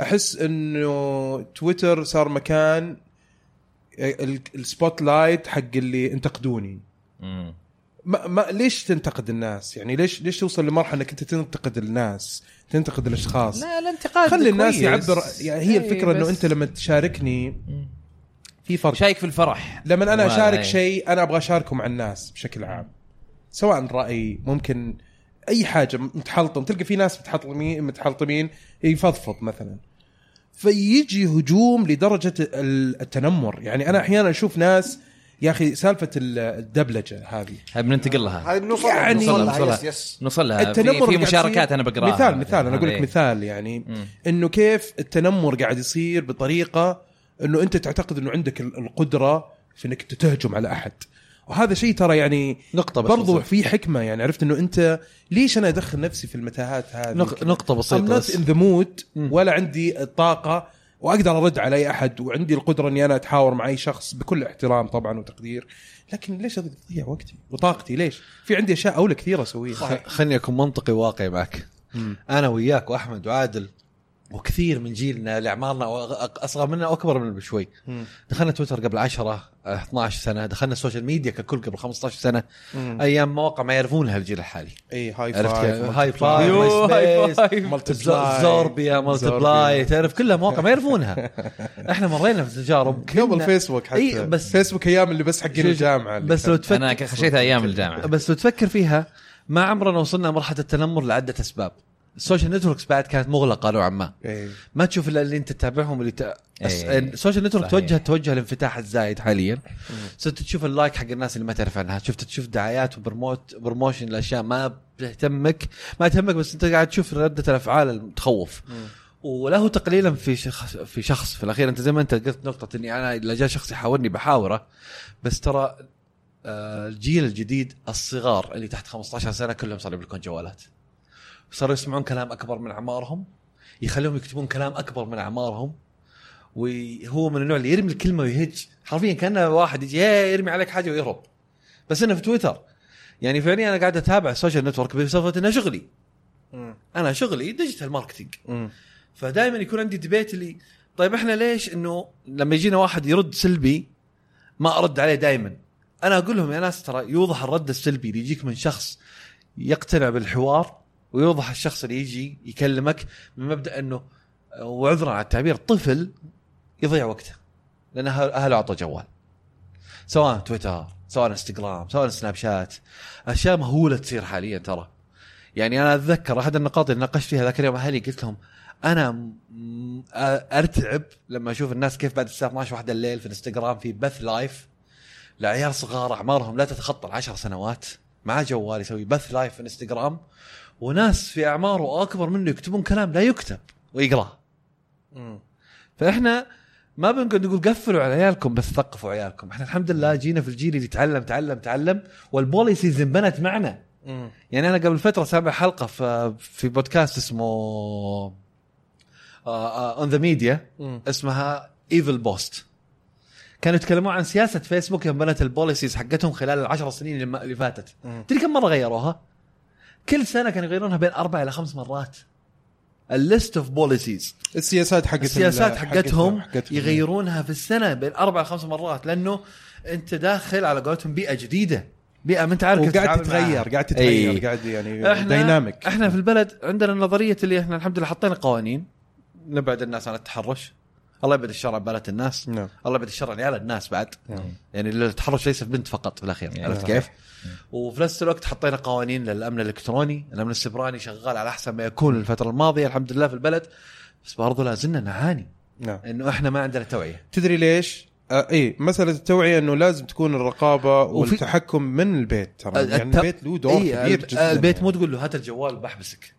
Speaker 1: احس انه تويتر صار مكان إيه، ال- السبوت لايت حق اللي انتقدوني
Speaker 3: مم.
Speaker 1: ما, ما ليش تنتقد الناس يعني ليش ليش توصل لمرحله انك انت تنتقد الناس تنتقد الاشخاص
Speaker 3: لا الانتقاد
Speaker 1: خلي الناس
Speaker 3: كويس.
Speaker 1: يعبر يعني هي
Speaker 3: إي،
Speaker 1: الفكره انه
Speaker 3: بس
Speaker 1: انت لما تشاركني في فرق
Speaker 3: شايك في الفرح
Speaker 1: لما انا
Speaker 3: وهذا
Speaker 1: اشارك
Speaker 3: إيه.
Speaker 1: شيء انا ابغى اشاركه مع الناس بشكل عام سواء راي ممكن اي حاجه متحلطم تلقى في ناس متحطمين متحلطمين يفضفض مثلا فيجي هجوم لدرجه ال- التنمر يعني انا احيانا اشوف ناس يا اخي سالفه ال- الدبلجه هذه
Speaker 3: هاي بننتقل لها
Speaker 2: هاي نوصل
Speaker 1: يعني-
Speaker 2: نوصل لها
Speaker 3: نوصلها.
Speaker 2: يس يس
Speaker 3: نوصل
Speaker 4: آه،
Speaker 3: لها في,
Speaker 1: التنمر
Speaker 3: في
Speaker 1: اللي قاعد
Speaker 3: مشاركات
Speaker 1: يصير-
Speaker 3: انا بقراها
Speaker 1: مثال مثال انا اقول لك
Speaker 3: إيه.
Speaker 1: مثال يعني انه كيف التنمر قاعد يصير بطريقه انه انت تعتقد انه عندك ال- القدره في انك انت تهجم على احد وهذا شيء ترى يعني
Speaker 4: نقطة بس
Speaker 1: برضو
Speaker 4: بسيطة.
Speaker 1: في حكمه يعني عرفت انه انت ليش انا ادخل نفسي في المتاهات هذه
Speaker 4: نق- نقطة
Speaker 1: I'm
Speaker 4: بسيطة
Speaker 1: not
Speaker 4: بس
Speaker 1: in the mood ولا عندي الطاقة واقدر ارد على اي احد وعندي القدرة اني انا اتحاور مع اي شخص بكل احترام طبعا وتقدير لكن ليش اضيع وقتي وطاقتي ليش؟ في عندي اشياء اولى كثير اسويها
Speaker 4: خلني اكون منطقي واقعي معك انا وياك واحمد وعادل وكثير من جيلنا اللي اعمارنا وأق- اصغر منا واكبر منا بشوي دخلنا تويتر قبل 10 آه، 12 سنه دخلنا السوشيال ميديا ككل قبل 15 سنه ايام مواقع ما يعرفونها الجيل الحالي
Speaker 1: اي هاي
Speaker 4: عرفت كيف؟ هاي
Speaker 3: يو، هاي
Speaker 4: فايف
Speaker 3: فايف.
Speaker 1: مالتي
Speaker 4: زوربيا مالتبلاي
Speaker 1: زوربيا.
Speaker 4: تعرف كلها مواقع ما يعرفونها احنا مرينا في تجارب
Speaker 1: قبل
Speaker 4: كنا-
Speaker 1: فيسبوك حتى
Speaker 4: إي،
Speaker 1: إيه
Speaker 4: بس-
Speaker 1: بس فيسبوك ايام اللي بس حقين
Speaker 4: شو-
Speaker 1: الجامعه اللي
Speaker 4: بس لو
Speaker 1: كان.
Speaker 4: تفكر
Speaker 3: انا ك- خشيتها ايام الجامعه
Speaker 4: آه. بس لو تفكر فيها ما عمرنا وصلنا مرحله التنمر لعده اسباب السوشيال نتوركس بعد كانت مغلقه نوعا ما
Speaker 1: إيه.
Speaker 4: ما تشوف الا اللي انت تتابعهم اللي ت... أس...
Speaker 3: إيه.
Speaker 4: السوشيال نتورك
Speaker 3: صحيح.
Speaker 4: توجه توجه الانفتاح الزايد حاليا صرت تشوف اللايك حق الناس اللي ما تعرف عنها شفت تشوف دعايات وبرموت بروموشن لاشياء ما بتهتمك ما تهمك بس انت قاعد تشوف رده الافعال المتخوف وله تقليلا في شخص في شخص في الاخير انت زي ما انت قلت نقطه اني انا اذا جاء شخص يحاورني بحاوره بس ترى آه، الجيل الجديد الصغار اللي تحت 15 سنه كلهم صاروا يملكون جوالات صاروا يسمعون كلام اكبر من اعمارهم يخليهم يكتبون كلام اكبر من اعمارهم وهو من النوع اللي يرمي الكلمه ويهج حرفيا كانه واحد يجي "هي، يرمي عليك حاجه ويهرب بس انه في تويتر يعني فعليا انا قاعد اتابع السوشيال نتورك بسبب انه شغلي انا شغلي ديجيتال ماركتينج
Speaker 1: مم.
Speaker 4: فدائما يكون عندي ديبيت اللي طيب احنا ليش انه لما يجينا واحد يرد سلبي ما ارد عليه دائما انا اقول لهم يا ناس ترى يوضح الرد السلبي اللي يجيك من شخص يقتنع بالحوار ويوضح الشخص اللي يجي يكلمك من مبدا انه وعذرا على التعبير طفل يضيع وقته لان أهل- اهله اعطوا جوال سواء تويتر سواء انستغرام سواء سناب شات اشياء مهوله تصير حاليا ترى يعني انا اتذكر احد النقاط اللي ناقشت فيها ذاك اليوم اهلي قلت لهم انا م- م- ارتعب لما اشوف الناس كيف بعد الساعه 12 واحدة الليل في انستغرام في بث لايف لعيال صغار اعمارهم لا تتخطى العشر سنوات معاه جوال يسوي بث لايف في انستغرام وناس في اعماره اكبر منه يكتبون كلام لا يكتب ويقراه فاحنا ما بنقعد نقول قفلوا على عيالكم بس ثقفوا عيالكم احنا الحمد لله جينا في الجيل اللي تعلم تعلم تعلم والبوليسيز انبنت معنا يعني انا قبل فتره سامع حلقه في في بودكاست اسمه آه، اون ذا ميديا اسمها ايفل بوست كانوا يتكلمون عن سياسه فيسبوك يوم بنت البوليسيز حقتهم خلال العشر سنين اللي ما- اللي فاتت تدري كم مره غيروها؟ كل سنه كانوا يغيرونها بين اربع الى خمس مرات الليست اوف بوليسيز
Speaker 1: السياسات حقت
Speaker 4: السياسات
Speaker 1: ال-
Speaker 4: حقتهم
Speaker 1: حقتهم. إيه.
Speaker 4: يغيرونها في السنه بين اربع لخمس مرات لانه انت داخل على قولتهم بيئه جديده بيئه ما انت عارف كيف
Speaker 1: وقاعد
Speaker 4: تتعامل معاها.
Speaker 1: تتغير قاعد تتغير
Speaker 4: إي.
Speaker 1: قاعد يعني
Speaker 4: احنا
Speaker 1: دايناميك
Speaker 4: احنا في البلد عندنا نظريه اللي احنا الحمد لله حطينا قوانين نبعد الناس عن التحرش الله يبعد الشر عن بلد الناس
Speaker 1: نعم.
Speaker 4: الله يبعد الشر عن عيال الناس بعد
Speaker 1: نعم.
Speaker 4: يعني التحرش ليس بنت فقط في الاخير
Speaker 3: نعم.
Speaker 4: عرفت كيف؟ وفي نفس الوقت حطينا قوانين للامن الالكتروني، الامن السبراني شغال على احسن ما يكون الفتره الماضيه الحمد لله في البلد بس برضو لا زلنا نعاني
Speaker 1: نعم
Speaker 4: انه احنا ما عندنا توعيه
Speaker 1: تدري ليش؟ آه اي مساله التوعيه انه لازم تكون الرقابه
Speaker 4: وفي-
Speaker 1: والتحكم من البيت ترى يعني
Speaker 4: الت-
Speaker 1: البيت له دور
Speaker 4: إيه،
Speaker 1: كبير
Speaker 4: الب-
Speaker 1: جدا
Speaker 4: البيت
Speaker 1: يعني.
Speaker 4: مو تقول له هات الجوال بحبسك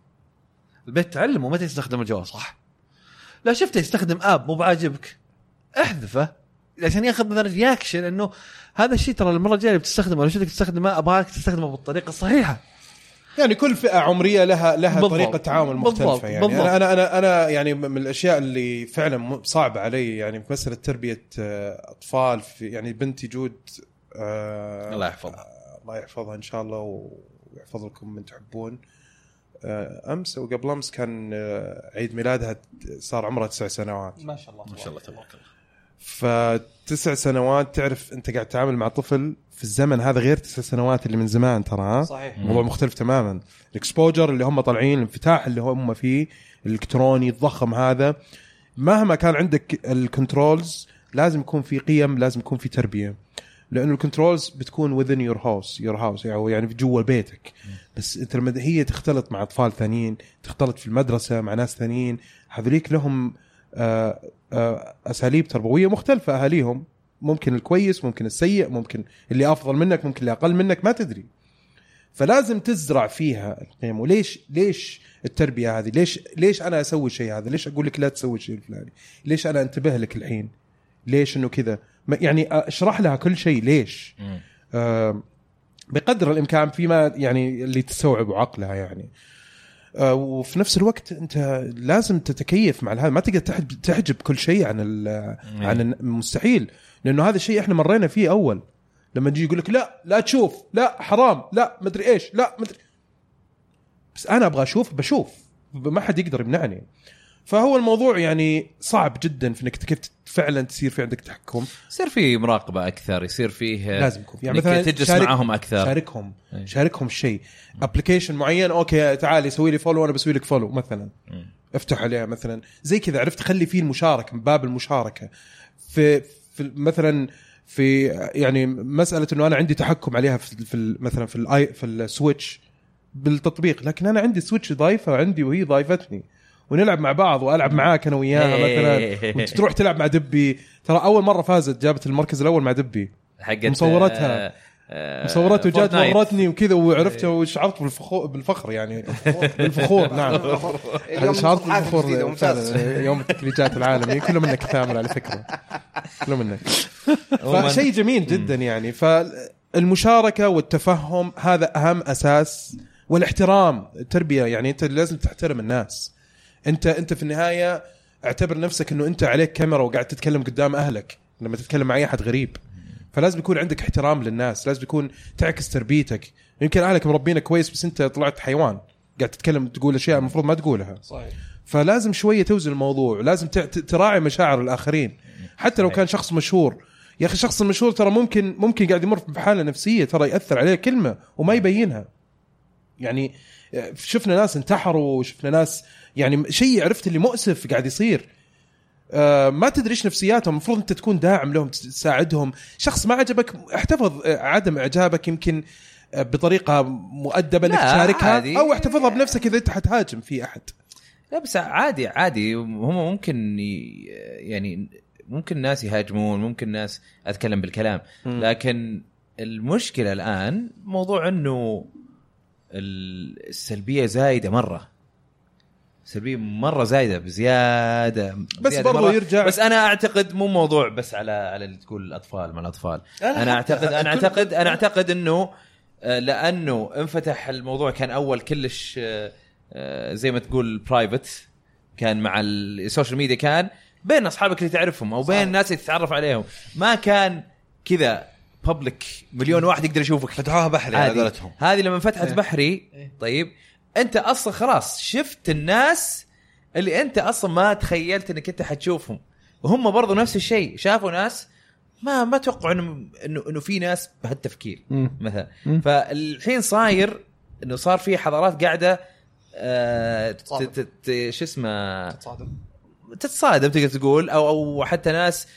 Speaker 4: البيت تعلمه متى يستخدم الجوال صح لا شفته يستخدم اب مو بعاجبك احذفه عشان ياخذ مثلا رياكشن انه هذا الشيء ترى المره الجايه اللي بتستخدمه لو شفتك تستخدمه ابغاك تستخدمه بالطريقه الصحيحه
Speaker 1: يعني كل فئه عمريه لها لها
Speaker 4: بالضبط.
Speaker 1: بالضبط. طريقه تعامل مختلفه
Speaker 4: بالضبط.
Speaker 1: بالضبط. يعني
Speaker 4: بالضبط.
Speaker 1: بالضبط. انا انا انا يعني من الاشياء اللي فعلا م- صعبه علي يعني في مساله تربيه آه، اطفال في يعني بنتي جود آه
Speaker 5: الله يحفظها
Speaker 1: الله يحفظها ان شاء الله ويحفظ لكم من تحبون آه، امس او قبل امس كان آه، عيد ميلادها صار عمرها تسع سنوات
Speaker 2: ما شاء الله
Speaker 5: ما شاء الله تبارك الله
Speaker 1: فتسع سنوات تعرف انت قاعد تتعامل مع طفل في الزمن هذا غير تسع سنوات اللي من زمان ترى ها
Speaker 2: صحيح
Speaker 1: موضوع مختلف تماما الاكسبوجر اللي هم طالعين الانفتاح اللي هم فيه الالكتروني الضخم هذا مهما كان عندك الكنترولز لازم يكون في قيم لازم يكون في تربيه لانه الكنترولز بتكون within your house your house يعني يعني جوا بيتك بس انت لما هي تختلط مع اطفال ثانيين تختلط في المدرسه مع ناس ثانيين هذوليك لهم آه، آه، اساليب تربويه مختلفه اهاليهم ممكن الكويس ممكن السيء ممكن اللي افضل منك ممكن اللي اقل منك ما تدري فلازم تزرع فيها القيم وليش ليش التربيه هذه ليش ليش انا اسوي الشيء هذا ليش اقول لك لا تسوي الشيء الفلاني ليش انا انتبه لك الحين ليش انه كذا ما- يعني اشرح لها كل شيء ليش آه، بقدر الامكان فيما يعني اللي تستوعبه عقلها يعني آه، وفي نفس الوقت انت لازم تتكيف مع هذا ما تقدر تحج- تحجب كل شيء عن ال- عن الن- مستحيل لانه هذا الشيء احنا مرينا فيه اول لما يجي يقول لك لا لا تشوف لا حرام لا مدري ايش لا مدري بس انا ابغى اشوف بشوف ما حد يقدر يمنعني فهو الموضوع يعني صعب جدا في انك كيف فعلا تصير في عندك تحكم
Speaker 3: يصير في مراقبه اكثر يصير فيه
Speaker 1: لازم يكون في.
Speaker 3: يعني مثلا تجلس
Speaker 1: شارك-
Speaker 3: معاهم اكثر
Speaker 1: شاركهم
Speaker 3: إيه.
Speaker 1: شاركهم شيء ابلكيشن معين اوكي تعال سوي لي فولو وانا بسوي لك فولو مثلا
Speaker 3: مم.
Speaker 1: افتح عليه مثلا زي كذا عرفت خلي فيه المشاركه من باب المشاركه في, في مثلا في يعني مساله انه انا عندي تحكم عليها في, في ال- مثلا في الاي في السويتش بالتطبيق لكن انا عندي سويتش ضايفه عندي وهي ضايفتني ونلعب مع بعض والعب معاك انا وياها مثلا وتروح تلعب مع دبي ترى اول مره فازت جابت المركز الاول مع دبي
Speaker 3: حقت
Speaker 1: مصورتها.
Speaker 3: آه، آه،
Speaker 1: مصورته وجات
Speaker 3: فورتنايت.
Speaker 1: ورتني وكذا وعرفت وشعرت بالفخور بالفخر يعني بالفخور نعم
Speaker 2: اليوم
Speaker 1: شعرت
Speaker 2: صحافة جديدة،
Speaker 1: بالفخور
Speaker 2: ممتاز
Speaker 1: فعلا يوم التكليجات العالمي كله منك ثامر على فكره كله منك فشيء جميل جدا يعني فالمشاركه والتفهم هذا اهم اساس والاحترام التربيه يعني انت لازم تحترم الناس انت انت في النهايه اعتبر نفسك انه انت عليك كاميرا وقاعد تتكلم قدام اهلك لما تتكلم مع اي احد غريب فلازم يكون عندك احترام للناس لازم يكون تعكس تربيتك يمكن اهلك مربينك كويس بس انت طلعت حيوان قاعد تتكلم تقول اشياء المفروض ما تقولها
Speaker 2: صحيح
Speaker 1: فلازم شويه توزن الموضوع لازم تع- ت- تراعي مشاعر الاخرين حتى لو كان شخص مشهور يا اخي الشخص المشهور ترى ممكن ممكن قاعد يمر بحاله نفسيه ترى ياثر عليه كلمه وما يبينها يعني آه، شفنا ناس انتحروا شفنا ناس يعني شيء عرفت اللي مؤسف قاعد يصير آه، ما تدري ايش نفسياتهم المفروض انت تكون داعم لهم تس- تساعدهم شخص ما عجبك احتفظ آه، عدم اعجابك يمكن آه، بطريقه مؤدبه انك
Speaker 3: لا،
Speaker 1: تشاركها
Speaker 3: عادي.
Speaker 1: او احتفظها بنفسك اذا انت حتهاجم في احد
Speaker 3: لا بس عادي عادي هم ممكن ي- يعني ممكن ناس يهاجمون ممكن ناس اتكلم بالكلام
Speaker 1: مم.
Speaker 3: لكن المشكله الان موضوع انه ال- السلبيه زايده مره سلبيه مره زايده بزياده
Speaker 1: بس
Speaker 3: زيادة
Speaker 1: برضو
Speaker 3: مرة.
Speaker 1: يرجع-
Speaker 3: بس انا اعتقد مو موضوع بس على على اللي تقول الاطفال ما الاطفال انا اعتقد انا اعتقد انا اعتقد انه آه، لانه انفتح الموضوع كان اول كلش آه، آه، زي ما تقول برايفت كان مع ال- السوشيال ميديا كان بين اصحابك اللي تعرفهم او بين الناس اللي تتعرف عليهم ما كان كذا بابليك مليون واحد يقدر يشوفك
Speaker 5: فتحوها بحري على
Speaker 3: هذه
Speaker 5: قولتهم إيه.
Speaker 3: هذه لما فتحت بحري طيب انت اصلا خلاص شفت الناس اللي انت اصلا ما تخيلت انك انت حتشوفهم وهم برضو نفس الشيء شافوا ناس ما ما توقعوا انه انه انه في ناس بهالتفكير مثلا فالحين صاير انه صار في حضارات قاعده آه، ت- ت- ت- شو اسمه
Speaker 2: صادم
Speaker 3: تتصادم تقدر تقول او او حتى ناس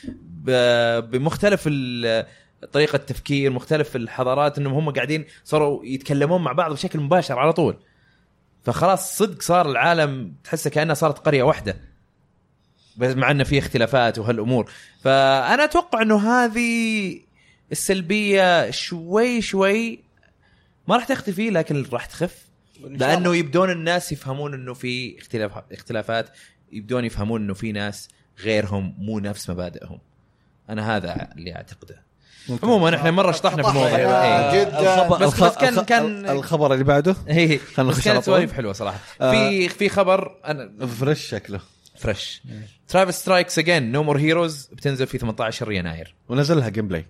Speaker 3: ب- بمختلف ال- طريقه التفكير مختلف الحضارات انهم هم قاعدين صاروا يتكلمون مع بعض بشكل مباشر على طول فخلاص صدق صار العالم تحسه كانها صارت قريه واحده بس مع انه في اختلافات وهالامور فانا اتوقع انه هذه السلبيه شوي شوي ما راح تختفي لكن راح تخف لانه يبدون الناس يفهمون انه في اختلاف اختلافات يبدون يفهمون انه في ناس غيرهم مو نفس مبادئهم انا هذا اللي اعتقده عموما احنا مره شطحنا في الموضوع
Speaker 2: شطحنا.
Speaker 4: آه،
Speaker 3: إيه.
Speaker 2: جدا.
Speaker 5: الخبر-
Speaker 3: بس- بس كان-
Speaker 5: الخ-
Speaker 3: كان-
Speaker 5: الخبر اللي بعده
Speaker 3: إيه. بس
Speaker 5: نخش على
Speaker 3: كانت
Speaker 5: طول. آه.
Speaker 3: سواليف حلوه صراحه في في خبر انا
Speaker 5: فريش شكله
Speaker 3: فريش ترافيس سترايكس اجين نو مور هيروز بتنزل في 18 يناير
Speaker 5: ونزلها جيم بلاي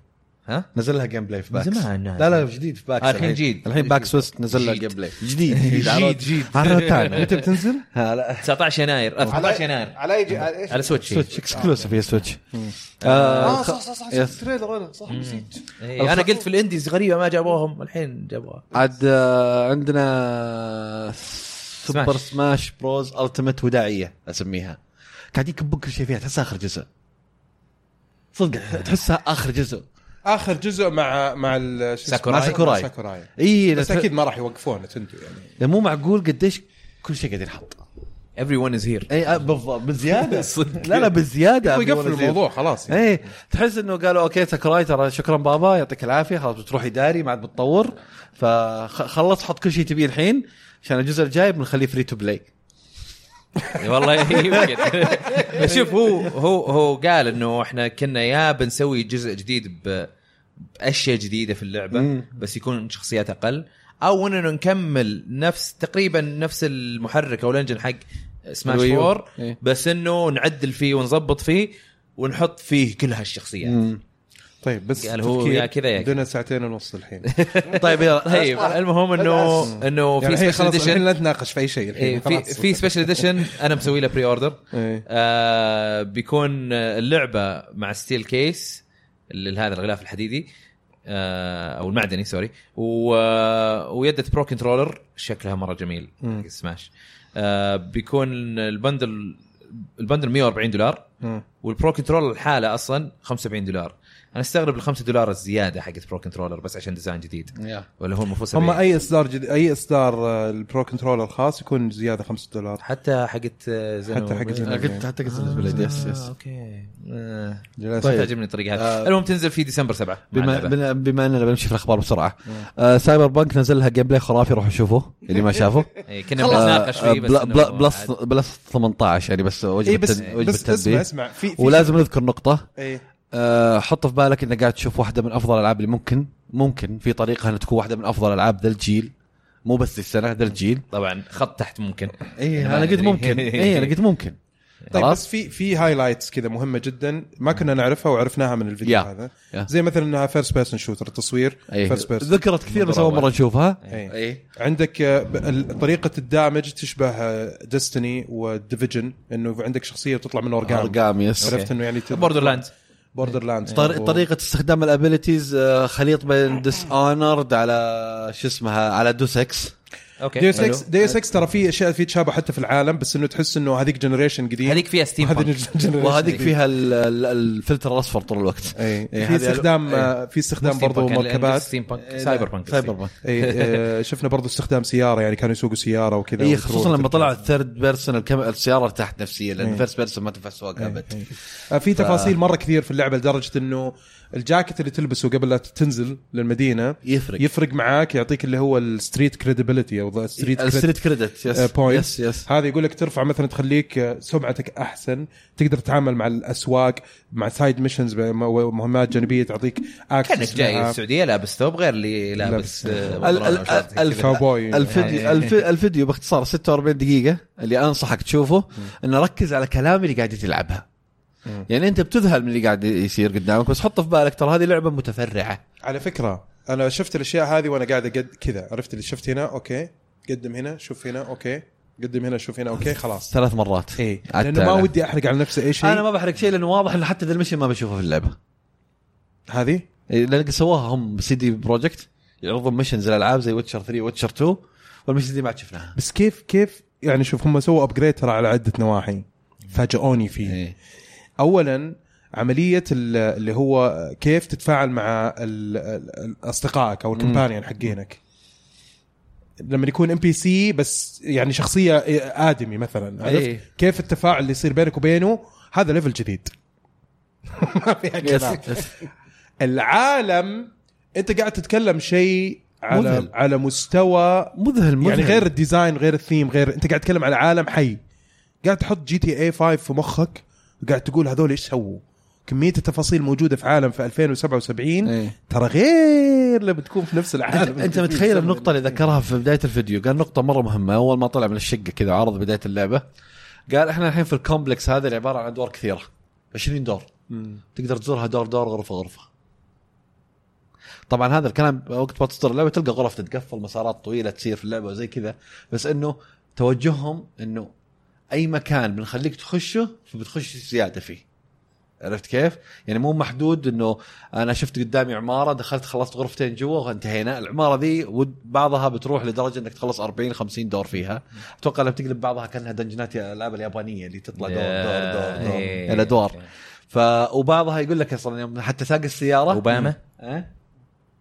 Speaker 3: ها؟
Speaker 4: نزل لها جيم بلاي في باكس
Speaker 3: من زمان يعني.
Speaker 4: لا لا جديد في باكس
Speaker 3: آه، الحين جديد.
Speaker 4: الحين باكس ويست نزل لها
Speaker 3: جديد.
Speaker 4: جيم بلاي جديد جديد
Speaker 3: جديد
Speaker 4: عرفت؟
Speaker 3: جديد
Speaker 4: عرفتها متى بتنزل؟ ها لا
Speaker 3: 19 يناير آه، 18 يناير
Speaker 2: على اي جي- على ايش؟
Speaker 3: على سويتش
Speaker 4: سويتش اكسكلوسيف يا سويتش
Speaker 2: اه
Speaker 4: آه،
Speaker 2: صح صح صح
Speaker 4: يس.
Speaker 2: شفت تريلر انا صح نسيت
Speaker 3: إيه، انا قلت في الانديز غريبه ما جابوهم الحين جابوها
Speaker 4: عاد آه، عندنا سوبر سماش بروز التيمت وداعيه اسميها قاعد يكبون كل شيء فيها تحسها اخر جزء صدق تحسها اخر جزء
Speaker 1: اخر جزء مع مع ال- شو اسمه؟
Speaker 3: ساكوراي.
Speaker 1: مع
Speaker 4: ساكوراي. إيه،
Speaker 1: ساكوراي
Speaker 4: اي
Speaker 1: بس اكيد ما راح يوقفون تندو يعني
Speaker 4: مو معقول قديش كل شيء قاعد ينحط
Speaker 3: ايفري ون از هير
Speaker 4: اي آه، بالضبط بزياده لا لا بزياده
Speaker 1: يبغوا يقفل
Speaker 4: أبو وزير.
Speaker 1: الموضوع خلاص يعني.
Speaker 4: ايه تحس انه قالوا اوكي ساكوراي ترى شكرا بابا يعطيك العافيه خلاص بتروح اداري ما عاد بتطور فخلص حط كل شيء تبيه الحين عشان الجزء الجاي بنخليه فري تو بلاي
Speaker 3: والله يمكن شوف هو هو هو قال انه احنا كنا يا بنسوي جزء جديد ب- باشياء جديده في اللعبه
Speaker 4: مم.
Speaker 3: بس يكون شخصيات اقل او اننا نكمل نفس تقريبا نفس المحرك او الانجن حق سماش
Speaker 4: الويو.
Speaker 3: 4
Speaker 4: إيه.
Speaker 3: بس انه نعدل فيه ونظبط فيه ونحط فيه كل هالشخصيات
Speaker 1: طيب بس
Speaker 3: قال هو
Speaker 1: تفكير
Speaker 3: يا كذا يا كذا.
Speaker 1: بدنا ساعتين ونص الحين
Speaker 4: طيب يلا
Speaker 3: طيب المهم انه انه
Speaker 1: يعني
Speaker 3: في
Speaker 1: الحين
Speaker 3: سبيشل
Speaker 1: خلاص الحين
Speaker 3: اديشن
Speaker 1: لا تناقش في اي شيء الحين
Speaker 3: في
Speaker 1: خلاص.
Speaker 3: في سبيشل اديشن انا مسوي له بري اوردر
Speaker 1: إيه.
Speaker 3: آه بيكون اللعبه مع ستيل كيس اللي هذا الغلاف الحديدي آه او المعدني سوري و... آه، ويده برو كنترولر شكلها مره جميل حق سماش آه بيكون البندل البندل 140 دولار
Speaker 1: مم.
Speaker 3: والبرو كنترولر الحالة اصلا 75 دولار انا استغرب ال 5 دولار الزياده حقت برو كنترولر بس عشان ديزاين جديد ولا هو المفروض
Speaker 1: هم
Speaker 3: 70؟
Speaker 1: اي اصدار جديد اي اصدار آه، البرو كنترولر خاص يكون زياده 5 دولار
Speaker 3: حتى حقت آه، زينو
Speaker 1: حتى حق
Speaker 4: انا قلت حتى قلت بالنسبه لي يس
Speaker 3: آه،
Speaker 4: يس
Speaker 3: اوكي آه.
Speaker 1: جلسة.
Speaker 3: طيب. تعجبني الطريقه هذه
Speaker 4: آه.
Speaker 3: المهم تنزل في ديسمبر 7 مع
Speaker 4: بما
Speaker 3: اللعبة.
Speaker 4: بما- بما اننا بنمشي في الاخبار بسرعه آه سايبر بانك نزل لها جيم بلاي خرافي روحوا شوفوه اللي ما شافه آه،
Speaker 3: إيه، كنا بنتناقش فيه بس
Speaker 4: بلا
Speaker 3: إنه
Speaker 4: بلا
Speaker 3: عاد.
Speaker 4: بلس بلس 18 يعني بس
Speaker 1: اي
Speaker 4: وجبه
Speaker 1: إيه، بس
Speaker 3: إيه،
Speaker 4: تن- وجبه
Speaker 1: بس اسمع
Speaker 4: تنبيه
Speaker 1: اسمع في في
Speaker 4: ولازم نذكر نقطه
Speaker 1: إيه.
Speaker 4: آه، حط في بالك انك قاعد تشوف واحده من افضل الالعاب اللي ممكن ممكن في طريقه انها تكون واحده من افضل العاب ذا الجيل مو بس السنه ذا الجيل يعني
Speaker 3: طبعا خط تحت ممكن
Speaker 4: اي
Speaker 3: ما
Speaker 4: انا إيه، قلت
Speaker 3: أدري.
Speaker 4: ممكن اي انا إيه، قلت ممكن
Speaker 1: طيب
Speaker 4: خلاص
Speaker 1: بس في في هايلايتس كذا مهمه جدا ما كنا نعرفها وعرفناها من الفيديو
Speaker 4: Yeah.
Speaker 1: هذا
Speaker 4: Yeah.
Speaker 1: زي مثلا انها فيرست بيرسون شوتر التصوير
Speaker 4: إيه.
Speaker 1: فيرست بيرسون
Speaker 4: ذكرت كثير بس
Speaker 3: منظور
Speaker 4: اول مره
Speaker 3: أول.
Speaker 4: نشوفها
Speaker 1: إيه.
Speaker 4: اي
Speaker 1: عندك آه، ب- ال- طريقه الدامج تشبه آه، ديستني وديفيجن انه عندك شخصيه وتطلع من اورجان
Speaker 4: ارقام آه، يس
Speaker 1: عرفت انه يعني
Speaker 3: بوردر لاند
Speaker 1: بوردر لاند
Speaker 4: طر- طريقه استخدام الابيلتيز خليط بين ديس اونرد على شو اسمها على دوسكس
Speaker 3: اوكي
Speaker 1: ديوس
Speaker 3: حلو.
Speaker 1: اكس ديوس اكس ترى في اشياء في تشابه حتى في العالم بس انه تحس انه هذيك جنريشن جديد
Speaker 3: هذيك فيها ستيم
Speaker 1: وهذه
Speaker 3: بانك
Speaker 1: generation
Speaker 4: وهذيك
Speaker 1: جديد.
Speaker 4: فيها ال- ال- الفلتر الاصفر طول الوقت
Speaker 1: اي
Speaker 4: إيه،
Speaker 1: في
Speaker 4: هذه-
Speaker 1: استخدام آه، في استخدام برضو مركبات
Speaker 3: ستيم بانك
Speaker 4: إيه،
Speaker 3: سايبر بانك
Speaker 4: سايبر بانك
Speaker 3: إيه.
Speaker 1: اي آه، شفنا برضو استخدام سياره يعني كانوا يسوقوا سياره وكذا
Speaker 4: اي
Speaker 1: وتروح
Speaker 4: خصوصا إيه، لما
Speaker 1: تركب.
Speaker 4: طلع الثيرد بيرسون الكم... السياره ارتاحت نفسيا لان
Speaker 1: إيه.
Speaker 4: الفيرست بيرسون ما تنفع سواقه ابد
Speaker 1: آه، في تفاصيل مره كثير في اللعبه لدرجه انه الجاكيت اللي تلبسه قبل لا تنزل للمدينه
Speaker 4: يفرق
Speaker 1: يفرق معاك يعطيك اللي هو الستريت كريديبيليتي او ستريت
Speaker 4: الستريت كريدت يس
Speaker 1: بوينت
Speaker 4: يس يس
Speaker 1: آه، هذا يقول لك ترفع مثلا تخليك آه، سمعتك احسن تقدر تتعامل مع الاسواق مع سايد ميشنز مهمات جانبيه تعطيك
Speaker 3: كانك
Speaker 1: اكسس
Speaker 3: جاي السعوديه لابس ثوب غير اللي لابس
Speaker 1: لابس.
Speaker 3: آه،
Speaker 4: آه. ال-
Speaker 3: بنطلون
Speaker 4: ال-
Speaker 3: أو شورت
Speaker 4: ال-
Speaker 3: كذا.
Speaker 1: كاوبوي
Speaker 4: الفيديو
Speaker 1: يعني
Speaker 4: الف- الفيديو باختصار 46 دقيقة اللي انصحك تشوفه انه ركز على كلام اللي قاعد تلعبها يعني انت بتذهل من اللي قاعد يصير قدامك بس حط في بالك ترى هذه لعبة متفرعة
Speaker 1: على فكره انا شفت الاشياء هذه وانا قاعد قد كذا عرفت اللي شفت هنا اوكي قدم هنا شوف هنا اوكي قدم هنا شوف هنا اوكي خلاص
Speaker 4: ثلاث مرات
Speaker 1: اي
Speaker 4: عاد
Speaker 1: لانه إيه، ما
Speaker 4: تعال.
Speaker 1: ودي احرق على نفسي اي شيء
Speaker 4: انا ما بحرق شيء لانه واضح انه حتى ذا المشي ما بشوفه في اللعبة
Speaker 1: هذه
Speaker 4: إيه، لان سواها هم سي دي بروجكت يعرضون مشنز الالعاب زي ويتشر 3 ويتشر 2 والمشن دي ما عاد شفناها
Speaker 1: بس كيف كيف يعني شوف هم سووا ابجريد ترى على عده نواحي فاجئوني فيه
Speaker 4: إيه.
Speaker 1: اولا عمليه ال- اللي هو كيف تتفاعل مع ال- ال- اصدقائك او الكمبانيون حقينك لما يكون ام بي سي بس يعني شخصيه ادمي مثلا عرفت
Speaker 4: إيه.
Speaker 1: كيف التفاعل اللي يصير بينك وبينه هذا ليفل جديد ما فيها كلام العالم انت قاعد تتكلم شيء على
Speaker 4: مذهل.
Speaker 1: على مستوى
Speaker 4: مذهل مذهل
Speaker 1: يعني غير الديزاين غير الثيم غير انت قاعد تتكلم على عالم حي قاعد تحط جي تي اي 5 في مخك وقاعد تقول هذول ايش سووا كميه التفاصيل موجوده في عالم في 2077
Speaker 4: إيه.
Speaker 1: ترى غير لما تكون في نفس العالم
Speaker 4: انت, انت متخيل النقطة اللي ذكرها في بداية الفيديو قال نقطة مرة مهمة أول ما طلع من الشقة كذا عرض بداية اللعبة قال احنا الحين في الكومبلكس هذا اللي عبارة عن أدوار كثيرة 20 دور تقدر تزورها دور دور غرفة غرفة طبعا هذا الكلام وقت ما تصدر اللعبه تلقى غرف تتقفل مسارات طويله تصير في اللعبه وزي كذا بس انه توجههم انه اي مكان بنخليك تخشه فبتخش زياده فيه عرفت كيف؟ يعني مو محدود انه انا شفت قدامي عماره دخلت خلصت غرفتين جوا وانتهينا، العماره ذي ود- بعضها بتروح لدرجه انك تخلص 40 50 دور فيها، اتوقع لو بتقلب بعضها كانها دنجنات الالعاب اليابانيه اللي تطلع دور دور دور, دور,
Speaker 3: إيه.
Speaker 4: الادوار ف وبعضها يقول لك اصلا يوم حتى ساق السياره
Speaker 3: أوباما.
Speaker 4: أه؟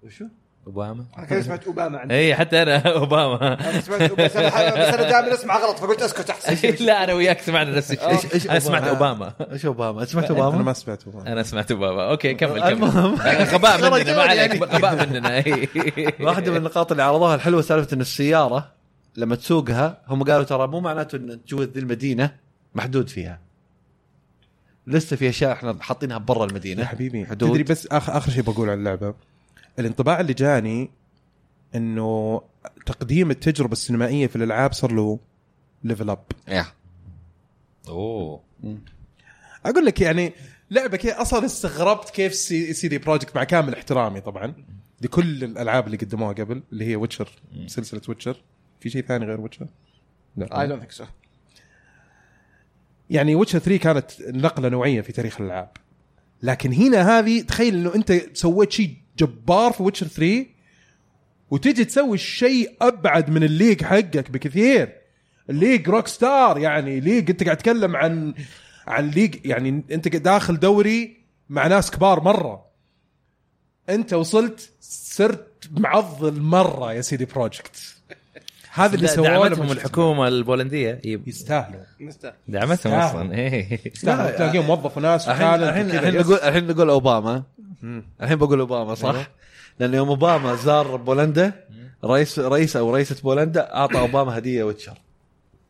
Speaker 4: وشو؟
Speaker 3: اوباما
Speaker 2: انا كذا سمعت اوباما عندي
Speaker 3: اي إيه، حتى انا اوباما
Speaker 2: أنا سمعت أوباما، بس انا بس انا دائما اسمع غلط فقلت اسكت احسن
Speaker 3: لا انا وياك سمعنا نفس الشيء
Speaker 4: إيش- إيش
Speaker 3: انا سمعت اوباما
Speaker 4: ايش اوباما؟ سمعت
Speaker 1: انا
Speaker 4: اوباما؟
Speaker 1: ما سمعت والله
Speaker 3: انا سمعت اوباما اوكي كمل كمل
Speaker 4: المهم.
Speaker 3: غباء مننا ما
Speaker 4: رجال يعني.
Speaker 3: عليك غباء مننا إي.
Speaker 4: واحده من النقاط اللي عرضوها الحلوه سالفه ان السياره لما تسوقها هم قالوا ترى مو معناته ان جوة ذي المدينه محدود فيها لسه في اشياء احنا حاطينها برا
Speaker 1: يا
Speaker 4: المدينه
Speaker 1: حبيبي
Speaker 4: حدود.
Speaker 1: تدري بس اخر اخر شيء بقول عن اللعبه الانطباع اللي جاني انه تقديم التجربه السينمائيه في الالعاب صار له ليفل اب
Speaker 3: اوه
Speaker 1: اقول لك يعني لعبه كذا اصلا استغربت كيف سي, سي دي بروجكت مع كامل احترامي طبعا لكل الالعاب اللي قدموها قبل اللي هي ويتشر سلسله ويتشر في شيء ثاني غير ويتشر؟
Speaker 2: اي دونت ثينك سو
Speaker 1: يعني ويتشر 3 كانت نقله نوعيه في تاريخ الالعاب لكن هنا هذه تخيل انه انت سويت شيء جبار في ويتشر 3 وتجي تسوي شيء ابعد من الليج حقك بكثير الليج روك ستار يعني ليج انت قاعد تتكلم عن عن ليج يعني انت داخل دوري مع ناس كبار مره انت وصلت صرت معضل مره يا سيدي بروجكت هذا اللي سووه لما
Speaker 3: دعمتهم
Speaker 1: شفت-
Speaker 3: الحكومه البولنديه إي.
Speaker 1: يستاهلوا
Speaker 3: دعمتهم إيه.
Speaker 1: آه.
Speaker 3: اصلا إي.
Speaker 1: يستاهلوا تلاقيهم وظفوا ناس
Speaker 4: الحين
Speaker 1: وتالنت
Speaker 4: الحين
Speaker 1: وكذا.
Speaker 4: الحين
Speaker 1: يس.
Speaker 4: بقول الحين بقول اوباما الحين بقول اوباما صح؟ لان يوم اوباما زار بولندا رئيس رئيس او رئيسه بولندا اعطى اوباما هديه ويتشر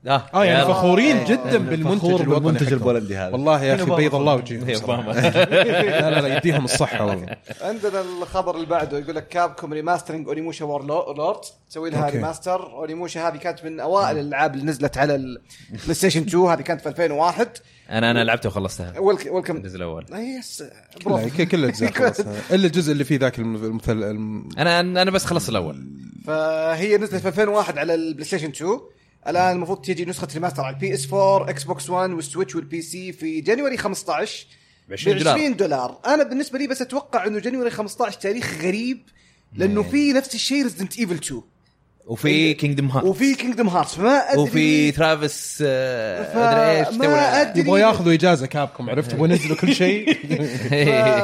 Speaker 1: اه يعني
Speaker 3: يلا.
Speaker 1: فخورين جدا
Speaker 4: فخور
Speaker 1: بالمنتج الوطني
Speaker 4: بالمنتج
Speaker 1: حقهم.
Speaker 4: البولندي هذا
Speaker 1: والله يا اخي
Speaker 4: أوباما
Speaker 1: بيض الله
Speaker 3: إي،
Speaker 1: وجههم صراحة.
Speaker 3: أوباما.
Speaker 1: لا لا لا يديهم الصحه والله
Speaker 2: عندنا الخبر اللي بعده يقول لك كابكوم ريماسترنج اونيموشا وور لورد تسوي لها
Speaker 1: أوكي.
Speaker 2: ريماستر اونيموشا هذه كانت من اوائل الالعاب اللي نزلت على البلاي ستيشن 2 هذه كانت في 2001
Speaker 3: انا انا لعبتها وخلصتها
Speaker 2: ويلك- ويلكم
Speaker 3: الجزء الاول
Speaker 2: أي يس
Speaker 1: لا،
Speaker 2: آه، برافو
Speaker 1: ك- يعني كل الاجزاء خلصها. الا الجزء اللي فيه ذاك المثل الم-
Speaker 3: انا انا بس خلصت الاول
Speaker 2: فهي نزلت في 2001 على البلاي ستيشن 2 الان المفروض تجي نسخه ريماستر على البي اس 4 اكس بوكس 1 والسويتش والبي سي في جانيوري 15 ب
Speaker 3: 20 دولار.
Speaker 2: 20 دولار انا بالنسبه لي بس اتوقع انه جانيوري 15 تاريخ غريب لانه في نفس الشيء ريزدنت ايفل 2
Speaker 3: وفي كينجدم هارت
Speaker 2: وفي كينجدم هارتس فما ادري
Speaker 3: وفي ترافيس آه، ادري ايش
Speaker 2: فما
Speaker 3: تسوي لها.
Speaker 2: أدري.
Speaker 1: يبغوا ياخذوا اجازه كابكم عرفت يبغوا ينزلوا كل شيء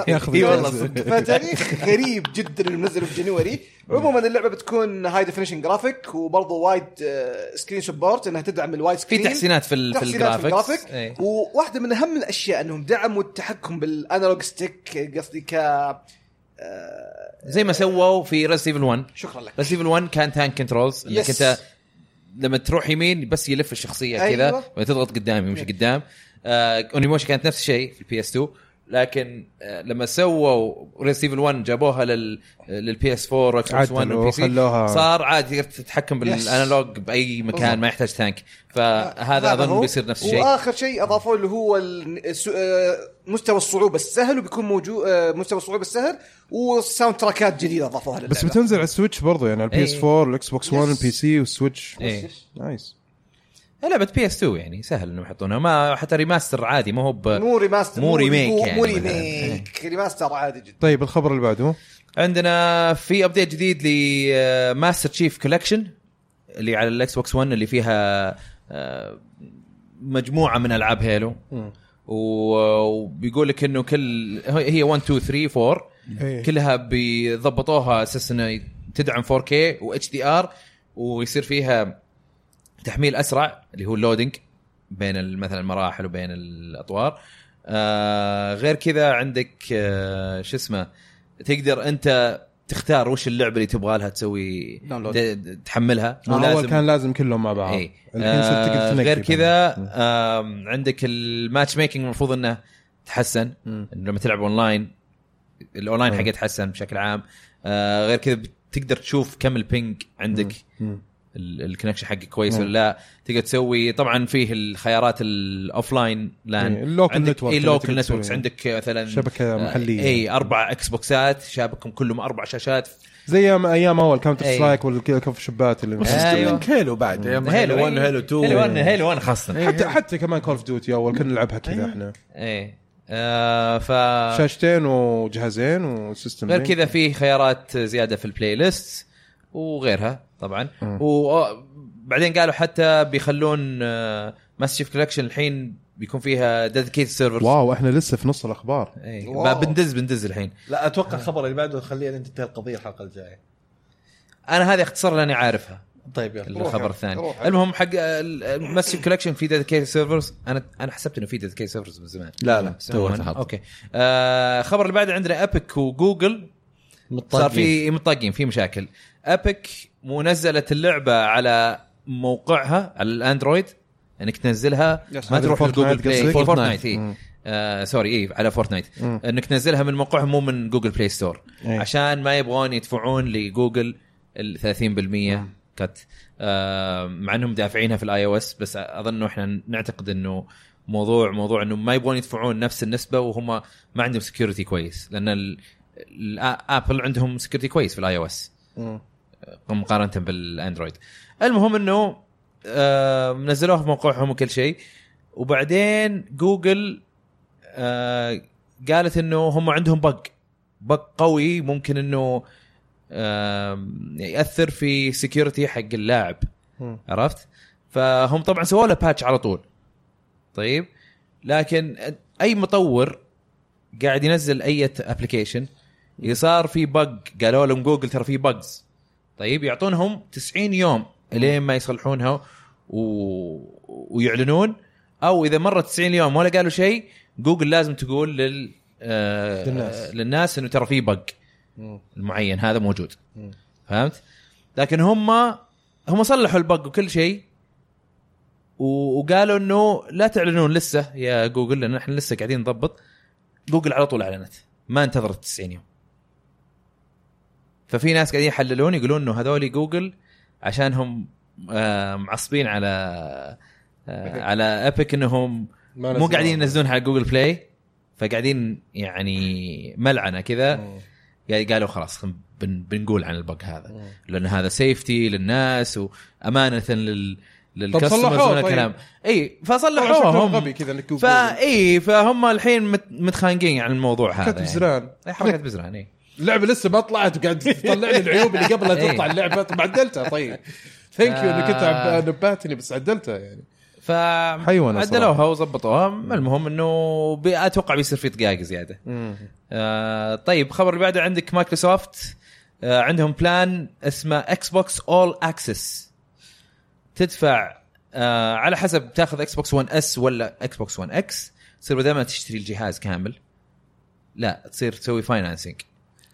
Speaker 1: ياخذوا
Speaker 3: اي إيه. والله
Speaker 1: إجازة.
Speaker 3: صدق.
Speaker 2: فتاريخ غريب جدا اللي منزله في جانيوري عموما اللعبه بتكون هاي ديفينيشن جرافيك وبرضه وايد سكرين سبورت انها تدعم الوايد
Speaker 3: في
Speaker 2: سكرين
Speaker 3: تحسينات في إيه. ال- في
Speaker 2: تحسينات في
Speaker 3: الجرافيكس
Speaker 2: الجرافيك
Speaker 3: إي.
Speaker 2: وواحده من اهم الاشياء انهم دعموا التحكم بالانالوج ستيك قصدي ك آه،
Speaker 3: زي ما سووا في ريس ايفل 1
Speaker 2: شكرا لك
Speaker 3: ريس ايفل 1 كان تانك كنترولز انك
Speaker 2: Yes.
Speaker 3: انت لما تروح يمين بس يلف الشخصيه
Speaker 2: أيوة.
Speaker 3: كذا وتضغط قدام يمشي قدام آه اونيموشا كانت نفس الشيء في البي اس 2 لكن آه لما سووا ريس ايفل 1 جابوها لل للبي اس 4 واكس بوكس 1
Speaker 1: عدلوا
Speaker 3: والبي سي
Speaker 1: وخلوها-
Speaker 3: صار عادي تقدر تتحكم
Speaker 2: Yes.
Speaker 3: بالانالوج باي مكان
Speaker 2: بالضبط.
Speaker 3: ما يحتاج تانك فهذا
Speaker 2: هو.
Speaker 3: اظن آه، بيصير نفس الشيء
Speaker 2: واخر شيء اضافوه اللي هو ال- الس- آه، مستوى الصعوبه السهل وبيكون موجود آه، مستوى الصعوبه السهل والساوند تراكات جديده اضافوها للعبه
Speaker 1: بس بتنزل على السويتش برضه يعني على البي اس
Speaker 3: إيه.
Speaker 1: 4 والاكس بوكس 1
Speaker 2: يس.
Speaker 1: والبي سي والسويتش
Speaker 3: إيه.
Speaker 1: نايس
Speaker 3: لعبه بي اس 2 يعني سهل انهم يحطونها ما حتى ريماستر عادي ما هو ب...
Speaker 2: مو ريماستر
Speaker 3: مو ريميك
Speaker 2: مو-
Speaker 3: يعني
Speaker 2: مو
Speaker 3: مثلاً.
Speaker 2: ريميك ريماستر عادي جدا
Speaker 1: طيب الخبر اللي بعده
Speaker 3: عندنا في ابديت جديد آه، لماستر تشيف كولكشن اللي على الاكس بوكس 1 اللي فيها آه، مجموعه من العاب هيلو و- وبيقول لك انه كل هي 1 2 3 4
Speaker 1: إيه.
Speaker 3: كلها بيضبطوها اساس انها تدعم 4K و اتش دي ار ويصير فيها تحميل اسرع اللي هو اللودنج بين ال- مثلا المراحل وبين الاطوار آه غير كذا عندك آه شو اسمه تقدر انت تختار وش اللعبه اللي تبغى لها تسوي د-
Speaker 2: داونلود.
Speaker 3: د- تحملها مو
Speaker 1: آه، اول
Speaker 3: لازم
Speaker 1: كان لازم كلهم مع بعض
Speaker 3: اي
Speaker 1: الحين صرت تقدر
Speaker 3: آه
Speaker 1: تنقي
Speaker 3: غير
Speaker 1: بينهم.
Speaker 3: كذا آم، عندك الماتش ميكنج المفروض انه تحسن
Speaker 1: مم.
Speaker 3: إنه لما تلعب اونلاين الاونلاين
Speaker 1: مم.
Speaker 3: حقه تحسن بشكل عام آه غير كذا بتقدر تشوف كم البينج عندك
Speaker 1: مم.
Speaker 3: الكونكشن حقك كويس ولا لا تقدر تسوي طبعا فيه الخيارات الاوفلاين لان
Speaker 1: إيه، اللوكال نتورك
Speaker 3: اي
Speaker 1: اللي
Speaker 3: لوكال
Speaker 1: تقدر تسويها.
Speaker 3: نتوركس عندك آه، إيه، مثلا
Speaker 1: شبكه محليه
Speaker 3: اي اربع اكس بوكسات شابكهم كلهم اربع شاشات
Speaker 1: زي ايام ايام اول كاونتر
Speaker 3: أي.
Speaker 1: سترايك والكف شبات اللي
Speaker 3: أيوه.
Speaker 5: هيلو بعد أيام
Speaker 3: هيلو.
Speaker 5: هيلو 1 هيلو 2
Speaker 3: هيلو 1 هيلو 1 خاصه
Speaker 1: حتى حتى كمان كول اوف ديوتي اول كنا نلعبها كذا احنا
Speaker 3: اي إيه. آه ف
Speaker 1: شاشتين وجهازين وسيستم
Speaker 3: غير
Speaker 1: لينك.
Speaker 3: كذا في خيارات زياده في البلاي ليست وغيرها طبعا
Speaker 1: مم.
Speaker 3: وبعدين قالوا حتى بيخلون آه، ماس شيف كولكشن الحين بيكون فيها ديديكيت سيرفر
Speaker 1: واو احنا لسه في نص الاخبار
Speaker 2: واو.
Speaker 3: إيه. بندز بندز الحين
Speaker 5: لا اتوقع الخبر اللي بعده خليه لين تنتهي القضيه الحلقه الجايه
Speaker 3: انا هذه اختصار لاني عارفها
Speaker 5: طيب يلا
Speaker 2: روح.
Speaker 3: الخبر الثاني
Speaker 2: روح.
Speaker 3: المهم حق آه، ماس شيف كولكشن في ديديكيت سيرفرز انا انا حسبت انه في ديديكيت سيرفرز من زمان
Speaker 5: لا لا
Speaker 3: بس عموماً، اوكي آه، الخبر اللي بعده عندنا ابيك وجوجل صار في مطاقين في مشاكل ابيك مو نزلت اللعبه على موقعها على الاندرويد انك تنزلها
Speaker 2: يس.
Speaker 3: ما
Speaker 1: هذه
Speaker 3: تروح
Speaker 1: الفورتنايت
Speaker 3: لجوجل بلاي
Speaker 1: قصدك؟
Speaker 3: فورتنايت اي
Speaker 1: مم.
Speaker 3: آه سوري اي على فورتنايت
Speaker 1: مم.
Speaker 3: انك تنزلها من موقعها مو من جوجل بلاي ستور
Speaker 1: إيه.
Speaker 3: عشان ما يبغون يدفعون لجوجل ال 30% كت آه مع انهم دافعينها في الاي او اس بس اظن احنا نعتقد انه موضوع موضوع انه ما يبغون يدفعون نفس النسبه وهم ما عندهم سكيورتي كويس لان ال- ال- ابل عندهم سكيورتي كويس في الاي او اس
Speaker 1: مم.
Speaker 3: مقارنه بالاندرويد المهم انه آه نزلوها في موقعهم وكل شيء وبعدين جوجل آه قالت انه هم عندهم بق بق قوي ممكن انه آه ياثر في سكيورتي حق اللاعب
Speaker 1: مم.
Speaker 3: عرفت فهم طبعا سووا له باتش على طول طيب لكن اي مطور قاعد ينزل اي ابلكيشن صار في بق قالوا لهم جوجل ترى في بجز طيب يعطونهم 90 يوم لين ما يصلحونها و... ويعلنون او اذا مرت 90 يوم ولا قالوا شيء جوجل لازم تقول لل آه
Speaker 1: للناس.
Speaker 3: للناس انه ترى في بق
Speaker 1: مم.
Speaker 3: المعين هذا موجود
Speaker 1: مم.
Speaker 3: فهمت؟ لكن هم هم صلحوا البق وكل شيء و- وقالوا انه لا تعلنون لسه يا جوجل لان احنا لسه قاعدين نضبط جوجل على طول اعلنت ما انتظرت 90 يوم ففي ناس قاعدين يحللون يقولون انه هذول جوجل عشان هم آه، معصبين على آه، على ابيك انهم
Speaker 1: ما
Speaker 3: مو
Speaker 1: نزلوها.
Speaker 3: قاعدين ينزلونها على جوجل بلاي فقاعدين يعني ملعنه كذا
Speaker 1: مم.
Speaker 3: قال- قالوا خلاص خن- بن بنقول عن البق هذا
Speaker 1: مم.
Speaker 3: لان هذا سيفتي للناس وامانه لل للكاستمرز
Speaker 1: صلحوه
Speaker 3: من الكلام اي فصلحوه
Speaker 1: شكلهم
Speaker 3: هم
Speaker 1: غبي طيب. كذا انك تقول
Speaker 3: فا اي فهم الحين مت- متخانقين عن الموضوع هذا
Speaker 1: كتب زران
Speaker 3: يعني. إي، حركه بزران اي
Speaker 1: اللعبه لسه ما طلعت وقاعد تطلع لي العيوب اللي قبلها
Speaker 3: إيه.
Speaker 1: تطلع اللعبه طب عدلتها طيب ثانك يو انك انت
Speaker 3: آه.
Speaker 1: عب- نبهتني بس عدلتها يعني
Speaker 3: ف
Speaker 1: حيوانة
Speaker 3: عدلوها
Speaker 1: صراحة.
Speaker 3: وظبطوها المهم انه بي- اتوقع بيصير في دقائق زياده آه طيب خبر اللي بعده عندك مايكروسوفت آه عندهم بلان اسمه اكس بوكس اول اكسس تدفع آه على حسب تاخذ اكس بوكس 1 اس ولا اكس بوكس 1 اكس تصير بدل ما تشتري الجهاز كامل لا تصير تسوي فاينانسنج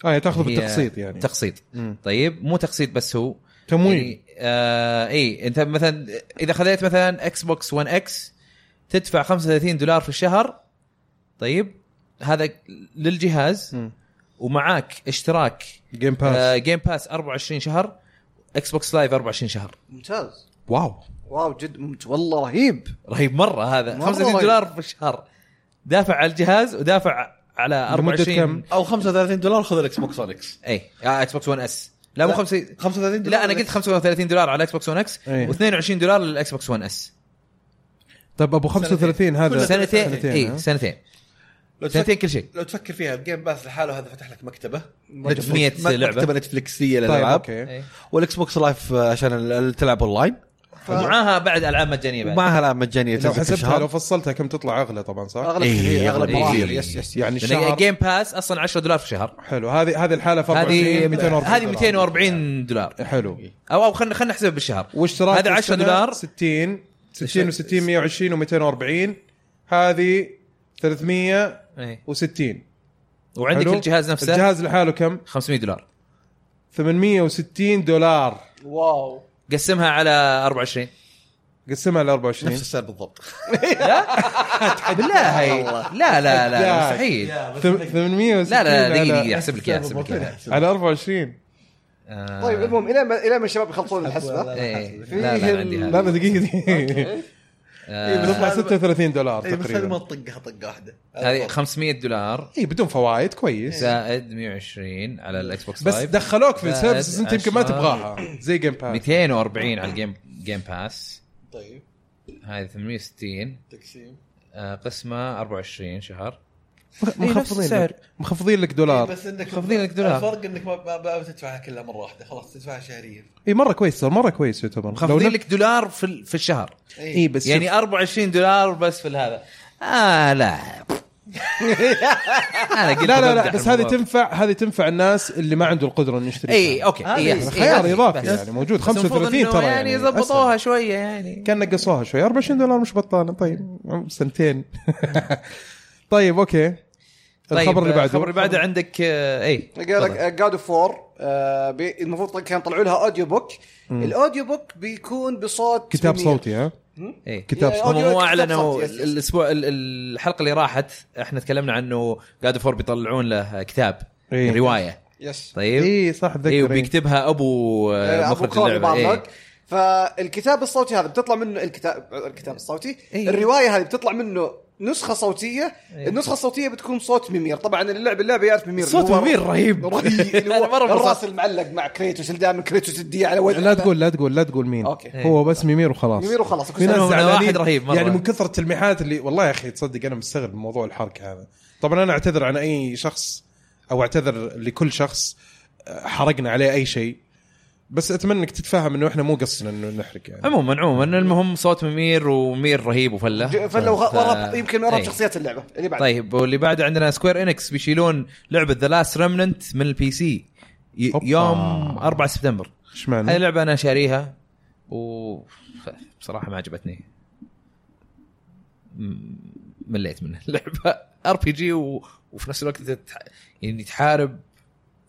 Speaker 1: اه تاخذه بالتقسيط يعني
Speaker 3: تقسيط
Speaker 1: مم.
Speaker 3: طيب مو تقسيط بس هو
Speaker 1: تمويل
Speaker 3: يعني آه اي انت مثلا اذا خذيت مثلا اكس بوكس 1 اكس تدفع 35 دولار في الشهر طيب هذا للجهاز
Speaker 1: مم.
Speaker 3: ومعاك اشتراك
Speaker 1: جيم باس
Speaker 3: آه جيم باس 24 شهر اكس بوكس لايف 24 شهر
Speaker 2: ممتاز
Speaker 1: واو
Speaker 2: واو جد ممت... والله رهيب
Speaker 3: رهيب مره هذا
Speaker 2: مرة
Speaker 3: 35
Speaker 2: رهيب.
Speaker 3: دولار في الشهر دافع على الجهاز ودافع على
Speaker 1: لمدة
Speaker 3: 24
Speaker 1: كم؟
Speaker 5: او 35 دولار خذ الاكس بوكس 1 اكس
Speaker 3: اي آه اكس بوكس 1 اس لا مو 50
Speaker 5: 35 دولار
Speaker 3: لا انا قلت 35 دولار على اكس بوكس 1 اكس
Speaker 1: إيه.
Speaker 3: و22 دولار للاكس بوكس 1 اس
Speaker 1: طب ابو 35 هذا
Speaker 3: سنتين اي
Speaker 1: ها؟
Speaker 3: سنتين
Speaker 5: لو
Speaker 3: سنتين
Speaker 5: تفكر,
Speaker 3: كل شيء
Speaker 5: لو تفكر فيها الجيم باس لحاله هذا فتح لك مكتبه
Speaker 3: 300
Speaker 5: مك- مكتبه
Speaker 3: لعبه
Speaker 5: نتفلكسيه
Speaker 1: طيب
Speaker 5: للالعاب
Speaker 1: اوكي
Speaker 3: إيه.
Speaker 5: والاكس بوكس لايف آه، عشان ال- ال- تلعب اونلاين
Speaker 3: ومعاها بعد العاب مجانيه بعد
Speaker 5: ومعها العاب مجانيه
Speaker 1: لو
Speaker 5: تنزل كل
Speaker 1: حسبتها لو
Speaker 5: شهر
Speaker 1: فصلتها كم تطلع اغلى طبعا صح؟
Speaker 2: اغلب
Speaker 5: إيه،
Speaker 2: كثير، اغلب
Speaker 5: أغلب
Speaker 2: مراحل
Speaker 5: كثير.
Speaker 2: يس يس يس
Speaker 1: يعني الشهر
Speaker 3: جيم باس اصلا 10 دولار في الشهر
Speaker 1: حلو هذه هذه الحاله في 24
Speaker 3: هذه
Speaker 1: 240
Speaker 3: هذه
Speaker 1: دولار.
Speaker 3: 240 دولار
Speaker 1: حلو
Speaker 3: او او خلينا خلينا نحسبها بالشهر
Speaker 1: واشتراك
Speaker 3: هذا 10
Speaker 1: السنة
Speaker 3: دولار
Speaker 1: 60 60 و60 120 و240 هذه 360
Speaker 3: إيه. وعندك
Speaker 1: حلو؟
Speaker 3: الجهاز نفسه
Speaker 1: الجهاز لحاله كم؟
Speaker 3: 500 دولار
Speaker 1: 860 دولار
Speaker 2: واو
Speaker 3: قسمها على 24
Speaker 1: قسمها ل
Speaker 5: نفس
Speaker 1: 24
Speaker 5: السعر بالضبط
Speaker 3: بالله هي. لا لا لا
Speaker 1: يا-
Speaker 3: مستحيل
Speaker 1: ثم- 860
Speaker 3: لا لا دقيقه
Speaker 1: على-
Speaker 3: دقيقه احسب لك اياها احسب لك اياها
Speaker 1: على 24
Speaker 3: آه،
Speaker 2: طيب المهم الى ما الى ما الشباب يخلصون الحسبه
Speaker 3: إيه،
Speaker 2: فيه
Speaker 3: لا لا عندي
Speaker 2: ال-
Speaker 1: لا إيه،
Speaker 3: هذه
Speaker 1: لا دقيقه دقيقه
Speaker 3: آه،
Speaker 1: بتطلع 36 دولار
Speaker 5: اي إيه، بس هذه
Speaker 1: تقريبا
Speaker 5: ما تطقها طقه واحده
Speaker 3: هذه 500 دولار
Speaker 1: اي إيه، بدون فوائد كويس
Speaker 3: زائد 120 على الاكس بوكس
Speaker 1: بس
Speaker 3: لايف.
Speaker 1: دخلوك في
Speaker 3: زائد
Speaker 1: السيرفس انت يمكن ما
Speaker 3: طيب. عشرة.
Speaker 1: تبغاها زي جيم باس
Speaker 3: 240 على الجيم جيم باس
Speaker 5: طيب
Speaker 3: هذه 860
Speaker 5: تقسيم
Speaker 3: آه، قسمه 24 شهر
Speaker 1: مخفضين لك مخفضين لك
Speaker 3: إيه،
Speaker 1: دولار
Speaker 5: بس انك
Speaker 3: خفضين لك دولار.
Speaker 5: الفرق انك ما, ما, ما بتدفعها كلها مره واحده خلاص تدفعها شهريا
Speaker 1: اي مره إيه، كويس صار مره كويس يعتبر
Speaker 3: مخفضين لك دولار في ال- في الشهر
Speaker 5: إيه.
Speaker 1: اي إيه، بس
Speaker 3: يعني 24 دولار بس في هذا اه لا انا قلت
Speaker 1: لا لا
Speaker 3: بمزح
Speaker 1: لا بس هذه
Speaker 3: الموضوع.
Speaker 1: تنفع هذه تنفع الناس اللي ما عنده القدره انه يشتري
Speaker 3: اي اوكي
Speaker 1: هذه
Speaker 3: اي
Speaker 1: خيار اضافي
Speaker 3: إيه، بس.
Speaker 1: يعني موجود
Speaker 3: بس المفروض
Speaker 1: 35
Speaker 3: إنه
Speaker 1: ترى
Speaker 3: يعني
Speaker 1: يعني
Speaker 3: يضبطوها شويه يعني
Speaker 1: كان نقصوها شوي 24 دولار مش بطاله طيب سنتين طيب اوكي الخبر اللي بعده
Speaker 3: طيب، الخبر اللي بعده عندك آه، اي
Speaker 2: قال لك جاد اوف 4 آه، المفروض كان طلعوا لها اوديو بوك الاوديو بوك بيكون بصوت
Speaker 1: كتاب
Speaker 2: 800.
Speaker 1: صوتي ها
Speaker 3: اي
Speaker 1: كتاب
Speaker 2: يا-
Speaker 1: صوتي
Speaker 3: هم
Speaker 2: آه، أوديو
Speaker 3: إيه. مو
Speaker 2: كتاب
Speaker 3: اعلنوا
Speaker 2: صوتي، يس، يس.
Speaker 3: الاسبوع ال- الحلقه اللي راحت احنا تكلمنا عنه جاد فور بيطلعون له كتاب
Speaker 1: إيه.
Speaker 3: روايه
Speaker 2: يس
Speaker 3: طيب
Speaker 1: اي صح اتذكر
Speaker 3: اي
Speaker 1: إيه.
Speaker 3: وبيكتبها ابو آه،
Speaker 2: ابو
Speaker 3: مخرج
Speaker 2: كولي
Speaker 3: اللعبه إيه.
Speaker 2: بارلوك فالكتاب الصوتي هذا بتطلع منه الكتاب الكتاب الصوتي
Speaker 3: إيه.
Speaker 2: الروايه هذه بتطلع منه نسخه صوتيه النسخه الصوتيه بتكون صوت ميمير طبعا اللي لعب اللعبه يعرف ميمير
Speaker 1: صوت
Speaker 2: اللي هو-
Speaker 1: ميمير رهيب.
Speaker 2: رهيب اللي هو
Speaker 3: أنا مرة
Speaker 2: الراس
Speaker 3: انبسطت.
Speaker 2: المعلق مع كريتوس اللي دائما كريتوس يديه على وجهه
Speaker 1: لا تقول لا تقول لا تقول مين
Speaker 2: أوكي.
Speaker 1: هو بس ميمير وخلاص
Speaker 2: ميمير وخلاص.
Speaker 1: في ناس
Speaker 3: أنا
Speaker 1: زعلانين
Speaker 3: واحد رهيب مرة.
Speaker 1: يعني من كثر التلميحات اللي والله يا اخي تصدق انا مستغرب من موضوع الحرق هذا طبعا انا اعتذر عن اي شخص او اعتذر لكل شخص آه، حرقنا عليه اي شيء بس اتمنى انك تتفاهم انه احنا مو قصنا انه نحرق يعني
Speaker 3: عموما عموما المهم صوت ممير ومير رهيب وفله
Speaker 2: فلو
Speaker 3: ف-
Speaker 2: ورب يمكن من ورب
Speaker 3: إيه.
Speaker 2: شخصيات اللعبه اللي بعد
Speaker 3: طيب واللي بعده عندنا سكوير انكس بيشيلون لعبه ذا لاست ريمننت من البي سي ي-
Speaker 1: أوبا.
Speaker 3: يوم 4 سبتمبر
Speaker 1: ايش معنى؟
Speaker 3: هذه اللعبه انا شاريها و بصراحه ما عجبتني م- مليت من اللعبه ار بي جي وفي نفس الوقت تح... يعني تحارب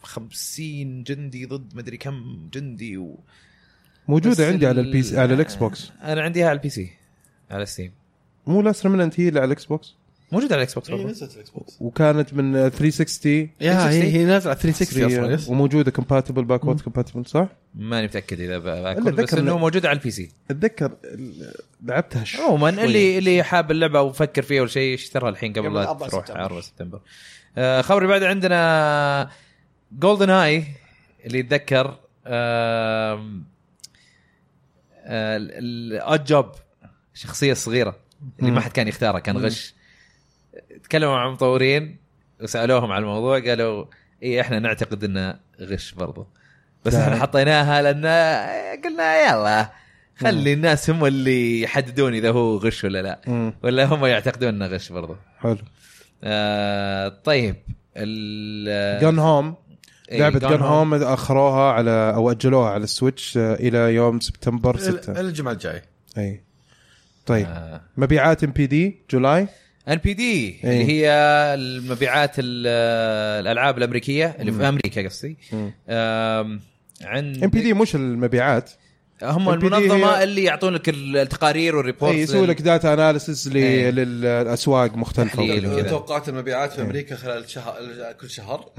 Speaker 3: خمسين جندي ضد مدري كم جندي و... بس
Speaker 1: موجوده عندي
Speaker 3: ال- آه.
Speaker 1: على البي سي على الاكس بوكس
Speaker 3: انا عنديها على البي سي على ستيم
Speaker 1: مو لاست ريمننت هي اللي على الاكس بوكس
Speaker 3: موجود على الاكس بوكس
Speaker 5: اي
Speaker 3: برضو.
Speaker 5: نزلت الاكس بوكس
Speaker 1: وكانت من 360
Speaker 4: يا هي
Speaker 3: 360.
Speaker 4: هي نازله على 360 اصلا يس.
Speaker 1: وموجوده كومباتبل باكورد كومباتبل صح؟
Speaker 3: ماني متاكد اذا ب-
Speaker 1: إلا
Speaker 3: بكون بس
Speaker 1: ذكر
Speaker 3: انه
Speaker 1: إنه-
Speaker 3: موجود على البي سي
Speaker 1: اتذكر ال- لعبتها شوي
Speaker 3: عموما اللي اللي حاب اللعبه وفكر فيها ولا شيء اشترها الحين قبل
Speaker 2: قبل
Speaker 3: لا
Speaker 2: 4
Speaker 3: تروح
Speaker 2: سبتمبر.
Speaker 3: 4 سبتمبر آه، خبر اللي بعد عندنا جولدن هاي اللي يتذكر آه، الاد جوب شخصيه صغيره اللي ما حد كان يختارها كان غش تكلموا مع المطورين وسالوهم على الموضوع قالوا اي احنا نعتقد انه غش برضو بس
Speaker 1: ده.
Speaker 3: احنا حطيناها لان قلنا يلا خلي الناس هم اللي يحددون اذا هو غش ولا لا
Speaker 1: مم.
Speaker 3: ولا هم يعتقدون انه غش برضو
Speaker 1: حلو
Speaker 3: آه طيب ال
Speaker 1: جن هوم
Speaker 3: آه، إيه،
Speaker 1: لعبه
Speaker 3: Gone
Speaker 1: جن هوم اخروها على او اجلوها على السويتش آه، الى يوم سبتمبر 6
Speaker 5: الجمعه الجايه
Speaker 1: اي طيب
Speaker 3: آه.
Speaker 1: مبيعات ام بي دي جولاي
Speaker 3: ان بي دي
Speaker 1: إيه.
Speaker 3: اللي هي المبيعات ال- الالعاب الامريكيه اللي في امريكا قصدي
Speaker 1: مم.
Speaker 3: آم، عند
Speaker 1: ام بي دي مش المبيعات
Speaker 3: هم
Speaker 1: NPD
Speaker 3: المنظمه
Speaker 1: هي-
Speaker 3: اللي يعطونك ال- التقارير والريبورتس
Speaker 1: اي يسوي لك داتا اناليسز
Speaker 3: إيه.
Speaker 1: للاسواق مختلفه
Speaker 3: تحليل
Speaker 1: وكذا.
Speaker 3: وكذا.
Speaker 5: توقعات المبيعات في امريكا خلال شهر كل شهر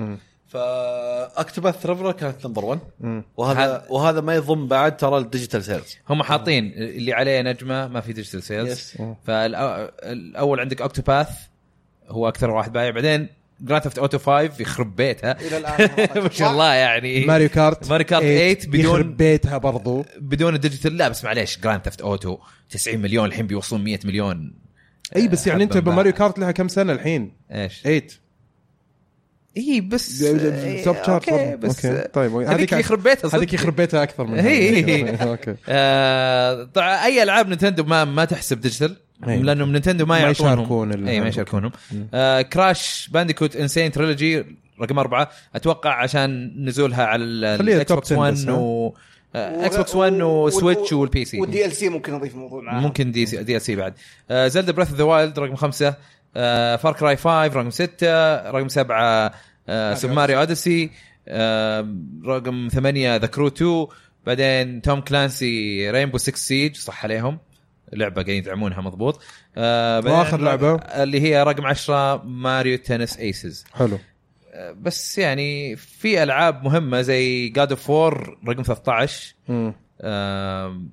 Speaker 5: فاكتوباث ريفر كانت نمبر 1
Speaker 1: مم.
Speaker 5: وهذا وهذا ما يضم بعد ترى الديجيتال سيلز
Speaker 3: هم حاطين اللي عليه نجمه ما في ديجيتال سيلز
Speaker 5: Yes.
Speaker 1: آه.
Speaker 3: فالاول عندك اوكتوباث هو اكثر واحد بايع بعدين جراند ثفت اوتو 5 يخرب بيتها
Speaker 2: الى الان
Speaker 3: ما شاء الله يعني
Speaker 1: ماريو كارت
Speaker 3: ماريو كارت 8 بدون-
Speaker 1: يخرب بيتها برضو
Speaker 3: بدون الديجيتال لا بس معليش جراند ثفت اوتو 90 مليون الحين بيوصلون 100 مليون
Speaker 1: اي بس يعني
Speaker 3: حبا
Speaker 1: انت
Speaker 3: ما.
Speaker 1: ماريو كارت لها كم سنه الحين؟
Speaker 3: ايش
Speaker 1: 8
Speaker 3: اي إيه، بس
Speaker 1: ده- ده- ده- توب
Speaker 3: آه،
Speaker 1: شارت
Speaker 3: اوكي
Speaker 1: برضه.
Speaker 3: بس
Speaker 1: أوكي. طيب،
Speaker 3: هذيك
Speaker 1: هذيك-
Speaker 3: يخرب بيتها صدق. إيه.
Speaker 1: هذيك يخرب بيتها اكثر من هذه.
Speaker 3: إي، إي.
Speaker 1: اوكي
Speaker 3: آه، طبعا اي العاب نينتندو ما ما تحسب ديجيتال
Speaker 1: أي.
Speaker 3: لانهم نينتندو ما
Speaker 1: إيه. ما
Speaker 3: يعطونهم
Speaker 1: يشاركون ال-
Speaker 3: اي ما يشاركونهم آه كراش بانديكوت انسين تريلوجي رقم اربعه اتوقع عشان نزولها على
Speaker 1: خليها
Speaker 3: الاكس
Speaker 1: top
Speaker 3: بوكس
Speaker 1: 10
Speaker 3: 1
Speaker 1: بس،
Speaker 3: و آه، اكس بوكس 1 وسويتش والبي سي
Speaker 2: والدي ال سي ممكن نضيف موضوع معاه
Speaker 3: ممكن دي سي دي ال سي بعد آه زلدا بريث ذا وايلد رقم خمسة آه فار كراي 5 رقم ستة رقم سبعة آه سوبر ماريو اوديسي آه رقم ثمانية ذا كرو 2 بعدين توم كلانسي رينبو 6 سيج صح عليهم لعبة قاعدين يدعمونها مضبوط آه بعدين
Speaker 1: وآخر لعبة؟
Speaker 3: اللي هي رقم 10 ماريو تنس ايسز
Speaker 1: حلو
Speaker 3: آه، بس يعني في العاب مهمه زي جاد اوف وور رقم 13 آم،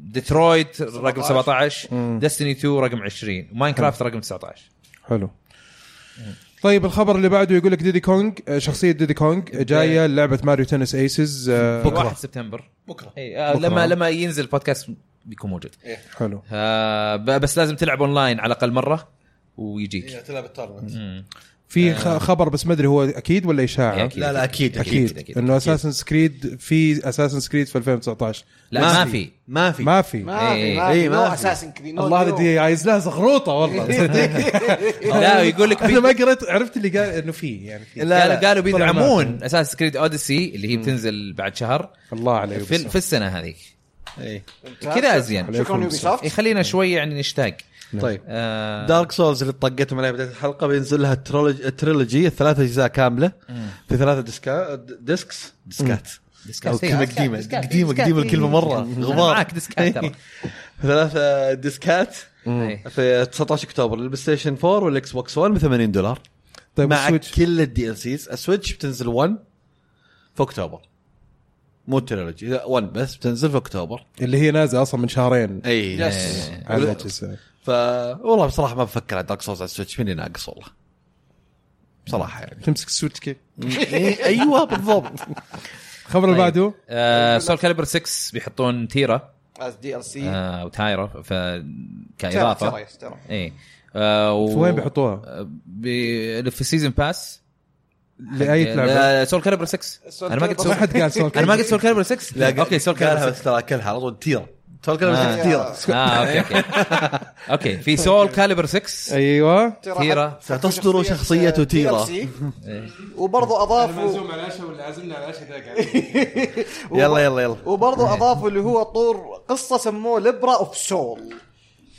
Speaker 3: ديترويت رقم 17 ديستني 2 رقم 20 ماينكرافت رقم 19
Speaker 1: حلو طيب الخبر اللي بعده يقول لك ديدي كونغ آه، شخصيه ديدي كونغ جايه لعبه ماريو تنس ايسز آه،
Speaker 3: 1 سبتمبر
Speaker 5: بكره
Speaker 3: اي آه، لما لما ينزل البودكاست بيكون موجود
Speaker 1: حلو
Speaker 3: آه، ب- بس لازم تلعب اونلاين على الاقل مره ويجيك
Speaker 5: تلعب التورنمنت
Speaker 1: في خ- خبر بس ما ادري هو اكيد ولا اشاعه
Speaker 3: آه. يعني أكيد.
Speaker 5: لا لا اكيد
Speaker 3: أكيد.
Speaker 5: اكيد
Speaker 1: انه اساسن سكريد في اساسن سكريد في 2019
Speaker 3: لا ما في
Speaker 5: ما في
Speaker 1: ما في
Speaker 2: ما في ما
Speaker 5: إيه،
Speaker 2: في
Speaker 5: ما
Speaker 2: نو
Speaker 5: في.
Speaker 2: اساسن كريد
Speaker 1: الله هذه دي عايز لها زغروطه والله
Speaker 3: لا يقول لك
Speaker 1: انا ما قريت عرفت اللي قال انه في يعني في
Speaker 3: لا لا قالوا
Speaker 1: طلع
Speaker 3: بيدعمون اساس كريد اوديسي اللي هي بتنزل بعد شهر
Speaker 1: الله عليه
Speaker 3: في, في السنه هذيك
Speaker 5: إيه.
Speaker 3: كذا ازين
Speaker 2: شكرا يوبي سوفت
Speaker 3: يخلينا شوي يعني نشتاق
Speaker 5: طيب
Speaker 3: آه
Speaker 5: دارك سولز اللي طقتهم عليها بدايه الحلقه بينزل لها الترولوجي التريلوجي الثلاث اجزاء كامله في ثلاثه ديسكا ديسكس ديسكات أو كلمة
Speaker 3: ديسكات،
Speaker 5: قديمة
Speaker 3: ديسكات،
Speaker 5: قديمة
Speaker 3: ديسكات.
Speaker 5: قديمة الكلمة مرة
Speaker 3: أنا
Speaker 5: غبار
Speaker 3: معك ديسكات ترى
Speaker 5: ثلاثة ديسكات
Speaker 3: إيه.
Speaker 5: في 19 اكتوبر للبلاي ستيشن 4 والاكس بوكس 1 ب 80 دولار
Speaker 1: طيب
Speaker 5: مع
Speaker 1: السويتش
Speaker 5: كل الدي ال سيز السويتش بتنزل 1 في اكتوبر مو التريلوجي لا 1 بس بتنزل في اكتوبر
Speaker 1: اللي هي نازله اصلا من شهرين
Speaker 3: أيوة.
Speaker 5: اي
Speaker 3: يس.
Speaker 5: إيه.
Speaker 1: على الأجهزة.
Speaker 5: ف والله بصراحه ما بفكر على دارك سولز على السويتش مني ناقص والله بصراحه يعني
Speaker 1: تمسك السويتش كيف إيه،
Speaker 5: ايوه بالضبط
Speaker 1: الخبر أيوة،
Speaker 3: طيب.
Speaker 1: اللي بعده
Speaker 3: آه سول كاليبر 6 بيحطون تيرا
Speaker 2: دي ال سي
Speaker 3: آه وتايرا ف
Speaker 2: ترى
Speaker 3: كاضافه
Speaker 2: ترى- ترى.
Speaker 3: اي آه و...
Speaker 1: في وين بيحطوها؟
Speaker 3: آه، بي... في آه، السيزون باس
Speaker 1: لاي لعبه؟
Speaker 3: سول كاليبر 6
Speaker 2: Soul
Speaker 3: انا ما قلت
Speaker 2: Calibur
Speaker 1: ما
Speaker 3: سول
Speaker 1: حد قال سول
Speaker 3: انا ما قلت سول كاليبر 6
Speaker 5: لا
Speaker 3: اوكي سول كاليبر
Speaker 5: قالها
Speaker 3: 6
Speaker 5: بس ترى كلها على طول تيرا ترى كلها
Speaker 2: آه.
Speaker 5: تيرا
Speaker 3: اه اوكي اوكي اوكي في سول كاليبر 6
Speaker 1: ايوه
Speaker 2: ترى
Speaker 3: تيرا.
Speaker 2: حط-
Speaker 5: ستصدر شخصية
Speaker 2: آه،
Speaker 5: تيرا.
Speaker 2: DLC. وبرضو اضافوا
Speaker 1: على العشاء ولا عازمنا على العشاء
Speaker 5: يلا يلا يلا
Speaker 2: وبرضو اضافوا اللي هو طور قصه سموه لبرا اوف سول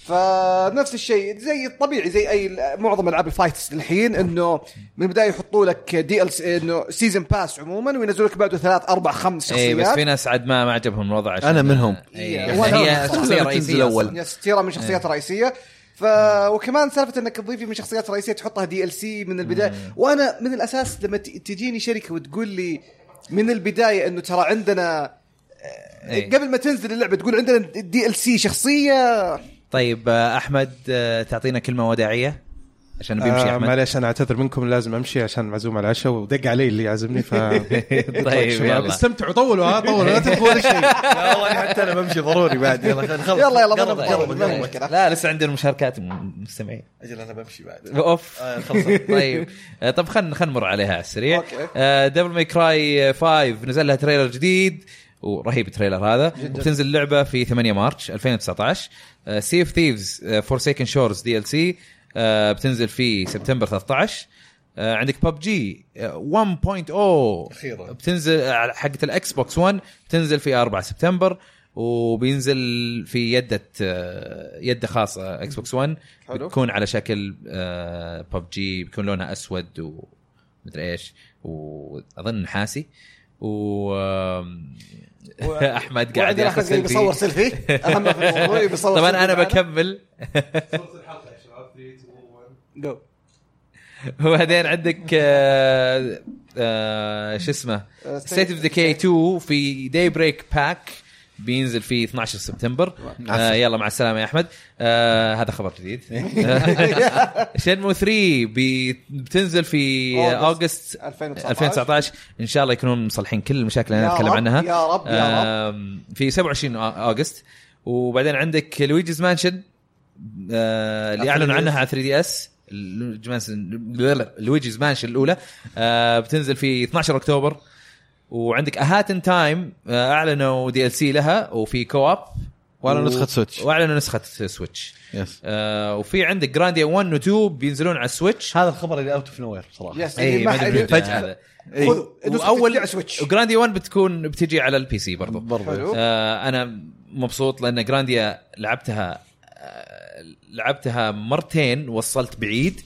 Speaker 2: فنفس الشيء زي الطبيعي زي اي معظم العاب الفايتس الحين انه من البدايه يحطوا لك دي ال انه سيزون باس عموما وينزلوا لك بعده ثلاث اربع خمس
Speaker 5: إيه،
Speaker 3: اي
Speaker 2: إيه، شخصيات
Speaker 3: إيه،
Speaker 2: إيه،
Speaker 3: بس في ناس عاد ما ما عجبهم الوضع عشان
Speaker 5: أنا منهم.
Speaker 3: إي،
Speaker 2: يا
Speaker 3: يعني
Speaker 2: وأنا
Speaker 3: هي
Speaker 2: أصلاً
Speaker 3: شخصيه
Speaker 5: لما تنزل
Speaker 3: رئيسيه
Speaker 5: أول.
Speaker 3: أصلاً.
Speaker 2: يا ستيرا يعني من شخصيات
Speaker 3: إيه.
Speaker 2: رئيسيه ف وكمان سالفه انك تضيفي من شخصيات رئيسيه تحطها دي ال سي من البدايه
Speaker 3: إيه.
Speaker 2: وانا من الاساس لما ت- تجيني شركه وتقول لي من البدايه انه ترى عندنا آه،
Speaker 3: إي.
Speaker 2: قبل ما تنزل اللعبه تقول عندنا دي ال سي شخصيه
Speaker 3: طيب آه، احمد آه، تعطينا كلمه وداعيه عشان بيمشي
Speaker 1: آه
Speaker 3: احمد
Speaker 1: معلش انا اعتذر منكم لازم امشي عشان معزوم على العشاء ودق علي اللي يعزمني ف
Speaker 3: طيب
Speaker 1: شباب،
Speaker 3: يلا
Speaker 1: استمتعوا طولوا ها طولوا لا تلقوا ولا شيء
Speaker 5: يعني حتى انا بمشي ضروري بعد يلا نخلص
Speaker 2: يلا يلا
Speaker 5: قرب
Speaker 2: ضرب ضرب،
Speaker 5: قرب قرب.
Speaker 2: ضرب. مشكلة.
Speaker 3: طيب. لا لسه عندنا مشاركات م- مستمعين
Speaker 5: اجل انا بمشي بعد
Speaker 3: اوف
Speaker 5: آه، خلصت.
Speaker 3: طيب آه، طب خلينا خلينا نمر عليها على السريع آه،
Speaker 2: أوكي.
Speaker 3: دبل ماي كراي 5 نزل لها تريلر جديد ورهيب التريلر هذا بتنزل اللعبه في 8 مارش 2019 سي اوف ثيفز فورسيكن شورز دي ال سي آه، بتنزل في سبتمبر 13 آه، عندك ببجي 1.0
Speaker 5: أخيراً.
Speaker 3: oh. بتنزل آه، حقت الاكس بوكس 1 بتنزل في 4 سبتمبر وبينزل في يدة آه، يدة خاصة اكس بوكس 1
Speaker 2: حلو.
Speaker 3: بتكون على شكل آه، ببجي بيكون لونها اسود ومدري ايش واظن نحاسي و آم، احمد قاعد
Speaker 2: وعندنا
Speaker 3: ياخذ
Speaker 2: أحمد قاعد بيصور
Speaker 3: سيلفي
Speaker 2: سيلفي اهم في الموضوع بيصور
Speaker 3: طبعا
Speaker 2: سيلفي
Speaker 3: انا
Speaker 2: معنا.
Speaker 3: بكمل
Speaker 2: جو.
Speaker 3: وبعدين عندك آه، آه، شو اسمه
Speaker 2: آه،
Speaker 3: ستيت اوف ديكي 2 في داي بريك باك بينزل في 12 سبتمبر آه يلا مع السلامه يا احمد آه هذا خبر جديد شنمو 3 بي- بتنزل في اوغست
Speaker 2: أوغست 2019.
Speaker 3: 2019 ان شاء الله يكونون مصلحين كل المشاكل اللي انا
Speaker 2: يا
Speaker 3: اتكلم
Speaker 2: رب،
Speaker 3: عنها
Speaker 2: يا رب، يا رب.
Speaker 3: آم، في 27 اوغست وبعدين عندك لويجيز مانشن آه، اللي اعلنوا عنها على 3 دي اس لويجيز مانشن الاولى آه، بتنزل في 12 اكتوبر وعندك اهاتن تايم اعلنوا آه، دي ال سي لها وفي كواب
Speaker 5: وأعلنوا نسخة سويتش.
Speaker 3: واعلنوا نسخه سويتش
Speaker 5: يس
Speaker 3: آه، وفي عندك جرانديا 1 و 2 بينزلون على السويتش
Speaker 5: هذا الخبر اللي اوت اوف نوير صراحه
Speaker 2: يس
Speaker 3: اي
Speaker 2: اللي
Speaker 3: ما
Speaker 2: إيه، ما
Speaker 3: ادري
Speaker 2: حد-
Speaker 3: فجاه هذا
Speaker 5: إيه.
Speaker 2: خذ نسخة
Speaker 3: واول
Speaker 2: على سويتش
Speaker 3: وجرانديا 1 بتكون بتجي على البي سي برضو
Speaker 5: برضو
Speaker 2: حلو.
Speaker 3: آه انا مبسوط لان جرانديا لعبتها آه لعبتها مرتين وصلت بعيد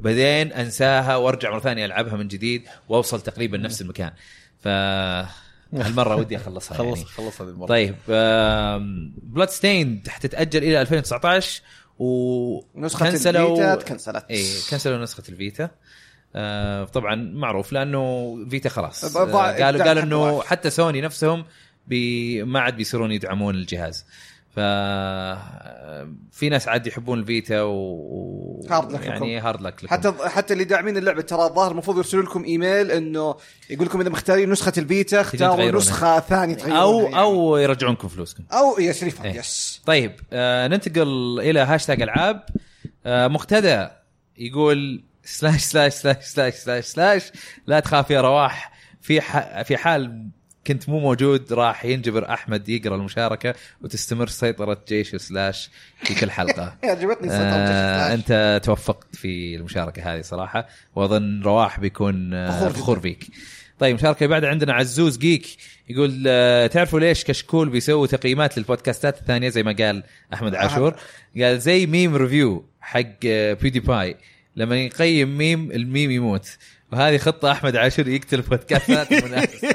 Speaker 3: بعدين انساها وارجع مره ثانيه العبها من جديد واوصل تقريبا نفس المكان ف هالمره ودي اخلصها
Speaker 5: خلص
Speaker 3: يعني.
Speaker 5: خلص هذه المره
Speaker 3: طيب بلاد ستيند حتتاجل الى 2019 و
Speaker 2: نسخة
Speaker 3: كنسلوا-
Speaker 2: الفيتا اتكنسلت.
Speaker 3: اي كنسلوا نسخه الفيتا آه، طبعا معروف لانه فيتا خلاص
Speaker 2: ضاع-
Speaker 3: آه، قالوا
Speaker 2: ضاع
Speaker 3: قالوا
Speaker 2: حق
Speaker 3: انه
Speaker 2: واحد.
Speaker 3: حتى سوني نفسهم بي ما عاد بيصيرون يدعمون الجهاز ف في ناس عاد يحبون الفيتا و و-
Speaker 2: Hard luck
Speaker 3: يعني هارد لك لكم
Speaker 2: حتى حتى اللي داعمين اللعبه ترى الظاهر المفروض يرسلوا لكم ايميل انه يقول لكم اذا مختارين نسخه البيتا اختاروا
Speaker 3: تغيرونها.
Speaker 2: نسخه ثانيه تغيرونها
Speaker 3: او
Speaker 2: يعني.
Speaker 3: او يرجعونكم فلوسكم
Speaker 2: او يا شريف
Speaker 3: إيه.
Speaker 2: يس
Speaker 3: طيب آه ننتقل الى هاشتاج العاب آه مقتدى يقول سلاش سلاش سلاش سلاش سلاش سلاش لا تخاف يا رواح في ح... في حال كنت مو موجود راح ينجبر احمد يقرا المشاركه وتستمر سيطره جيش سلاش في كل حلقه
Speaker 2: إيه، عجبتني
Speaker 3: آه
Speaker 2: آه
Speaker 3: انت توفقت في المشاركه هذه صراحه واظن رواح بيكون آه،
Speaker 2: فخور جداً.
Speaker 3: فخور فيك طيب المشاركه اللي بعدها عندنا عزوز جيك يقول آه، تعرفوا ليش كشكول بيسوي تقييمات للبودكاستات الثانيه زي ما قال احمد عاشور قال زي ميم ريفيو حق بيدي باي لما يقيم ميم الميم يموت وهذه خطه احمد عاشور يقتل بودكاستات المنافسه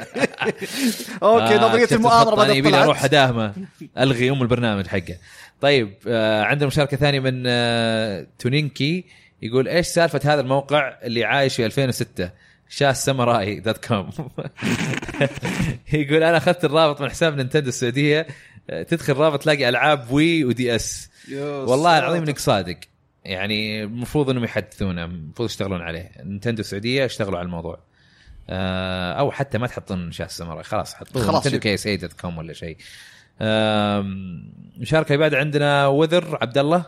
Speaker 2: اوكي
Speaker 3: آه،
Speaker 2: نظريه
Speaker 3: كتبت
Speaker 2: المؤامره
Speaker 3: خط أنا
Speaker 2: بدات
Speaker 3: يبي لي اروح
Speaker 2: طلعت
Speaker 3: اداهمه الغي ام البرنامج حقه طيب آه عندنا مشاركه ثانيه من آه تونينكي يقول ايش سالفه هذا الموقع اللي عايش في 2006 شاس ساموراي دوت كوم يقول انا اخذت الرابط من حساب نينتندو السعوديه آه، تدخل رابط تلاقي العاب وي ودي اس والله العظيم انك صادق يعني المفروض انهم يحدثونه المفروض يشتغلون عليه نينتندو السعوديه اشتغلوا على الموضوع آه، او حتى ما تحطون شاس ساموراي خلاص حطوه
Speaker 2: خلاص.
Speaker 3: نينتندو كي اس اي دوت كوم ولا شيء آم، مشاركه بعد عندنا وذر عبد الله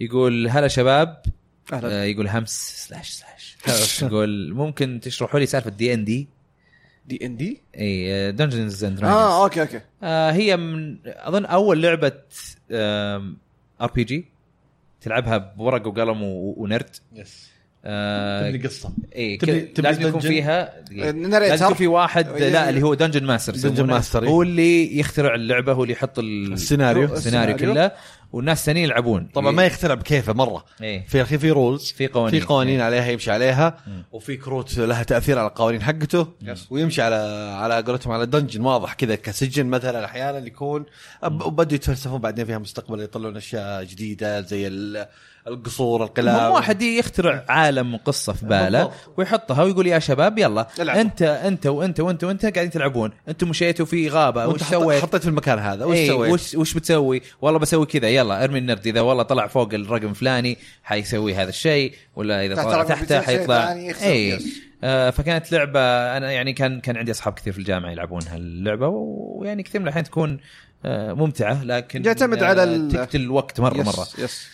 Speaker 3: يقول هلا شباب آه، يقول همس سلاش سلاش يقول ممكن تشرحوا لي سالفه دي ان دي
Speaker 2: دي ان دي
Speaker 3: اي دنجنز اند
Speaker 2: اه اوكي اوكي
Speaker 3: آه، هي من اظن اول لعبه ار بي جي تلعبها بورق وقلم و- ونرد
Speaker 4: يس
Speaker 3: آه
Speaker 4: تبني قصه
Speaker 3: اي ك-
Speaker 4: تبني- تبني
Speaker 3: لازم يكون
Speaker 4: dungeon.
Speaker 3: فيها
Speaker 2: آه،
Speaker 3: دقيقة. لازم يكون
Speaker 2: ناريتر
Speaker 3: في واحد لا اللي هو دنجن ماستر
Speaker 7: Dungeon
Speaker 4: إيه.
Speaker 7: Master، إي.
Speaker 3: هو اللي يخترع اللعبه هو اللي يحط ال-
Speaker 7: السيناريو.
Speaker 3: السيناريو كله والناس الثانيين يلعبون
Speaker 4: طبعا ما يخترع بكيفه مره
Speaker 3: إيه.
Speaker 4: في اخي في رولز
Speaker 3: في قوانين.
Speaker 4: في قوانين
Speaker 3: إيه.
Speaker 4: عليها يمشي عليها وفي كروت لها تاثير على القوانين حقته ويمشي على على قولتهم على دنجن واضح كذا كسجن مثلا احيانا يكون أب- وبدوا يتفلسفون بعدين فيها مستقبل يطلعون اشياء جديده زي ال- القصور القلاب
Speaker 3: هم واحد يخترع عالم وقصه في باله
Speaker 4: بالضبط.
Speaker 3: ويحطها ويقول يا شباب يلا
Speaker 2: العبوا.
Speaker 3: انت انت وانت وانت وانت قاعدين تلعبون انتم مشيتوا في غابه
Speaker 4: وانت
Speaker 3: وش
Speaker 4: حط-
Speaker 3: سويت
Speaker 4: حطيت في المكان هذا وش
Speaker 3: إيه،
Speaker 4: سويت؟
Speaker 3: وش وش بتسوي؟ والله بسوي كذا يلا ارمي النرد اذا والله طلع فوق الرقم فلاني حيسوي هذا الشيء ولا اذا
Speaker 2: تحت
Speaker 3: طلع
Speaker 2: رقم
Speaker 3: تحته
Speaker 2: بيسوي شيء
Speaker 3: حيطلع
Speaker 2: ثاني يخسر.
Speaker 3: اي
Speaker 2: يس.
Speaker 3: آه فكانت لعبه انا يعني كان كان عندي اصحاب كثير في الجامعه يلعبون هاللعبه ويعني كثير من الاحيان تكون آه ممتعه لكن
Speaker 2: يعتمد
Speaker 3: آه
Speaker 2: على ال-
Speaker 3: تقتل الوقت مره مره
Speaker 2: يس يس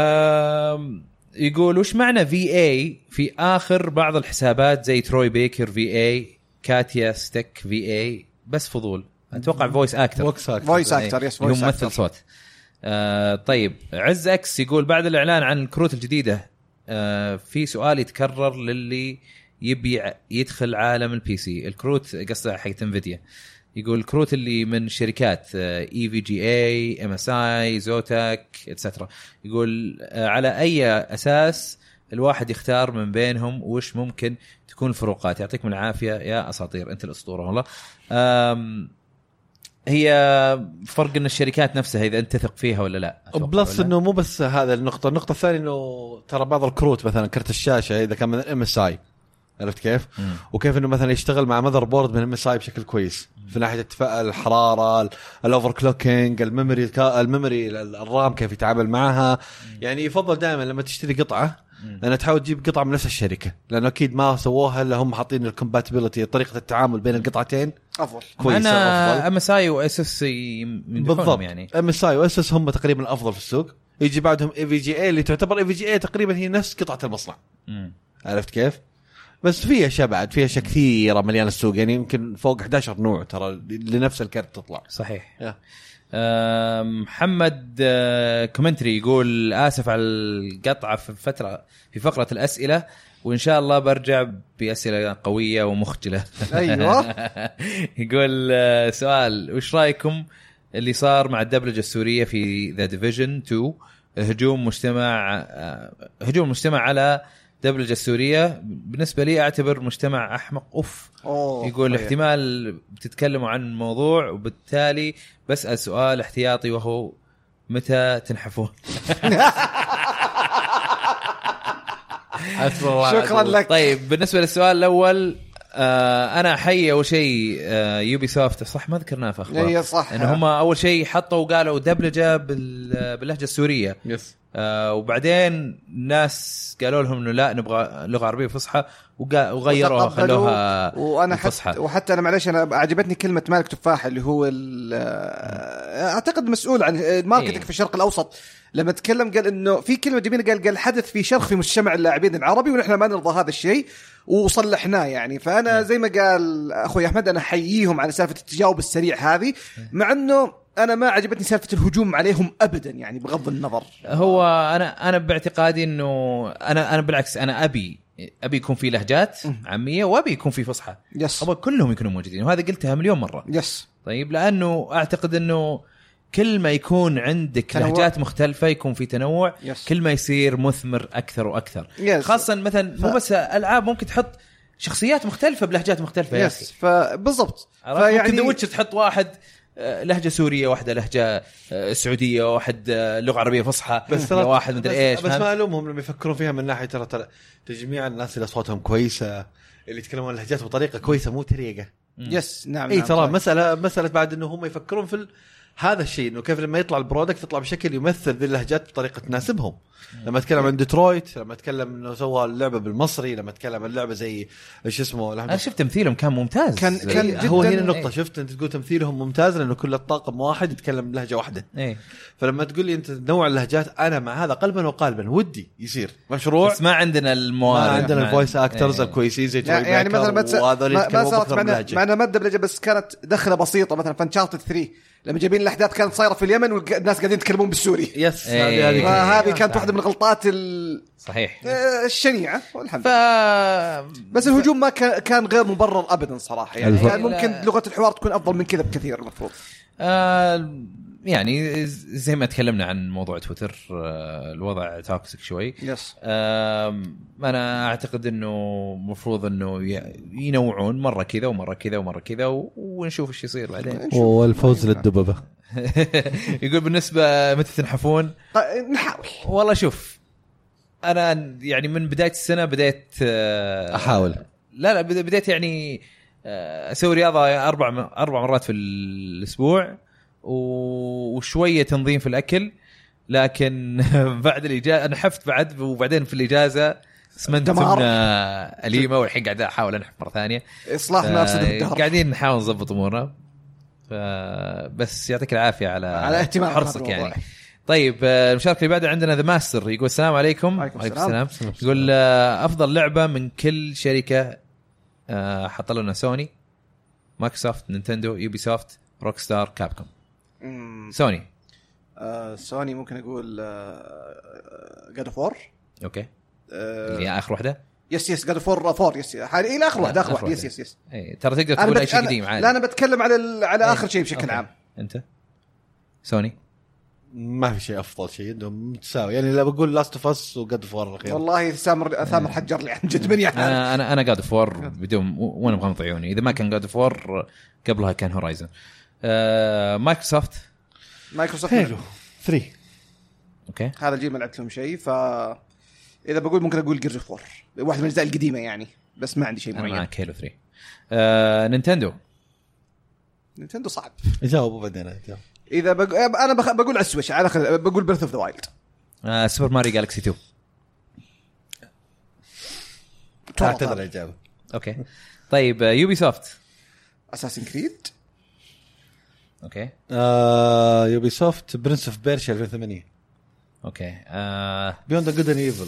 Speaker 3: آم، يقول وش معنى في اي في اخر بعض الحسابات زي تروي بيكر في اي كاتيا ستيك في اي بس فضول اتوقع فويس اكتر
Speaker 4: وكس أكتر.
Speaker 2: فويس اكتر يس
Speaker 3: إيه. اللي هو
Speaker 2: فويس
Speaker 3: ممثل
Speaker 2: اكتر
Speaker 3: صوت آه طيب عز اكس يقول بعد الاعلان عن الكروت الجديده آه في سؤال يتكرر للي يبي ع- يدخل عالم البي سي الكروت قصده حقت انفيديا يقول الكروت اللي من شركات آه، E اي في جي اي ام اس اي زوتاك اتسترا يقول آه على اي اساس الواحد يختار من بينهم وش ممكن تكون الفروقات يعطيكم العافيه يا اساطير انت الاسطوره والله آم، هي فرق ان الشركات نفسها اذا انت تثق فيها ولا لا أتوقع
Speaker 4: بلس
Speaker 3: ولا.
Speaker 4: انه مو بس هذا النقطه النقطه الثانيه انه ترى بعض الكروت مثلا كرت الشاشه اذا كان من ام اس اي عرفت كيف؟
Speaker 3: مم.
Speaker 4: وكيف انه مثلا يشتغل مع ماذر بورد من ام اس اي بشكل كويس في ناحيه التفا- الحراره الاوفر كلوكينج الميموري كا- الميموري ال- الرام كيف يتعامل معها يعني يفضل دائما لما تشتري قطعه انها تحاول تجيب قطعه من نفس الشركه لانه اكيد ما سووها الا هم حاطين الكومباتيبلتي طريقه التعامل بين القطعتين
Speaker 2: افضل
Speaker 4: كويسه
Speaker 3: انا
Speaker 4: افضل
Speaker 3: ام اس اي واس اس بالضبط
Speaker 4: بالضبط
Speaker 3: يعني
Speaker 4: ام اس اي واس اس هم تقريبا الافضل في السوق يجي بعدهم اي في جي اي اللي تعتبر اي في جي اي تقريبا هي نفس قطعه المصنع
Speaker 3: مم.
Speaker 4: عرفت كيف؟ بس في اشياء بعد في اشياء كثيره مليانه السوق يعني يمكن فوق 11 نوع ترى لنفس الكرت تطلع
Speaker 3: صحيح
Speaker 4: يا.
Speaker 3: آم، محمد آه، كومنتري يقول اسف على القطعه في فتره في فقره الاسئله وان شاء الله برجع باسئله قويه ومخجله
Speaker 2: ايوه
Speaker 3: يقول آه، سؤال وش رايكم اللي صار مع الدبلجه السوريه في ذا ديفيجن 2 هجوم مجتمع آه، هجوم المجتمع على الدبلجه السوريه بالنسبه لي اعتبر مجتمع احمق اوف
Speaker 2: أوه.
Speaker 3: يقول
Speaker 2: طيب.
Speaker 3: احتمال بتتكلموا عن موضوع وبالتالي بسال سؤال احتياطي وهو متى تنحفون استغفر الله العظيم.
Speaker 2: شكراً لك.
Speaker 3: طيب بالنسبه للسؤال الاول آه انا احيي اول شيء آه يوبي سوفت صح ما ذكرناه في اخبار
Speaker 2: اي إيه، صح
Speaker 3: ان هم اول شيء حطوا وقالوا دبلجه بال- باللهجه السوريه
Speaker 1: يس
Speaker 3: آه وبعدين ناس قالوا لهم انه لا نبغى لغه عربيه فصحى وقا- وغيروها
Speaker 2: وتقبلوا،
Speaker 3: خلوها
Speaker 2: وانا
Speaker 3: الفصحى.
Speaker 2: حتى وحتى انا معلش انا عجبتني كلمه مالك تفاح اللي هو ال- اعتقد مسؤول عن الماركتنج
Speaker 3: إيه.
Speaker 2: في الشرق الاوسط لما تكلم قال انه في كلمه جميله قال قال حدث في شرخ في مجتمع اللاعبين العربي ونحن ما نرضى هذا الشيء وصلحناه يعني
Speaker 3: إيه.
Speaker 2: فانا زي ما قال اخوي احمد انا احييهم على سالفه التجاوب السريع هذه
Speaker 3: إيه.
Speaker 2: مع انه انا ما عجبتني سالفه الهجوم عليهم ابدا يعني بغض النظر
Speaker 3: هو انا انا باعتقادي انه انا انا بالعكس انا ابي ابي يكون في لهجات عاميه وابي يكون في فصحى
Speaker 2: يس
Speaker 3: ابغى كلهم يكونوا موجودين وهذا قلتها مليون مره
Speaker 2: يس
Speaker 3: طيب لانه اعتقد انه كل ما يكون عندك
Speaker 2: تنوع.
Speaker 3: لهجات مختلفه يكون في تنوع
Speaker 2: يس.
Speaker 3: كل ما يصير مثمر اكثر واكثر
Speaker 2: يس.
Speaker 3: خاصه مثلا مو بس العاب ممكن تحط شخصيات مختلفه بلهجات مختلفه يا اخي
Speaker 2: يس فبالضبط
Speaker 3: عرفت؟ ممكن ذا ويتشر تحط واحد آه، لهجه سوريه واحده لهجه آه، سعوديه واحد آه، لغه عربيه فصحى
Speaker 4: بس ترى-
Speaker 3: واحد مدري
Speaker 4: بس-
Speaker 3: ايش
Speaker 4: بس
Speaker 3: فاهم؟
Speaker 4: ما الومهم لما يفكرون فيها من ناحيه ترى ترى تجميع الناس اللي اصواتهم كويسه اللي يتكلمون اللهجات بطريقه كويسه مو تريقه
Speaker 2: يس
Speaker 3: إيه،
Speaker 2: نعم
Speaker 4: اي
Speaker 2: نعم،
Speaker 4: إيه، ترى
Speaker 2: صحيح.
Speaker 4: مساله مساله بعد انه هم يفكرون في ال... هذا الشيء انه كيف لما يطلع البرودكت يطلع بشكل يمثل ذي اللهجات بطريقه تناسبهم لما اتكلم عن ديترويت لما اتكلم انه سوى اللعبه بالمصري لما اتكلم عن لعبه زي ايش اسمه
Speaker 3: انا شفت تمثيلهم كان ممتاز
Speaker 2: كان- كان
Speaker 3: إيه،
Speaker 2: جداً-
Speaker 4: هو هنا
Speaker 3: إيه.
Speaker 4: النقطة شفت انت تقول تمثيلهم ممتاز لانه كل الطاقم واحد يتكلم بلهجة واحده،
Speaker 3: ايه
Speaker 4: فلما تقول لي انت نوع اللهجات انا مع هذا قلبا وقالبا ودي يصير مشروع
Speaker 3: بس ما عندنا
Speaker 4: ما
Speaker 3: الموارد
Speaker 4: عندنا
Speaker 3: ما
Speaker 4: الفويس
Speaker 3: عند-
Speaker 4: اكترز
Speaker 3: إيه.
Speaker 4: الكويسين زي تروي
Speaker 2: يعني
Speaker 4: بيكر
Speaker 2: مثلا ما تس-
Speaker 4: وهذول
Speaker 2: ما- ما
Speaker 4: يتكلمون
Speaker 2: صارت
Speaker 4: بأكثر من
Speaker 2: معنا
Speaker 4: لهجة.
Speaker 2: معنا ماده بلجه بس كانت دخله بسيطه مثلا فانشارتد 3 لما جايبين الاحداث كانت صايره في اليمن والناس قاعدين يتكلمون بالسوري
Speaker 4: يس هذه
Speaker 3: إيه.
Speaker 4: هذه كانت-
Speaker 2: فهذه
Speaker 3: نعم.
Speaker 2: كانت واحده من الغلطات ال-
Speaker 3: صحيح
Speaker 4: إيه.
Speaker 2: آه، الشنيعه والحمد
Speaker 3: نعم. ف
Speaker 2: لله بس الهجوم ما كان كان غير مبرر ابدا صراحه يعني
Speaker 3: الف-
Speaker 2: كان ممكن
Speaker 3: لا.
Speaker 2: لغه الحوار تكون افضل من كذا بكثير المفروض
Speaker 3: آه يعني ز- زي ما تكلمنا عن موضوع تويتر آه الوضع توكسيك شوي
Speaker 2: يس
Speaker 3: آم، انا اعتقد انه المفروض انه ي- ينوعون مره كذا ومره كذا ومره كذا و- ونشوف ايش يصير بعدين
Speaker 5: والفوز
Speaker 4: طيب.
Speaker 5: للدببه
Speaker 3: يقول بالنسبه متى تنحفون
Speaker 2: طيب، نحاول
Speaker 3: والله شوف انا يعني من بدايه السنه بديت آه،
Speaker 5: احاول
Speaker 3: لا لا بد- بديت يعني آه، اسوي رياضه اربع م- اربع مرات في الاسبوع و- وشويه تنظيم في الاكل لكن بعد الاجازه نحفت بعد وبعدين في الاجازه سمنت
Speaker 2: دمار.
Speaker 3: سمنه اليمه والحين قاعد احاول انحف مره ثانيه
Speaker 2: اصلاح ما افسد
Speaker 3: آه،
Speaker 2: الدهر
Speaker 3: قاعدين نحاول نظبط امورنا ف- بس يعطيك العافيه على
Speaker 2: على اهتمامك
Speaker 3: حرصك
Speaker 2: بهذا
Speaker 3: يعني
Speaker 2: الموضوع.
Speaker 3: طيب آه، المشاركه اللي بعدها عندنا ذا ماستر يقول السلام عليكم
Speaker 2: وعليكم السلام.
Speaker 3: يقول آه، افضل لعبه من كل شركه آه، حط لنا سوني مايكروسوفت نينتندو يوبي سوفت روك ستار كابكوم
Speaker 2: مم.
Speaker 3: سوني
Speaker 2: آه، سوني ممكن آه، اقول جاد اوف وور آه.
Speaker 3: اوكي اللي هي اخر واحده
Speaker 2: يس يس جاد اوف وور 4 يس حاليا الى اخر واحده اخر واحده يس يس يس
Speaker 3: إيه، ترى تقدر
Speaker 2: انا
Speaker 3: تقول اي
Speaker 2: بت...
Speaker 3: شيء قديم
Speaker 2: أنا...
Speaker 3: عادي
Speaker 2: لا انا بتكلم على ال... على
Speaker 3: إيه.
Speaker 2: اخر شيء بشكل
Speaker 3: أوكي.
Speaker 2: عام
Speaker 3: انت سوني
Speaker 4: ما في شيء افضل شيء عندهم متساوي يعني لا بقول لاست اوف اس وقد فور الخير
Speaker 2: والله
Speaker 3: إيه.
Speaker 2: سامر ثامر حجر لي عن جد من يعني
Speaker 3: انا انا انا جاد اوف وور بدون وانا مغمض عيوني اذا ما كان جاد اوف وور قبلها كان هورايزن آه، مايكروسوفت
Speaker 2: مايكروسوفت
Speaker 4: حلو 3
Speaker 3: اوكي
Speaker 2: هذا الجيل ما لعبت لهم شيء ف اذا بقول ممكن اقول جيرز اوف وور واحد من الاجزاء القديمه يعني بس ما عندي شيء
Speaker 3: انا
Speaker 2: معين
Speaker 3: معك هيلو 3 آه، نينتندو
Speaker 2: نينتندو صعب
Speaker 4: جاوبوا بعدين جاوب.
Speaker 2: اذا بق... انا بخ... بقول على السويتش على خل... بقول بيرث اوف ذا وايلد
Speaker 3: آه، سوبر ماري جالكسي 2
Speaker 4: اعتذر الاجابه
Speaker 3: اوكي طيب آه، يوبي سوفت
Speaker 2: اساسن كريد
Speaker 3: اوكي
Speaker 4: آه يوبي سوفت برنس اوف بيرشا 2008
Speaker 3: اوكي آه،
Speaker 4: بيوند جود اند ايفل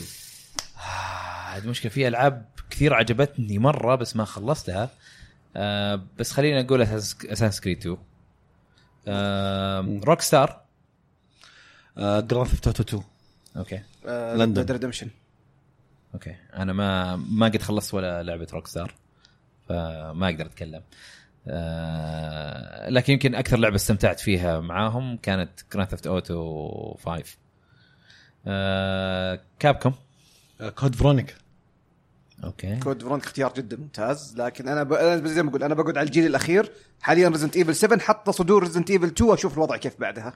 Speaker 3: آه، المشكله في العاب كثير عجبتني مره بس ما خلصتها آه، بس خلينا نقول اساس كريد 2 روك ستار
Speaker 4: جراند ثيفت اوتو 2
Speaker 3: اوكي
Speaker 2: آه،
Speaker 4: لندن.
Speaker 2: ريدمشن
Speaker 3: اوكي انا ما ما قد خلصت ولا لعبه روك ستار فما اقدر اتكلم آه لكن يمكن اكثر لعبه استمتعت فيها معاهم كانت جراند ثيفت اوتو 5 آه كابكم
Speaker 4: كود فرونيكا
Speaker 3: اوكي
Speaker 2: كود فرونك اختيار جدا ممتاز لكن انا ب... أنا زي ما اقول انا بقعد على الجيل الاخير حاليا ريزنت ايفل 7 حتى صدور ريزنت ايفل 2 واشوف الوضع كيف بعدها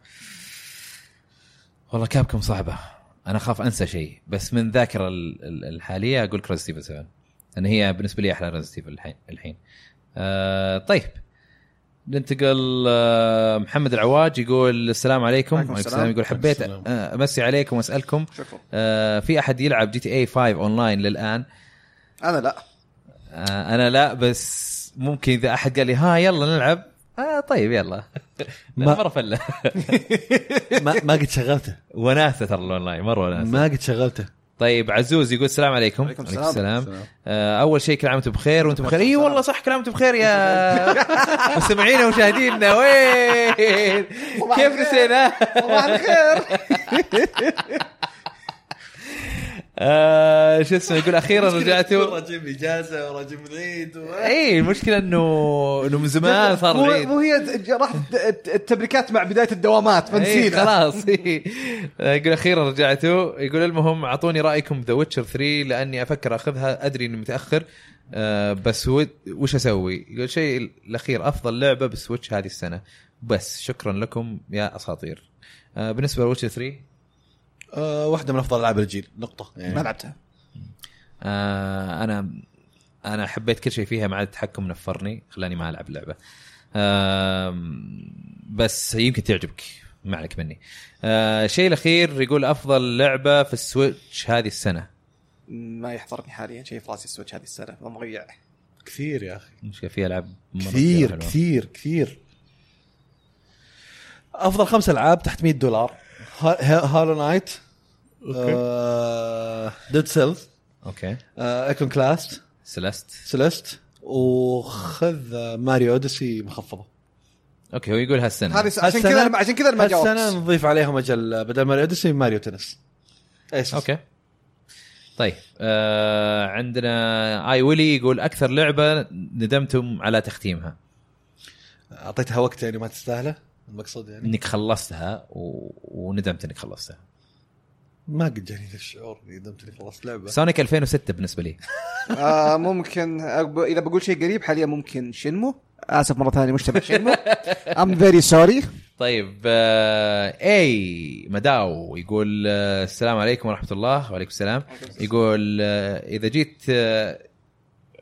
Speaker 3: والله كابكم صعبه انا اخاف انسى شيء بس من ذاكره ال- ال- الحاليه اقول كروس ستيفن 7 لان هي بالنسبه لي احلى ريزنت ايفل الحين الحين آه طيب ننتقل آه محمد العواج يقول السلام عليكم
Speaker 2: عليكم السلام.
Speaker 3: يقول حبيت
Speaker 5: السلام.
Speaker 3: آه، امسي عليكم واسالكم
Speaker 2: شكرا
Speaker 3: آه في احد يلعب جي تي إيه اي 5 اونلاين للان
Speaker 2: انا لا
Speaker 3: آه انا لا بس ممكن اذا احد قال لي ها يلا نلعب آه طيب يلا
Speaker 4: ما-
Speaker 3: ما مره فله
Speaker 4: ما, ما قد شغلته
Speaker 3: وناسه ترى الاونلاين مره وناسه
Speaker 4: ما قد شغلته
Speaker 3: طيب عزوز يقول السلام عليكم
Speaker 2: عليكم السلام.
Speaker 3: السلام. آه اول شيء كل عام وانتم بخير وانتم بخير اي والله صح كل عام وانتم بخير يا مستمعينا ومشاهدينا وين
Speaker 2: صباح
Speaker 3: كيف
Speaker 2: الخير.
Speaker 3: نسينا
Speaker 2: صباح الخير
Speaker 3: آه شو اسمه يقول اخيرا رجعتوا إيه،
Speaker 5: رجب اجازه ورجب العيد و-
Speaker 3: اي المشكله انه انه من زمان آه، صار
Speaker 2: مو-
Speaker 3: العيد
Speaker 2: مو هي د- راحت د- التبريكات مع بدايه الدوامات
Speaker 3: إيه،
Speaker 2: فنسينا
Speaker 3: خلاص إيه. يقول اخيرا رجعتوا يقول المهم اعطوني رايكم ذا ويتشر 3 لاني افكر اخذها ادري اني متاخر آه، بس ود- وش اسوي؟ يقول شيء الاخير افضل لعبه بالسويتش هذه السنه بس شكرا لكم يا اساطير آه، بالنسبه لويتشر 3
Speaker 5: آه، واحده من افضل العاب الجيل نقطه
Speaker 4: إيه.
Speaker 2: ما
Speaker 5: يعني
Speaker 2: لعبتها
Speaker 3: آه، انا انا حبيت كل شيء فيها ما عاد التحكم نفرني خلاني ما العب اللعبه آم، بس يمكن تعجبك ما عليك مني آه، الشيء الاخير يقول افضل لعبه في السويتش هذه السنه
Speaker 2: ما يحضرني حاليا شيء في راسي السويتش هذه السنه مضيع
Speaker 5: كثير يا اخي
Speaker 3: مشكله فيها العاب مرة
Speaker 5: كثير
Speaker 3: حلوة.
Speaker 5: كثير كثير
Speaker 4: افضل خمس العاب تحت 100 دولار هالو نايت ديد سيلز
Speaker 3: اوكي
Speaker 4: ايكون كلاست
Speaker 3: سلست
Speaker 4: سيليست وخذ آه، ماريو اوديسي مخفضه
Speaker 3: اوكي هو يقول هالسنه
Speaker 2: هذه س- عشان كذا أنا- عشان كذا أنا ما
Speaker 4: السنه
Speaker 2: جاوبت
Speaker 4: نضيف عليهم اجل بدل ماريو اوديسي ماريو تنس ايش
Speaker 3: اوكي طيب آه عندنا اي ويلي يقول اكثر لعبه ندمتم على تختيمها
Speaker 4: اعطيتها وقت يعني ما تستاهله المقصود يعني
Speaker 3: انك خلصتها و... وندمت انك خلصتها
Speaker 4: ما قد جاني ذا الشعور اني ندمت اني خلصت لعبه
Speaker 3: سونيك 2006 بالنسبه لي
Speaker 2: آه ممكن أب- اذا بقول شيء قريب حاليا ممكن شنمو اسف مره ثانيه مشتبه شنمو ام فيري سوري
Speaker 3: طيب آه اي مداو يقول آه السلام عليكم ورحمه الله وعليكم السلام يقول آه اذا جيت آه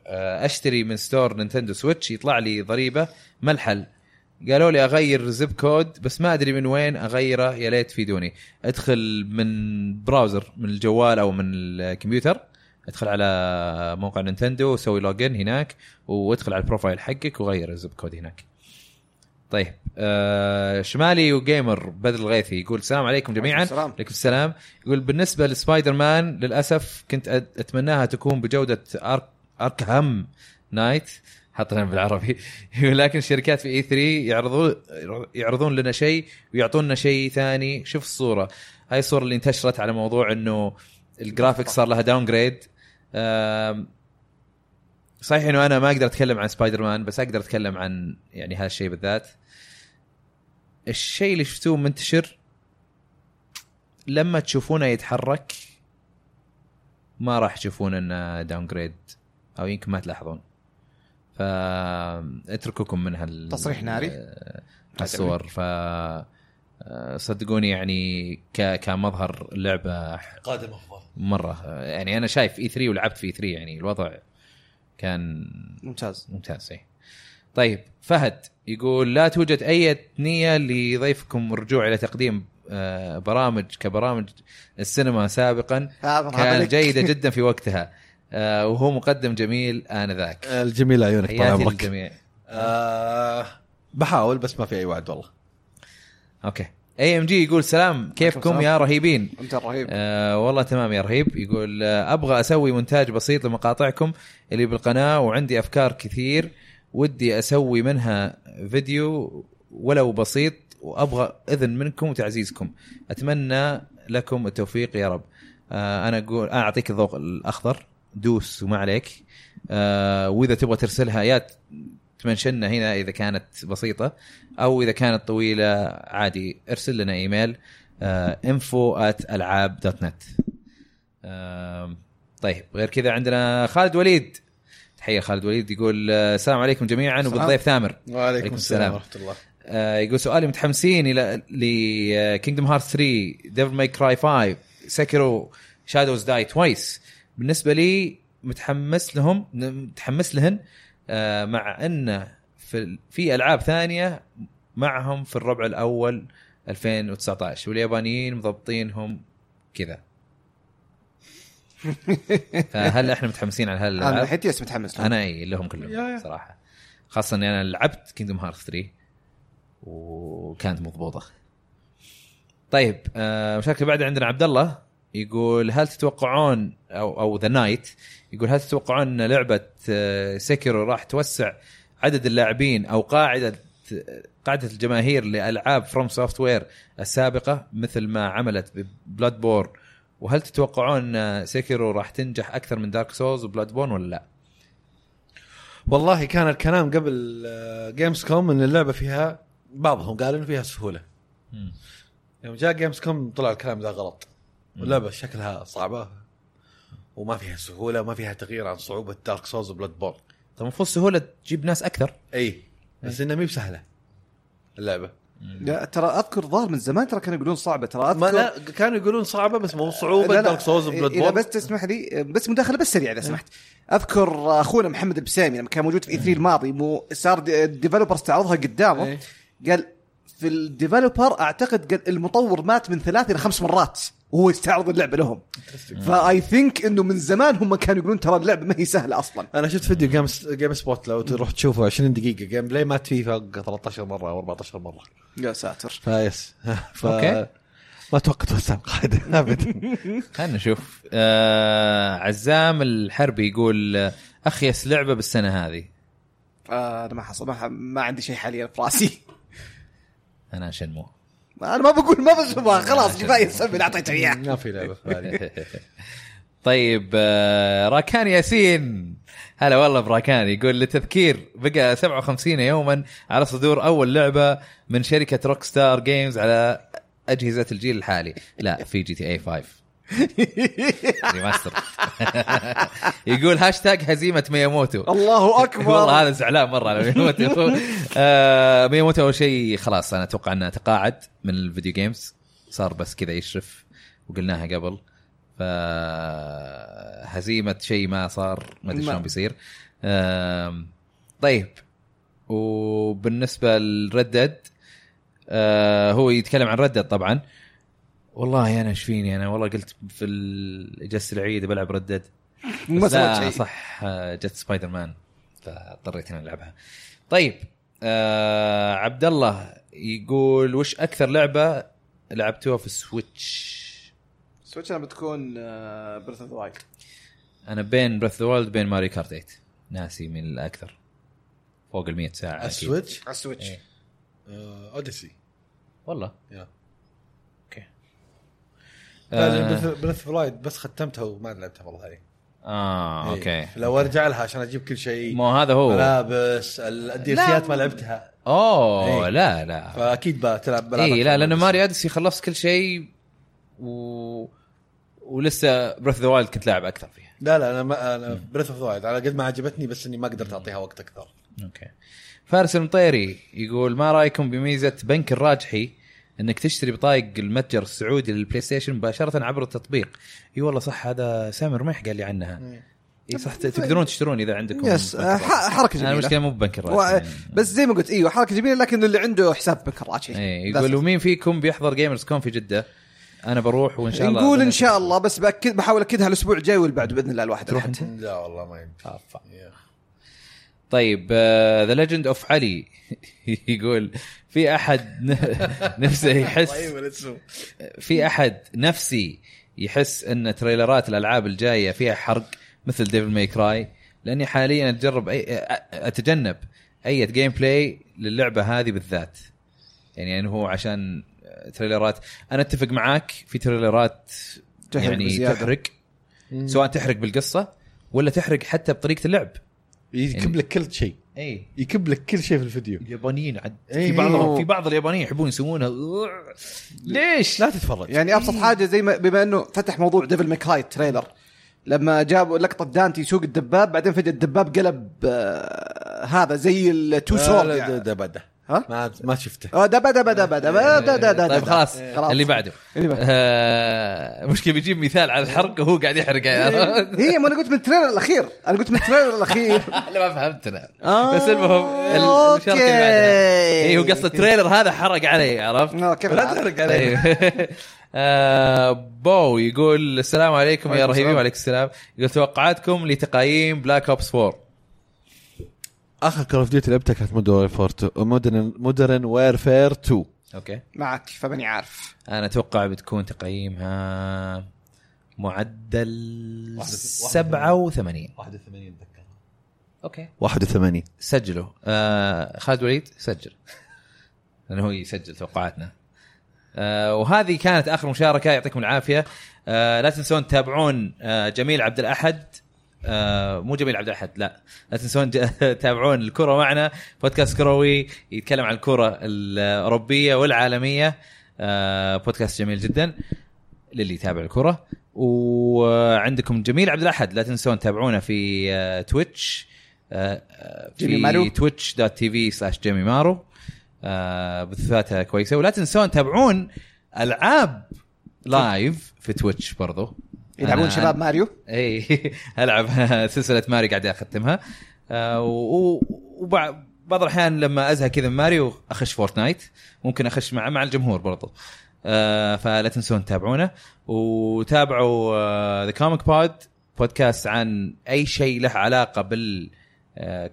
Speaker 3: آه، اشتري من ستور نينتندو سويتش يطلع لي ضريبه ما الحل قالوا لي اغير زب كود بس ما ادري من وين اغيره يا ليت تفيدوني ادخل من براوزر من الجوال او من الكمبيوتر ادخل على موقع نينتندو وسوي لوجن هناك وادخل على البروفايل حقك وغير الزب كود هناك طيب آه شمالي وجيمر بدر الغيثي يقول السلام عليكم جميعا
Speaker 2: عليكم السلام.
Speaker 3: عليكم السلام يقول بالنسبه لسبايدر مان للاسف كنت أت- اتمناها تكون بجوده أرك اركهام نايت حط لنا بالعربي لكن الشركات في اي 3 يعرضون يعرضون لنا شيء ويعطونا شيء ثاني شوف الصوره هاي الصوره اللي انتشرت على موضوع انه الجرافيك صار لها داون جريد صحيح انه انا ما اقدر اتكلم عن سبايدر مان بس اقدر اتكلم عن يعني هذا الشيء بالذات الشيء اللي شفتوه منتشر لما تشوفونه يتحرك ما راح تشوفون انه داون جريد او يمكن ما تلاحظون فاترككم من هال
Speaker 2: تصريح ناري.
Speaker 3: آه، الصور ف آه، صدقوني يعني ك... كمظهر اللعبه
Speaker 4: قادم افضل
Speaker 3: مره آه، يعني انا شايف اي 3 ولعبت في 3 يعني الوضع كان
Speaker 2: ممتاز
Speaker 3: ممتاز إيه. طيب فهد يقول لا توجد اي نيه لضيفكم الرجوع الى تقديم آه، برامج كبرامج السينما سابقا
Speaker 2: آه،
Speaker 3: كان جيده جدا في وقتها آه، وهو مقدم جميل انذاك
Speaker 4: الجميل عيونك طال
Speaker 3: حياتي
Speaker 4: عمرك
Speaker 3: للجميع
Speaker 4: آه بحاول بس ما في اي وعد والله
Speaker 3: اوكي اي ام جي يقول سلام كيفكم يا رهيبين
Speaker 2: انت رهيب
Speaker 3: آه والله تمام يا رهيب يقول آه ابغى اسوي مونتاج بسيط لمقاطعكم اللي بالقناه وعندي افكار كثير ودي اسوي منها فيديو ولو بسيط وابغى اذن منكم وتعزيزكم اتمنى لكم التوفيق يا رب آه انا اقول انا اعطيك الضوء الاخضر دوس وما عليك آه واذا تبغى ترسلها يا تمنشنا هنا اذا كانت بسيطه او اذا كانت طويله عادي ارسل لنا ايميل انفو ات آه، العاب دوت نت طيب غير كذا عندنا خالد وليد تحيه خالد وليد يقول آه، السلام عليكم جميعا وبالضيف ثامر
Speaker 5: وعليكم
Speaker 3: السلام.
Speaker 5: السلام ورحمه الله
Speaker 3: آه، يقول سؤالي متحمسين الى لكينجدم هارت 3 ديفل ماي كراي 5 سكرو شادوز داي توايس بالنسبه لي متحمس لهم متحمس لهن آه، مع انه في في العاب ثانيه معهم في الربع الاول 2019 واليابانيين مضبطينهم كذا فهل احنا متحمسين على
Speaker 2: انا
Speaker 3: هالالعاب؟
Speaker 2: حتى متحمس له
Speaker 3: انا اي لهم إيه، كلهم صراحه خاصه اني انا لعبت كينجدم هارت 3 وكانت مضبوطه طيب آه، وش اللي بعد عندنا عبد الله يقول هل تتوقعون او او ذا نايت يقول هل تتوقعون ان لعبه آه، سيكيرو راح توسع عدد اللاعبين او قاعده قاعده الجماهير لالعاب فروم سوفت وير السابقه مثل ما عملت بلاد بور وهل تتوقعون ان سيكيرو راح تنجح اكثر من دارك سولز وبلاد بورن ولا لا؟
Speaker 4: والله كان الكلام قبل آه، جيمز كوم ان اللعبه فيها بعضهم قال انه فيها سهوله
Speaker 3: مم.
Speaker 4: يوم جاء جيمز كوم طلع الكلام ذا غلط اللعبه شكلها صعبه وما فيها سهوله وما فيها تغيير عن صعوبه دارك سولز وبلاد بورن
Speaker 3: طب طيب، المفروض سهوله تجيب ناس اكثر
Speaker 4: اي بس انها مي بسهله اللعبه
Speaker 2: لا ترى اذكر ظاهر من زمان ترى كانوا يقولون صعبه ترى اذكر
Speaker 4: ما لا كانوا يقولون صعبه بس مو صعوبه
Speaker 2: لا لا،
Speaker 4: دارك سولز وبلاد
Speaker 2: اذا
Speaker 4: بورن
Speaker 2: بس تسمح لي بس مداخله بس سريعه اذا
Speaker 3: نعم.
Speaker 2: سمحت اذكر اخونا محمد البسامي لما كان موجود في اي
Speaker 3: نعم.
Speaker 2: 3 الماضي مو صار الديفلوبر استعرضها قدامه
Speaker 4: إيه.
Speaker 2: قال في الديفلوبر اعتقد قال المطور مات من ثلاث الى خمس مرات وهو يستعرض اللعبه لهم فاي ثينك انه من زمان هم كانوا يقولون ترى اللعبه ما هي سهله اصلا
Speaker 4: انا شفت فيديو جيم جيم سبوت لو تروح تشوفه 20 دقيقه جيم بلاي مات فيه فوق 13 مره او 14 مره
Speaker 2: يا ساتر
Speaker 4: فيس ف...
Speaker 3: أوكي.
Speaker 4: ما توقعت وسام قاعده ابدا
Speaker 3: خلينا نشوف آه عزام الحربي يقول آه، اخيس لعبه بالسنه هذه
Speaker 2: آه، انا ما حصل ما, ح- ما عندي شيء حاليا في راسي
Speaker 3: انا شنمو
Speaker 2: انا ما بقول ما بشوفها خلاص كفايه السبب اللي اعطيته اياه
Speaker 4: ما في لعبه في بالي.
Speaker 3: طيب آه، راكان ياسين هلا والله براكان يقول للتذكير بقى 57 يوما على صدور اول لعبه من شركه روك ستار جيمز على اجهزه الجيل الحالي لا في جي تي إيه اي 5 ريماستر يقول هاشتاج هزيمه مياموتو
Speaker 2: الله اكبر
Speaker 3: والله هذا زعلان مره على ميموتو آه ميموتو اول شيء خلاص انا اتوقع انه تقاعد من الفيديو جيمز صار بس كذا يشرف وقلناها قبل فهزيمه شيء ما صار ما ادري
Speaker 2: ما-
Speaker 3: شلون بيصير آم، طيب وبالنسبه لردد آه هو يتكلم عن ردد طبعا والله انا ايش فيني انا والله قلت في ال- اجازه العيد بلعب ردد
Speaker 2: ما
Speaker 3: بس لا،
Speaker 2: سويت شيء
Speaker 3: صح آه، جت سبايدر مان فاضطريت اني العبها. طيب آه عبد الله يقول وش اكثر لعبه لعبتوها في السويتش؟
Speaker 2: سويتش انا بتكون آه, بريث اوف ذا وايلد
Speaker 3: انا بين بريث وايلد بين ماري كارت 8 ناسي من الاكثر فوق ال 100 ساعه أكيد.
Speaker 4: السويتش
Speaker 2: على السويتش
Speaker 3: إيه.
Speaker 4: آه، اوديسي
Speaker 3: والله
Speaker 4: يا.
Speaker 3: اوكي آه,
Speaker 4: بريث فلايد بس ختمتها وما لعبتها والله هذه
Speaker 3: اه
Speaker 4: إيه.
Speaker 3: اوكي
Speaker 4: لو ارجع لها عشان اجيب كل شيء
Speaker 3: مو هذا هو
Speaker 4: ملابس الديرسيات ما لعبتها
Speaker 3: اوه
Speaker 4: إيه.
Speaker 3: لا لا
Speaker 4: فاكيد بتلعب بلعب
Speaker 3: اي
Speaker 4: أكثر
Speaker 3: إيه، لا
Speaker 4: من
Speaker 3: لانه
Speaker 4: Odyssey.
Speaker 3: ماري ادسي خلصت كل شيء و... ولسه بريث ذا وايلد كنت لاعب اكثر فيها
Speaker 4: لا لا انا ما انا بريث اوف وايلد على قد ما عجبتني بس اني ما قدرت اعطيها وقت اكثر
Speaker 3: اوكي فارس المطيري يقول ما رايكم بميزه بنك الراجحي انك تشتري بطايق المتجر السعودي للبلاي ستيشن مباشره عبر التطبيق اي والله صح هذا سامر رميح قال لي عنها اي صح ت- تقدرون تشترون اذا عندكم
Speaker 2: يس آه، ح- حركه
Speaker 3: انا
Speaker 2: جميله
Speaker 3: المشكله مو ببنك
Speaker 2: و...
Speaker 3: الراجحي
Speaker 2: آه, بس زي ما قلت ايوه حركه جميله لكن اللي عنده حساب بكراتشي
Speaker 3: يعني. إيه، يقول ومين فيكم بيحضر جيمرز كون في جده انا بروح وان شاء الله
Speaker 2: نقول ان شاء الله بس باكد بحاول اكدها الاسبوع الجاي واللي بعده باذن الله الواحد
Speaker 3: تروح
Speaker 2: الأحد.
Speaker 3: انت
Speaker 4: لا والله ما يمدي
Speaker 3: آه،
Speaker 4: يا.
Speaker 3: طيب ذا ليجند اوف علي يقول في احد ن- نفسه
Speaker 2: طيب.
Speaker 3: يحس في احد نفسي يحس ان تريلرات الالعاب الجايه فيها حرق مثل ديفل ماي كراي لاني حاليا اتجرب أي اتجنب اي جيم بلاي للعبه هذه بالذات يعني انه هو عشان تريلرات انا اتفق معاك في تريلرات
Speaker 2: تحرق
Speaker 3: يعني
Speaker 2: بزيادة.
Speaker 3: تحرق سواء تحرق بالقصه ولا تحرق حتى بطريقه اللعب
Speaker 4: يكب
Speaker 3: يعني-
Speaker 4: لك كل شيء
Speaker 3: اي
Speaker 4: يكب لك كل شيء في الفيديو
Speaker 3: اليابانيين عد في
Speaker 4: إيه.
Speaker 3: بعض في بعض اليابانيين يحبون يسوونها ليش؟
Speaker 4: لا تتفرج
Speaker 2: يعني ابسط حاجه زي ما بما انه فتح موضوع ديفل ماكراي تريلر لما جابوا لقطه دانتي يسوق الدباب بعدين فجاه الدباب قلب آه هذا زي التو
Speaker 4: لا،
Speaker 2: سورد
Speaker 4: لا، ده
Speaker 2: يعني.
Speaker 4: ده بدا
Speaker 6: ها؟
Speaker 5: ما ما شفته
Speaker 6: آه، دبا دبا دبا دبا دبا دبا دبا
Speaker 3: طيب خلاص
Speaker 6: خلاص.
Speaker 3: اللي بعده
Speaker 6: إيه. اللي بعده.
Speaker 3: آه، مشكله بيجيب مثال على الحرق وهو قاعد يحرق
Speaker 2: إيه،
Speaker 3: عرفت؟
Speaker 6: هي ما انا قلت من التريلر الاخير انا قلت من التريلر الاخير
Speaker 3: لا ما فهمت انا
Speaker 6: آه،
Speaker 3: بس المهم ال- الشرط
Speaker 6: أوكي.
Speaker 3: اللي
Speaker 6: إيه.
Speaker 3: بعدها اي هو قصد التريلر هذا حرق علي عرفت؟
Speaker 6: آه، كيف
Speaker 3: لا
Speaker 6: العادة.
Speaker 3: تحرق علي
Speaker 6: إيه.
Speaker 3: آه، بو يقول السلام عليكم يا رهيبين وعليكم السلام يقول توقعاتكم لتقييم بلاك اوبس 4
Speaker 4: اخر كول اوف ديوتي لعبتها كانت مودرن ويرفير 2 مودرن مودرن ويرفير 2
Speaker 3: اوكي
Speaker 6: معك فماني عارف
Speaker 3: انا اتوقع بتكون تقييمها معدل 87
Speaker 5: 81 اتذكر
Speaker 3: اوكي
Speaker 4: 81
Speaker 3: سجلوا آه خالد وليد سجل لانه هو يسجل توقعاتنا آه وهذه كانت اخر مشاركه يعطيكم العافيه آه لا تنسون تتابعون آه جميل عبد الاحد آه مو جميل عبد الاحد لا لا تنسون ج- تتابعون الكره معنا بودكاست كروي يتكلم عن الكره الاوروبيه والعالميه آه بودكاست جميل جدا للي يتابع الكره وعندكم جميل عبد الاحد لا تنسون تتابعونا في آه تويتش آه، آه،
Speaker 6: جيمي مارو.
Speaker 3: في تويتش دوت تي في سلاش جيمي مارو آه، بثوثاتها كويسه ولا تنسون تتابعون العاب لايف في تويتش برضو
Speaker 6: يلعبون
Speaker 3: أنا-
Speaker 6: إيه، شباب ماريو
Speaker 3: اي العب سلسله ماري قاعد اختمها آه، و- و- وبع- بعض الاحيان لما ازهق كذا من ماريو اخش فورتنايت ممكن اخش مع مع الجمهور برضو آه، فلا تنسون تتابعونا وتابعوا آه، ذا كوميك بود بودكاست عن اي شيء له علاقه بال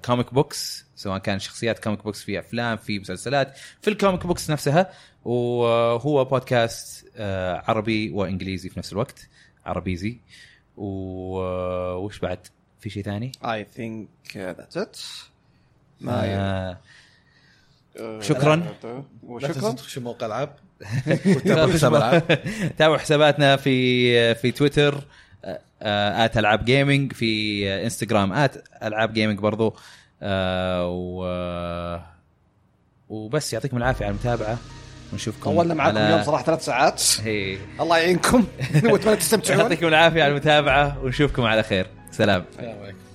Speaker 3: كوميك بوكس سواء كان شخصيات كوميك بوكس في افلام في مسلسلات في الكوميك بوكس نفسها وهو بودكاست آه، عربي وانجليزي في نفس الوقت عربيزي و- آه، وش بعد في شيء ثاني
Speaker 6: اي ثينك ذاتس ات
Speaker 3: آه، شكرا
Speaker 5: لا
Speaker 6: وشكرا
Speaker 5: تنسى تخشوا موقع العاب
Speaker 3: تابعوا
Speaker 5: حساب العاب.
Speaker 3: تابعوا حساباتنا في في تويتر آه، آه، ات العاب جيمنج في آه، انستغرام ات العاب جيمنج برضو آه، و وبس يعطيكم العافيه على المتابعه ونشوفكم
Speaker 6: طولنا معاكم
Speaker 3: على-
Speaker 6: اليوم صراحه ثلاث ساعات
Speaker 3: هي.
Speaker 6: الله يعينكم واتمنى تستمتعون
Speaker 3: يعطيكم العافيه على المتابعه ونشوفكم على خير سلام
Speaker 5: السلام عليكم